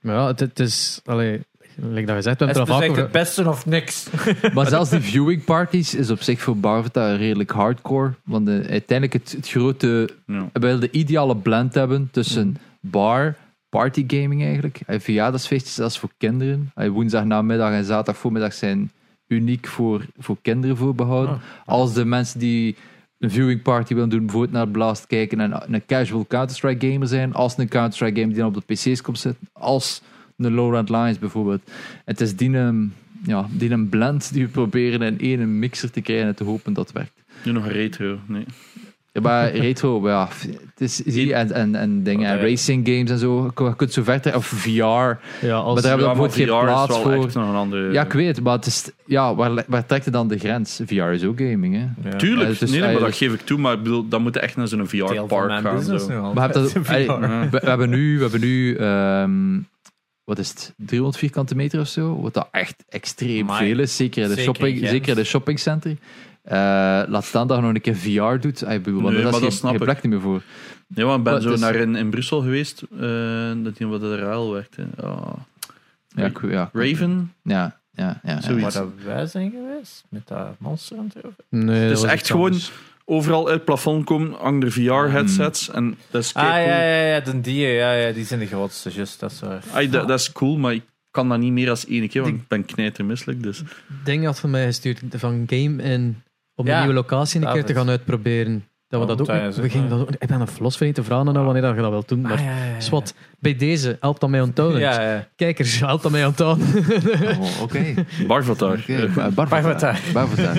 [SPEAKER 1] maar ja, het, het is... Allee, like dat gezegd, we hebben het
[SPEAKER 3] Het is
[SPEAKER 1] er al vaak
[SPEAKER 3] echt
[SPEAKER 1] over-
[SPEAKER 3] het beste of niks.
[SPEAKER 2] Maar zelfs die viewing parties is op zich voor Barvata redelijk hardcore. Want eh, uiteindelijk het, het grote...
[SPEAKER 4] Ja.
[SPEAKER 2] We willen de ideale blend hebben tussen bar, partygaming eigenlijk. En verjaardagsfeestjes, dat is voor kinderen. En woensdag namiddag en zaterdag voormiddag zijn uniek voor, voor kinderen voorbehouden. Als de mensen die een viewing party willen doen, bijvoorbeeld naar Blast kijken en een casual Counter-Strike gamer zijn, als een Counter-Strike gamer die dan op de PC's komt zitten, als een Lowland Lions bijvoorbeeld. Het is die, ehm, ja, die een blend die we proberen in één mixer te krijgen en te hopen dat het werkt.
[SPEAKER 4] Nu nog retro. Nee.
[SPEAKER 2] Ja, maar retro, ja, f- het is, zie, je, en, en, en dingen, en
[SPEAKER 4] Oh, ja.
[SPEAKER 2] racing games en zo, je kunt zo ver, of VR,
[SPEAKER 4] Eh.
[SPEAKER 1] Ja, als,
[SPEAKER 2] maar daar hebben we bijvoorbeeld geen plaats
[SPEAKER 4] is wel
[SPEAKER 2] voor.
[SPEAKER 4] echt nog een andere...
[SPEAKER 2] Ja, ik weet, maar het is, ja, waar, le- waar trekt het dan de grens? VR is ook gaming, hè?
[SPEAKER 4] Tuurlijk,
[SPEAKER 2] Ja, het is
[SPEAKER 4] nee, nee, maar dat
[SPEAKER 2] eigenlijk-
[SPEAKER 4] geef ik toe. Maar ik bedoel, dan moet je echt naar zo'n
[SPEAKER 3] Deel van
[SPEAKER 4] VR-park
[SPEAKER 3] mijn
[SPEAKER 4] gaan.
[SPEAKER 3] business
[SPEAKER 4] zo.
[SPEAKER 3] nu al.
[SPEAKER 2] Maar heb dat,
[SPEAKER 3] VR.
[SPEAKER 2] ey, we,
[SPEAKER 4] Ja.
[SPEAKER 2] we hebben nu, we hebben nu ehm, wat is het, 300 vierkante meter of zo, wat dat echt extreem
[SPEAKER 3] Amai.
[SPEAKER 2] veel is, zeker in de,
[SPEAKER 3] Zeker in
[SPEAKER 2] shopping,
[SPEAKER 3] Gent.
[SPEAKER 2] zeker in de shoppingcenter. Eh, laat staan dat je nog een keer VR doet, ey, ik bedoel, want
[SPEAKER 4] Nee,
[SPEAKER 2] daar is
[SPEAKER 4] maar dat
[SPEAKER 2] geen,
[SPEAKER 4] snap
[SPEAKER 2] geen
[SPEAKER 4] ik.
[SPEAKER 2] plek meer voor.
[SPEAKER 4] Ja, want ik
[SPEAKER 2] Maar
[SPEAKER 4] ben
[SPEAKER 2] het
[SPEAKER 4] zo
[SPEAKER 2] is-
[SPEAKER 4] naar in, in Brussel geweest. eh dat die wat de ruil werkte. Ah.
[SPEAKER 2] Ja, ik- ja, ik-
[SPEAKER 4] Raven?
[SPEAKER 2] Ja, ja, ja. ja.
[SPEAKER 4] Zoiets.
[SPEAKER 3] Waar dat wij zijn geweest, met dat Monster Hunter. of-
[SPEAKER 1] Nee,
[SPEAKER 4] Het
[SPEAKER 1] dat
[SPEAKER 4] is
[SPEAKER 1] was
[SPEAKER 4] echt
[SPEAKER 1] iets
[SPEAKER 4] gewoon
[SPEAKER 1] anders.
[SPEAKER 4] overal uit het plafond komen, hangen VR-headsets. En dat is
[SPEAKER 3] Ah,
[SPEAKER 4] keicool.
[SPEAKER 3] ja, ja, ja, den die, ja, ja, die zijn de grootste, juist, dat is waar.
[SPEAKER 4] Ai, Ah, dat, dat is cool, maar ik kan dat niet meer als één keer, want ik ben knijtermisselijk. Dus.
[SPEAKER 1] ding had van mij gestuurd van game en op een
[SPEAKER 3] Ja,
[SPEAKER 1] nieuwe locatie een keer
[SPEAKER 3] David.
[SPEAKER 1] te gaan uitproberen. Dat we
[SPEAKER 3] Ja,
[SPEAKER 1] dat ook
[SPEAKER 3] want hij
[SPEAKER 1] niet-
[SPEAKER 3] is
[SPEAKER 1] we
[SPEAKER 3] ook,
[SPEAKER 1] gingen
[SPEAKER 3] ja.
[SPEAKER 1] dat ook- Ik ben een verlosvriend te vragen nou, wanneer dat je dat wilt doen. Maar
[SPEAKER 3] Ah, ja, ja, ja, ja.
[SPEAKER 1] is wat, bij deze helpt dat mij onthouden.
[SPEAKER 3] Ja, ja.
[SPEAKER 1] Kijkers, helpt dat mij onthouden.
[SPEAKER 2] Oh, oké.
[SPEAKER 4] Barvatar.
[SPEAKER 2] Oké, Bar- Barfata. Barfata.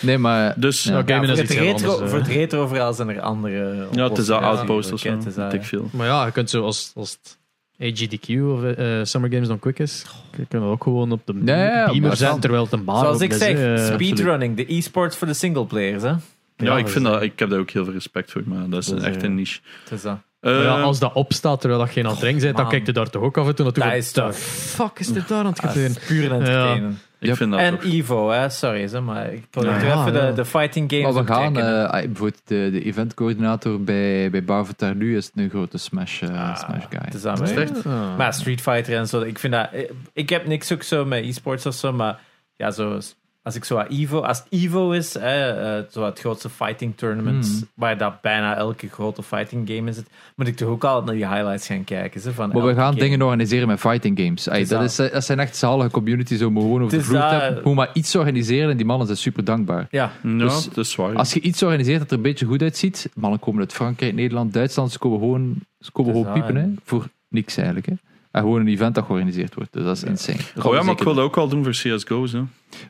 [SPEAKER 2] Nee, maar...
[SPEAKER 4] Dus
[SPEAKER 2] Ja.
[SPEAKER 4] ja.
[SPEAKER 1] Oké, maar dat
[SPEAKER 3] voor,
[SPEAKER 1] is iets
[SPEAKER 3] het
[SPEAKER 1] heel
[SPEAKER 3] retro,
[SPEAKER 1] anders, eh.
[SPEAKER 3] voor
[SPEAKER 1] hè.
[SPEAKER 3] het retro verhaal zijn er andere
[SPEAKER 4] het is dat
[SPEAKER 3] oplossingen.
[SPEAKER 4] Outpost of zo.
[SPEAKER 3] Het is eh, dat,
[SPEAKER 4] Dat ik veel.
[SPEAKER 1] Maar ja, je kunt zo als, als het AGDQ of eh, eh, Summer Games dan quick is, je kunt ook gewoon op de
[SPEAKER 2] Ja, ja, maar
[SPEAKER 1] beamer
[SPEAKER 2] het
[SPEAKER 1] zijn
[SPEAKER 2] kan.
[SPEAKER 1] terwijl het een baan
[SPEAKER 3] Zoals
[SPEAKER 1] open
[SPEAKER 3] ik
[SPEAKER 1] is, eh,
[SPEAKER 3] zeg,
[SPEAKER 1] hè.
[SPEAKER 3] speedrunning, de e-sports voor de singleplayers. hè.
[SPEAKER 4] Ja, ik, vind dat, ik heb daar ook heel veel respect voor, maar dat is
[SPEAKER 3] Dat is,
[SPEAKER 4] echt
[SPEAKER 3] eh,
[SPEAKER 4] een niche.
[SPEAKER 3] Het is dat.
[SPEAKER 1] Maar
[SPEAKER 4] Eh,
[SPEAKER 1] ja, als dat opstaat terwijl dat geen aan het drinken bent, dan
[SPEAKER 3] man.
[SPEAKER 1] kijk je daar toch ook af en toe naartoe.
[SPEAKER 3] Dat
[SPEAKER 1] van,
[SPEAKER 3] is toch-
[SPEAKER 1] "The fuck is dit daar aan het
[SPEAKER 3] Ah,
[SPEAKER 1] gebeuren?
[SPEAKER 3] het is puur entertainen.
[SPEAKER 4] ik
[SPEAKER 2] Ja.
[SPEAKER 4] vind dat
[SPEAKER 3] En
[SPEAKER 4] ook.
[SPEAKER 3] Evo, hè. sorry, zeg maar ik wil
[SPEAKER 1] Nou
[SPEAKER 3] er
[SPEAKER 1] ja,
[SPEAKER 3] even
[SPEAKER 1] ja.
[SPEAKER 3] de, de fighting games
[SPEAKER 2] Maar we
[SPEAKER 3] op
[SPEAKER 2] gaan,
[SPEAKER 3] trekken, hè.
[SPEAKER 2] eh, ah, bijvoorbeeld de, de eventcoördinator bij, bij Barvatar nu is een grote Smash, eh,
[SPEAKER 3] Ah,
[SPEAKER 2] smash guy.
[SPEAKER 3] het is dat, hè.
[SPEAKER 1] Ah.
[SPEAKER 3] Maar Street Fighter en zo, ik vind dat... ik- Ik heb niks ook zo met e-sports of zo, maar ja, zo... Als ik zo aan Evo... Als het Evo is, hè, eh, zo het grootste fighting tournament, waar dat bijna elke grote fighting game in zit, moet ik toch ook altijd naar die highlights gaan kijken. Zo, van
[SPEAKER 2] maar we
[SPEAKER 3] elke
[SPEAKER 2] gaan
[SPEAKER 3] game.
[SPEAKER 2] dingen organiseren met fighting games. Ey,
[SPEAKER 3] Het is
[SPEAKER 2] dat,
[SPEAKER 3] dat.
[SPEAKER 2] is, eh, dat zijn echt zalige communities om gewoon over
[SPEAKER 3] Het
[SPEAKER 2] de
[SPEAKER 3] is
[SPEAKER 2] vloer te
[SPEAKER 3] dat.
[SPEAKER 2] hebben. Hoe maar iets organiseren en die mannen zijn super dankbaar.
[SPEAKER 3] Ja,
[SPEAKER 4] Ja,
[SPEAKER 2] dus-
[SPEAKER 4] dat is waar.
[SPEAKER 2] Als je iets organiseert dat er een beetje goed uitziet, mannen komen uit Frankrijk, Nederland, Duitsland, ze komen gewoon, ze komen
[SPEAKER 3] Het is
[SPEAKER 2] gewoon
[SPEAKER 3] dat,
[SPEAKER 2] piepen hè, voor niks eigenlijk. Hè. En gewoon een event dat georganiseerd wordt. Dus dat is insane. Dat gaan
[SPEAKER 4] Oh
[SPEAKER 2] we
[SPEAKER 4] ja, maar ik
[SPEAKER 2] zeker
[SPEAKER 4] wil dat ook al doen voor CSGO's. Hè.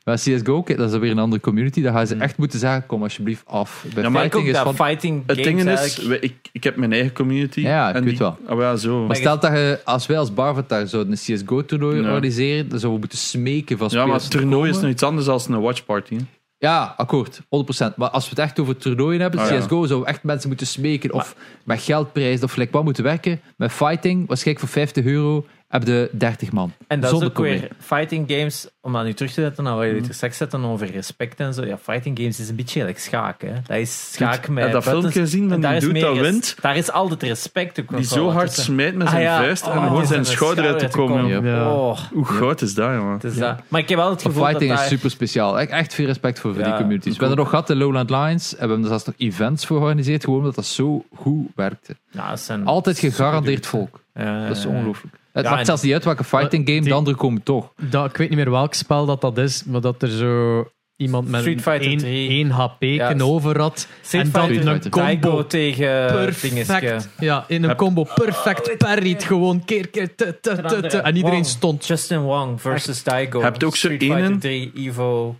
[SPEAKER 2] Maar CSGO, kijk, dat is weer een andere community. Daar gaan ze echt moeten zeggen, kom alsjeblieft af. Bij
[SPEAKER 4] Ja,
[SPEAKER 3] maar
[SPEAKER 4] maar
[SPEAKER 3] ik
[SPEAKER 2] fighting
[SPEAKER 3] ook
[SPEAKER 2] is
[SPEAKER 3] dat
[SPEAKER 2] van...
[SPEAKER 3] fighting
[SPEAKER 4] Het
[SPEAKER 3] games
[SPEAKER 4] ding is,
[SPEAKER 3] eigenlijk-
[SPEAKER 4] we- ik, ik heb mijn eigen community.
[SPEAKER 2] Ja, ja, ik
[SPEAKER 4] en
[SPEAKER 2] weet
[SPEAKER 4] die-
[SPEAKER 2] wel.
[SPEAKER 4] Ah, ja, zo.
[SPEAKER 2] Maar stel dat je, als wij als Barvatar zouden een CSGO-toernooi
[SPEAKER 4] Ja.
[SPEAKER 2] organiseren, dan zouden we moeten smeken van
[SPEAKER 4] Ja, maar
[SPEAKER 2] spelers
[SPEAKER 4] het
[SPEAKER 2] te
[SPEAKER 4] toernooi is
[SPEAKER 2] komen.
[SPEAKER 4] nog iets anders dan een watchparty. hè.
[SPEAKER 2] Ja, akkoord, 100%. Maar als we het echt over toernooien hebben,
[SPEAKER 4] Ah, ja.
[SPEAKER 2] CSGO, zouden we echt mensen moeten smeken of met geldprijs of gelijk wat moeten werken. Met fighting, waarschijnlijk voor 50 euro, heb je 30 man.
[SPEAKER 3] En dat is
[SPEAKER 2] Zonder
[SPEAKER 3] ook weer fighting games, om dat nu terug te zetten naar wat jullie er straks zetten over respect en zo. Ja, fighting games is een beetje gelijk schaken. Hè. Dat is schaak met
[SPEAKER 4] heb dat
[SPEAKER 3] buttons.
[SPEAKER 4] filmpje gezien van
[SPEAKER 3] En
[SPEAKER 4] die
[SPEAKER 3] daar is
[SPEAKER 4] dude
[SPEAKER 3] meer Oh,
[SPEAKER 4] dat
[SPEAKER 3] res-
[SPEAKER 4] wint?
[SPEAKER 3] Daar is altijd respect ook nog
[SPEAKER 4] Die zo
[SPEAKER 3] wel
[SPEAKER 4] hard
[SPEAKER 3] tussen.
[SPEAKER 4] smijt met
[SPEAKER 3] Ah,
[SPEAKER 4] zijn
[SPEAKER 3] ja.
[SPEAKER 4] vuist en
[SPEAKER 3] Oh,
[SPEAKER 4] hoort zijn
[SPEAKER 3] die
[SPEAKER 4] schouder uit te komen. joh.
[SPEAKER 1] joh. Ja.
[SPEAKER 3] Oh,
[SPEAKER 4] Hoe groot is dat, jongen?
[SPEAKER 3] het is dat. Maar ik heb wel het
[SPEAKER 2] Maar
[SPEAKER 3] gevoel
[SPEAKER 2] fighting
[SPEAKER 3] dat
[SPEAKER 2] is
[SPEAKER 3] daar-
[SPEAKER 2] super speciaal. Echt, echt veel respect voor, voor
[SPEAKER 3] Ja,
[SPEAKER 2] die communities. We
[SPEAKER 3] ik ook.
[SPEAKER 2] hebben nog gehad de Lowland Lions. Hebben we er zelfs nog events voor georganiseerd. Gewoon omdat dat zo goed werkte.
[SPEAKER 3] Nou, het zijn-
[SPEAKER 2] Altijd gegarandeerd volk.
[SPEAKER 3] Ja, ja, ja.
[SPEAKER 2] Dat is ongelooflijk. Het
[SPEAKER 3] Ja, en-
[SPEAKER 2] maakt zelfs niet uit welke fighting game,
[SPEAKER 1] die-
[SPEAKER 2] de anderen komen toch.
[SPEAKER 1] Dat, ik weet niet meer welk spel dat, dat is, maar dat er zo iemand met
[SPEAKER 3] Street Fighter 3.
[SPEAKER 1] 1 HP
[SPEAKER 3] Ja.
[SPEAKER 1] over had.
[SPEAKER 3] Street
[SPEAKER 1] en dan
[SPEAKER 3] Fighter,
[SPEAKER 1] een
[SPEAKER 3] Daigo
[SPEAKER 1] combo
[SPEAKER 3] tegen eh,
[SPEAKER 1] perfect.
[SPEAKER 3] dingetje.
[SPEAKER 1] Ja, in een
[SPEAKER 4] Heb-
[SPEAKER 1] combo perfect parried. Gewoon keer, keer, te, te, te, te. En iedereen
[SPEAKER 3] Wong.
[SPEAKER 1] stond.
[SPEAKER 3] Justin Wong versus Daigo.
[SPEAKER 4] Heb je ook zo
[SPEAKER 3] Street Fighter
[SPEAKER 4] enen?
[SPEAKER 3] 3, Evo.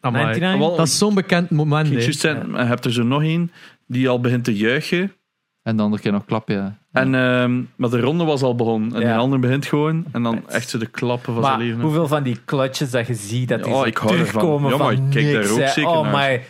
[SPEAKER 1] Amai.
[SPEAKER 3] 99?
[SPEAKER 4] Wel,
[SPEAKER 1] Dat is zo'n bekend moment.
[SPEAKER 4] Ik
[SPEAKER 1] hè.
[SPEAKER 4] juist zeggen, je hebt er zo nog één die al begint te juichen.
[SPEAKER 2] En de andere keer nog klappen, ja.
[SPEAKER 4] En, ehm, maar de ronde was al begonnen. En
[SPEAKER 3] Ja.
[SPEAKER 4] de ander begint gewoon. En dan echt zo de klappen van zijn
[SPEAKER 3] Maar
[SPEAKER 4] leven.
[SPEAKER 3] hoeveel van die clutches dat je ziet, dat die
[SPEAKER 4] Ja,
[SPEAKER 3] zo
[SPEAKER 4] ik hou ervan.
[SPEAKER 3] terugkomen
[SPEAKER 4] Ja, maar
[SPEAKER 3] van
[SPEAKER 4] ik kijk daar
[SPEAKER 3] niks,
[SPEAKER 4] ook
[SPEAKER 3] hè.
[SPEAKER 4] zeker
[SPEAKER 3] Oh
[SPEAKER 4] naar.
[SPEAKER 3] my,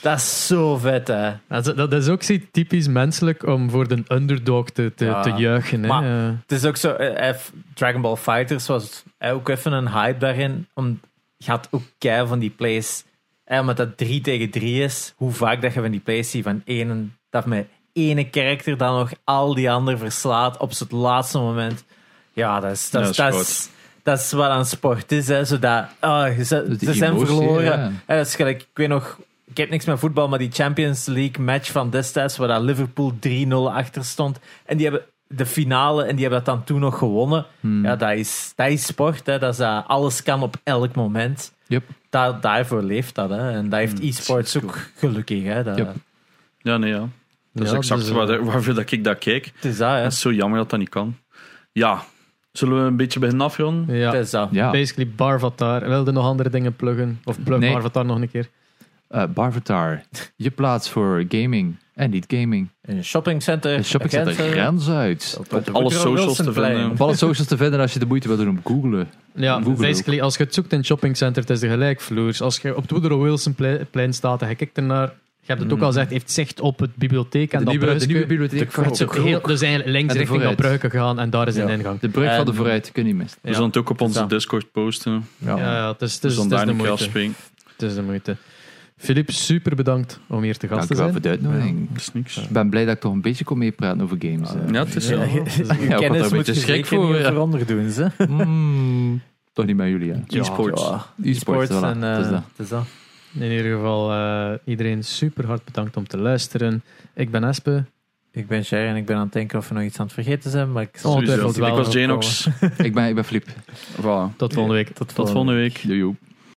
[SPEAKER 3] dat is zo vet, hè.
[SPEAKER 1] Dat is, dat is ook zoiets typisch menselijk om voor de underdog te, te,
[SPEAKER 3] Ja.
[SPEAKER 1] te juichen. Hè.
[SPEAKER 3] Maar-
[SPEAKER 1] Eh,
[SPEAKER 3] Het is ook zo, eh, eh, Dragon Ball Fighters was eh, ook even een hype daarin. Om, je had ook kei van die plays. En omdat dat 3 tegen 3 is, hoe vaak dat je van die plays ziet van één, dat met ene karakter dan nog al die anderen verslaat op het laatste moment. Ja, dat is, dat is,
[SPEAKER 4] Ja, dat
[SPEAKER 3] dat
[SPEAKER 4] is
[SPEAKER 3] is, dat is wat een sport is. Hè, zodat, ah, ze,
[SPEAKER 2] Dus die
[SPEAKER 3] ze zijn
[SPEAKER 2] emotie,
[SPEAKER 3] verloren.
[SPEAKER 2] ja.
[SPEAKER 3] Hè, dat is gelijk, ik weet nog, ik heb niks met voetbal, maar die Champions League match van destijds, waar dat Liverpool 3-0 achter stond. En die hebben de finale en die hebben dat dan toen nog gewonnen.
[SPEAKER 2] Hmm.
[SPEAKER 3] Ja, dat is, dat is sport. Hè. Dat is, dat alles kan op elk moment.
[SPEAKER 2] Yep. Hmm.
[SPEAKER 3] Daar, daarvoor leeft dat. Hè. En dat heeft e-sports ook gelukkig. Hè. Dat,
[SPEAKER 2] Yep.
[SPEAKER 4] Ja, nee, ja. Dat is
[SPEAKER 1] Ja,
[SPEAKER 4] exact
[SPEAKER 1] dus, eh,
[SPEAKER 4] waar, waarvoor dat ik dat kijk.
[SPEAKER 3] Het is dat, hè.
[SPEAKER 4] Het is zo jammer dat dat niet kan. Ja, zullen we een beetje beginnen afronden?
[SPEAKER 1] eh, ja.
[SPEAKER 3] Het is dat.
[SPEAKER 2] Ja.
[SPEAKER 1] Basically Barvatar. Wilde nog andere dingen pluggen? Of plug
[SPEAKER 2] Nee.
[SPEAKER 1] Barvatar nog een keer?
[SPEAKER 2] Eh, Barvatar, je plaats voor gaming en niet gaming.
[SPEAKER 3] Een shoppingcenter.
[SPEAKER 2] Een shoppingcenter
[SPEAKER 3] Gent, eh,
[SPEAKER 2] grens uit.
[SPEAKER 3] op de
[SPEAKER 4] alle
[SPEAKER 3] Woodrow
[SPEAKER 4] socials
[SPEAKER 3] Wilson
[SPEAKER 4] te vinden.
[SPEAKER 3] plein.
[SPEAKER 2] Op alle socials te vinden als je de moeite wil doen om googlen.
[SPEAKER 1] Ja,
[SPEAKER 2] Google
[SPEAKER 1] basically, als je het zoekt in het shoppingcenter, het is de gelijkvloers. Als je op het Woodrow Wilson ple- plein staat en je kijkt ernaar, je hebt het ook al gezegd, heeft zicht op het bibliotheek en
[SPEAKER 2] De
[SPEAKER 1] dat
[SPEAKER 2] nieuwe, de
[SPEAKER 1] bruiske.
[SPEAKER 2] nieuwe bibliotheek van
[SPEAKER 1] Het is ook
[SPEAKER 2] Hoek.
[SPEAKER 1] heel, dus eigenlijk links
[SPEAKER 2] En de
[SPEAKER 1] richting dat
[SPEAKER 2] vooruit.
[SPEAKER 1] Pruiken gegaan en daar is een
[SPEAKER 3] Ja.
[SPEAKER 1] ingang.
[SPEAKER 2] De brug van de
[SPEAKER 3] En-
[SPEAKER 2] vooruit, kun je niet missen.
[SPEAKER 4] We
[SPEAKER 1] Ja.
[SPEAKER 4] zullen het ook op onze
[SPEAKER 3] Ja.
[SPEAKER 4] Discord posten.
[SPEAKER 1] Ja,
[SPEAKER 3] Ja.
[SPEAKER 1] ja, het is, het
[SPEAKER 4] Dus
[SPEAKER 1] is,
[SPEAKER 4] dan
[SPEAKER 1] het is
[SPEAKER 4] daar
[SPEAKER 1] de
[SPEAKER 4] een keer
[SPEAKER 1] moeite.
[SPEAKER 4] afspringen.
[SPEAKER 1] Het is de moeite. Filip, super bedankt om hier te gast
[SPEAKER 2] Dank
[SPEAKER 1] te
[SPEAKER 2] u wel
[SPEAKER 1] zijn.
[SPEAKER 2] voor de uitnodiging.
[SPEAKER 4] Dat is niks.
[SPEAKER 2] Ik ben blij dat ik toch een beetje kon meepraten over games. eh.
[SPEAKER 4] Ja, het is
[SPEAKER 3] Dus, Ja,
[SPEAKER 4] zo.
[SPEAKER 3] je- je
[SPEAKER 2] Ja, ik had er
[SPEAKER 3] kennis
[SPEAKER 2] een
[SPEAKER 3] moet
[SPEAKER 2] beetje
[SPEAKER 3] je
[SPEAKER 2] schrik
[SPEAKER 3] zeker
[SPEAKER 2] voor,
[SPEAKER 3] niet
[SPEAKER 2] ja.
[SPEAKER 3] overonder doen. Ze.
[SPEAKER 2] Mm, toch niet met jullie, hè?
[SPEAKER 4] Ja. E-sports.
[SPEAKER 3] Ja.
[SPEAKER 2] E-sports, voilà.
[SPEAKER 3] en, eh,
[SPEAKER 2] Dat is dat.
[SPEAKER 3] het is dat.
[SPEAKER 1] In ieder geval, eh, iedereen super hard bedankt om te luisteren. Ik ben Espe.
[SPEAKER 3] Ik ben Sharon en ik ben aan het denken of we nog iets aan het vergeten zijn. Maar ik zal
[SPEAKER 1] Ongetwijfeld
[SPEAKER 4] Sowieso.
[SPEAKER 1] Oh, wel
[SPEAKER 4] Ik was
[SPEAKER 1] opkomen.
[SPEAKER 4] Janox.
[SPEAKER 2] Ik ben, ik ben Filip.
[SPEAKER 4] Voilà.
[SPEAKER 1] Tot volgende week.
[SPEAKER 4] Tot volgende week.
[SPEAKER 2] Joe, joe.